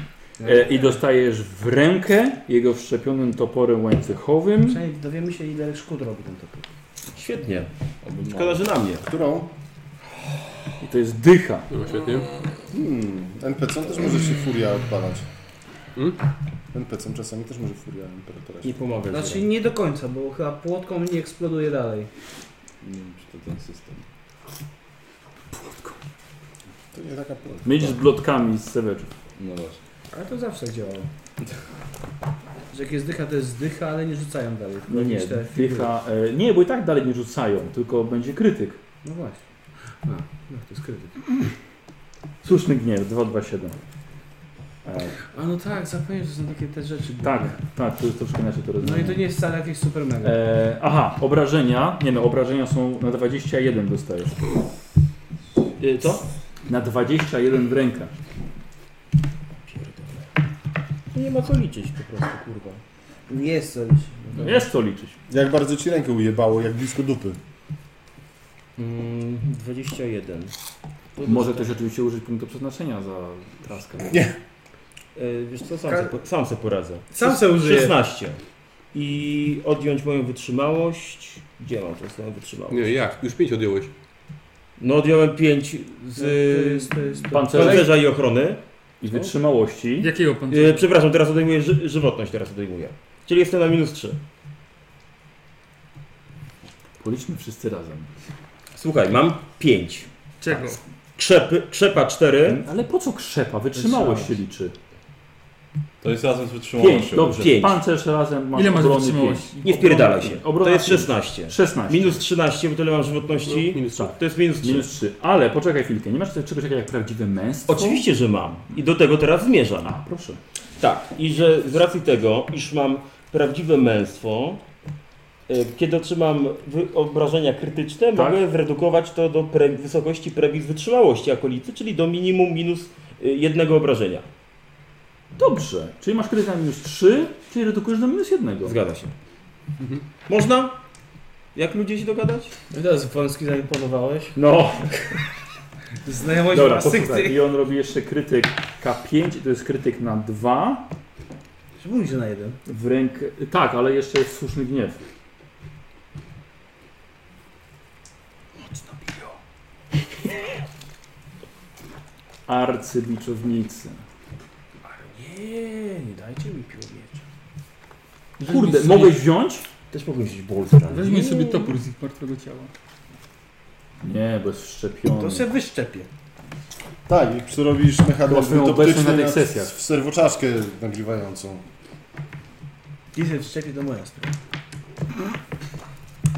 E, I dostajesz w rękę jego wszczepionym toporem łańcuchowym. Przynajmniej dowiemy się ile szkód robi ten topór. Świetnie. Szkoda, że na mnie. Którą? I to jest dycha. No świetnie. Hmm. NPC też może się furia odpalać. NPC czasami też może furia imperatora. Nie pomogę. Znaczy nie do końca, bo chyba płotką nie eksploduje dalej. Nie wiem, czy to ten system. To nie taka plotka. Mieć z blotkami z seweczów. No właśnie. Ale to zawsze tak działało. Że jak jest dycha, to jest dycha, ale nie rzucają dalej. tylko No nie, jakieś te dycha. E, nie, bo i tak dalej nie rzucają, tylko będzie krytyk. No właśnie. A, no to jest krytyk. Słuszny gniew, 227. E, A no tak, zapomniałem, że są takie te rzeczy. tak, tak, to jest troszkę inaczej to No i rozumiem. to nie jest wcale jakieś super mega. E, aha, obrażenia. Nie no, obrażenia są na 21 dostajesz. Y, Co? Na 21 w rękę. Nie ma co liczyć po prostu, kurwa. Nie jest coś. Jest co liczyć. Jak bardzo ci rękę ujebało, jak blisko dupy. Mm, 21. No To Może ktoś oczywiście użyć punktu przeznaczenia za traskę. Y, Wiesz co, sam, se, po- sam se poradzę. Sam se użyję. 16. I odjąć moją wytrzymałość. Gdzie mam tą swoją wytrzymałość? Nie, jak? Już pięć odjąłeś. No odjąłem 5 z to jest, Pancerze pancerza i ochrony. i wytrzymałości. Jakiego pan? Y, przepraszam, teraz odejmuję ży żywotność, teraz odejmuję. Czyli jestem na minus 3. Policzmy wszyscy razem. Słuchaj, mam 5. Czego? Krzepy, krzepa 4, Ale po co krzepa? Wytrzymałość się liczy. To jest razem z wytrzymałością. 5, dobrze. Pięć. Pancerz razem masz Ile masz obrony wytrzymałości? nie wpierdala się. Obrona To jest pięć. 16. 16. Minus 13, bo tyle mam żywotności. Minus trzy. To jest minus 3. Minus 3. Ale poczekaj chwilkę, nie masz tutaj czegoś takiego jak prawdziwe męstwo? Oczywiście, że mam. I do tego teraz zmierzam. A, proszę. Tak, i że z racji tego, iż mam prawdziwe męstwo, y, kiedy otrzymam wy- obrażenia krytyczne, Tak. mogę zredukować to do pre e, wysokości premis wytrzymałości akolicy, czyli do minimum minus y, jednego obrażenia. Dobrze, czyli masz krytyk na minus 3, czyli redukujesz do minus 1. Zgadza się. Mhm. Można? Jak ludzie się dogadać? No teraz Wąski zaimponowałeś. No. Znajomość Dobra, pasykty. posłuchaj. I on robi jeszcze krytyk K5, to jest krytyk na 2. Mówi się na jeden. W rękę. Tak, ale jeszcze jest słuszny gniew. Mocno biją. Arcybiczownicy. Nie, nie dajcie mi piłomiecza. Kurde, mogłeś wziąć? Też mogłem wziąć bolca. Weźmij sobie topór z ich martwego ciała. Nie, bo jest wszczepiony. To se wyszczepię. Tak, i przerobisz Chyba mechanizm swoją obecność na na- tych sesjach. w serwoczaszkę nagrzewającą. Jeśli wyszczepię, to moja sprawa.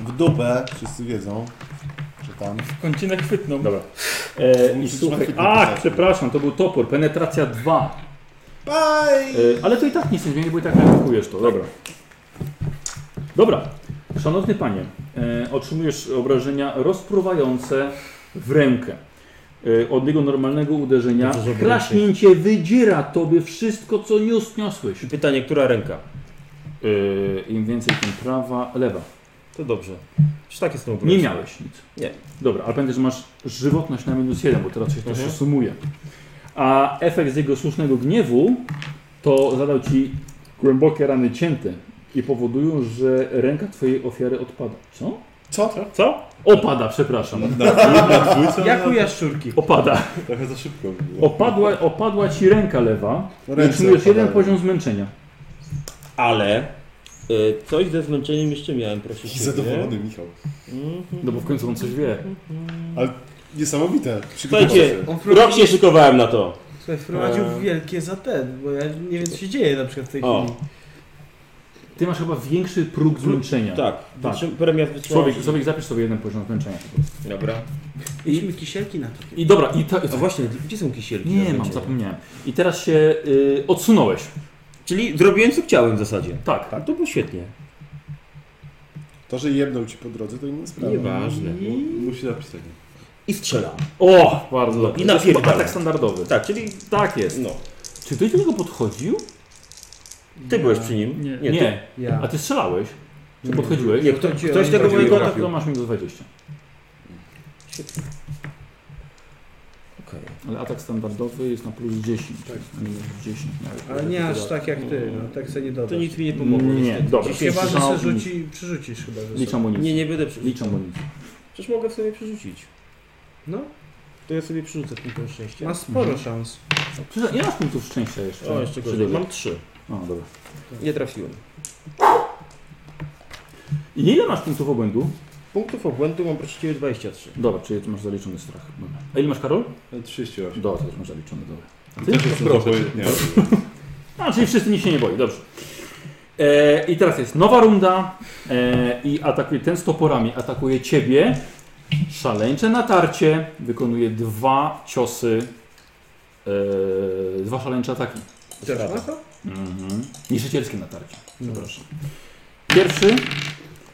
W dupę, wszyscy wiedzą, że tam. Kącinę chwytną. Dobra. E, I Musisz słuchaj. łatwiej A, napisać. przepraszam, to był topór. Penetracja 2. Bye! E, ale to i tak nic nie zmieni, bo i tak redukujesz to. Dobra. Dobra. Szanowny panie, e, otrzymujesz obrażenia rozpruwające w rękę. E, od jego normalnego uderzenia Dobrze, żeby kraśnięcie wydziera tobie wszystko, co niósł, niosłeś. Pytanie, która ręka? E, Im więcej, tym prawa, lewa. To dobrze. Czy tak jest to Nie miałeś nic. Nie. Dobra, ale pamiętaj, że masz żywotność na minus 1, bo teraz się to się sumuje. A efekt z jego słusznego gniewu to zadał ci głębokie rany cięte i powodują, że ręka twojej ofiary odpada. Co? Co? Co? No. Opada, przepraszam. Jak u jaszczurki. Opada. Trochę za szybko było. Opadła, opadła ci ręka lewa. Ręce Otrzymujesz jeden opadają. poziom zmęczenia. e, Ale Y, Coś ze zmęczeniem jeszcze miałem, proszę Jaki ciebie. zadowolony Michał. Mhm. No bo w końcu on coś wie. Niesamowite. Słuchajcie, On wprowadził, rok się szykowałem na to. słuchaj, wprowadził wielkie za ten, bo ja nie wiem co się dzieje na przykład w tej O. Mhm. chwili. Ty masz chyba większy próg zmęczenia. Tak. tak. Wytrzy- Premia wytrzymała. Człowiek, człowiek zapisz sobie jeden poziom zmęczenia. Dobra. Idźmy kisielki na to. I dobra, i ta, A właśnie, gdzie są kisielki? na Nie mam, zmęczenie? zapomniałem. I teraz się y, odsunąłeś. Czyli zrobiłem co chciałem w zasadzie. Tak. Tak, to było świetnie. To, że jedną ci po drodze, to inna sprawa. Nieważne. Musi napisać. No. I strzelam. O! Bardzo dobrze. I To jest napierdalam. Atak standardowy. Tak, czyli Tak jest. no. Czy ktoś do niego podchodził? Ty byłeś przy nim. Nie. Nie. ty- Ja. A ty strzelałeś? Czy podchodziłeś? nie kto, ktoś tego Jeżeli mojego tak, ataku. to masz minus 20. Okej. Ale atak standardowy jest na plus 10. Tak. Minus 10 nawet. Ale nie aż tak jak ty, no tak se nie dodasz. To nic mi nie pomogło. Nie, niestety. dobra. Dzisiaj Chyba, że Przerzucam- se rzuci, przerzucisz chyba, że Liczę se. amunicję. Nie, nie będę przerzucał. Liczę amunicję. Przecież mogę w sobie przerzucić. No, To ja sobie przerzucę tylko szczęście. ma sporo szans. Przecież nie masz punktów szczęścia jeszcze. O, jeszcze Przy gorzej. tym. Mam trzy. O, dobra. Nie trafiłem. I ile masz punktów obłędu? Punktów obłędu mam proszę ciebie 23. Dobra, czyli ty masz zaliczony strach. Dobra. A ile masz Karol? 38. Do, to też masz zaliczony, dobra. A ty? no, Też jestem Proszę. obojętny. A, czyli wszyscy nikt się nie boi, dobrze. E, I teraz jest nowa runda e, i atakuje ten z toporami, atakuje ciebie. Szaleńcze natarcie, wykonuje dwa ciosy, e, dwa szaleńcze ataki. Też ma to? Mhm. Niszczycielskie natarcie, przepraszam. Pierwszy,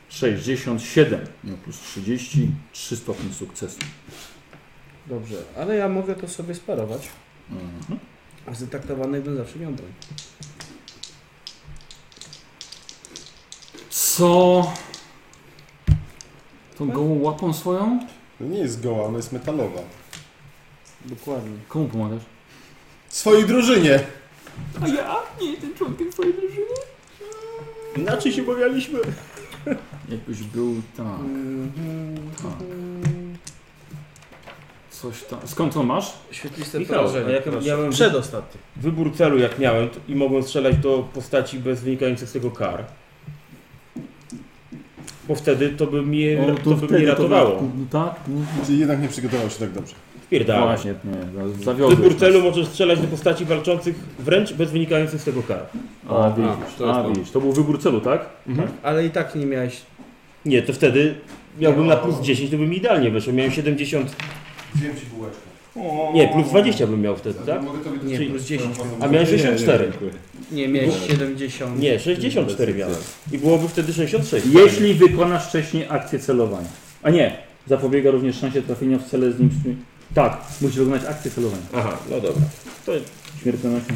67, miał plus 30, 3 stopnie sukcesu. Dobrze, ale ja mogę to sobie sparować. Mhm. A zdetaktowanej bym zawsze miał broń. Co? Tą gołą łapą swoją? To nie jest goła, ona jest metalowa. Dokładnie. Komu pomagasz? Swojej drużynie! A ja? Nie jestem członkiem twojej drużyny. Inaczej się bawialiśmy. Jakbyś był tak. Mhm. tak. Coś tam. Skąd to masz? Świetliste Michał, a porażenie. jak proszę. miałem- Przedostatni. Wybór celu jak miałem to- i mogłem strzelać do postaci bez wynikających z tego kar. Bo wtedy to by mnie, O, to by mnie ratowało. No tak? Czyli jednak nie przygotował się tak dobrze. Wpierdala. Właśnie, no, tak. nie, zawiodłeś. Wybór nas. celu możesz strzelać do postaci walczących wręcz bez wynikających z tego kar. A, A, to widzisz, jest to, a, to. widzisz. to był wybór celu, tak? Ale i tak nie miałeś... Nie, to wtedy miałbym na plus 10, to by mi idealnie weszło. Miałem 70, Wziąłem ci bułeczkę. nie, plus 20 bym miał wtedy, tak? Mogę tobie Nie, plus 10. A miałem 64. Nie, miałeś 70. Nie, 64 miałem. I byłoby wtedy 66. Jeśli wykonasz wcześniej akcję celowania. A nie, zapobiega również szansie trafienia w cele z nim. Tak, musisz wykonać akcję celowania. Aha, no dobra. To śmiertelnością.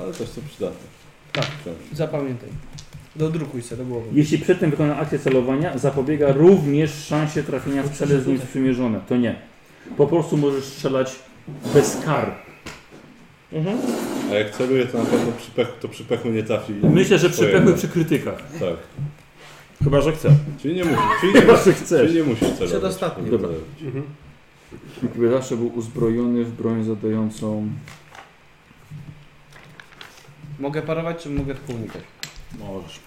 Ale też to przydatne. Tak, zapamiętaj. Dodrukuj sobie do głowy. Jeśli przed tym wykona akcję celowania, zapobiega również szansie trafienia w cele z nim sprzymierzone. To nie. Po prostu możesz strzelać bez kar. A jak celuję, to na pewno przy pechu, to przy pechu nie trafi. Myślę, że przy Pojemne. pechu i przy krytykach. Tak. Chyba, że chce. Czyli nie musisz. Czyli nie, Chyba, że musisz- chcesz. czyli nie musisz celować. Przedostatni. Dobra. Gdyby zawsze był uzbrojony w broń zadającą. Mogę parować, czy mogę tylko unikać? Możesz.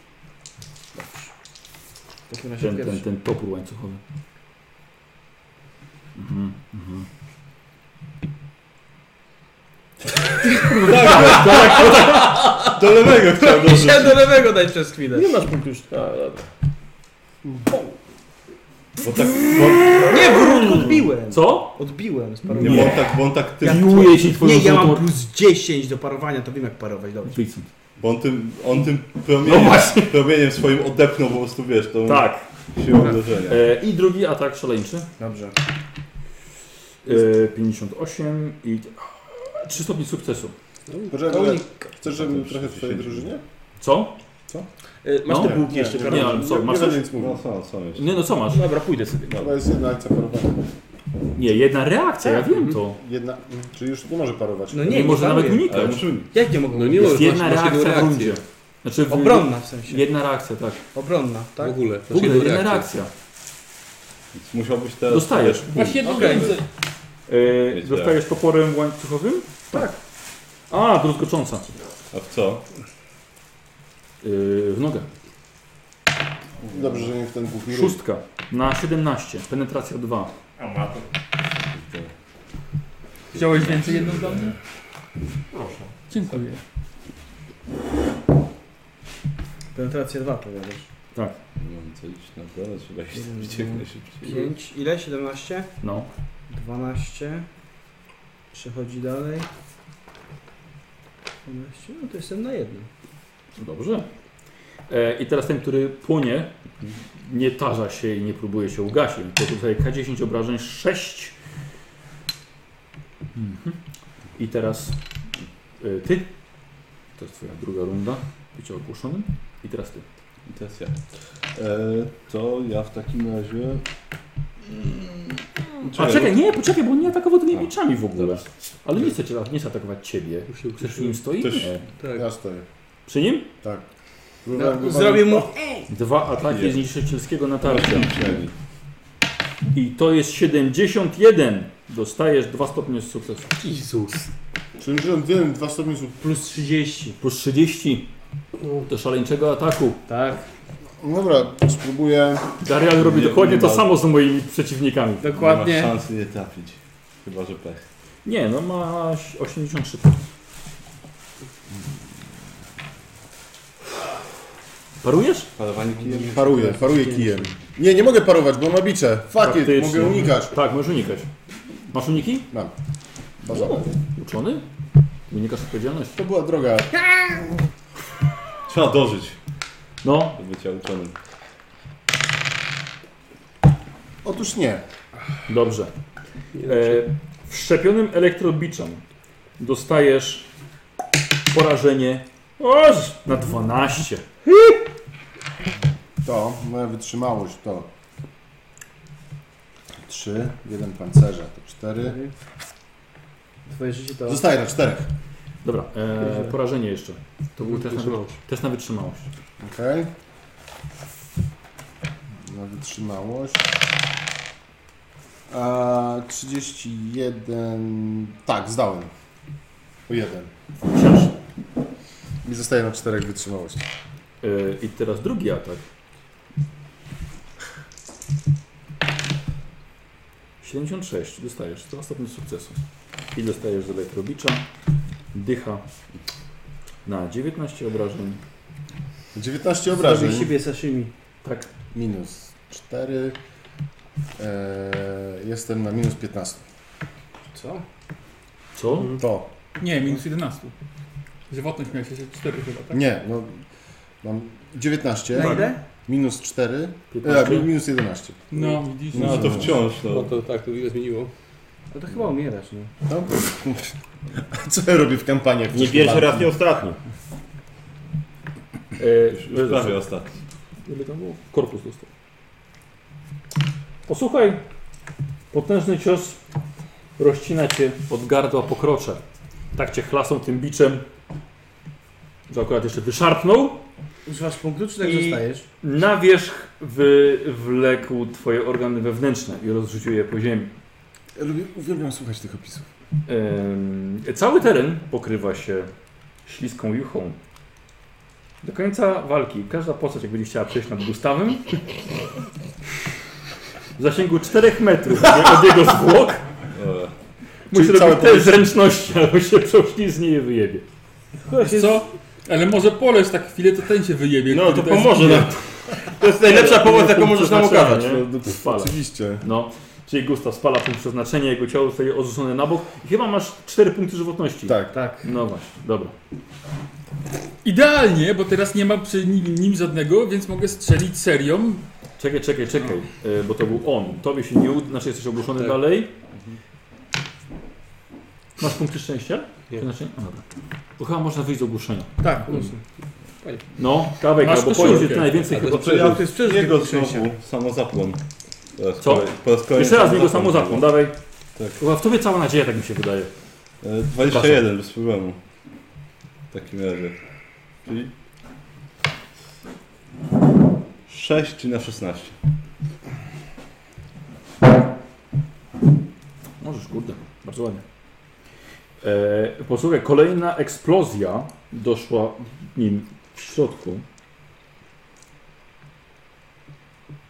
W takim razie Ten, ten, pierwszy. ten topór łańcuchowy. Mhm, mhm. Tak, tak, tak. Do lewego chciał dorzucić. Chciałem do lewego dać przez chwilę. Nie masz punktu już. A, dobra. Bo tak, Nie, bo odbiłem. Co? Odbiłem z Nie, parowania. bo on tak, bo on tak tym... Piłuje ci twoją Nie, ja mam złotą- plus 10 do parowania, to wiem jak parować, dobrze. Bo on tym, on tym promieniem, promieniem swoim odepnął po prostu, wiesz, tą Tak. siłą uderzenia. E, I drugi atak szaleńczy. Dobrze. E, 58 i. 3 stopnie sukcesu. Poczekaj, ale chcesz, żebym trochę w twojej drużynie? Co? Co? Masz No. te bułki jeszcze, Nie, ale co, masz nie coś? będę nic mówił. No co, co jeszcze? Nie no, co masz? Dobra, pójdę sobie. Chyba jest jedna akcja parowania. Nie, jedna reakcja, ja wiem to. Jedna, czyli już nie może parować. No Nie, nie, może nawet paruję. unikać. Jak nie mogę? No nie unikać? Jest możesz, jedna masz, masz jedną reakcja w reakcję. rundzie. Znaczy w- Obronna w sensie. Jedna reakcja, tak. Obronna, tak? W ogóle. W ogóle jedna reakcja. Więc Musiałbyś teraz... Dostajesz. Właśnie jedną Okej. okay. E, Mieć dostajesz toporem łańcuchowym? Tak. A, druzgocząca. A w co? Yy, w nogę. Dobrze, że nie w ten głupi ruch. Szóstka na 17. Penetracja 2. Wziąłeś więcej jedną dla mnie? Proszę. Dziękuję. Penetracja 2 powiadasz. Nie wiem, co iść na dole, trzeba iść tam ucieknę szybciej. 5, ile? 17? No. 12. Przechodzi dalej. 12. No to jestem na jednym. Dobrze. E, I teraz ten, który płonie, nie tarza się i nie próbuje się ugasić. To tutaj K10 obrażeń 6. Mhm. I teraz e, ty. To jest twoja druga runda. Bycie ogłoszonym. I teraz ty. I teraz ja. E, to ja w takim razie... A czekaj, nie, poczekaj, bo on nie atakował tymi A. mieczami w ogóle. Ale nie chce, cię, nie chce atakować ciebie. Chcesz przy nim stoi? Ktoś- Nie. Tak. Ja stoję. Przy nim? Tak. No, zrobię mu... Dwa ataki Nie. zniszczycielskiego Tarcia. natarcia. I to jest 71. Dostajesz dwa stopnie sukcesu. Jezus. Czyli że wiem, dwa stopnie są... Plus 30. Plus 30 do szaleńczego ataku. Tak. No Dobra, spróbuję... Darial robi Nie, dokładnie nie to ma- samo z moimi przeciwnikami. Nie ma Dokładnie. szansy nie trafić. Chyba, że pech. Nie, no masz 83. Parujesz? Parowanie kijem? Paruję, paruję kijem. Nie, nie mogę parować, bo ma bicze. Fuck it, Faktycznie. mogę unikać. Tak, możesz unikać. Masz uniki? Mam. Poza- Uczony? Unikasz odpowiedzialności. To była droga. Trzeba dożyć No, do bycia uczonym. Otóż nie. dobrze. E, wszczepionym elektrobiczem dostajesz porażenie o, na 12. To, moja wytrzymałość to... 3, 1 pancerza, to 4. Twoje życie to... Zostaje na 4. Dobra, e, porażenie jeszcze. To był test na, test na wytrzymałość. Okej. Na wytrzymałość. A, 31. Tak, zdałem. O jeden. Siasz. I zostaje na czterech wytrzymałość. E, I teraz drugi atak. 76, dostajesz 100 stopni sukcesu. I dostajesz z elektrobicza. Dycha na 19 obrażeń. 19 Zrobię obrażeń. siebie sashimi. Tak, Minus 4. Eee, jestem na minus 15. Co? co? To. Nie, minus 11. Żywotność miałeś jeszcze 4 chyba, tak? Nie, no. Mam 19. Na ile? Minus 4. E, 15. minus 11. No, widzisz. No to wciąż, No no. to tak, to wiele zmieniło. No to chyba umierasz, nie? No. Co ja robię w kampaniach? Nie pierwszy raz, nie ostatni. E, Prawie ostatni. Ile tam było? Korpus dostał. Posłuchaj, potężny cios rozcina cię od gardła pokrocze. Tak cię chlasą tym biczem, że akurat jeszcze wyszarpnął. Używasz punktu, czy tak I- zostajesz? Na wierzch wy, wlekł twoje organy wewnętrzne i rozrzucił je po ziemi. Lubię, uwielbiam słuchać tych opisów. Em, cały teren pokrywa się śliską juchą. Do końca walki każda postać, jak będzie chciała przejść nad Gustawem, w zasięgu 4 metrów od jego zwłok, musi Czyli całe robić te powierzchnie. zręczności, albo się prześlizgnie i wyjebie. Wiesz co? Ale może poleć tak chwilę, to ten się wyjebie. No to który jest- pomoże nam. To jest najlepsza pomoc, jaką możesz nam okazać. Nie? no, Spala. Oczywiście. No, czyli Gustaw spala punkt przeznaczenia, jego ciało zostaje odrzucone na bok i chyba masz 4 punkty żywotności. Tak. No właśnie, dobra. Idealnie, bo teraz nie ma przy nim, nim żadnego, więc mogę strzelić serią. Czekaj, czekaj, czekaj, e, bo to był on. Tobie się nie uda, znaczy jesteś ogłoszony dalej. Masz punkty szczęścia? Nie. Przeznaczenia? O, Dobra. Bo chyba można wyjść z ogłoszenia. Tak, Hmm. No, dawaj, Masz bo koszulkę. powiem, że ty najwięcej chyba... ja to jest przeżyć Jego tego znowu samozapłon. Po raz Co? kolej- Po raz kolejny Jeszcze raz jego samozapłon samo zapłon, był. dawaj. Tak. Chyba w tobie cała nadzieja, tak mi się wydaje. E, 21 bez problemu. W takim razie. Czyli 6 czy na 16. Możesz, kurde, bardzo ładnie. E, posłuchaj, kolejna eksplozja doszła nim w środku.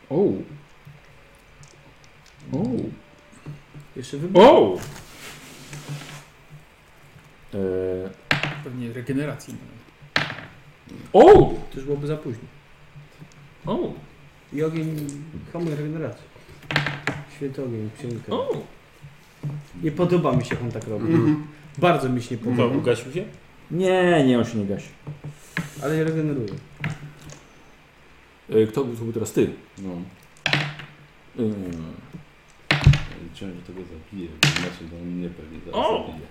O. O. Jeszcze wybuch. O. E, Pewnie regeneracji. o. To już byłoby za późno. O. I ogień hamuje regenerację. Święty ogień, księga. O. Nie podoba mi się, jak on tak robi. Bardzo mi się nie podoba. Co, ugasił się? Nie, nie, on się nie gasi. Ale ja regeneruję. E, kto był, to był teraz ty? No. E, Liczyłem, że tego zabiję, bo inaczej to on mnie pewnie zaraz O! zabije.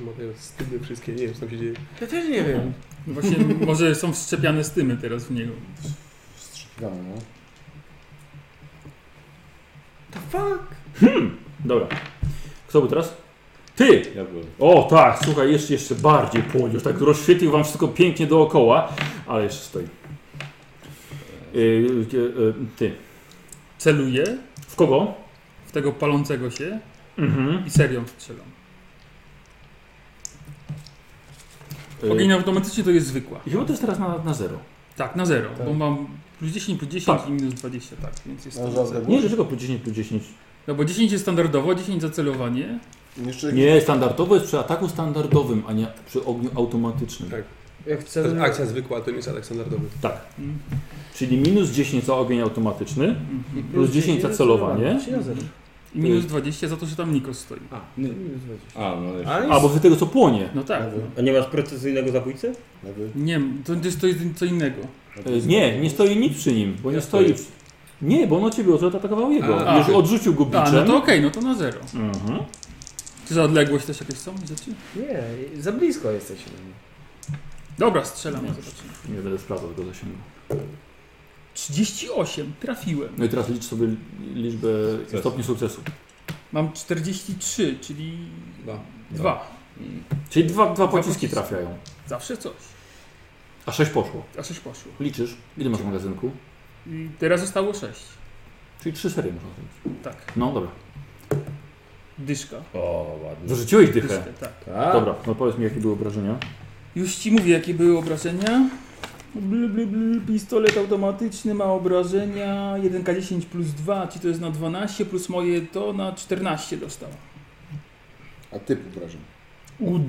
Mówię, wstydy wszystkie, nie wiem co tam się dzieje. Ja też nie wiem. No Właśnie może są wszczepiane stymy teraz w niego. Wstrzykiwamy, no. The fuck? dobra. Kto był teraz? Ty! Ja byłem. O tak, słuchaj, jeszcze, jeszcze bardziej płoniesz, tak rozświetlił wam wszystko pięknie dookoła, ale jeszcze stoi. E, Yy, yy, yy, ty. Celuję W kogo? w tego palącego się Mhm. i serią strzelam. E, Y- Ogień automatycznie to jest zwykła. I chyba to jest teraz na, na zero. Tak, na zero, Tak. bo mam plus 10, plus 10 i minus 20, tak, więc jest No, to na za zero. Nie, dlaczego plus 10, plus 10? No bo 10 jest standardowo, 10 zacelowanie. Jeszcze Nie, standardowo jest przy ataku standardowym, a nie przy ogniu automatycznym. Tak. Jak To jest chcę. akcja zwykła, to nie jest atak standardowy. Czyli minus 10 za ogień automatyczny, Mhm. plus 10 za celowanie. Czy ja zero? I Y- minus 20 za to, że tam Nikos stoi. Nie. A, no jeszcze. A, bo z tego co płonie. No tak. Lewy, A nie masz precyzyjnego zabójcy? lewy. Nie, to jest to jest co innego. E, Nie, nie stoi nic przy nim, bo nie stoi... w- Nie, bo on o ciebie odszedł, atakował jego. A, Już a. odrzucił go A, no biczem. to okej, no to na zero. Mhm. Czy za odległość też jakieś są rzeczy? Nie, za blisko jesteś. ode mnie. Dobra, strzelam, ja zobaczymy. Nie będę sprawdzał tego zasięgu. 38, trafiłem. No i teraz licz sobie liczbę stopni sukcesu. Mam 43, czyli Dwa. dwa. Czyli dwa, dwa pociski pociski. trafiają. Zawsze coś. A sześć poszło. A coś poszło. Liczysz, ile masz w magazynku? I teraz zostało 6. Czyli trzy serie można zrobić. Tak. No dobra. Dyszka. O, ładnie. Dorzuciłeś dychę. Dyszkę, tak. Dobra, no powiedz mi jakie były obrażenia. Już ci mówię, jakie były obrażenia. Blu, blu, blu, pistolet automatyczny ma obrażenia 1K10 plus 2, ci to jest na 12, plus moje to na 14 dostał. A typ obrażeń. Ud.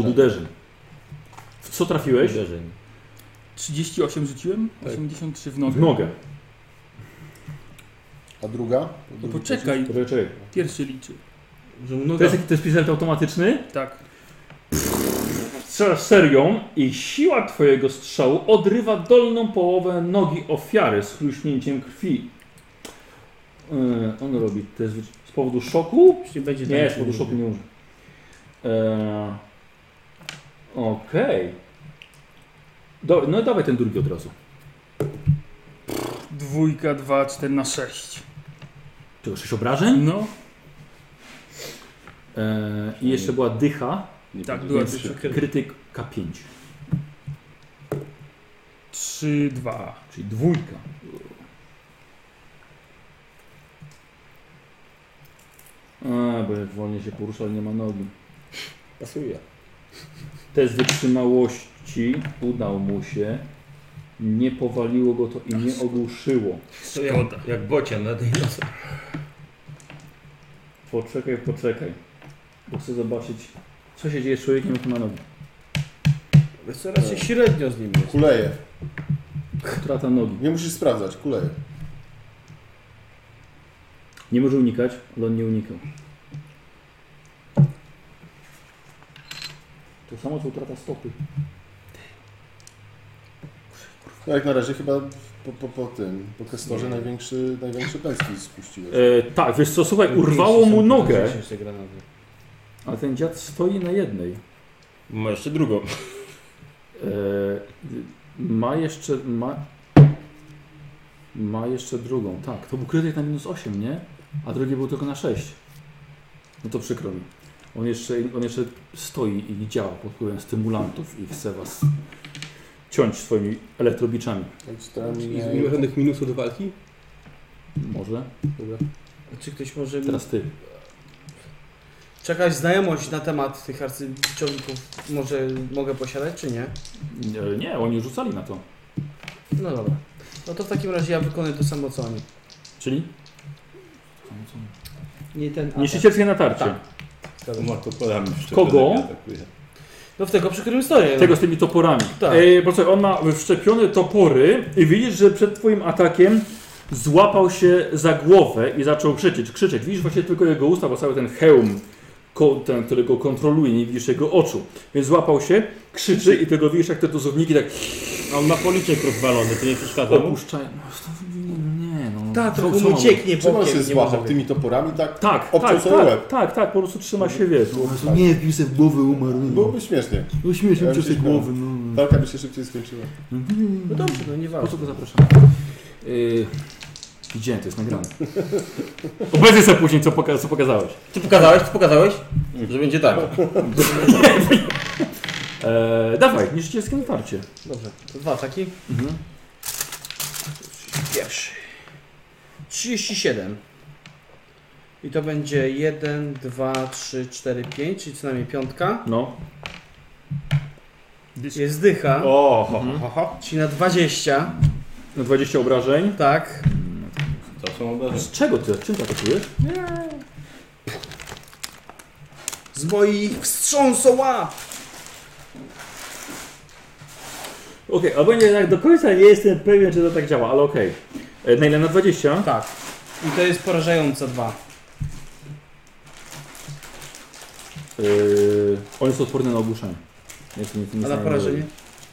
Od uderzeń. W co trafiłeś? Uderzeń. 38 rzuciłem, Tak. 83 w W nogę. nogę. A druga? No Drugi poczekaj, Poczekaj, czekaj. pierwszy liczy. Że mu noga To jest, jaki- to jest pistolet automatyczny? Tak. Strzelasz serią i siła twojego strzału odrywa dolną połowę nogi ofiary z chruśnięciem krwi. E, on robi test wyczy- z powodu szoku? Jeśli będzie nie, tak, z powodu nie szoku nie użył. E, Okej. Do, no dawaj ten drugi od razu. Dwójka, dwa, cztery na sześć. Czego, sześć obrażeń? No. E, I jeszcze była dycha. Tak, była więc dycha. Krytyk K5. Trzy, dwa. Czyli dwójka. A, bo jak wolnie się porusza, ale nie ma nogi. Pasuje. Test wytrzymałości udał mu się. Nie powaliło go to i nie ogłuszyło. To jak, jak bocian na tej nocy. Poczekaj, poczekaj. Bo chcę zobaczyć, co się dzieje z człowiekiem, jak ma nogi. Wiesz co, raczej średnio z nim jest. Kuleje. Strata nogi. Nie musisz sprawdzać, kuleje. Nie może unikać, ale on nie unikał. To samo co utrata stopy. No jak na razie chyba po, po, po tym, po Kestorze największy, największy pęski spuściłeś. E, tak, wiesz co, słuchaj, urwało mu nogę. Ale ten dziad stoi na jednej. Ma jeszcze drugą. E, ma jeszcze. Ma, ma jeszcze drugą, tak. To był krytyk na minus 8, nie? A drugi był tylko na 6. No to przykro mi. On jeszcze, on jeszcze stoi i działa pod wpływem stymulantów i chce was ciąć swoimi elektrobiczami. I z mimo żadnych minusów do walki? Może. Dobra. A Czy ktoś może mi Teraz ty. jakaś znajomość na temat tych arcyciągników może mogę posiadać, czy nie? E, Nie, oni rzucali na to. No dobra. No to w takim razie ja wykonuję to samo co oni. Czyli? Nie ten atak. Niszczycielskie natarcie. Tak. Markoporami Kogo? atakuje. No w tego, przy którym stoję. Tego z tymi toporami. Tak. Ej, bo co, on ma wszczepione topory i widzisz, że przed twoim atakiem złapał się za głowę i zaczął krzyczeć, krzyczeć. Widzisz właśnie tylko jego usta, bo cały ten hełm, ko- ten, który go kontroluje, nie widzisz jego oczu. Więc złapał się, krzyczy i tego widzisz, jak te dozowniki tak A on ma policzek rozwalony, to nie przeszkadza mu? opuszczają. No, to, nie no. Ta, Co- trochę co mu mam- cieknie Czym on się bokiem, nie złapał? mogę. Tymi toporami tak? Tak, Obciął tak, sobie tak, łeb. tak, tak, po prostu trzyma się wiesz. no. tak. Nie, pił sobie w głowę, umarł. No, Byłoby śmiesznie. no śmiesznie Ja mi się myślę, tej że- głowy, no. Walka by się szybciej skończyła. No dobrze, no nie Po ważne. co go zapraszam? Yy, widziałem, to jest nagrane. Obecnie sobie później, co, poka- co pokazałeś. Ty pokazałeś, ty pokazałeś? Że będzie tak. Eee, dawaj, niszczycielskie natarcie. Dobrze, to dwa ataki. Mhm. Pierwszy. 37. I to będzie 1, 2, 3, 4, 5, czyli co najmniej piątka. No. Jest dycha, O, ho, Mhm. ho, ho. czyli na 20. Na 20 obrażeń. Tak. To są obrażenia. Z czego ty? Czym ty atakujesz? Z moich wstrząsoła! Okej, albo nie, tak do końca nie jestem pewien, czy to tak działa, ale okej. E, Na ile? Na 20? Tak. I to jest porażająca dwa. Yy, on jest odporny na ogłuszenie. Jest, nic, nic A na nie porażenie? robi.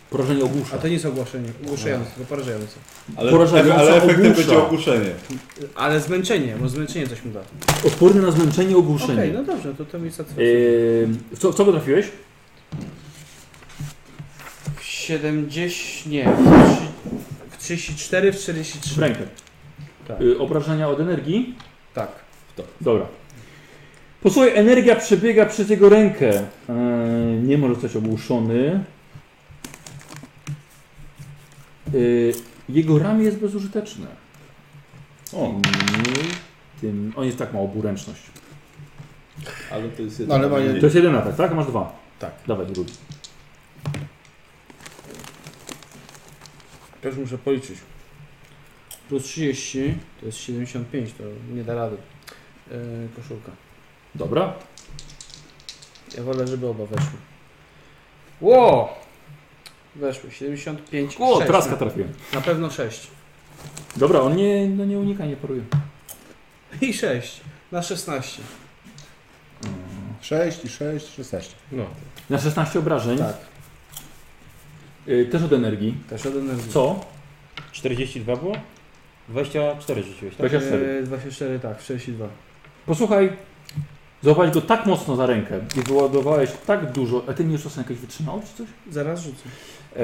Porażenie ogłusza. A to nie jest ogłoszenie. Ogłuszające, tylko porażające. Ale, Porażająca ale efektem ogłusza. będzie ogłuszenie. Ale zmęczenie, bo zmęczenie coś mu da. Odporny na zmęczenie Okej, ogłuszenie. no dobrze, to to mi satysfakcjonuje. Yy, w co, w co go trafiłeś? 70, nie, w trzy- w 34, w W 43. rękę. Tak. Y, obrażenia od energii? Tak. Dobra. Posłuchaj, energia przebiega przez jego rękę. Eee, nie może zostać ogłuszony. Eee, jego ramię jest bezużyteczne. O. Tym, on jest tak ma oburęczność. Ale to jest No, ale ma mniej. To jest jeden atak, tak? Masz dwa. Tak. Dawaj drugi. Też muszę policzyć. Plus 30, to jest 75, to nie da rady. Yy, koszulka. Dobra. Ja wolę, żeby oba weszły. Ło! Weszły, 75, O, sześć. traska na, trafiłem. na pewno 6. Dobra, on nie, no nie unika, nie paruje. I 6, na 16. 6 i 6, 16. Na 16 obrażeń. Tak. Eee, też od energii. Też od energii. Co? 42 było? 24 rzuciłeś, tak? 24. E, 24, tak, 62. Posłuchaj, złapałeś go tak mocno za rękę i wyładowałeś tak dużo, a ty nie rzucę jakieś wytrzymał czy coś? Zaraz rzucę. Eee,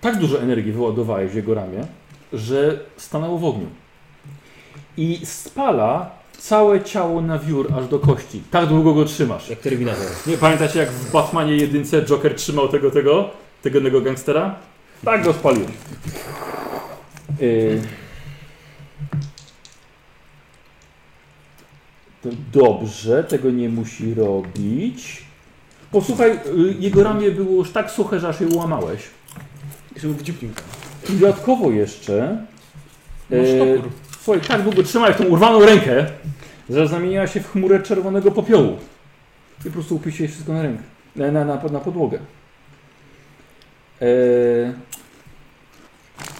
tak dużo energii wyładowałeś w jego ramię, że stanęło w ogniu. I spala całe ciało na wiór aż do kości. Tak długo go trzymasz. Jak terminator. Nie pamiętacie jak w Batmanie jedynce Joker trzymał tego tego, tego innego gangstera? Tak go spaliłeś. Yy. To Dobrze, tego nie musi robić. Posłuchaj, yy, jego ramię było już tak suche, że aż je łamałeś. Jeszcze mu wdziupnił. I dodatkowo jeszcze. Masz E, topór. słuchaj, tak długo trzymałeś tą urwaną rękę, że zamieniła się w chmurę czerwonego popiołu. I po prostu upuściłeś wszystko na rękę. Na, na, na, na podłogę. E,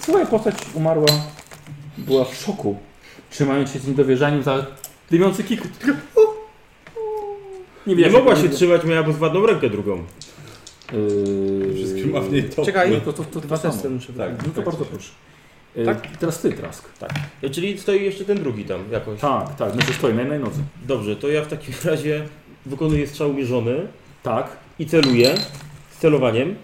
twoja postać umarła. Była w szoku. Trzymając się z niedowierzaniem za dymiący kikut. Nie, wiedziałem, mogła jak się to- trzymać, miała zwadną rękę drugą. Yy, Wszystkim ma w niej topór. Czekaj, to, to, to dwa testy testy muszę Tak, no to bardzo proszę. E, Tak? Teraz ty, Trask. E, Czyli stoi jeszcze ten drugi tam jakoś. Tak, tak, znaczy stoi na jednej nodze. Dobrze, to ja w takim razie wykonuję strzał mierzony Tak, i celuję z celowaniem.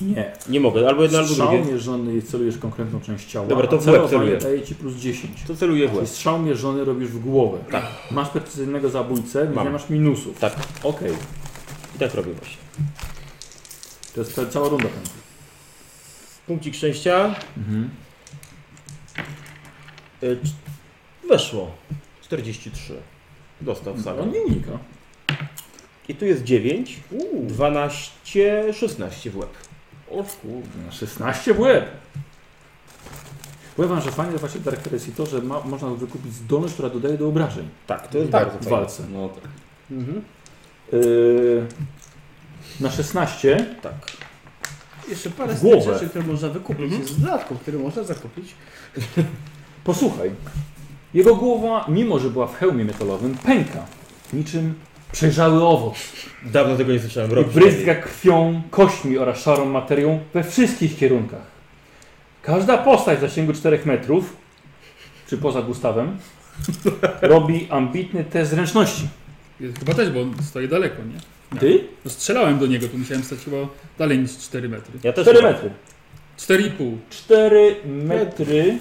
nie. Nie mogę, albo jedno, albo strzał drugie. mierzony i celujesz konkretną część ciała. Dobra, to a w łeb celowanie celuję. daje ci plus 10. To celuję w Czyli łeb. strzał mierzony robisz w głowę. Tak. Masz precyzyjnego zabójcę, więc Mam. nie masz minusów. Tak. Okej, I tak robię właśnie. to jest ca- cała runda. pędzi. Punkcik szczęścia. Mhm. E, cz- Weszło. 43. Dostał w No salę. nie unika. I tu jest 9, 12, 16 w łeb. O kurde, 16 w łeb. Powiem wam, że fajne właśnie w Dark Forest jest to, że ma, można wykupić zdolność, która dodaje do obrażeń Tak, to jest Tak, bardzo w fajne. walce. No tak. Mhm. Yy, na 16 Tak. Jeszcze parę z Głowę. tych rzeczy, które można wykupić, Mhm. jest w dodatku, które można zakupić. Posłuchaj. Jego głowa, mimo że była w hełmie metalowym, pęka. Niczym przejrzały owoc. Dawno tego nie słyszałem. I Robisz. bryzga krwią, kośćmi oraz szarą materią we wszystkich kierunkach. Każda postać w zasięgu 4 metrów, czy poza Gustawem, robi ambitny test zręczności. Chyba też, bo on stoi daleko, nie? Ty? No strzelałem do niego, to musiałem stać chyba dalej niż 4 metry. Ja też 4 chyba. metry. 4,5. 4 metry.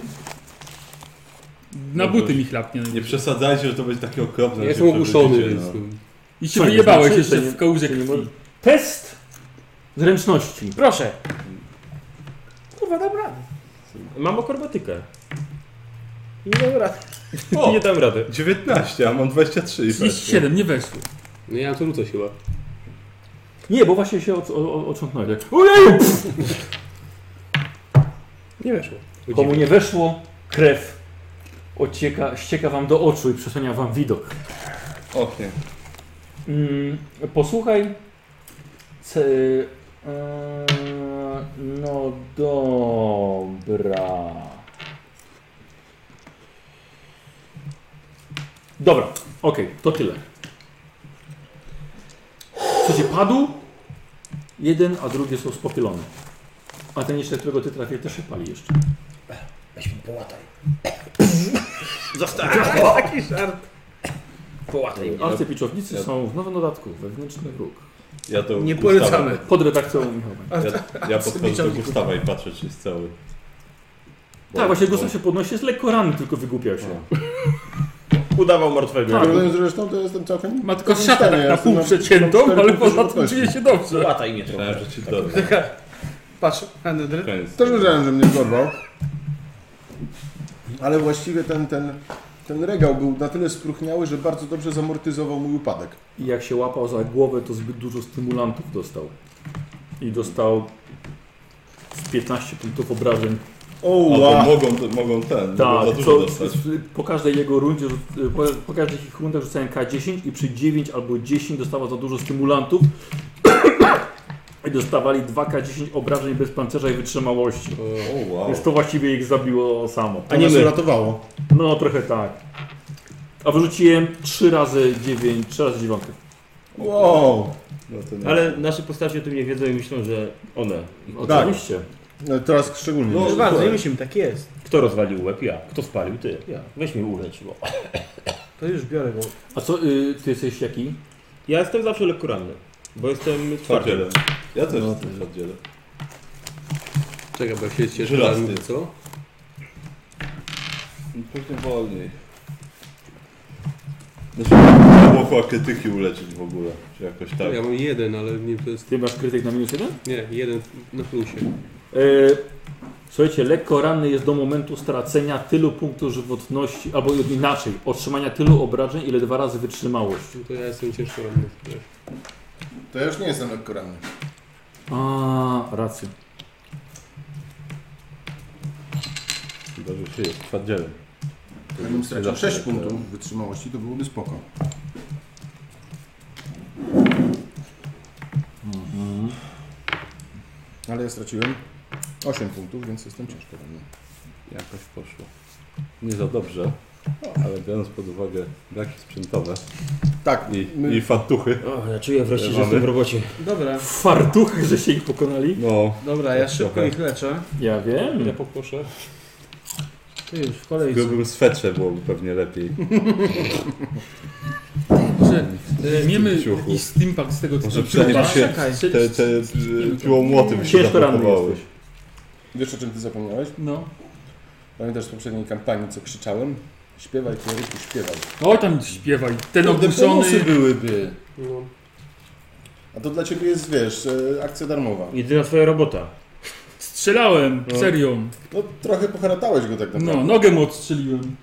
Na buty mi chlapnie. No Nie przesadzajcie, że to będzie takie okropne. Ja że się jestem ogłuszony, przebudzicie, więc... no. I się Co, nie wyjebałeś znaczy, jeszcze że nie- w kałuże że nie krwi. może- Test zręczności. Proszę, Kurwa, dobra. mam akrobatykę. Nie dam rady. nie dam rady. 19, no. a mam tak. 23. i weszło. 37, nie weszło. No ja mam to rzucę chyba. Nie, bo właśnie się od, o, tak. o, otrząsnąłeś. jak Ojej! Pff! Nie weszło. O Komu dziwo. nie weszło, krew ocieka, ścieka wam do oczu i przesłania wam widok. Och nie. Mm, posłuchaj. C, yy, no dobra. Dobra, okej, to tyle. Słuchajcie, padł jeden, a drugie są spopylone. A ten jeszcze, którego ty trafiłeś, też się pali jeszcze. Weź mi połataj. Zostań. Taki żart. Połataj mnie. Arcypiczownicy są w nowym dodatku, wewnętrzny wróg. Ja to Nie Gustawa- polecamy. Pod redakcją Michała. Ja, ja podchodzę do Gustawa i patrzę, czy jest cały. Bo- Tak, właśnie bo- Gustaw się podnosi, jest lekko ranny, tylko wygłupiał się. Udawał martwego. No, Tak. Porównując zresztą, to jestem całkiem... Ma tylko całkiem szatę stanie, tak ja na jestem pół na przeciętą, cztery ale punkty poza tym żywotności. czuje się dobrze. Połataj mnie trochę. Myślałem, że ci dodam. Tak. Patrz, Andrzej. Koniec. Też wiedziałem, że mnie dorwał. Ale właściwie ten, ten, ten regał był na tyle spruchniały, że bardzo dobrze zamortyzował mój upadek. I jak się łapał za głowę, to zbyt dużo stymulantów dostał. I dostał z 15 punktów obrażeń. Albo Oła! mogą, mogą ten, mogą za Tak, dużo co, dostać. po każdej jego rundzie, rzu- po, po każdych ich rundach rzucałem K10 i przy 9 albo 10 dostała za dużo stymulantów. I dostawali 2K10 obrażeń bez pancerza i wytrzymałości. O wow. Więc to właściwie ich zabiło samo. To nas uratowało. No trochę tak. A wyrzuciłem 3 razy 9, 3 razy 9. Wow! No to nie. Ale nasze postacie o tym nie wiedzą i myślą, że one. Oczywiście. E, No, teraz szczególnie. No, myślę. bardzo, nie myślimy, tak jest. Kto rozwalił łeb? Ja. Kto spalił? Ty. Ja. Weź mi ulecz, bo... To już biorę go. A co, y, ty jesteś jaki? Ja jestem zawsze lekko ranny, bo jestem czwarty. Oddzielę. Ja też No, jestem oddzielę. Czekaj, bo się cieszę. Żelazny. ranny, Co? Pewnie wolniej. Znaczy, nie było chyba krytyki uleczyć w ogóle, czy jakoś tak. Ja mam jeden, ale nie wiem, to jest... Ty masz krytyk na minus jeden? Nie, jeden na plusie. Y, Słuchajcie, lekko ranny jest do momentu stracenia tylu punktów żywotności, albo inaczej, otrzymania tylu obrażeń, ile dwa razy wytrzymałość. No to ja jestem ciężko ranny. To ja już nie jestem lekko ranny. A, racja. Chyba, że się jest twardzielem. Jakbym stracił 6 punktów wytrzymałości, to byłoby spoko. Mhm. Ale ja straciłem 8 punktów, więc jestem ciężko ranny. Jakoś poszło. Nie za dobrze, ale biorąc pod uwagę braki sprzętowe Tak, i, my- i fantuchy, O, ja czuję wreszcie, że Mamy. jestem w robocie. Dobra, W fartuchy, że się ich pokonali? no dobra, ja szybko Trochę. ich leczę. Ja wiem. poproszę. Ty już w w kolejce. grubym swetrze byłoby pewnie lepiej. Że weźmiemy Ciuchu. jakiś steampunk z tego, co Może tam przeniósł przyjdzie. się Czekaj. te, te, te no piło młoty by się Ciężko ranny zablokowały. jesteś. Wiesz o czym ty zapomniałeś? No. Pamiętasz z poprzedniej kampanii, co krzyczałem? Śpiewaj, Pieryku, śpiewaj. O, tam śpiewaj. No, Ten Kurde, bonusy oburzony. byłyby. No. A to dla ciebie jest, wiesz, e, akcja darmowa. Jedyna twoja robota. Strzelałem, serio. No trochę poharatałeś go tak naprawdę. No, nogę mu odstrzeliłem.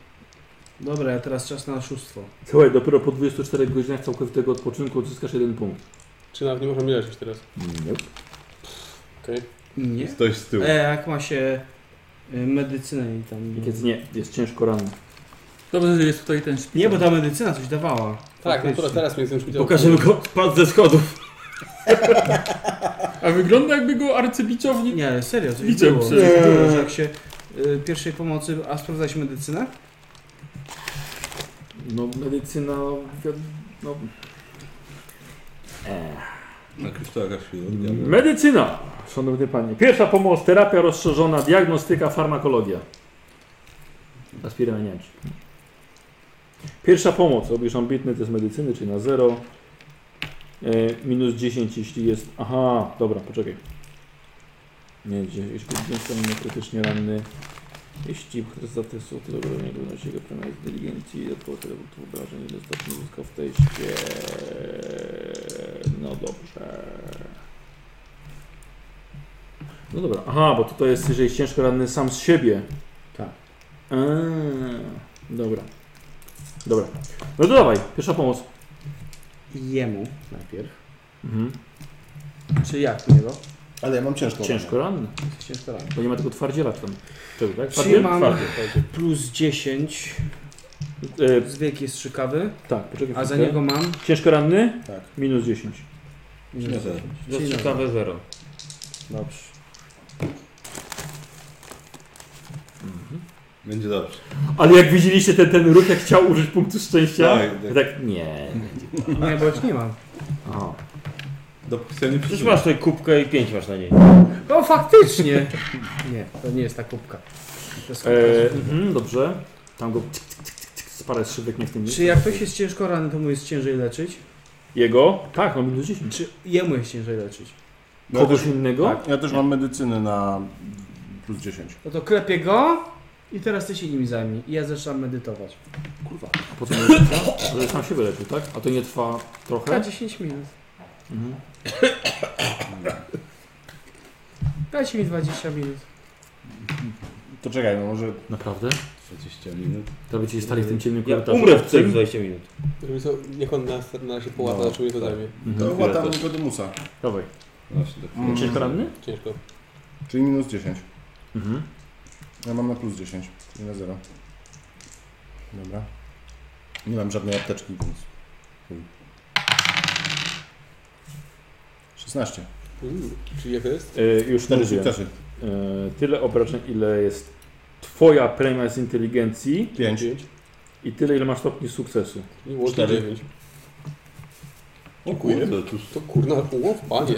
Dobra, ja teraz czas na oszustwo. Słuchaj, dopiero po 24 godzinach całkowitego odpoczynku odzyskasz jeden punkt. Czy nawet nie można mi leczyć teraz? Okej. Nie. Ktoś z tyłu. E, jak ma się y, medycynę i tam... Więc nie, jest ciężko ranny. Dobrze, że jest tutaj ten szpital. Nie, bo ta medycyna coś dawała. Tak, no Faktycznie. teraz, teraz mnie jestem szpitalny. Pokażemy go padł ze schodów. A wygląda jakby go arcybiczownik. Nie, ale serio, coś Widzę, było. że- Coś było, że jak się y, pierwszej pomocy... A sprawdzałeś medycynę? No, medycyna... wiad- No. Eee. Na kryształach chwilę Medycyna, szanowny panie. Pierwsza pomoc, terapia rozszerzona, diagnostyka, farmakologia. Aspiryna nie wiem, czy- Pierwsza pomoc, robisz ambitny test medycyny, czyli na 0. E, minus 10, jeśli jest... Aha, dobra, poczekaj. Nie, gdzie- jeśli jestem krytycznie ranny. Jeśli za te są to dobra, nie wygląda się jego premia z diligencji, odpłatę lub wyobrażeń, ile stopni uzyskał w teście. No dobrze. No dobra, aha, bo tutaj jest, jeżeli jest ciężko ranny sam z siebie. Tak. Eee, dobra. Dobra. No to dawaj, pierwsza pomoc. Jemu. Najpierw. Mhm. Czy jak niego? Ale ja mam ciężką. Ciężko ranny, Ciężko rano. bo nie ma tego twardziela tam. Czego, tak? Twardziel? Trzymam Twardziel. plus 10. E, Z wiek jest trzykawy, tak, poczekaj. a za chwilkę. niego mam... Ciężko ranny? Tak. Minus 10. Nie, tak. Czyli Dosyć kawę zero. Dobrze. Będzie dobrze. Mhm. Ale jak widzieliście ten, ten ruch, jak chciał użyć punktu szczęścia? Tak, tak. tak nie. Nie, bo już nie mam. Aha. Dopóki sobie nie Przecież przyjdzie. masz tutaj kubkę i pięć masz na niej. O, faktycznie! Nie, to nie jest ta kubka. To jest E, kubka. mhm, dobrze. Tam go tyk, tyk, tyk, tyk, tyk, z parę szybek nie w tym miejscu. Czy jak ktoś jest ciężko ranny, to mu jest ciężej leczyć? Jego? Tak, on minus 10. Czy jemu jest ciężej leczyć? Kogoś innego? Tak, ja też mam medycynę na plus 10. No to klepię go i teraz ty się nim zajmij. I ja zaczynam medytować. Kurwa, a po co medycyna? Że sam się wyleczył, tak? A to nie trwa Na trochę? 10 minut. Mhm. Dajcie mi 20 minut. To czekaj, no może... Naprawdę? 20 minut. To będziecie stali w tym ciemnym Ja korytarzu. umrę w tych 20 minut. Żeby co, niech on nas na razie połata, No, no, czemu nie to zajmie. To Mhm. chyba tam go do musa. Dawaj. Właśnie tak. Mm. Ciężko ranny? Ciężko. Czyli minus 10. Mhm. Ja mam na plus 10, czyli na 0. Dobra. Nie mam żadnej apteczki, więc... chuj. 16. Mm, czyli jak to jest? E, już 4 mówię. sukcesy. E, tyle obrażeń, ile jest twoja premia z inteligencji 5. i tyle, ile masz stopni sukcesu. I łącznie Cztery. 9. O kurde, to kurna połów, panie.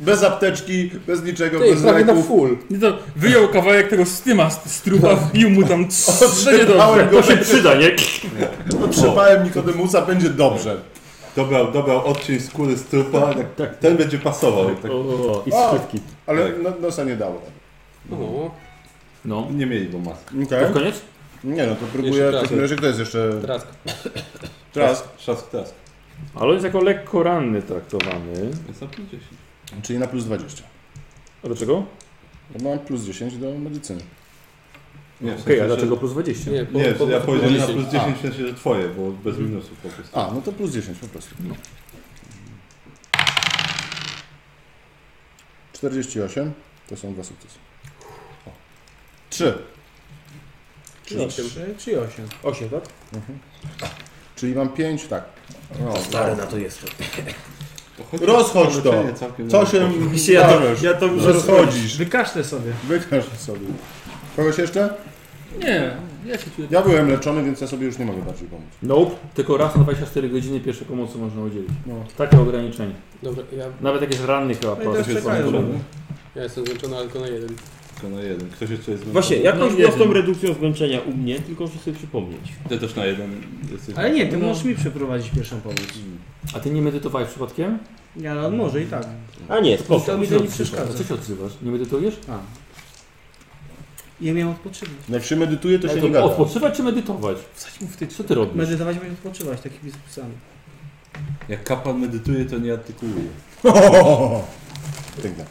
Bez apteczki, bez niczego, Ty, bez prawie na leków. full. Nie to wyjął kawałek tego styma z z No. trupa, wbił mu tam No trzecie Otrzymałem dobrze. go. To się przyda, nie? Otrzymałem Nikodemusa, będzie dobrze. Dobra, dobra, odcień skóry z Tak, trupa, ten będzie pasował. Tak, O, I O. skrytki. Ale no, nosa nie dało. O, No. Nie mieli, bo maski. To Okej. w koniec? Nie no, to próbuję Jeszcze w takim trask. razie, kto jest jeszcze... trask. Trask. Trzask, trask. Ale on jest jako lekko ranny traktowany. Jest na 50. Czyli na plus 20. A dlaczego? Bo mam plus 10 do medycyny. Nie, Okej, w sensie, a że- dlaczego plus 20? Nie, Nie, ja powiedziałem na plus 10. 10 w sensie, że twoje, bo bez minusów po prostu. A, no to plus 10 po prostu. 48 to są dwa sukcesy. 3. Czy 8? Czy 8? 8, tak? Czyli mam 5, tak. No, Stary na to jest. Rozchodź to. Całkiem Co dobrze. się Ja to, bawisz? ja to już rozchodzisz? Wykaślę sobie. Wykaż sobie. Kogoś jeszcze? Nie, ja się czuję. Ja byłem leczony, więc ja sobie już nie mogę bardziej pomóc. Nope, tylko raz na 24 godziny pierwszej pomocy można udzielić. No. Takie ograniczenie. Dobra, ja, Nawet jak jest ranny chyba. No i też po- czekają. Dobra, ja jestem zmęczony, ale tylko na jeden. Tylko na jeden. Ktoś jeszcze jest Właśnie, jakąś No, no, jeden. prostą redukcją zmęczenia u mnie, tylko muszę sobie przypomnieć. Ty też na jeden jesteś. Ale nie, ty No. możesz mi przeprowadzić pierwszą pomoc. A ty nie medytowałeś przypadkiem? Ja no, może i tak. A nie, spoko. To mi to nie przeszkadza. A co się odzywasz? Nie medytujesz? Ja miałem odpoczywać. No Jak się medytuje, No to się Ale nie gada. odpoczywać czy medytować? Wsadź mu w ty. Co ty robisz? Medytować będzie odpoczywać, tak takimi zapisami. Jak kapłan medytuje, to nie artykułuje. Tak, tak.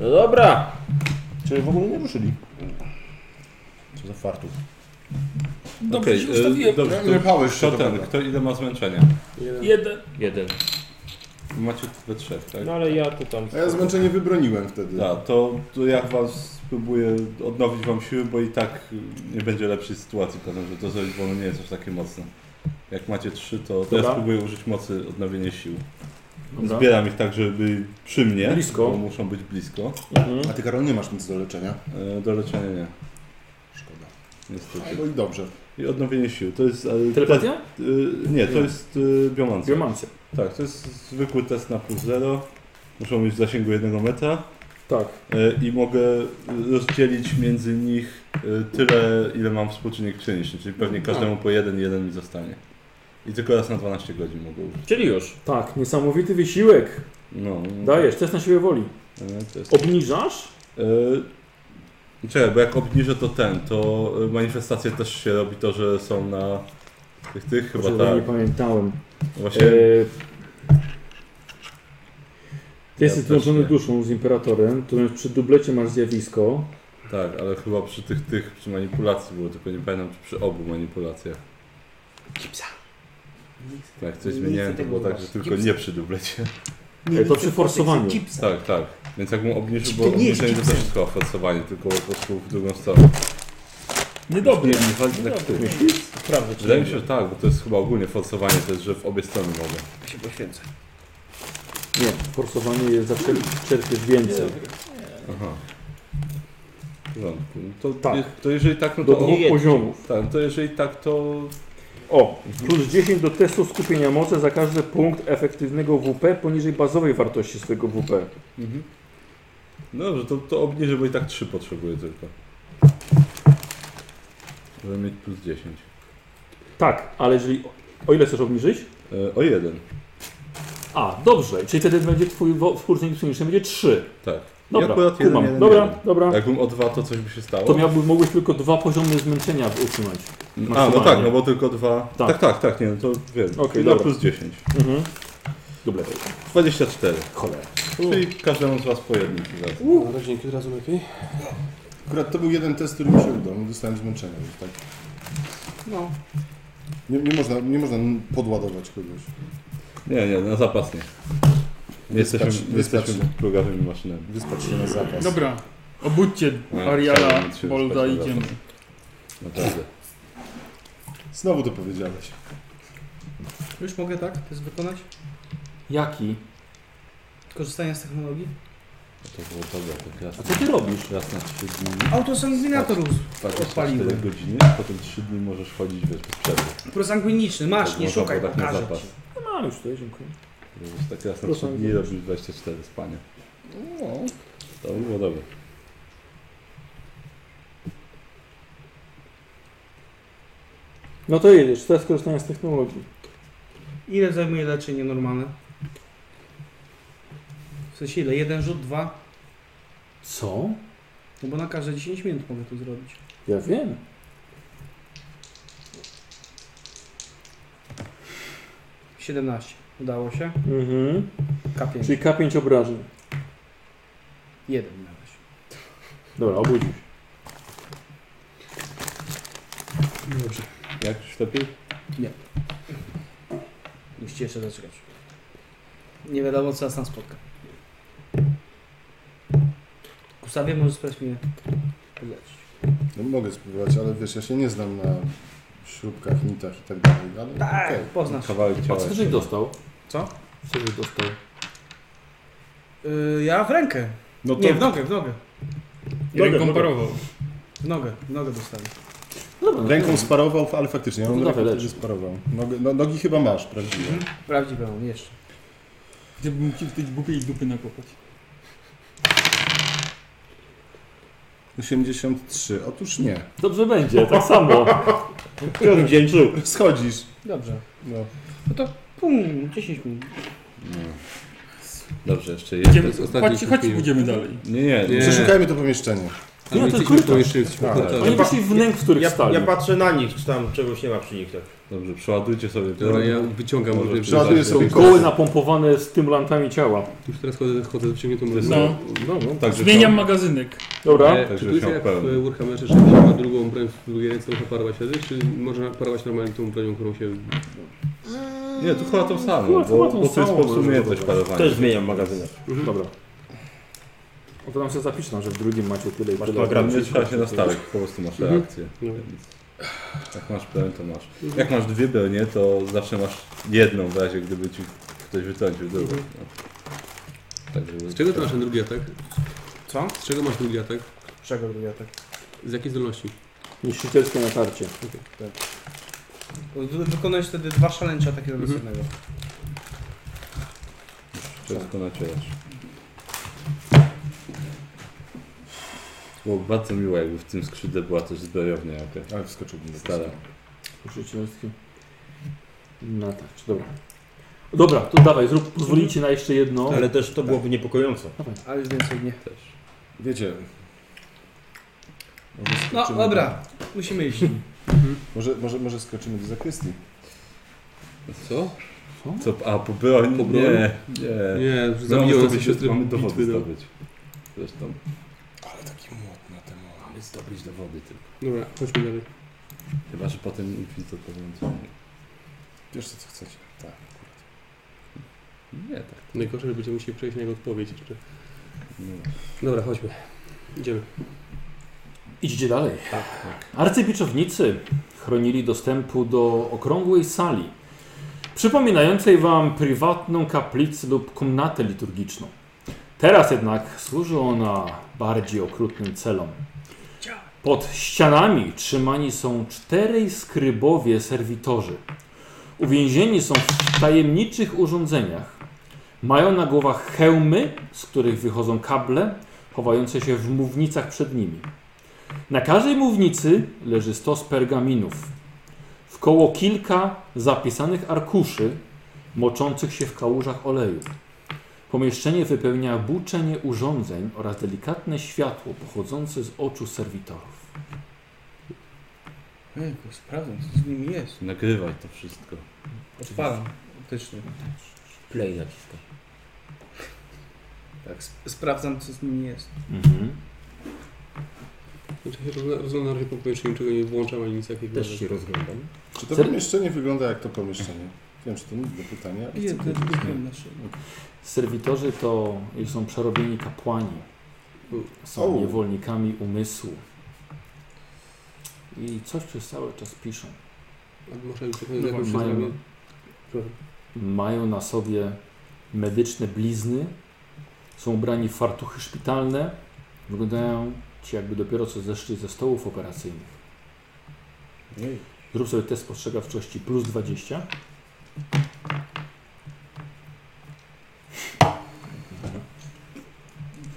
No dobra. Czyli w ogóle nie ruszyli. Co za fartów. Dobrze, Okej, się e, ustawiłem. Dobrze, Nie pałeś to, No się to ten, kto ile ma zmęczenia? jeden. Jeden. Jeden. Macie we trzech, tak? No ale ja to tam... A ja zmęczenie wybroniłem wtedy. Da, to, to ja was spróbuję odnowić wam siły, bo i tak y, nie będzie lepszej sytuacji potem, że to zaliczone nie jest aż takie mocne. Jak macie trzy, to teraz Dobra. spróbuję użyć mocy odnowienia sił. Dobra. Zbieram ich tak, żeby przy mnie, No. Blisko. bo muszą być blisko. Mhm. A ty Karol nie masz nic do leczenia. E, Do leczenia nie, Szkoda. niestety. No i dobrze. I odnowienie sił, to jest... ale Telepatia? test- y, nie, to jest y, biomancja. Biomancja. Tak, to jest zwykły test na plus 0. Muszą mieć w zasięgu jednego metra. Tak. E, i mogę rozdzielić między nich e, tyle, ile mam współczynnik czyniczny, czyli No. pewnie każdemu po jeden, jeden mi zostanie. I tylko raz na 12 godzin mogę użyć. Czyli już. Mhm. Tak, niesamowity wysiłek. No, no. Dajesz, test na siłę woli. E, To jest... Obniżasz? E, Czekaj, bo jak obniżę to ten, to e, manifestacje też się robi to, że są na tych, tych chyba Kurczę, Nie tak. pamiętałem. Właśnie, Eee, ty Ja jesteś też złączony nie. duszą z imperatorem, to przy dublecie masz zjawisko. tak, ale chyba przy tych, tych, przy manipulacji było, tylko nie pamiętam, czy przy obu manipulacjach. Tak, coś zmieniałem, to było tak, że tylko nie przy dublecie. E, to przy forsowaniu. Tak, tak. Więc jakbym obniżył, bo To nie jest obniżenie to też jest chyba forsowanie, tylko po prostu w drugą stronę. Niedobry. Nie chodzi tak tu. Prawda, czy Wydaje mi się, że tak, bo to jest chyba ogólnie forsowanie, to jest, że w obie strony mogę. się poświęcę. Nie, forsowanie jest zawsze czerpiesz więcej. Aha. W porządku. No To, Tak. je, to jeżeli tak, no Do to... dwóch poziomów. tak, to jeżeli tak, to... O, plus 10 do testu skupienia mocy za każdy punkt efektywnego WP poniżej bazowej wartości swojego WP. No dobrze, to, to obniżę, bo i tak 3 potrzebuję tylko. Żeby mieć plus 10. Tak, ale jeżeli. O ile chcesz obniżyć? E, o jeden. A, dobrze, czyli wtedy będzie twój wo- współczynnik psychiczny będzie 3. tak. Dobra, I akurat jeden, kumam. jeden, dobra, jeden. dobra. Jakbym o dwa, to coś by się stało? To miałby, mogłeś tylko dwa poziomy zmęczenia utrzymać. A, no Maksymalnie. tak, no bo tylko dwa. Tak. Tak, tak, tak, nie, no to wiem. Okej, I na dobra. plus 10. Mhm. Dobre. 24. Cholera. Czyli każdemu z was po jednym. ci zaraz. No, rodzinki od razu lepiej. Akurat to był jeden test, który mi się udał. Nie dostałem zmęczenia. Więc tak. No. nie, nie, można, nie można podładować kogoś. Nie, nie, na zapas nie. Nie jesteśmy, Wyskacz- nie jesteśmy wyskacz. plugawymi maszynami. Wyspać się na zapas. Dobra, obudźcie No, Ariala, chciałem się Bolda, wyspać na idziemy. zapas. Naprawdę. Znowu to powiedziałeś. Już mogę tak? To jest wykonać? Jaki? Korzystanie z technologii? To było dobre, tak raz A co ty robisz? Raz na trzy dni. Autosanguinator Tak, uz- 24 odpaliłem. godziny, potem trzy dni możesz chodzić wiesz, bez przerwy. Prosanguiniczny, masz, nie można szukaj, było tak na pokażę zapas. ci. Mam już tutaj, dziękuję. Wiesz, Tak raz na trzy dni Prosanguiniczny. robisz 24 spania. No. To by było dobre. No to jedziesz, teraz korzystając z technologii. Ile zajmuje leczenie normalne? W sensie ile? Jeden rzut, dwa? Co? No bo na każde 10 minut mogę to zrobić. Ja wiem. Siedemnaście. Udało się. Mhm. K5. Czyli K5 obrażeń. Jeden na razie. Dobra, obudził się. Dobrze. Jak już lepiej? Musicie jeszcze zaczekać. Nie wiadomo, co nas tam spotka. Gustawie, możesz sprawdzić mnie podleczyć. No, mogę spróbować, ale wiesz, ja się nie znam na śrubkach, nitach i tak dalej, ale Tak, okej. poznasz. Kawałek A ciała. co żeś dostał? Co? Co żeś dostał? Y, ja w rękę. No to Nie, w nogę, w nogę. Nogę, nogę. parował. W nogę, w nogę dostałem. Dobra, Ręką sparował, ale faktycznie, ja No mam to rękę, dawaj, wtedy sparował. Nogi, no, nogi chyba masz, prawdziwe. Prawdziwe mam, jeszcze. Gdybym ci w tej głupiej dupy nakopać. 83, otóż nie. Dobrze będzie, tak samo. Którym dzień czuł? Schodzisz. Dobrze. No. No to pum, 10 minut. Dobrze, jeszcze jeden. Idziemy- Tak, Chodź, chodź, pójdziemy dalej. Nie, nie, nie. Przeszukajmy to pomieszczenie. Nie, to jest korytarz. Oni poszli w wnęk, w których Ja, stali. ja patrzę na nich, czy tam czegoś nie ma przy nich tak. Dobrze, przeładujcie sobie to. Dobra, ja wyciągam Może różne przeładuję rzeczy. sobie Goły napompowane stymulantami ciała. Już teraz chodzę, chodzę z wyciągniętą ręką. No. No, no, tak. także Zmieniam to- magazynek. Dobra. E, Także Czy tu jest się jak pełen. w Warhammerze, że ktoś ma drugą broń w drugiej ręce, można parować wtedy, czy można parować normalnie tą bronią, którą się... Nie, to chyba to samo, Chyba- bo, chyba tą bo to jest samą po prostu może umiejętność dobra. parowania. Też zmieniam magazynę. Mhm. Dobra. No to nam się zapiszę, że w drugim macie tyle i Masz tyle. program, Nie trzeba się nastawić, po prostu masz reakcję. No. Więc Jak masz pełen, to masz. Jak masz dwie pełnie, to zawsze masz jedną w razie, gdyby ci ktoś wytrącił drugą. No. Tak, żeby... Mhm. Z czego to masz ten drugi atak? Co? Z czego masz drugi atak? Czego robię tak? Z jakiej zdolności? Niszczycielskie natarcie. Wy- Wykonujesz wtedy dwa szaleńcze takie do jednego. Wszystko nacierasz. Było bardzo miło, jakby w tym skrzydle była też zbrojownia jakaś. Ale wskoczyłbym do Stara. tego. Niszczycielskie natarcie. Dobra. Dobra, to dawaj, zrób, pozwolicie na jeszcze jedno. Ale też to byłoby niepokojące. Ale już więcej nie. Wiecie. może No skoczymy do- Mhm. dobra, musimy iść. Może, może, może skoczymy do zakrystii. Co? Co, a po broń? Po broń? Nie, nie. Nie, już No, zabiłem mamy sobie siostry mamy dowody bitwy. No. zdobyć. Zresztą. Ale taki młot na temu. Mamy zdobyć dowody tylko. Dobra, chodźmy dalej. Chyba, że potem Inkwizytor powiem Wiesz co, co chcecie. Tak. Nie, tak. Najgorsze, że będziemy musieli przejść na jego odpowiedź jeszcze. Nie. Dobra, chodźmy. Idziemy. Idźcie dalej. Arcypieczownicy chronili dostępu do okrągłej sali, przypominającej wam prywatną kaplicę lub komnatę liturgiczną. Teraz jednak służy ona bardziej okrutnym celom. Pod ścianami trzymani są czterej skrybowie serwitorzy. Uwięzieni są w tajemniczych urządzeniach. Mają na głowach hełmy, z których wychodzą kable, chowające się w mównicach przed nimi. Na każdej mównicy leży stos pergaminów. W koło kilka zapisanych arkuszy moczących się w kałużach oleju. Pomieszczenie wypełnia buczenie urządzeń oraz delikatne światło pochodzące z oczu serwitorów. Ejku, sprawdzam, co z nimi jest. Nagrywaj to wszystko. Odpalam optycznie. Play naciska. Tak, sp- sprawdzam, co z nimi jest. Mhm. Znaczy się rozgląda- rozglądam raczej po pomieszczeniu, niczego nie włączam ani nic takiego. Też się rozglądam. Czy to Ser- pomieszczenie wygląda jak to pomieszczenie? Wiem, że to nudne pytanie. ale chcę Jeden, wiedzieć. drugi na szyi. Serwitorzy to są przerobieni kapłani. Są O. niewolnikami umysłu. I coś przez cały czas piszą. A Może już No, jakąś mają- zrobię. Mają na sobie medyczne blizny, Są ubrani w fartuchy szpitalne. Wyglądają ci jakby dopiero co zeszli ze stołów operacyjnych. Zrób sobie test spostrzegawczości plus 20.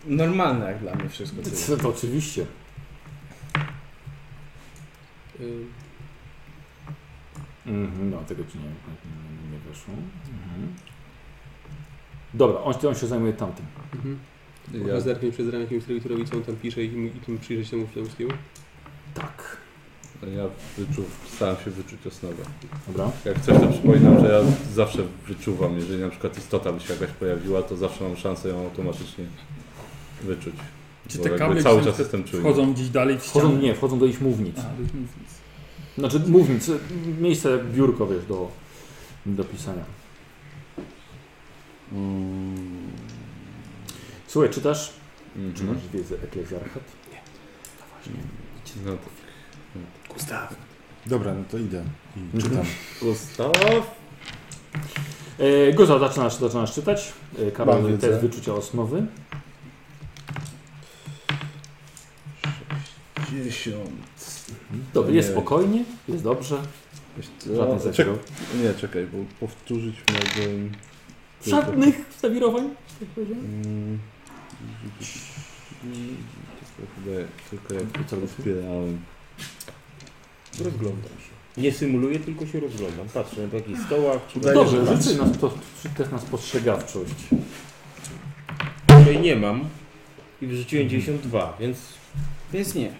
Normalne jak dla mnie wszystko. to jest. Co to oczywiście. e, Mhm, no, tego ci nie, nie, nie weszło. Mhm. Dobra, on, on się zajmuje tamtym. Mhm. Ja- Ja zerknij przez ramię jakimś redaktorowi, co on tam pisze i kim, i kim przyjrzeć temu Flemskiemu. Tak. Ja wyczuł, staram się wyczuć osnowę. Dobra. Jak coś to przypominam, że ja zawsze wyczuwam, jeżeli na przykład istota by się jakaś pojawiła, to zawsze mam szansę ją automatycznie wyczuć. Czy Bo te jakby kable cały w czas sensie jestem czujny. Wchodzą gdzieś dalej w ścianę? Wchodzą, nie, wchodzą do ich mównic. A, to jest nic, nic. Znaczy mównic, miejsce jak biurko, wiesz, do, do pisania. Słuchaj, czytasz? Mm. Mhm. Czy masz wiedzę eklezjarchat? No to Gustaw. Dobra, no to idę Mhm. i czytam. Gustaw. E, Goza, zaczynasz, zaczynasz czytać. E, Mam Karol, wiedzę. test wyczucia osnowy. Mhm. 60. Dobra, Nie jest wiem. spokojnie, jest dobrze. Wiesz co? Żadnych zawirowań. Czek- Nie, czekaj, bo powtórzyć mogłem... Żadnych zawirowań, tak powiedziałem. Mm. Chyba tylko jak to rozbierałem. Rozglądam się. Nie symuluję, tylko się rozglądam. Patrzę na jakichś stołach, czy tutaj Dobrze, leży- rzucaj nas to, test na spostrzegawczość. której nie mam i wyrzuciłem 92, więc Więc nie.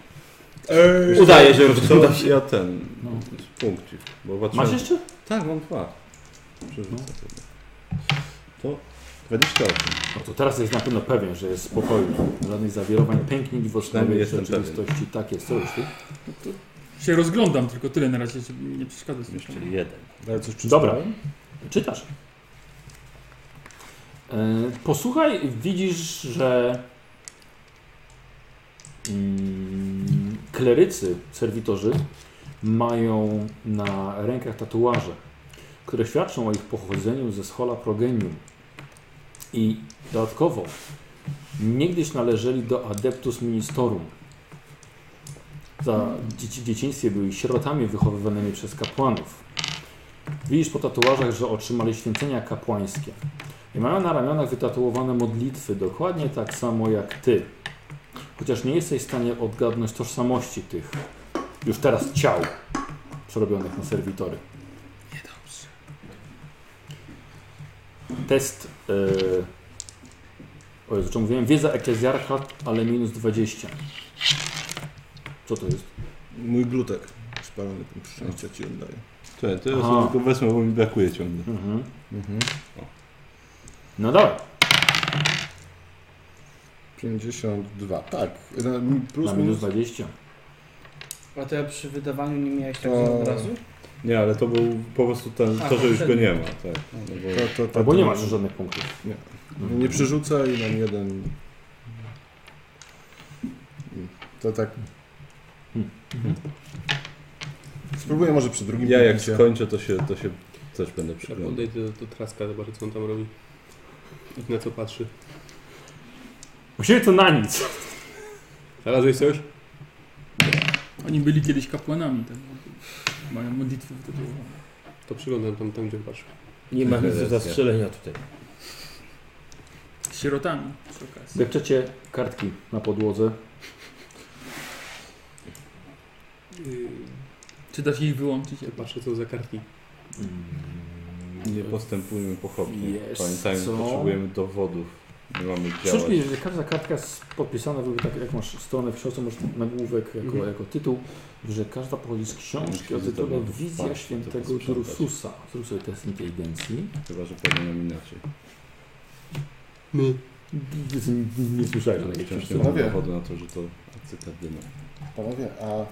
Eee, udaje się rozglądać. To ja ten, No. punkcik, bo Masz patrzyłem- jeszcze? Tak, mam dwa. Przerzucę sobie. To 28. No to teraz jest na pewno pewien, że jest spokojny. Żadnych zawirowań, pęknięć w Przynajmniej osnowie w jestem pewien. rzeczywistości. Tak jest, co już ty? Się rozglądam, tylko tyle na razie, żeby nie przeszkadzać. Jeszcze jeden. Ale coś przeczytałem? Dobra, czytasz. E, Posłuchaj, widzisz, że mm, klerycy, serwitorzy mają na rękach tatuaże, które świadczą o ich pochodzeniu ze schola progenium. I dodatkowo niegdyś należeli do adeptus ministerum. Za dzieci, dzieciństwie byli sierotami wychowywanymi przez kapłanów. Widzisz po tatuażach, że otrzymali święcenia kapłańskie. I mają na ramionach wytatuowane modlitwy, dokładnie tak samo jak ty. Chociaż nie jesteś w stanie odgadnąć tożsamości tych już teraz ciał przerobionych na serwitory. Niedobrze. Test. Yy... O Jezu, czemu mówiłem? Wiedza eklezjarchat, ale minus 20. Co to jest? Mój glutek. Spalony punkt szczęścia ci oddaję. Czekaj, to ja Aha. sobie tylko wezmę, bo mi brakuje ciągle. Mhm. Mhm. No dobra. 52, tak. Na- mi- Plus Na minus minus 20. A to ja przy wydawaniu nie miałeś tak To- od razu? Nie, ale to był po prostu ten, A, to, że już go poprzedni. nie ma. Tak. No bo... To, to, to, Albo to- nie masz żadnych punktów. Nie. Mhm. Nie przerzuca i mam jeden. To tak. Spróbuję może przy drugim. Ja jak punkcie. skończę, to się, to się też będę Tak, przyglądał. Odejdę do, do Traska, zobaczę co on tam robi. I na co patrzy. Musimy to na nic. Znalazłeś coś? Oni byli kiedyś kapłanami, tak? Mają modlitwy wytatuowane. To przyglądam tam, tam gdzie patrzę. Nie ma nic do Racja. zastrzelenia tutaj. Z sierotami przy okazji. Depczecie kartki na podłodze. Czy da się ich wyłączyć? Ja Y, patrzę co za kartki. Nie postępujmy pochopnie. Jest Pamiętajmy, co? potrzebujemy dowodów. Nie mamy działać. Przyszli, że każda kartka jest podpisana, jakby tak jak masz stronę w książce, masz nagłówek jako, Mhm. jako tytuł, że każda pochodzi z książki o Myślę, że to tytule byłby Wizja fakt, Świętego to posprzątać. Drususa. Zrób sobie test inteligencji. Chyba, że powinienem inaczej. Nie, nie słyszałem o takiej Wciąż książce. nie No mam Panowie. dowodu na to, że to cytadyna. Panowie, a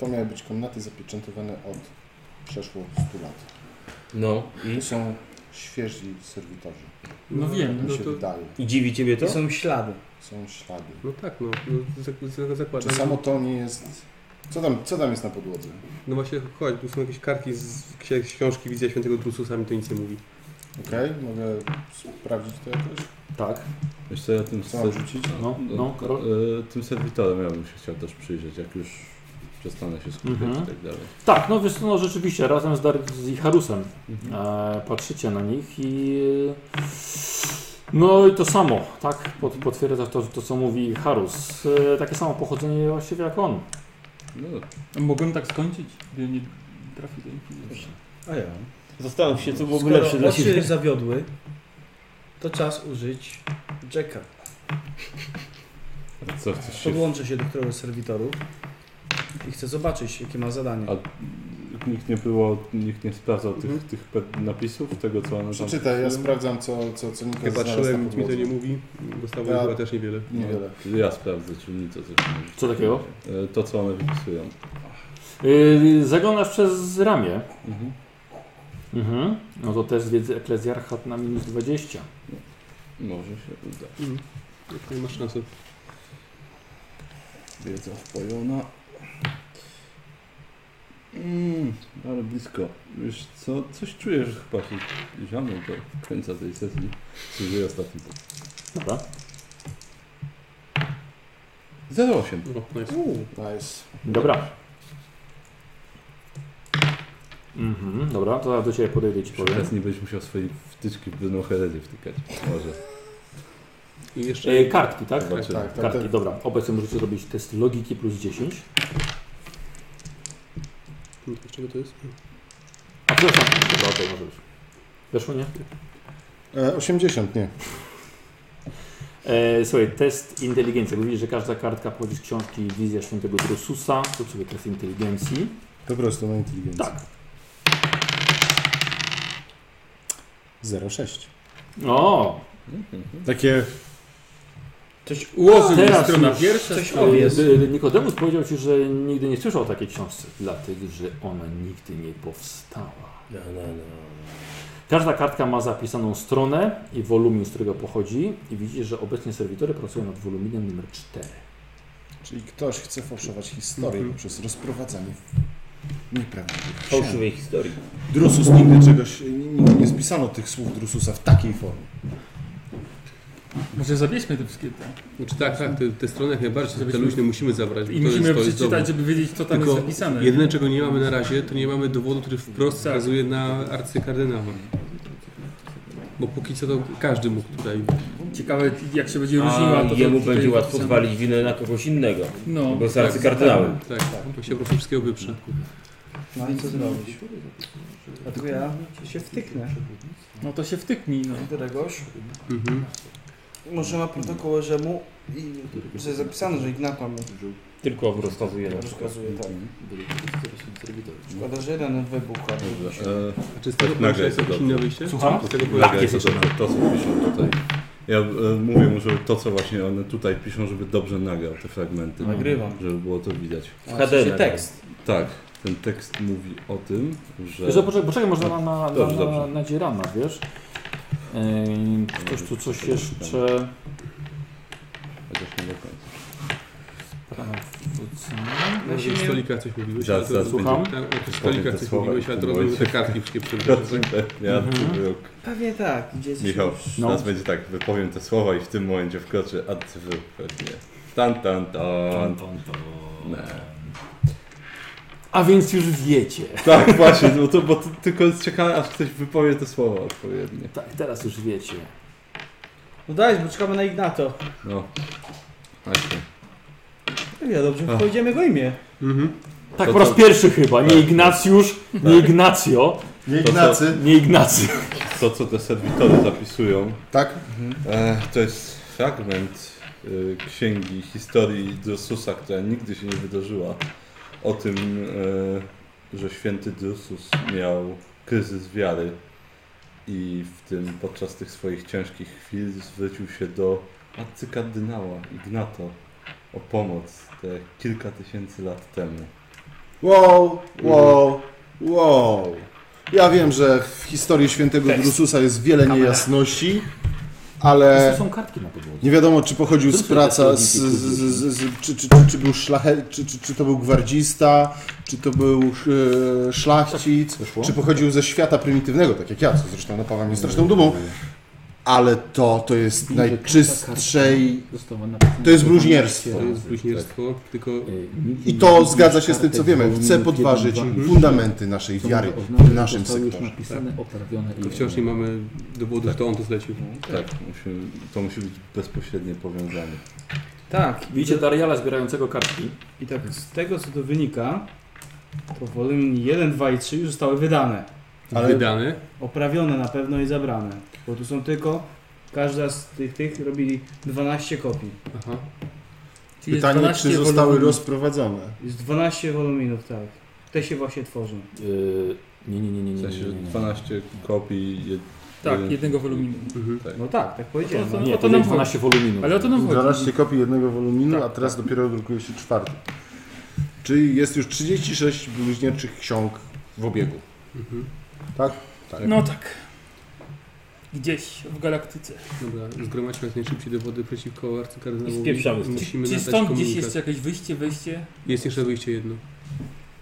to miały być komnaty zapieczętowane od przeszło 100 lat. No i To są świeżi serwitorzy. No wiem, Mi no się to... wydaje. I dziwi ciebie to? To są ślady. Są ślady. No tak, no. no zak- zak- Czy zakładam. samo to nie jest. Co tam, co tam jest na podłodze? No właśnie, chodź, tu są jakieś kartki z księ- książki Wizja Świętego Drususa, mi to nic nie mówi. Okej, mogę sprawdzić to jakoś? Tak. Jeszcze ja tym Chciałem rzucić? No, no, Karol. e, Tym serwitorem ja bym się chciał też przyjrzeć, jak już przestanę się skupiać Mhm. i tak dalej. Tak, no, wiesz, no rzeczywiście, razem z, Dar z Icharusem Mhm. e, patrzycie na nich i... e, No i to samo, tak, pod, potwierdza to, to, co mówi Harus. E, takie samo pochodzenie właściwie jak on. No, Mogłem tak skończyć, gdybym nie trafił do Inkwizycji. A ja. Zastanów się, co byłoby Skoro lepsze dla oczy ciebie. zawiodły, to czas użyć Jacka. a co chcesz się... Podłączę się do któregoś z serwitorów i chcę zobaczyć, jakie ma zadanie. A nikt nie było, nikt nie sprawdzał tych, tych pe- napisów, tego co one tam... Mhm. Przeczytaj, ja sprawdzam co, co, co Nikos Ja znalazł patrzyłem, na nic mi to podłodze. nie mówi. Dostało Ja- chyba też niewiele. Niewiele. Ja sprawdzę, czy mi to coś mówi. Co takiego? E, To co one wypisują. Yy, zaglądasz przez ramię. Mhm. Mhm. No to test wiedzy eklezjarchat na minus 20. Może się uda. No. Nie masz szansy. Wiedza wpojona. Mm, ale blisko. Wiesz co, coś czuję, że chyba się zioną do końca tej sesji. Służyję ostatnim. Dobra. 08. No, no jest. Nice. Dobra. Mhm, dobra, to ja do ciebie podejdę i ci powiem. Teraz nie będziesz musiał swojej wtyczki w no herezję wtykać. Może. I jeszcze... E, kartki, tak? Zobaczymy. Tak, tam Kartki, ten, dobra. Obecnie możecie zrobić test logiki plus 10. Hmm, Czego to jest? A przepraszam, dobra, okej, może być. Weszło, nie? e, 80, nie. E, słuchaj, test inteligencji. Bo Widzisz, że każda kartka pochodzi z książki Wizja Świętego Drususa. To sobie test inteligencji. Po prostu na inteligencję. Tak. 06. O! Takie Coś Ułożył Teraz strona już pierwsza. coś strona- powie. E, e, Nikodemus powiedział ci, że nigdy nie słyszał o takiej książce, dlatego że ona nigdy nie powstała. No, no, no. Każda kartka ma zapisaną stronę i wolumin, z którego pochodzi i widzisz, że obecnie serwitory pracują nad woluminem numer 4. Czyli ktoś chce fałszować historię Mhm. poprzez rozprowadzanie nieprawdziwych książek. Fałszywej historii. Drusus nigdy czegoś, nigdy nie spisano tych słów Drususa w takiej formie. Może zabierzmy te wszystkie te. Znaczy, tak, tak, te, te strony jak najbardziej, te Żebyśmy- luźne musimy zabrać. bo I to jest- musimy to jest dowód. przeczytać, żeby wiedzieć, co tam Tylko jest zapisane. Tak. Jedyne czego nie mamy na razie, to nie mamy dowodu, który wprost wskazuje na arcykardynała. Bo póki co to każdy mógł tutaj. Ciekawe, jak się będzie różniła. A to to jemu tutaj będzie łatwo napisane. zwalić winę na kogoś innego. No. Bo jest arcykardynałem. Tak, to się po prostu wszystkiego wyprze. No i co zrobić? Dlatego ja się wtyknę No to się wtyknij, no. do czegoś. Mhm. Może ma protokoły, że mu i że jest zapisane, że Ignata mu Tylko rozkazuje na rozkazuje tak. Szkoda, że jeden wybuchł. a drugi się- E, A czy z tego Tak, polega nagle jest jest jakieś inne wyjście? Słucham? Z tego polega Polega jest to, jeszcze że to, co piszą tutaj. Ja e, mówię mu, żeby to, co właśnie one tutaj piszą, żeby dobrze nagrał te fragmenty. Mhm. Nagrywam. Żeby było to widać. W Znaczy, HD. tekst. Tak, ten tekst mówi o tym, że... Że, poczekaj, poczekaj, może na, na, Dobrze, na, na, dobrze. na dzierana, wiesz? Ym, ktoś tu coś jeszcze... Chociaż nie do końca. Na się tym nie- stolika coś mówiłeś. Zaraz, ale to- zaraz Słucham? Tak, o tych Powiem te stolikach coś słowa, mówiłeś, ale to jak rozumiem, mówię. że te kartki wszystkie Ja przebrać. Mhm. wyrok. Pewnie tak, gdzie jest Michał, No. teraz będzie tak, wypowiem te słowa i w tym momencie wkroczy adcyfr pewnie. Tan, tan, tan. Ne. A więc już wiecie. Tak, właśnie, bo, to, bo to, tylko jest ciekawe, aż ktoś wypowie te słowa odpowiednie. Tak, teraz już wiecie. No dajesz, bo czekamy na Ignato. No. Właśnie. Ja dobrze Ach. powiedziemy go imię. Mhm. Tak No To Tak. po raz co? pierwszy chyba, nie Ignacjusz, nie Ignacjo, Nie To Ignacy. nie Ignacy. To, co te serwitory zapisują, Tak? e, to jest fragment e, księgi historii Drususa, która nigdy się nie wydarzyła. O tym, e, że święty Drusus miał kryzys wiary i w tym podczas tych swoich ciężkich chwil zwrócił się do arcykardynała Ignato o pomoc te kilka tysięcy lat temu. Wow, wow, wow. Ja wiem, że w historii świętego Drususa jest wiele niejasności, ale To są kartki na podłodze. nie wiadomo, czy pochodził z Drusus praca, jest z, logiki, z, z, z, czy, czy, czy, czy był szlache, czy, czy, czy to był gwardzista, czy to był e, szlachcic, Wyszło? czy pochodził ze świata prymitywnego, tak jak ja, co zresztą napawa mnie straszną dumą. ale to, to jest najczystszej... To jest bluźnierstwo. To jest bluźnierstwo, tylko... I to zgadza się z tym, co wiemy. Chce podważyć fundamenty naszej wiary w naszym sektorze. Tylko wciąż nie mamy dowodów, to on to zlecił. Tak, musi, to musi być bezpośrednie powiązanie. Tak. Widzicie Dariala zbierającego kartki. I tak z tego co to wynika, to woluminy 1, 2 i 3 już zostały wydane. Ale- Wydane? Oprawione na pewno i zabrane. Bo tu są tylko, każda z tych, tych robili 12 kopii. Aha. Pytanie, czy zostały rozprowadzone. Jest 12 woluminów, tak. Te się właśnie tworzą. Yy, nie, nie, nie, nie, W sensie, że 12 kopii... Jed... Tak, jeden- jednego woluminu. Tak. No tak, tak powiedziałem. To- to- Nie, o to nam chodzi. Ale o to nam No chodzi. 12 kopii jednego woluminu, a teraz dopiero drukuje się czwarty. Czyli jest już 36 bluźnierczych ksiąg w obiegu. mhm. Tak? Tak. No tak. Gdzieś w galaktyce. Dobra, zgromadźmy jak najszybciej dowody przeciwko arcykardynałowi. I spieprzamy stąd. Musimy Czy- czy nadać stąd komunikat. gdzieś jeszcze jakieś wyjście, wejście? Jest jeszcze wyjście jedno.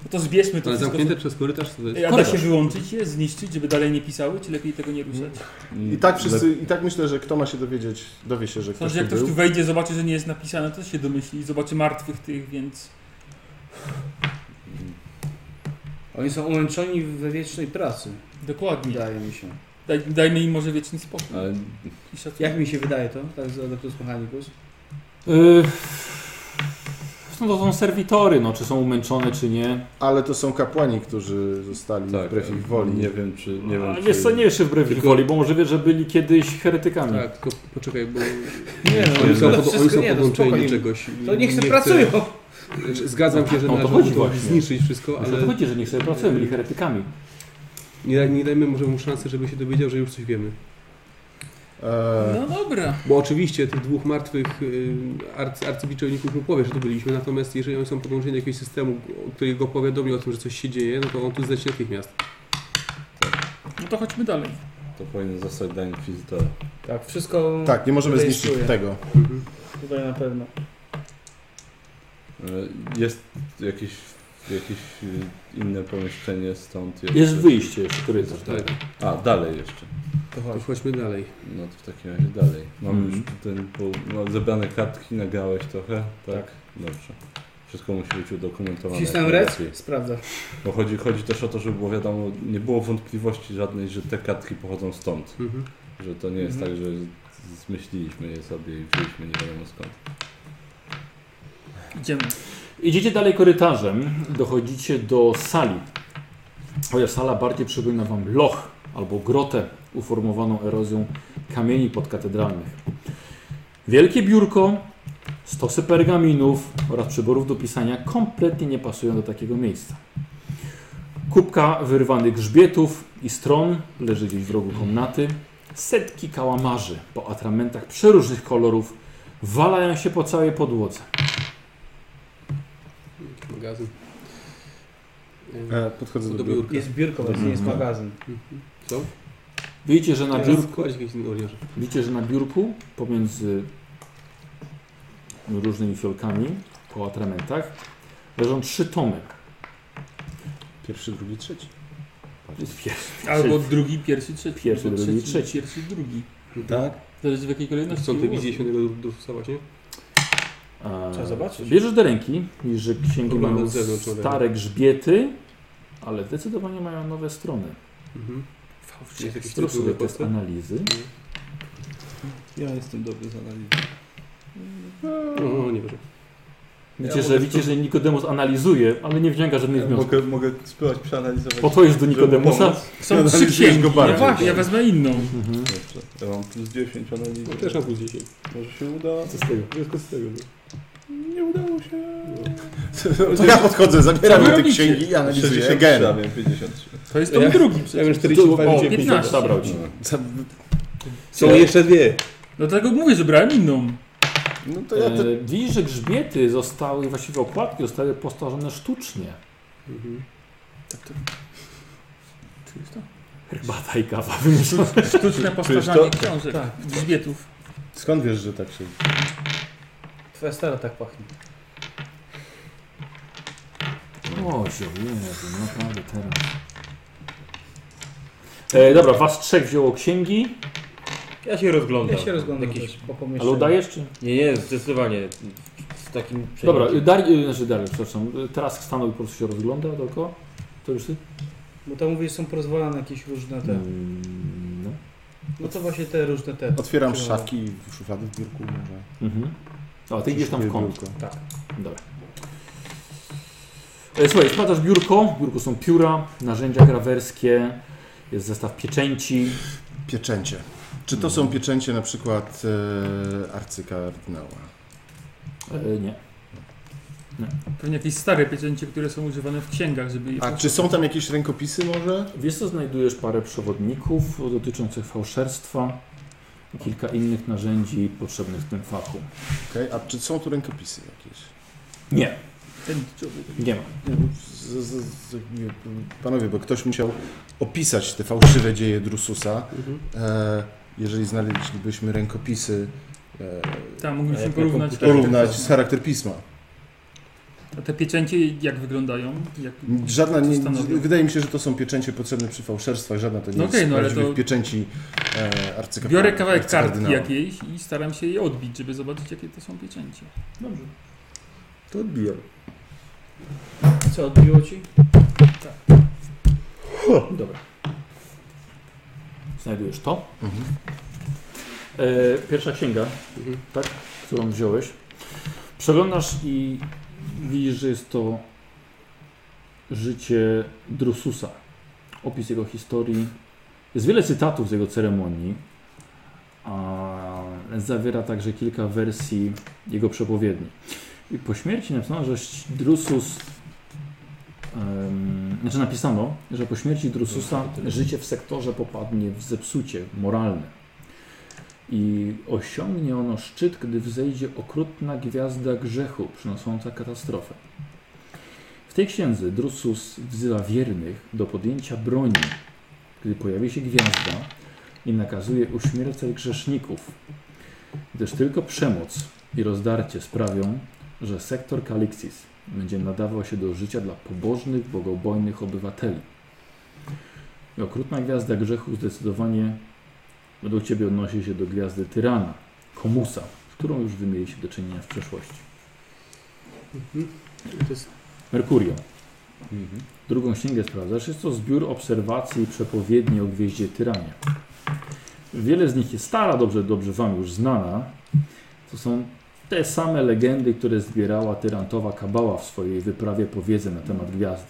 No to zbierzmy to Ale wszystko. zamknięte przez korytarz to jest... Ej, A da się wyłączyć je, zniszczyć, żeby dalej nie pisały, czy lepiej tego nie ruszać? Mhm. I tak wszyscy, i tak myślę, że kto ma się dowiedzieć, dowie się, że Tak ktoś Sądzę, że jak tu ktoś tu był. wejdzie, zobaczy, że nie jest napisane, to się domyśli i zobaczy martwych tych, więc... Oni są umęczeni we wiecznej pracy. Dokładnie. Wydaje mi się. Daj, dajmy im może wieczny spokój. Ale I szacunek. Jak mi się wydaje to, tak z Adeptus Mechanicus? Yy, no to są serwitory, no, czy są umęczone, czy nie. Ale to są kapłani, którzy zostali wbrew ich woli. Nie wiem, czy... Nie wiem, Ale czy... wiesz co, nie wiesz czy wbrew ich Tylko- woli, bo może wiesz, że byli kiedyś heretykami. Tak, tylko poczekaj, bo... Nie, no, oni są, to pod, wszystko oni są nie, no, podłączeni spoko, czegoś. To niech Nie sobie chcę- pracują! Znaczy, Zgadzam się, że No, o to należy chodzi było to właśnie. zniszczyć wszystko, Ale ale to chodzi, że nie chcę pracują, byli heretykami. nie, daj- nie dajmy może mu szansy, żeby się dowiedział, że już coś wiemy. Eee, No dobra. Bo oczywiście tych dwóch martwych y, arcy, arcybiczelników mu powie, że tu byliśmy, natomiast jeżeli oni są podłączeni do jakiegoś systemu, o- który go powiadomi o tym, że coś się dzieje, no to on tu zleci natychmiast. No to chodźmy dalej. To powinien zostać dany wizytora. Tak, wszystko tak, nie możemy rejestruje. zniszczyć tego. Tutaj na pewno. E, Jest jakieś, jakieś e, inne pomieszczenie stąd jeszcze. Jest wyjście jeszcze, który jest. Tak. A, dalej jeszcze. To To chodź. chodźmy dalej. No to w takim razie dalej. Mam Mhm. już ten, bo mam zebrane kartki, nagrałeś trochę, tak? Tak. Dobrze. Wszystko musi być udokumentowane. Wcisnąłem jak rec? najlepiej. Sprawdzam. Bo chodzi, chodzi też o to, żeby było wiadomo, nie było wątpliwości żadnej, że te kartki pochodzą stąd. Mhm. Że to nie jest Mhm. tak, że z- zmyśliliśmy je sobie i wzięliśmy nie wiadomo skąd. Idziemy. Idziecie dalej korytarzem, dochodzicie do sali. Chociaż sala bardziej przypomina wam loch albo grotę uformowaną erozją kamieni podkatedralnych. Wielkie biurko, stosy pergaminów oraz przyborów do pisania kompletnie nie pasują do takiego miejsca. Kubka wyrwanych grzbietów i stron leży gdzieś w rogu komnaty. Setki kałamarzy po atramentach przeróżnych kolorów walają się po całej podłodze. Magazyn. E, Eee, podchodzę do Do biura. biurka. Jest biurko, to nie jest magazyn. Mhm. Co? Widzicie, że na Na biurku biurku? Kładzie jakiś inny orierze. Widzicie, że na biurku pomiędzy różnymi fiolkami po atramentach leżą trzy tomy. Pierwszy, drugi, trzeci. Jest pierwszy, Albo drugi, pierwszy, trzeci. Pierwszy, albo drugi, trzeci. Pierwszy, drugi. Tak? Zależy w jakiej kolejności. Są te ułożą. wizje świętego Drususa właśnie? Eee, Trzeba zobaczyć. Bierzesz do ręki, widzisz, że księgi Oglądam mają z zewnątrz, stare grzbiety, ale zdecydowanie mają nowe strony. Mhm. Jest jakiś Zrób tytuł sobie na test postę? analizy. Ja jestem dobry z analizy. No, no nie wiem. Widzicie, Ja że, mogę widzicie, że Nikodemus analizuje, ale nie wyciąga żadnych wniosków. Mogę, mogę spróbować przeanalizować. Po to jest do Nikodemusa. Są trzy Analizujesz księgi. go bardziej. Ja, właśnie, ja wezmę inną. Mhm. Dobrze. Ja mam plus 10 analizy. No, też na plus 10. Może się uda. Co z tego? Wszystko z tego. no. Nie udało się. To ja podchodzę, zabieram Co wy te robicie? księgi i analizuję. 63, Gen. ja wiem, 53. To jest tom drugi Ja przecież. mam 42 O, i 50. 15. Zabrał ci. Są jeszcze dwie. No dlatego mówię, że brałem inną. No to ja te... E, Widzisz, że grzbiety zostały, właściwie okładki zostały postarzone sztucznie. Mhm. Czyż to? Herbata i kawa wymyślone. Sztuczne powtarzanie książek. Tak. Grzbietów. Skąd wiesz, że tak się... Twoja stara tak pachnie. O, się Jezu, no naprawdę teraz. E, dobra, was trzech wzięło księgi. Ja się rozglądam. Ja się rozglądam Jakieś- też po pomieszczeniu. Ale udajesz czy? Nie, nie, zdecydowanie. Z takim Dobra, przejęciem. Dari, znaczy Dariusz, przepraszam, teraz stanął i po prostu się rozgląda dookoła. To już ty? Bo tam mówię, są porozwalane jakieś różne te. Mm, no. No to właśnie te różne te. Otwieram Czy- szafki i szuflady w biurku może. Mhm. A, ty idziesz tam w kąt. Biurko. Tak. Dobra. E, Słuchaj, sprawdzasz biurko. W biurku są pióra, narzędzia grawerskie, jest zestaw pieczęci. Pieczęcie. Czy to są pieczęcie na przykład e, arcykardynała? E, nie. Pewnie jakieś stare pieczęcie, które są używane w księgach, żeby je A czy są tam jakieś rękopisy może? Wiesz co, znajdujesz parę przewodników dotyczących fałszerstwa i kilka innych narzędzi potrzebnych w tym fachu. Okej, A czy są tu rękopisy jakieś? Nie, Ten człowiek. nie ma. Nie, bo z, z, z, jakby, panowie, bo ktoś musiał opisać te fałszywe dzieje Drususa. mhm. E, jeżeli znaleźlibyśmy rękopisy, e, Tam A mogliśmy jak na porównać. komputerze? porównać z charakter pisma. A te pieczęcie jak wyglądają? Jak... Żadna nie, Co stanowią? wydaje mi się, że to są pieczęcie potrzebne przy fałszerstwach, żadna to nie No jest okej, no ale prawdziwych to- pieczęci e, arcykapłana. Biorę kawałek kartki arcykardynała. jakiejś i staram się je odbić, żeby zobaczyć jakie to są pieczęcie. Dobrze. To odbijam. Co odbiło ci? Dobra. Znajdujesz to. Mhm. E, pierwsza księga, tak, którą wziąłeś. Przeglądasz i widzisz, że jest to życie Drususa. Opis jego historii. Jest wiele cytatów z jego ceremonii. A zawiera także kilka wersji jego przepowiedni. I po śmierci napisano, że Drusus Em, Znaczy napisano, że po śmierci Drususa życie w sektorze popadnie w zepsucie moralne. I osiągnie ono szczyt, gdy wzejdzie okrutna gwiazda grzechu przynosząca katastrofę. W tej księdze Drusus wzywa wiernych do podjęcia broni, gdy pojawi się gwiazda i nakazuje uśmiercać grzeszników, gdyż tylko przemoc i rozdarcie sprawią, że sektor Kalixis będzie nadawał się do życia dla pobożnych, bogobojnych obywateli. I okrutna gwiazda grzechu zdecydowanie według Ciebie odnosi się do gwiazdy tyrana, komusa, z którą już Wy mieliście do czynienia w przeszłości. Merkurio. Drugą księgę sprawdzasz. Jest to zbiór obserwacji i przepowiedni o gwieździe tyranie. Wiele z nich jest stara, dobrze, dobrze Wam już znana. To są te same legendy, które zbierała tyrantowa Kabała w swojej wyprawie po wiedzę na temat gwiazdy.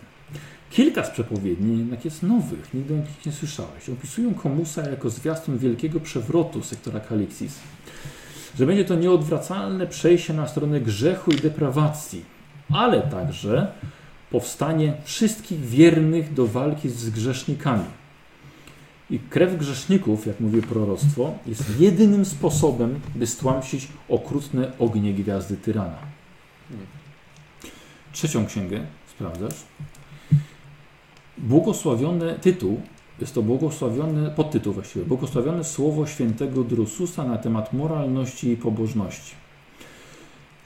Kilka z przepowiedni jednak jest nowych, nigdy o nich nie słyszałeś. Opisują Komusa jako zwiastun wielkiego przewrotu sektora Kalixis, że będzie to nieodwracalne przejście na stronę grzechu i deprawacji, ale także powstanie wszystkich wiernych do walki z grzesznikami. I krew grzeszników, jak mówi proroctwo, jest jedynym sposobem, by stłamsić okrutne ognie gwiazdy tyrana. Trzecią księgę sprawdzasz. Błogosławiony tytuł, jest to błogosławione, podtytuł właściwie, błogosławione słowo świętego Drususa na temat moralności i pobożności.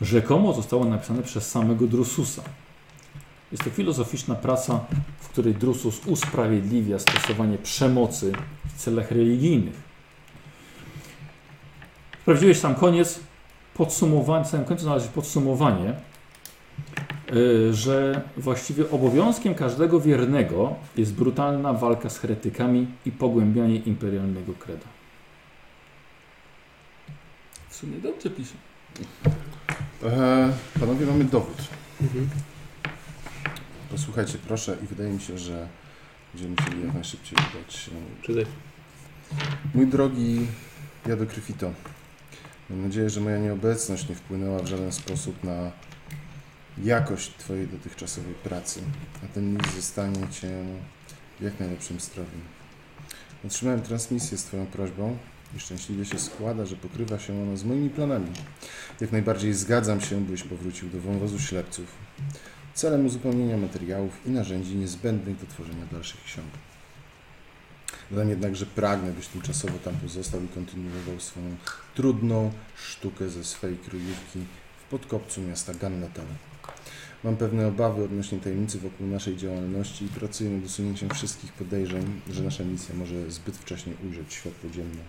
Rzekomo zostało napisane przez samego Drususa. Jest to filozoficzna praca w której Drusus usprawiedliwia stosowanie przemocy w celach religijnych. Sprawdziłeś sam koniec, podsumowanie, w samym końcu znalazłeś podsumowanie, y, że właściwie obowiązkiem każdego wiernego jest brutalna walka z heretykami i pogłębianie imperialnego kreda. W sumie dobrze pisze. E, panowie, mamy dowód. Posłuchajcie, proszę, i wydaje mi się, że będziemy musieli jak najszybciej udać się. Czytaj. Mój drogi Jadokryfito, mam nadzieję, że moja nieobecność nie wpłynęła w żaden sposób na jakość Twojej dotychczasowej pracy, a ten list zostanie Cię w jak najlepszym zdrowiu. Otrzymałem transmisję z Twoją prośbą i szczęśliwie się składa, że pokrywa się ono z moimi planami. Jak najbardziej zgadzam się, byś powrócił do wąwozu ślepców celem uzupełnienia materiałów i narzędzi niezbędnych do tworzenia dalszych ksiąg. Dodam No jednak, że pragnę, byś tymczasowo tam pozostał i kontynuował swoją trudną sztukę ze swej kryjówki w podkopcu miasta Gannatal. Mam pewne obawy odnośnie tajemnicy wokół naszej działalności i pracuję nad usunięciem wszystkich podejrzeń, że nasza misja może zbyt wcześnie ujrzeć światło dzienne,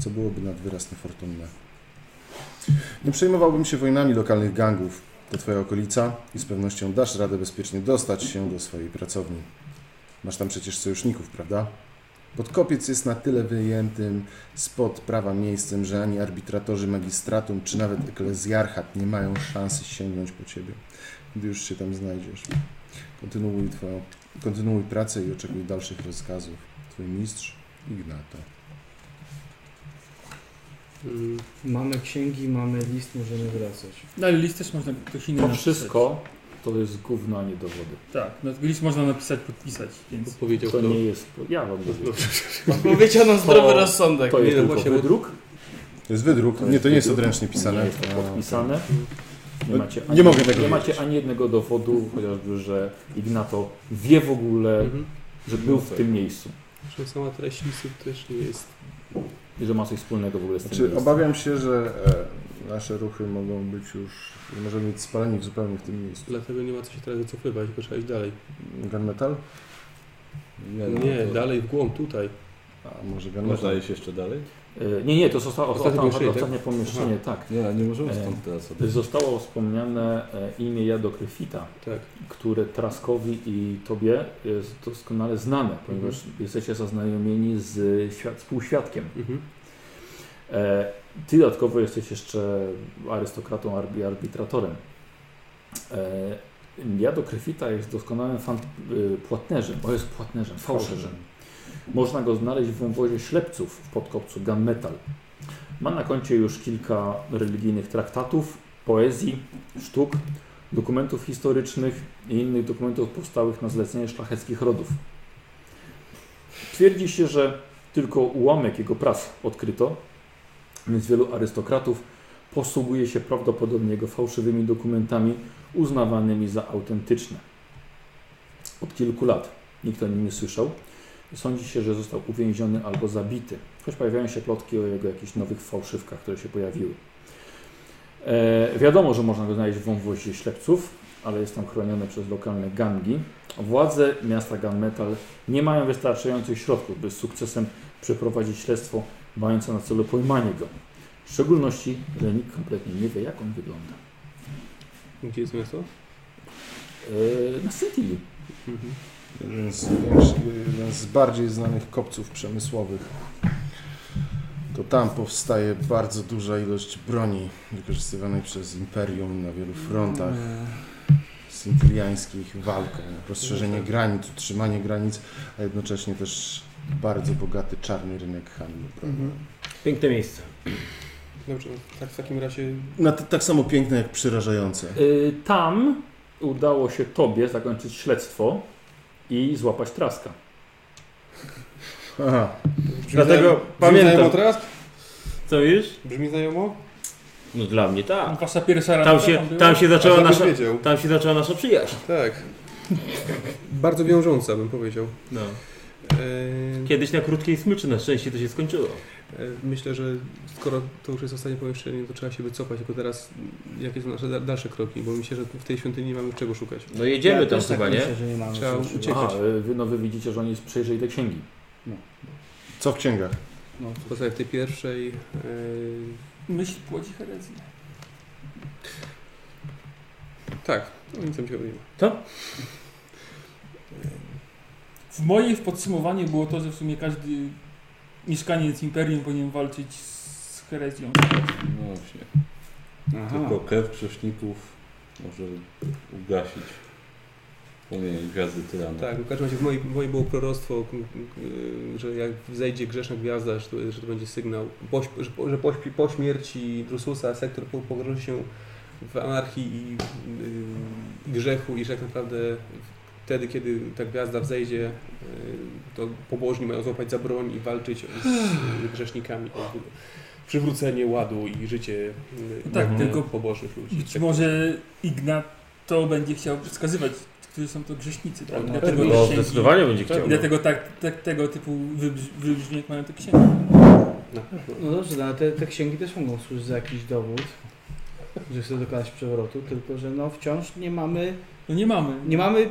co byłoby nad wyraz niefortunne. Nie przejmowałbym się wojnami lokalnych gangów. To Twoja okolica i z pewnością dasz radę bezpiecznie dostać się do swojej pracowni. Masz tam przecież sojuszników, prawda? Podkopiec jest na tyle wyjętym spod prawa miejscem, że ani arbitratorzy magistratum, czy nawet eklezjarchat nie mają szansy sięgnąć po Ciebie, gdy już się tam znajdziesz. Kontynuuj, twoją, kontynuuj pracę i oczekuj dalszych rozkazów. Twój mistrz Ignato. Mm, Mamy księgi, mamy list, możemy wracać. No ale list też można ktoś inny To napisać. wszystko to jest gówno, a nie dowody. Tak, no, list można napisać, podpisać, więc... Powiedział To kto? nie jest... Ja wam mówię. Powiedział na zdrowy To- rozsądek. To jest Nie, no tylko właśnie, bo- wydruk, To jest wydruk. To nie, jest to nie jest wydruk. odręcznie pisane. nie jest to A, podpisane. Nie No, macie, nie ani, mogę tego nie wiedzieć. macie ani jednego dowodu, chociażby, że Ignato wie w ogóle, Mhm. że był w tym miejscu Zresztą sama treść listu też nie jest i że ma coś wspólnego w ogóle z tym Znaczy, miejscem. obawiam się, że e, nasze ruchy mogą być już, możemy być spaleni w zupełnie w tym miejscu. Dlatego nie ma co się teraz wycofywać, tylko trzeba iść dalej. Gunmetal? Nie, no, Nie, to- dalej w głąb, tutaj. A może Można gunmetal? iść jeszcze dalej? E, Nie, nie, to zostało Ostatnie ostatnie, pomieszczenie, ostatnie, tak? pomieszczenie, tak. Nie, nie możemy E, stąd teraz odejść. Zostało wspomniane e, imię Jadokryfita, Tak. które Traskowi i Tobie jest doskonale znane, ponieważ jesteście zaznajomieni z świat, współświadkiem. Mhm. E, Ty dodatkowo jesteś jeszcze arystokratą arb- i arbitratorem. E, Jado Krefita jest doskonałym fan, y, płatnerzem, bo jest płatnerzem, fałszerzem. Można go znaleźć w wąwozie ślepców w podkopcu Gunmetal. Ma na koncie już kilka religijnych traktatów, poezji, sztuk, dokumentów historycznych i innych dokumentów powstałych na zlecenie szlacheckich rodów. Twierdzi się, że tylko ułamek jego prac odkryto, więc wielu arystokratów posługuje się prawdopodobnie jego fałszywymi dokumentami uznawanymi za autentyczne. Od kilku lat nikt o nim nie słyszał. Sądzi się, że został uwięziony albo zabity, choć pojawiają się plotki o jego jakichś nowych fałszywkach, które się pojawiły. E, wiadomo, że można go znaleźć w wąwozie ślepców, ale jest tam chroniony przez lokalne gangi. Władze miasta Gunmetal nie mają wystarczających środków, by z sukcesem przeprowadzić śledztwo mające na celu pojmanie go. W szczególności, że nikt kompletnie nie wie, jak on wygląda. Gdzie jest miasto? E, na Syntili. Mhm. Jeden z, większy- jeden z bardziej znanych kopców przemysłowych. To tam powstaje bardzo duża ilość broni wykorzystywanej przez Imperium na wielu frontach. Sintyliańskich walką, Tak. rozszerzenie granic, utrzymanie granic, a jednocześnie też bardzo bogaty czarny rynek handlu. bronią. Mhm. y- Piękne miejsce. Dobrze, tak w takim razie Na t- tak samo piękne jak przerażające. E, tam udało się tobie zakończyć śledztwo i złapać traska. Aha. Dlatego Znajomo pamiętam. teraz? Co wiesz? Brzmi znajomo? No dla mnie tak. Wasza pierwsza randka Tam się, była? tam się zaczęła żebyś nasza... wiedział. Tam się zaczęła nasza przyjaźń. Tak. Bardzo wiążąca bym powiedział. No. Eee, Kiedyś na krótkiej smyczy na szczęście to się skończyło. E, Myślę, że skoro to już jest ostatnie pomieszczenie, to trzeba się wycofać, tylko teraz m, jakie są nasze da- dalsze kroki, bo myślę, że w tej świątyni nie mamy czego szukać. No jedziemy Ja tam też tak chyba, nie? Myślę, że nie mamy Trzeba co szukać. uciekać. Aha, e, wy, no wy widzicie, że oni przejrzeli te księgi. Co w księgach? No, poza w tej pierwszej, e, Myśl płodzi herezję. tak, no nic tam się nie ma. W mojej w podsumowaniu było to, że w sumie każdy mieszkaniec Imperium powinien walczyć z herezją. No właśnie. Tylko krew krześników może ugasić płomienie gwiazdy tyrana. Tak, w każdym razie w mojej, w mojej było proroctwo, k- k- e, że jak zejdzie grzeszna gwiazda, że to, że to będzie sygnał, po, że, po, że po, po śmierci Drususa sektor po- pogrąży się w anarchii i y, grzechu i że tak naprawdę wtedy, kiedy ta gwiazda wzejdzie, y, to pobożni mają złapać za broń i walczyć z grzesznikami o przywrócenie ładu i życie y, Tak, godne tylko pobożnych ludzi. Być Tak. może Ignato będzie chciał wskazywać, którzy są to grzesznicy, tak? No, Dlatego No ich księgi, zdecydowanie będzie chciał. dlatego tak, tak, tego typu wybrz- wybrzmiek mają te księgi. Tak, Na pewno. No dobrze, no, ale te, te księgi też mogą służyć za jakiś dowód. że chce dokonać przewrotu, tylko że no wciąż nie mamy... No nie mamy. Nie mamy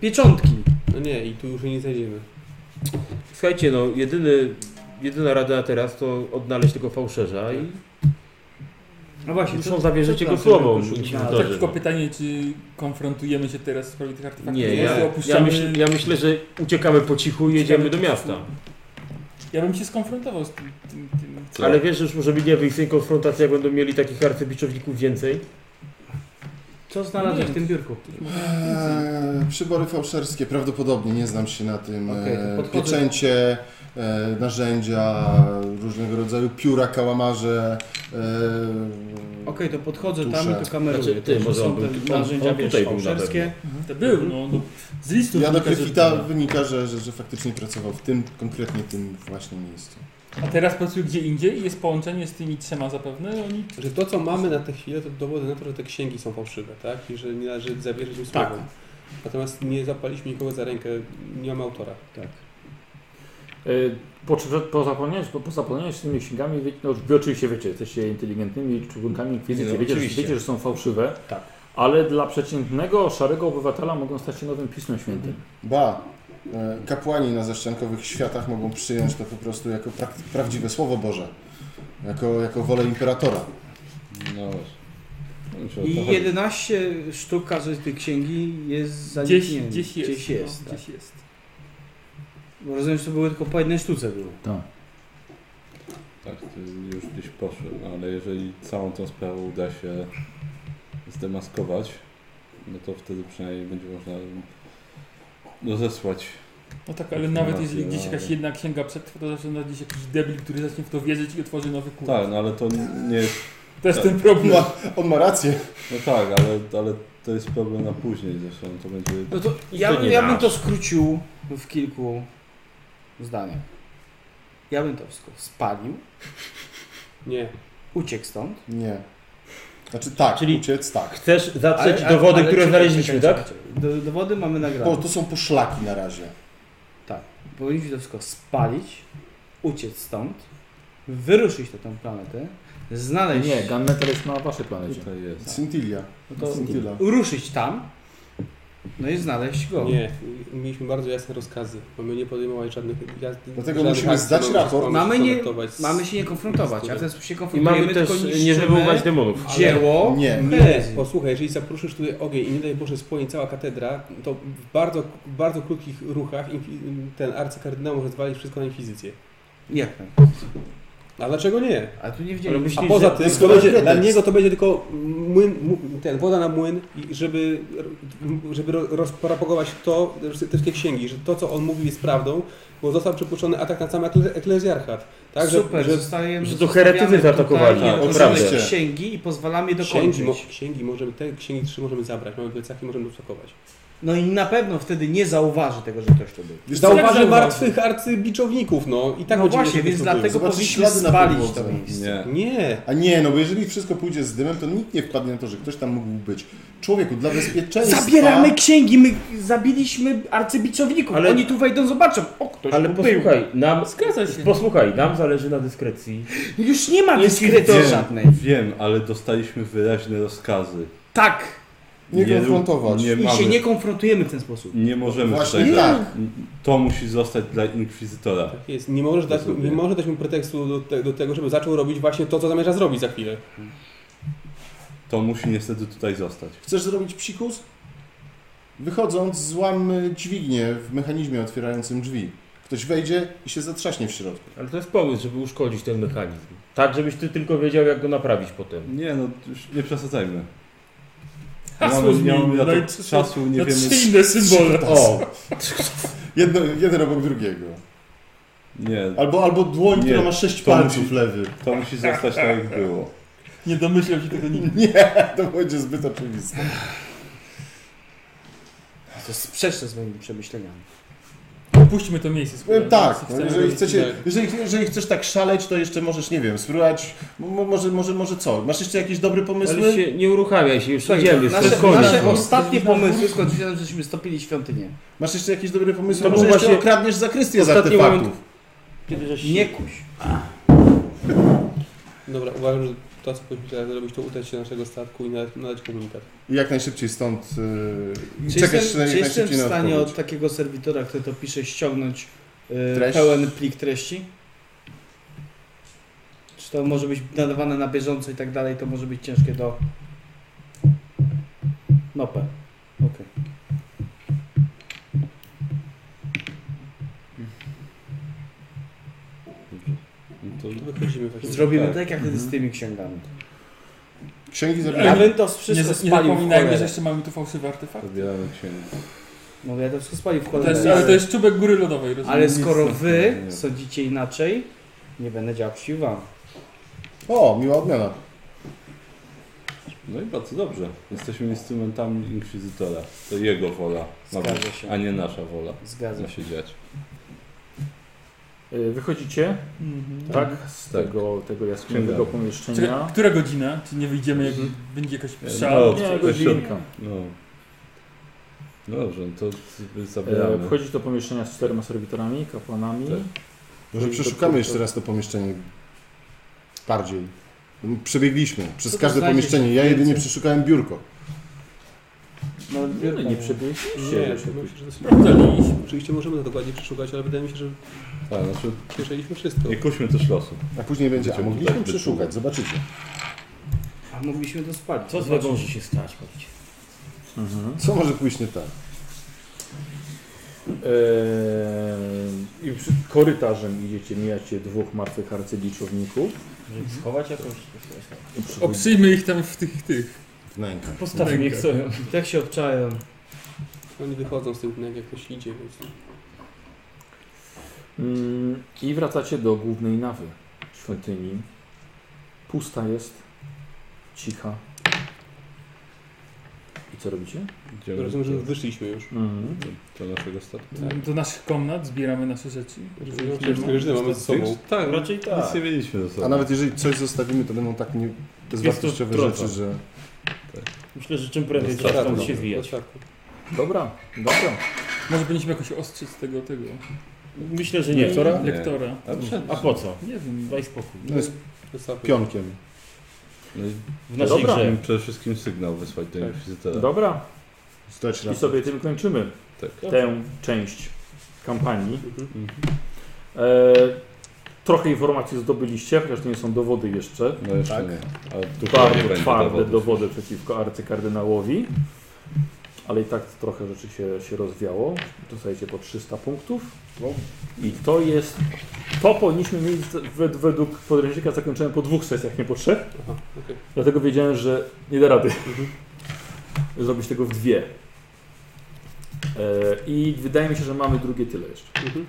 pieczątki. No nie, i tu już jej nie znajdziemy. Słuchajcie, no jedyny, jedyna rada na teraz to odnaleźć tego fałszerza i No właśnie, muszą co- zawierzyć co jego tam słowom. sobie i się A, tak wydarzy. tylko pytanie, czy konfrontujemy się teraz w sprawie tych artefaktów? Nie, czy po ja, prostu ja, opuszczamy... myśl, ja myślę, że uciekamy po cichu i jedziemy do miasta. Ja bym się skonfrontował z tym... tym, tym. Ale wiesz, że już może nie wyjść z tej konfrontacji, jak będą mieli takich arcybiczowników więcej? Co znalazłeś w tym biurku? Eee, przybory fałszerskie, prawdopodobnie, nie znam się na tym. Okej, to Eee, podchodzę. pieczęcie, eee, narzędzia, różnego rodzaju pióra, kałamarze. eee, Okej, to podchodzę tam Dusze. i to kameruję. Znaczy, ty, To może są on był te tu- on- narzędzia on wiesz, tutaj był na fałszerskie. To był, no. no. Z listów... Ja do wynika, że- Gryfita wynika, że, że, że faktycznie pracował w tym, konkretnie tym właśnie miejscu. A teraz pracuje gdzie indziej i jest połączenie z tymi trzema zapewne. Oni... Że to, co mamy na tę chwilę, to dowody na to, że te księgi są fałszywe, tak? I że nie należy zawierzyć im Tak. słowom. Natomiast nie zapaliśmy nikogo za rękę, nie mamy autora. Tak. Y, Po, po, zapomnieniu, po, po zapomnieniu z tymi księgami, wie- no, wy oczywiście wiecie, jesteście inteligentnymi członkami Nie, inkwizycji, no, wiecie, że- oczywiście. wiecie, że są fałszywe, Tak. ale dla przeciętnego, szarego obywatela mogą stać się nowym Pismem Świętym. Ba, eee, kapłani na zaściankowych światach mogą przyjąć to po prostu jako prak- prawdziwe Słowo Boże. Jako, jako wolę imperatora. No właśnie. No, czy o to I chodzi? 11 sztuk każdej z tej księgi jest Gdzieś, zaniknięta. gdzieś jest. Gdzieś jest, no, tak. gdzieś jest. Bo Rozumiem, że to były tylko po jednej sztuce było. Tak, to już gdzieś poszło, no, ale jeżeli całą tą sprawę uda się zdemaskować, no to wtedy przynajmniej będzie można no, zesłać. No tak, ale nawet jeżeli Informacje, gdzieś jakaś ale- jedna księga przetrwa, to zawsze znajdzie się jakiś debil, który zacznie w to wierzyć i otworzy nowy kurs. Tak, no ale to nie jest... To jest tak. ten problem. No, on ma rację. No tak, ale, ale to jest problem na później zresztą, to będzie... No to ja, To nie ja bym nasz. to skrócił w kilku zdaniach. Ja bym to wszystko spalił, Nie. uciekł stąd. Nie. Znaczy tak, Czyli- uciec tak. Chcesz zatrzeć Ale- ale- dowody, ale które czekaj, znaleźliśmy, czekaj, tak? czekaj. Do, dowody mamy nagrane. Bo Tak. to są poszlaki na razie. Powinniśmy to wszystko spalić, uciec stąd, wyruszyć na tą planetę, znaleźć... Nie, Gunmetal jest na waszej planecie. Tutaj jest. Scintilia. No to Scintilia. ruszyć tam, no i znaleźć go. Nie, mieliśmy bardzo jasne rozkazy. Mamy nie podejmować żadnych jazd. Dlatego żadnych musimy akcji, zdać mamy raport. się Mamy nie- skontaktować z- Mamy się nie konfrontować, a w ten sposób się I konfrontujemy, mamy też tylko nie niszczymy wywoływać demonów. dzieło. Nie. Nie, herezji. posłuchaj, jeżeli zapruszysz tutaj ogień i nie daj Boże spłonie cała katedra, to w bardzo, bardzo krótkich ruchach infi- ten arcykardynał może zwalić wszystko na inkwizycję. Jak? A dlaczego nie? A tu nie Ale widzieliśmy. myślisz, A poza że- tym, jest to będzie, dla pretekst. niego to będzie tylko młyn, mu- ten, woda na młyn, i żeby, żeby ro- rozpropagować to, te wszystkie księgi, że to, co on mówił jest prawdą, bo został przypuszczony atak na sam ekle- eklezjarchat. Tak, że, Super, że zostajemy, że to heretycy zostawiamy tutaj zaatakowali, i tak, odrzucamy oczywiście. księgi i pozwalamy księgi, mo, dokończyć. księgi możemy, te księgi trzy możemy zabrać, mamy plecaki, możemy dopsokować. No i na pewno wtedy nie zauważy tego, że ktoś to był. Wiesz co, Zauważy zauważy? martwych arcybiczowników, no i tak no będziemy właśnie, się więc dyskutują. dlatego Zobaczysz powinniśmy ślady na spalić podłodze. to miejsce. Nie. Nie, A nie, no bo jeżeli wszystko pójdzie z dymem, to nikt nie wpadnie na to, że ktoś tam mógł być. Człowieku, dla bezpieczeństwa... Zabieramy tak. księgi, my zabiliśmy arcybiczowników, Ale- oni tu wejdą, zobaczą, o ktoś Ale tu był. posłuchaj, nam, Zgadza się. posłuchaj, nam zależy na dyskrecji. Już nie ma dyskrecji żadnej. Wiem, wiem, ale dostaliśmy wyraźne rozkazy. Tak, Nie rób- konfrontować. Nie, i mamy, się nie nie... konfrontujemy w ten sposób. możemy Właśnie tutaj... tak. To musi zostać dla Inkwizytora. tak jest. Nie możesz dać, nie Rozumiem. możesz dać mu pretekstu do, te, do tego, żeby zaczął robić właśnie to, co zamierza zrobić za chwilę. To musi niestety tutaj zostać. Chcesz zrobić psikus? Wychodząc, złam y, dźwignię w mechanizmie otwierającym drzwi. Ktoś wejdzie i się zatrzaśnie w środku. Ale to jest pomysł, żeby uszkodzić ten mechanizm. Tak, żebyś ty tylko wiedział, jak go naprawić potem. Nie no, już nie przesadzajmy. Hasło Mamy- nie zmienił, mamy na no i to trzy- czasu, nie na wiemy... trzy inne symbole. O, Jedno, jeden obok drugiego. Nie, Albo, albo dłoń, Nie, która ma sześć to palców musi- lewy. to musi zostać tak jak było. Nie domyślał się tego nigdy. To będzie zbyt oczywiste. To jest sprzeczne z moimi przemyśleniami. Opuśćmy to miejsce. słuchaj, Powiem tak, jeśli no, chcemy jeżeli, robić- chcecie, tak. jeżeli, jeżeli chcesz tak szaleć, to jeszcze możesz, nie wiem, spróbować, mo- może, może, może co? Masz jeszcze jakieś dobre ale pomysły? się nie uruchamiaj się, już Tak, Słuchaj, idziemy, to jest nasze koniec. nasze no. ostatnie pomysły skończyły się na tym, żeśmy stopili świątynię. Masz jeszcze jakieś dobre pomysły? To może był jeszcze właśnie okradniesz zakrystię z ostatni artefaktów. moment- Kiedy żeś- Nie kuś. Dobra, uważam, że sytuacji kosmicznej jak zrobić, to udać się do naszego statku i nadać, nadać komunikat. I jak najszybciej stąd yy, Czy czekasz jestem, na, czy jak jestem najszybciej w na stanie odpowiedź. od takiego serwitora, który to pisze, ściągnąć e, Treść? pełen plik treści? Czy to może być nadawane na bieżąco i tak dalej, to może być ciężkie do... Nope. Okej. No to wychodzimy właśnie. Zrobimy tak jak wtedy z tymi księgami. Księgi Ja bym to wszystko nie, nie spalił w zapominajmy, że cholerę. jeszcze mamy tu fałszywy artefakt. Zabieramy księgę. No ja to wszystko spalił w To jest, cholerę. ale to jest czubek góry lodowej, rozumiem. Ale skoro Nic. wy sądzicie inaczej, nie będę działał sił wam. O, miła odmiana. No i bardzo dobrze. Jesteśmy instrumentami inkwizytora. To jego wola, ma Zgadza być, się. a nie nasza wola. Zgadzam Ma się dziać. Y, Wychodzicie, tak? Z Tak. tego, tego jaskiniowego Księgarni. pomieszczenia. Mhm. Czekaj, która godzina? Czy nie wyjdziemy, jak będzie jakaś No, szała? nie, to- to godzinka. się- No. No dobrze, no to z- E, zabieramy. Wchodzisz do pomieszczenia z czterema serwitorami, kapłanami. Tak. Może przeszukamy jeszcze raz to pomieszczenie bardziej. No, Przebiegliśmy przez Co to każde znajdzie pomieszczenie. Ja więcej? jedynie przeszukałem biurko. No, Nie, no, nie Nie, przebiegliście. myślę, że to sprawdzaliśmy. Oczywiście możemy to dokładnie przeszukać, ale wydaje mi się, że Tak, znaczy, słyszeliśmy wszystko. nie kuśmy też losu. A później będzie. A Tak, Będziemy mogliśmy tutaj przeszukać, zobaczycie. A mogliśmy to spalić. Co złego może się stać, chodźcie. Co może pójść nie tak? E, Y, I przy, korytarzem idziecie, mijacie dwóch martwych arcybiczowników. Żeby ich schować jakoś? I przychodzi- Obszyjmy ich tam w tych, tych. W nękach. Postawmy ich sobie. Tak się obczają. Oni wychodzą z tym, jak ktoś idzie, więc... Mm, I wracacie do głównej nawy świątyni. Pusta jest, cicha. I co robicie? Idziemy Rozumiem, że do, wyszliśmy już. Mhm. do naszego statku. Do naszych komnat zbieramy nasze rzeczy. Rozumiem, że wszystkie mamy ze sobą. Tak, Raczej nic nie mieliśmy ze sobą. A nawet jeżeli coś zostawimy, to będą tak nie... bezwartościowe trochę. rzeczy, że... Myślę, że czym prędzej Dostarczy, trzeba stąd dobra. się zwijać. Dostarczy. Dobra, dobra. Może powinniśmy jakoś ostrzyc tego, tego Myślę, że nie. Wczoraj? lektora. A po co? Nie wiem. Daj spokój. No jest Dostarczy. pionkiem. No i W naszej Dobra. grze. przede wszystkim sygnał wysłać do Tak. inkwizytora. Dobra, Zdać i raz. sobie tym kończymy Tak. tę część kampanii. Mhm. E, trochę informacji zdobyliście, chociaż to nie są dowody jeszcze. No jeszcze Tak. nie. A tu nie Bardzo będzie twarde dowodów. dowody. przeciwko arcykardynałowi. Ale i tak trochę rzeczy się, się rozwiało. Dostajecie po 300 punktów. I to jest to powinniśmy mieć wed- według podręcznika zakończone po dwóch sesjach, nie po trzech. Aha, okej. Dlatego wiedziałem, że nie da rady zrobić tego w dwie. E, I wydaje mi się, że mamy drugie tyle jeszcze. Mhm.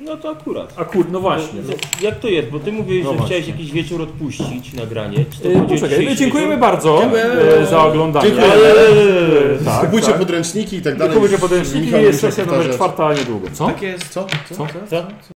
No to akurat. A kur, no właśnie. No, jak to jest? Bo ty mówiłeś, No że chciałeś właśnie. jakiś wieczór odpuścić nagranie. Czy to E, będzie poczekaj, dzisiejszy dziękujemy wieczór? bardzo e, za oglądanie. Dziękuję. E, tak, Kupujcie tak. podręczniki i tak dalej. Kupujcie podręczniki, Michał jest musiał sesja numer powtarzać. czwarta niedługo. Co? Tak jest. Co? Co? Co?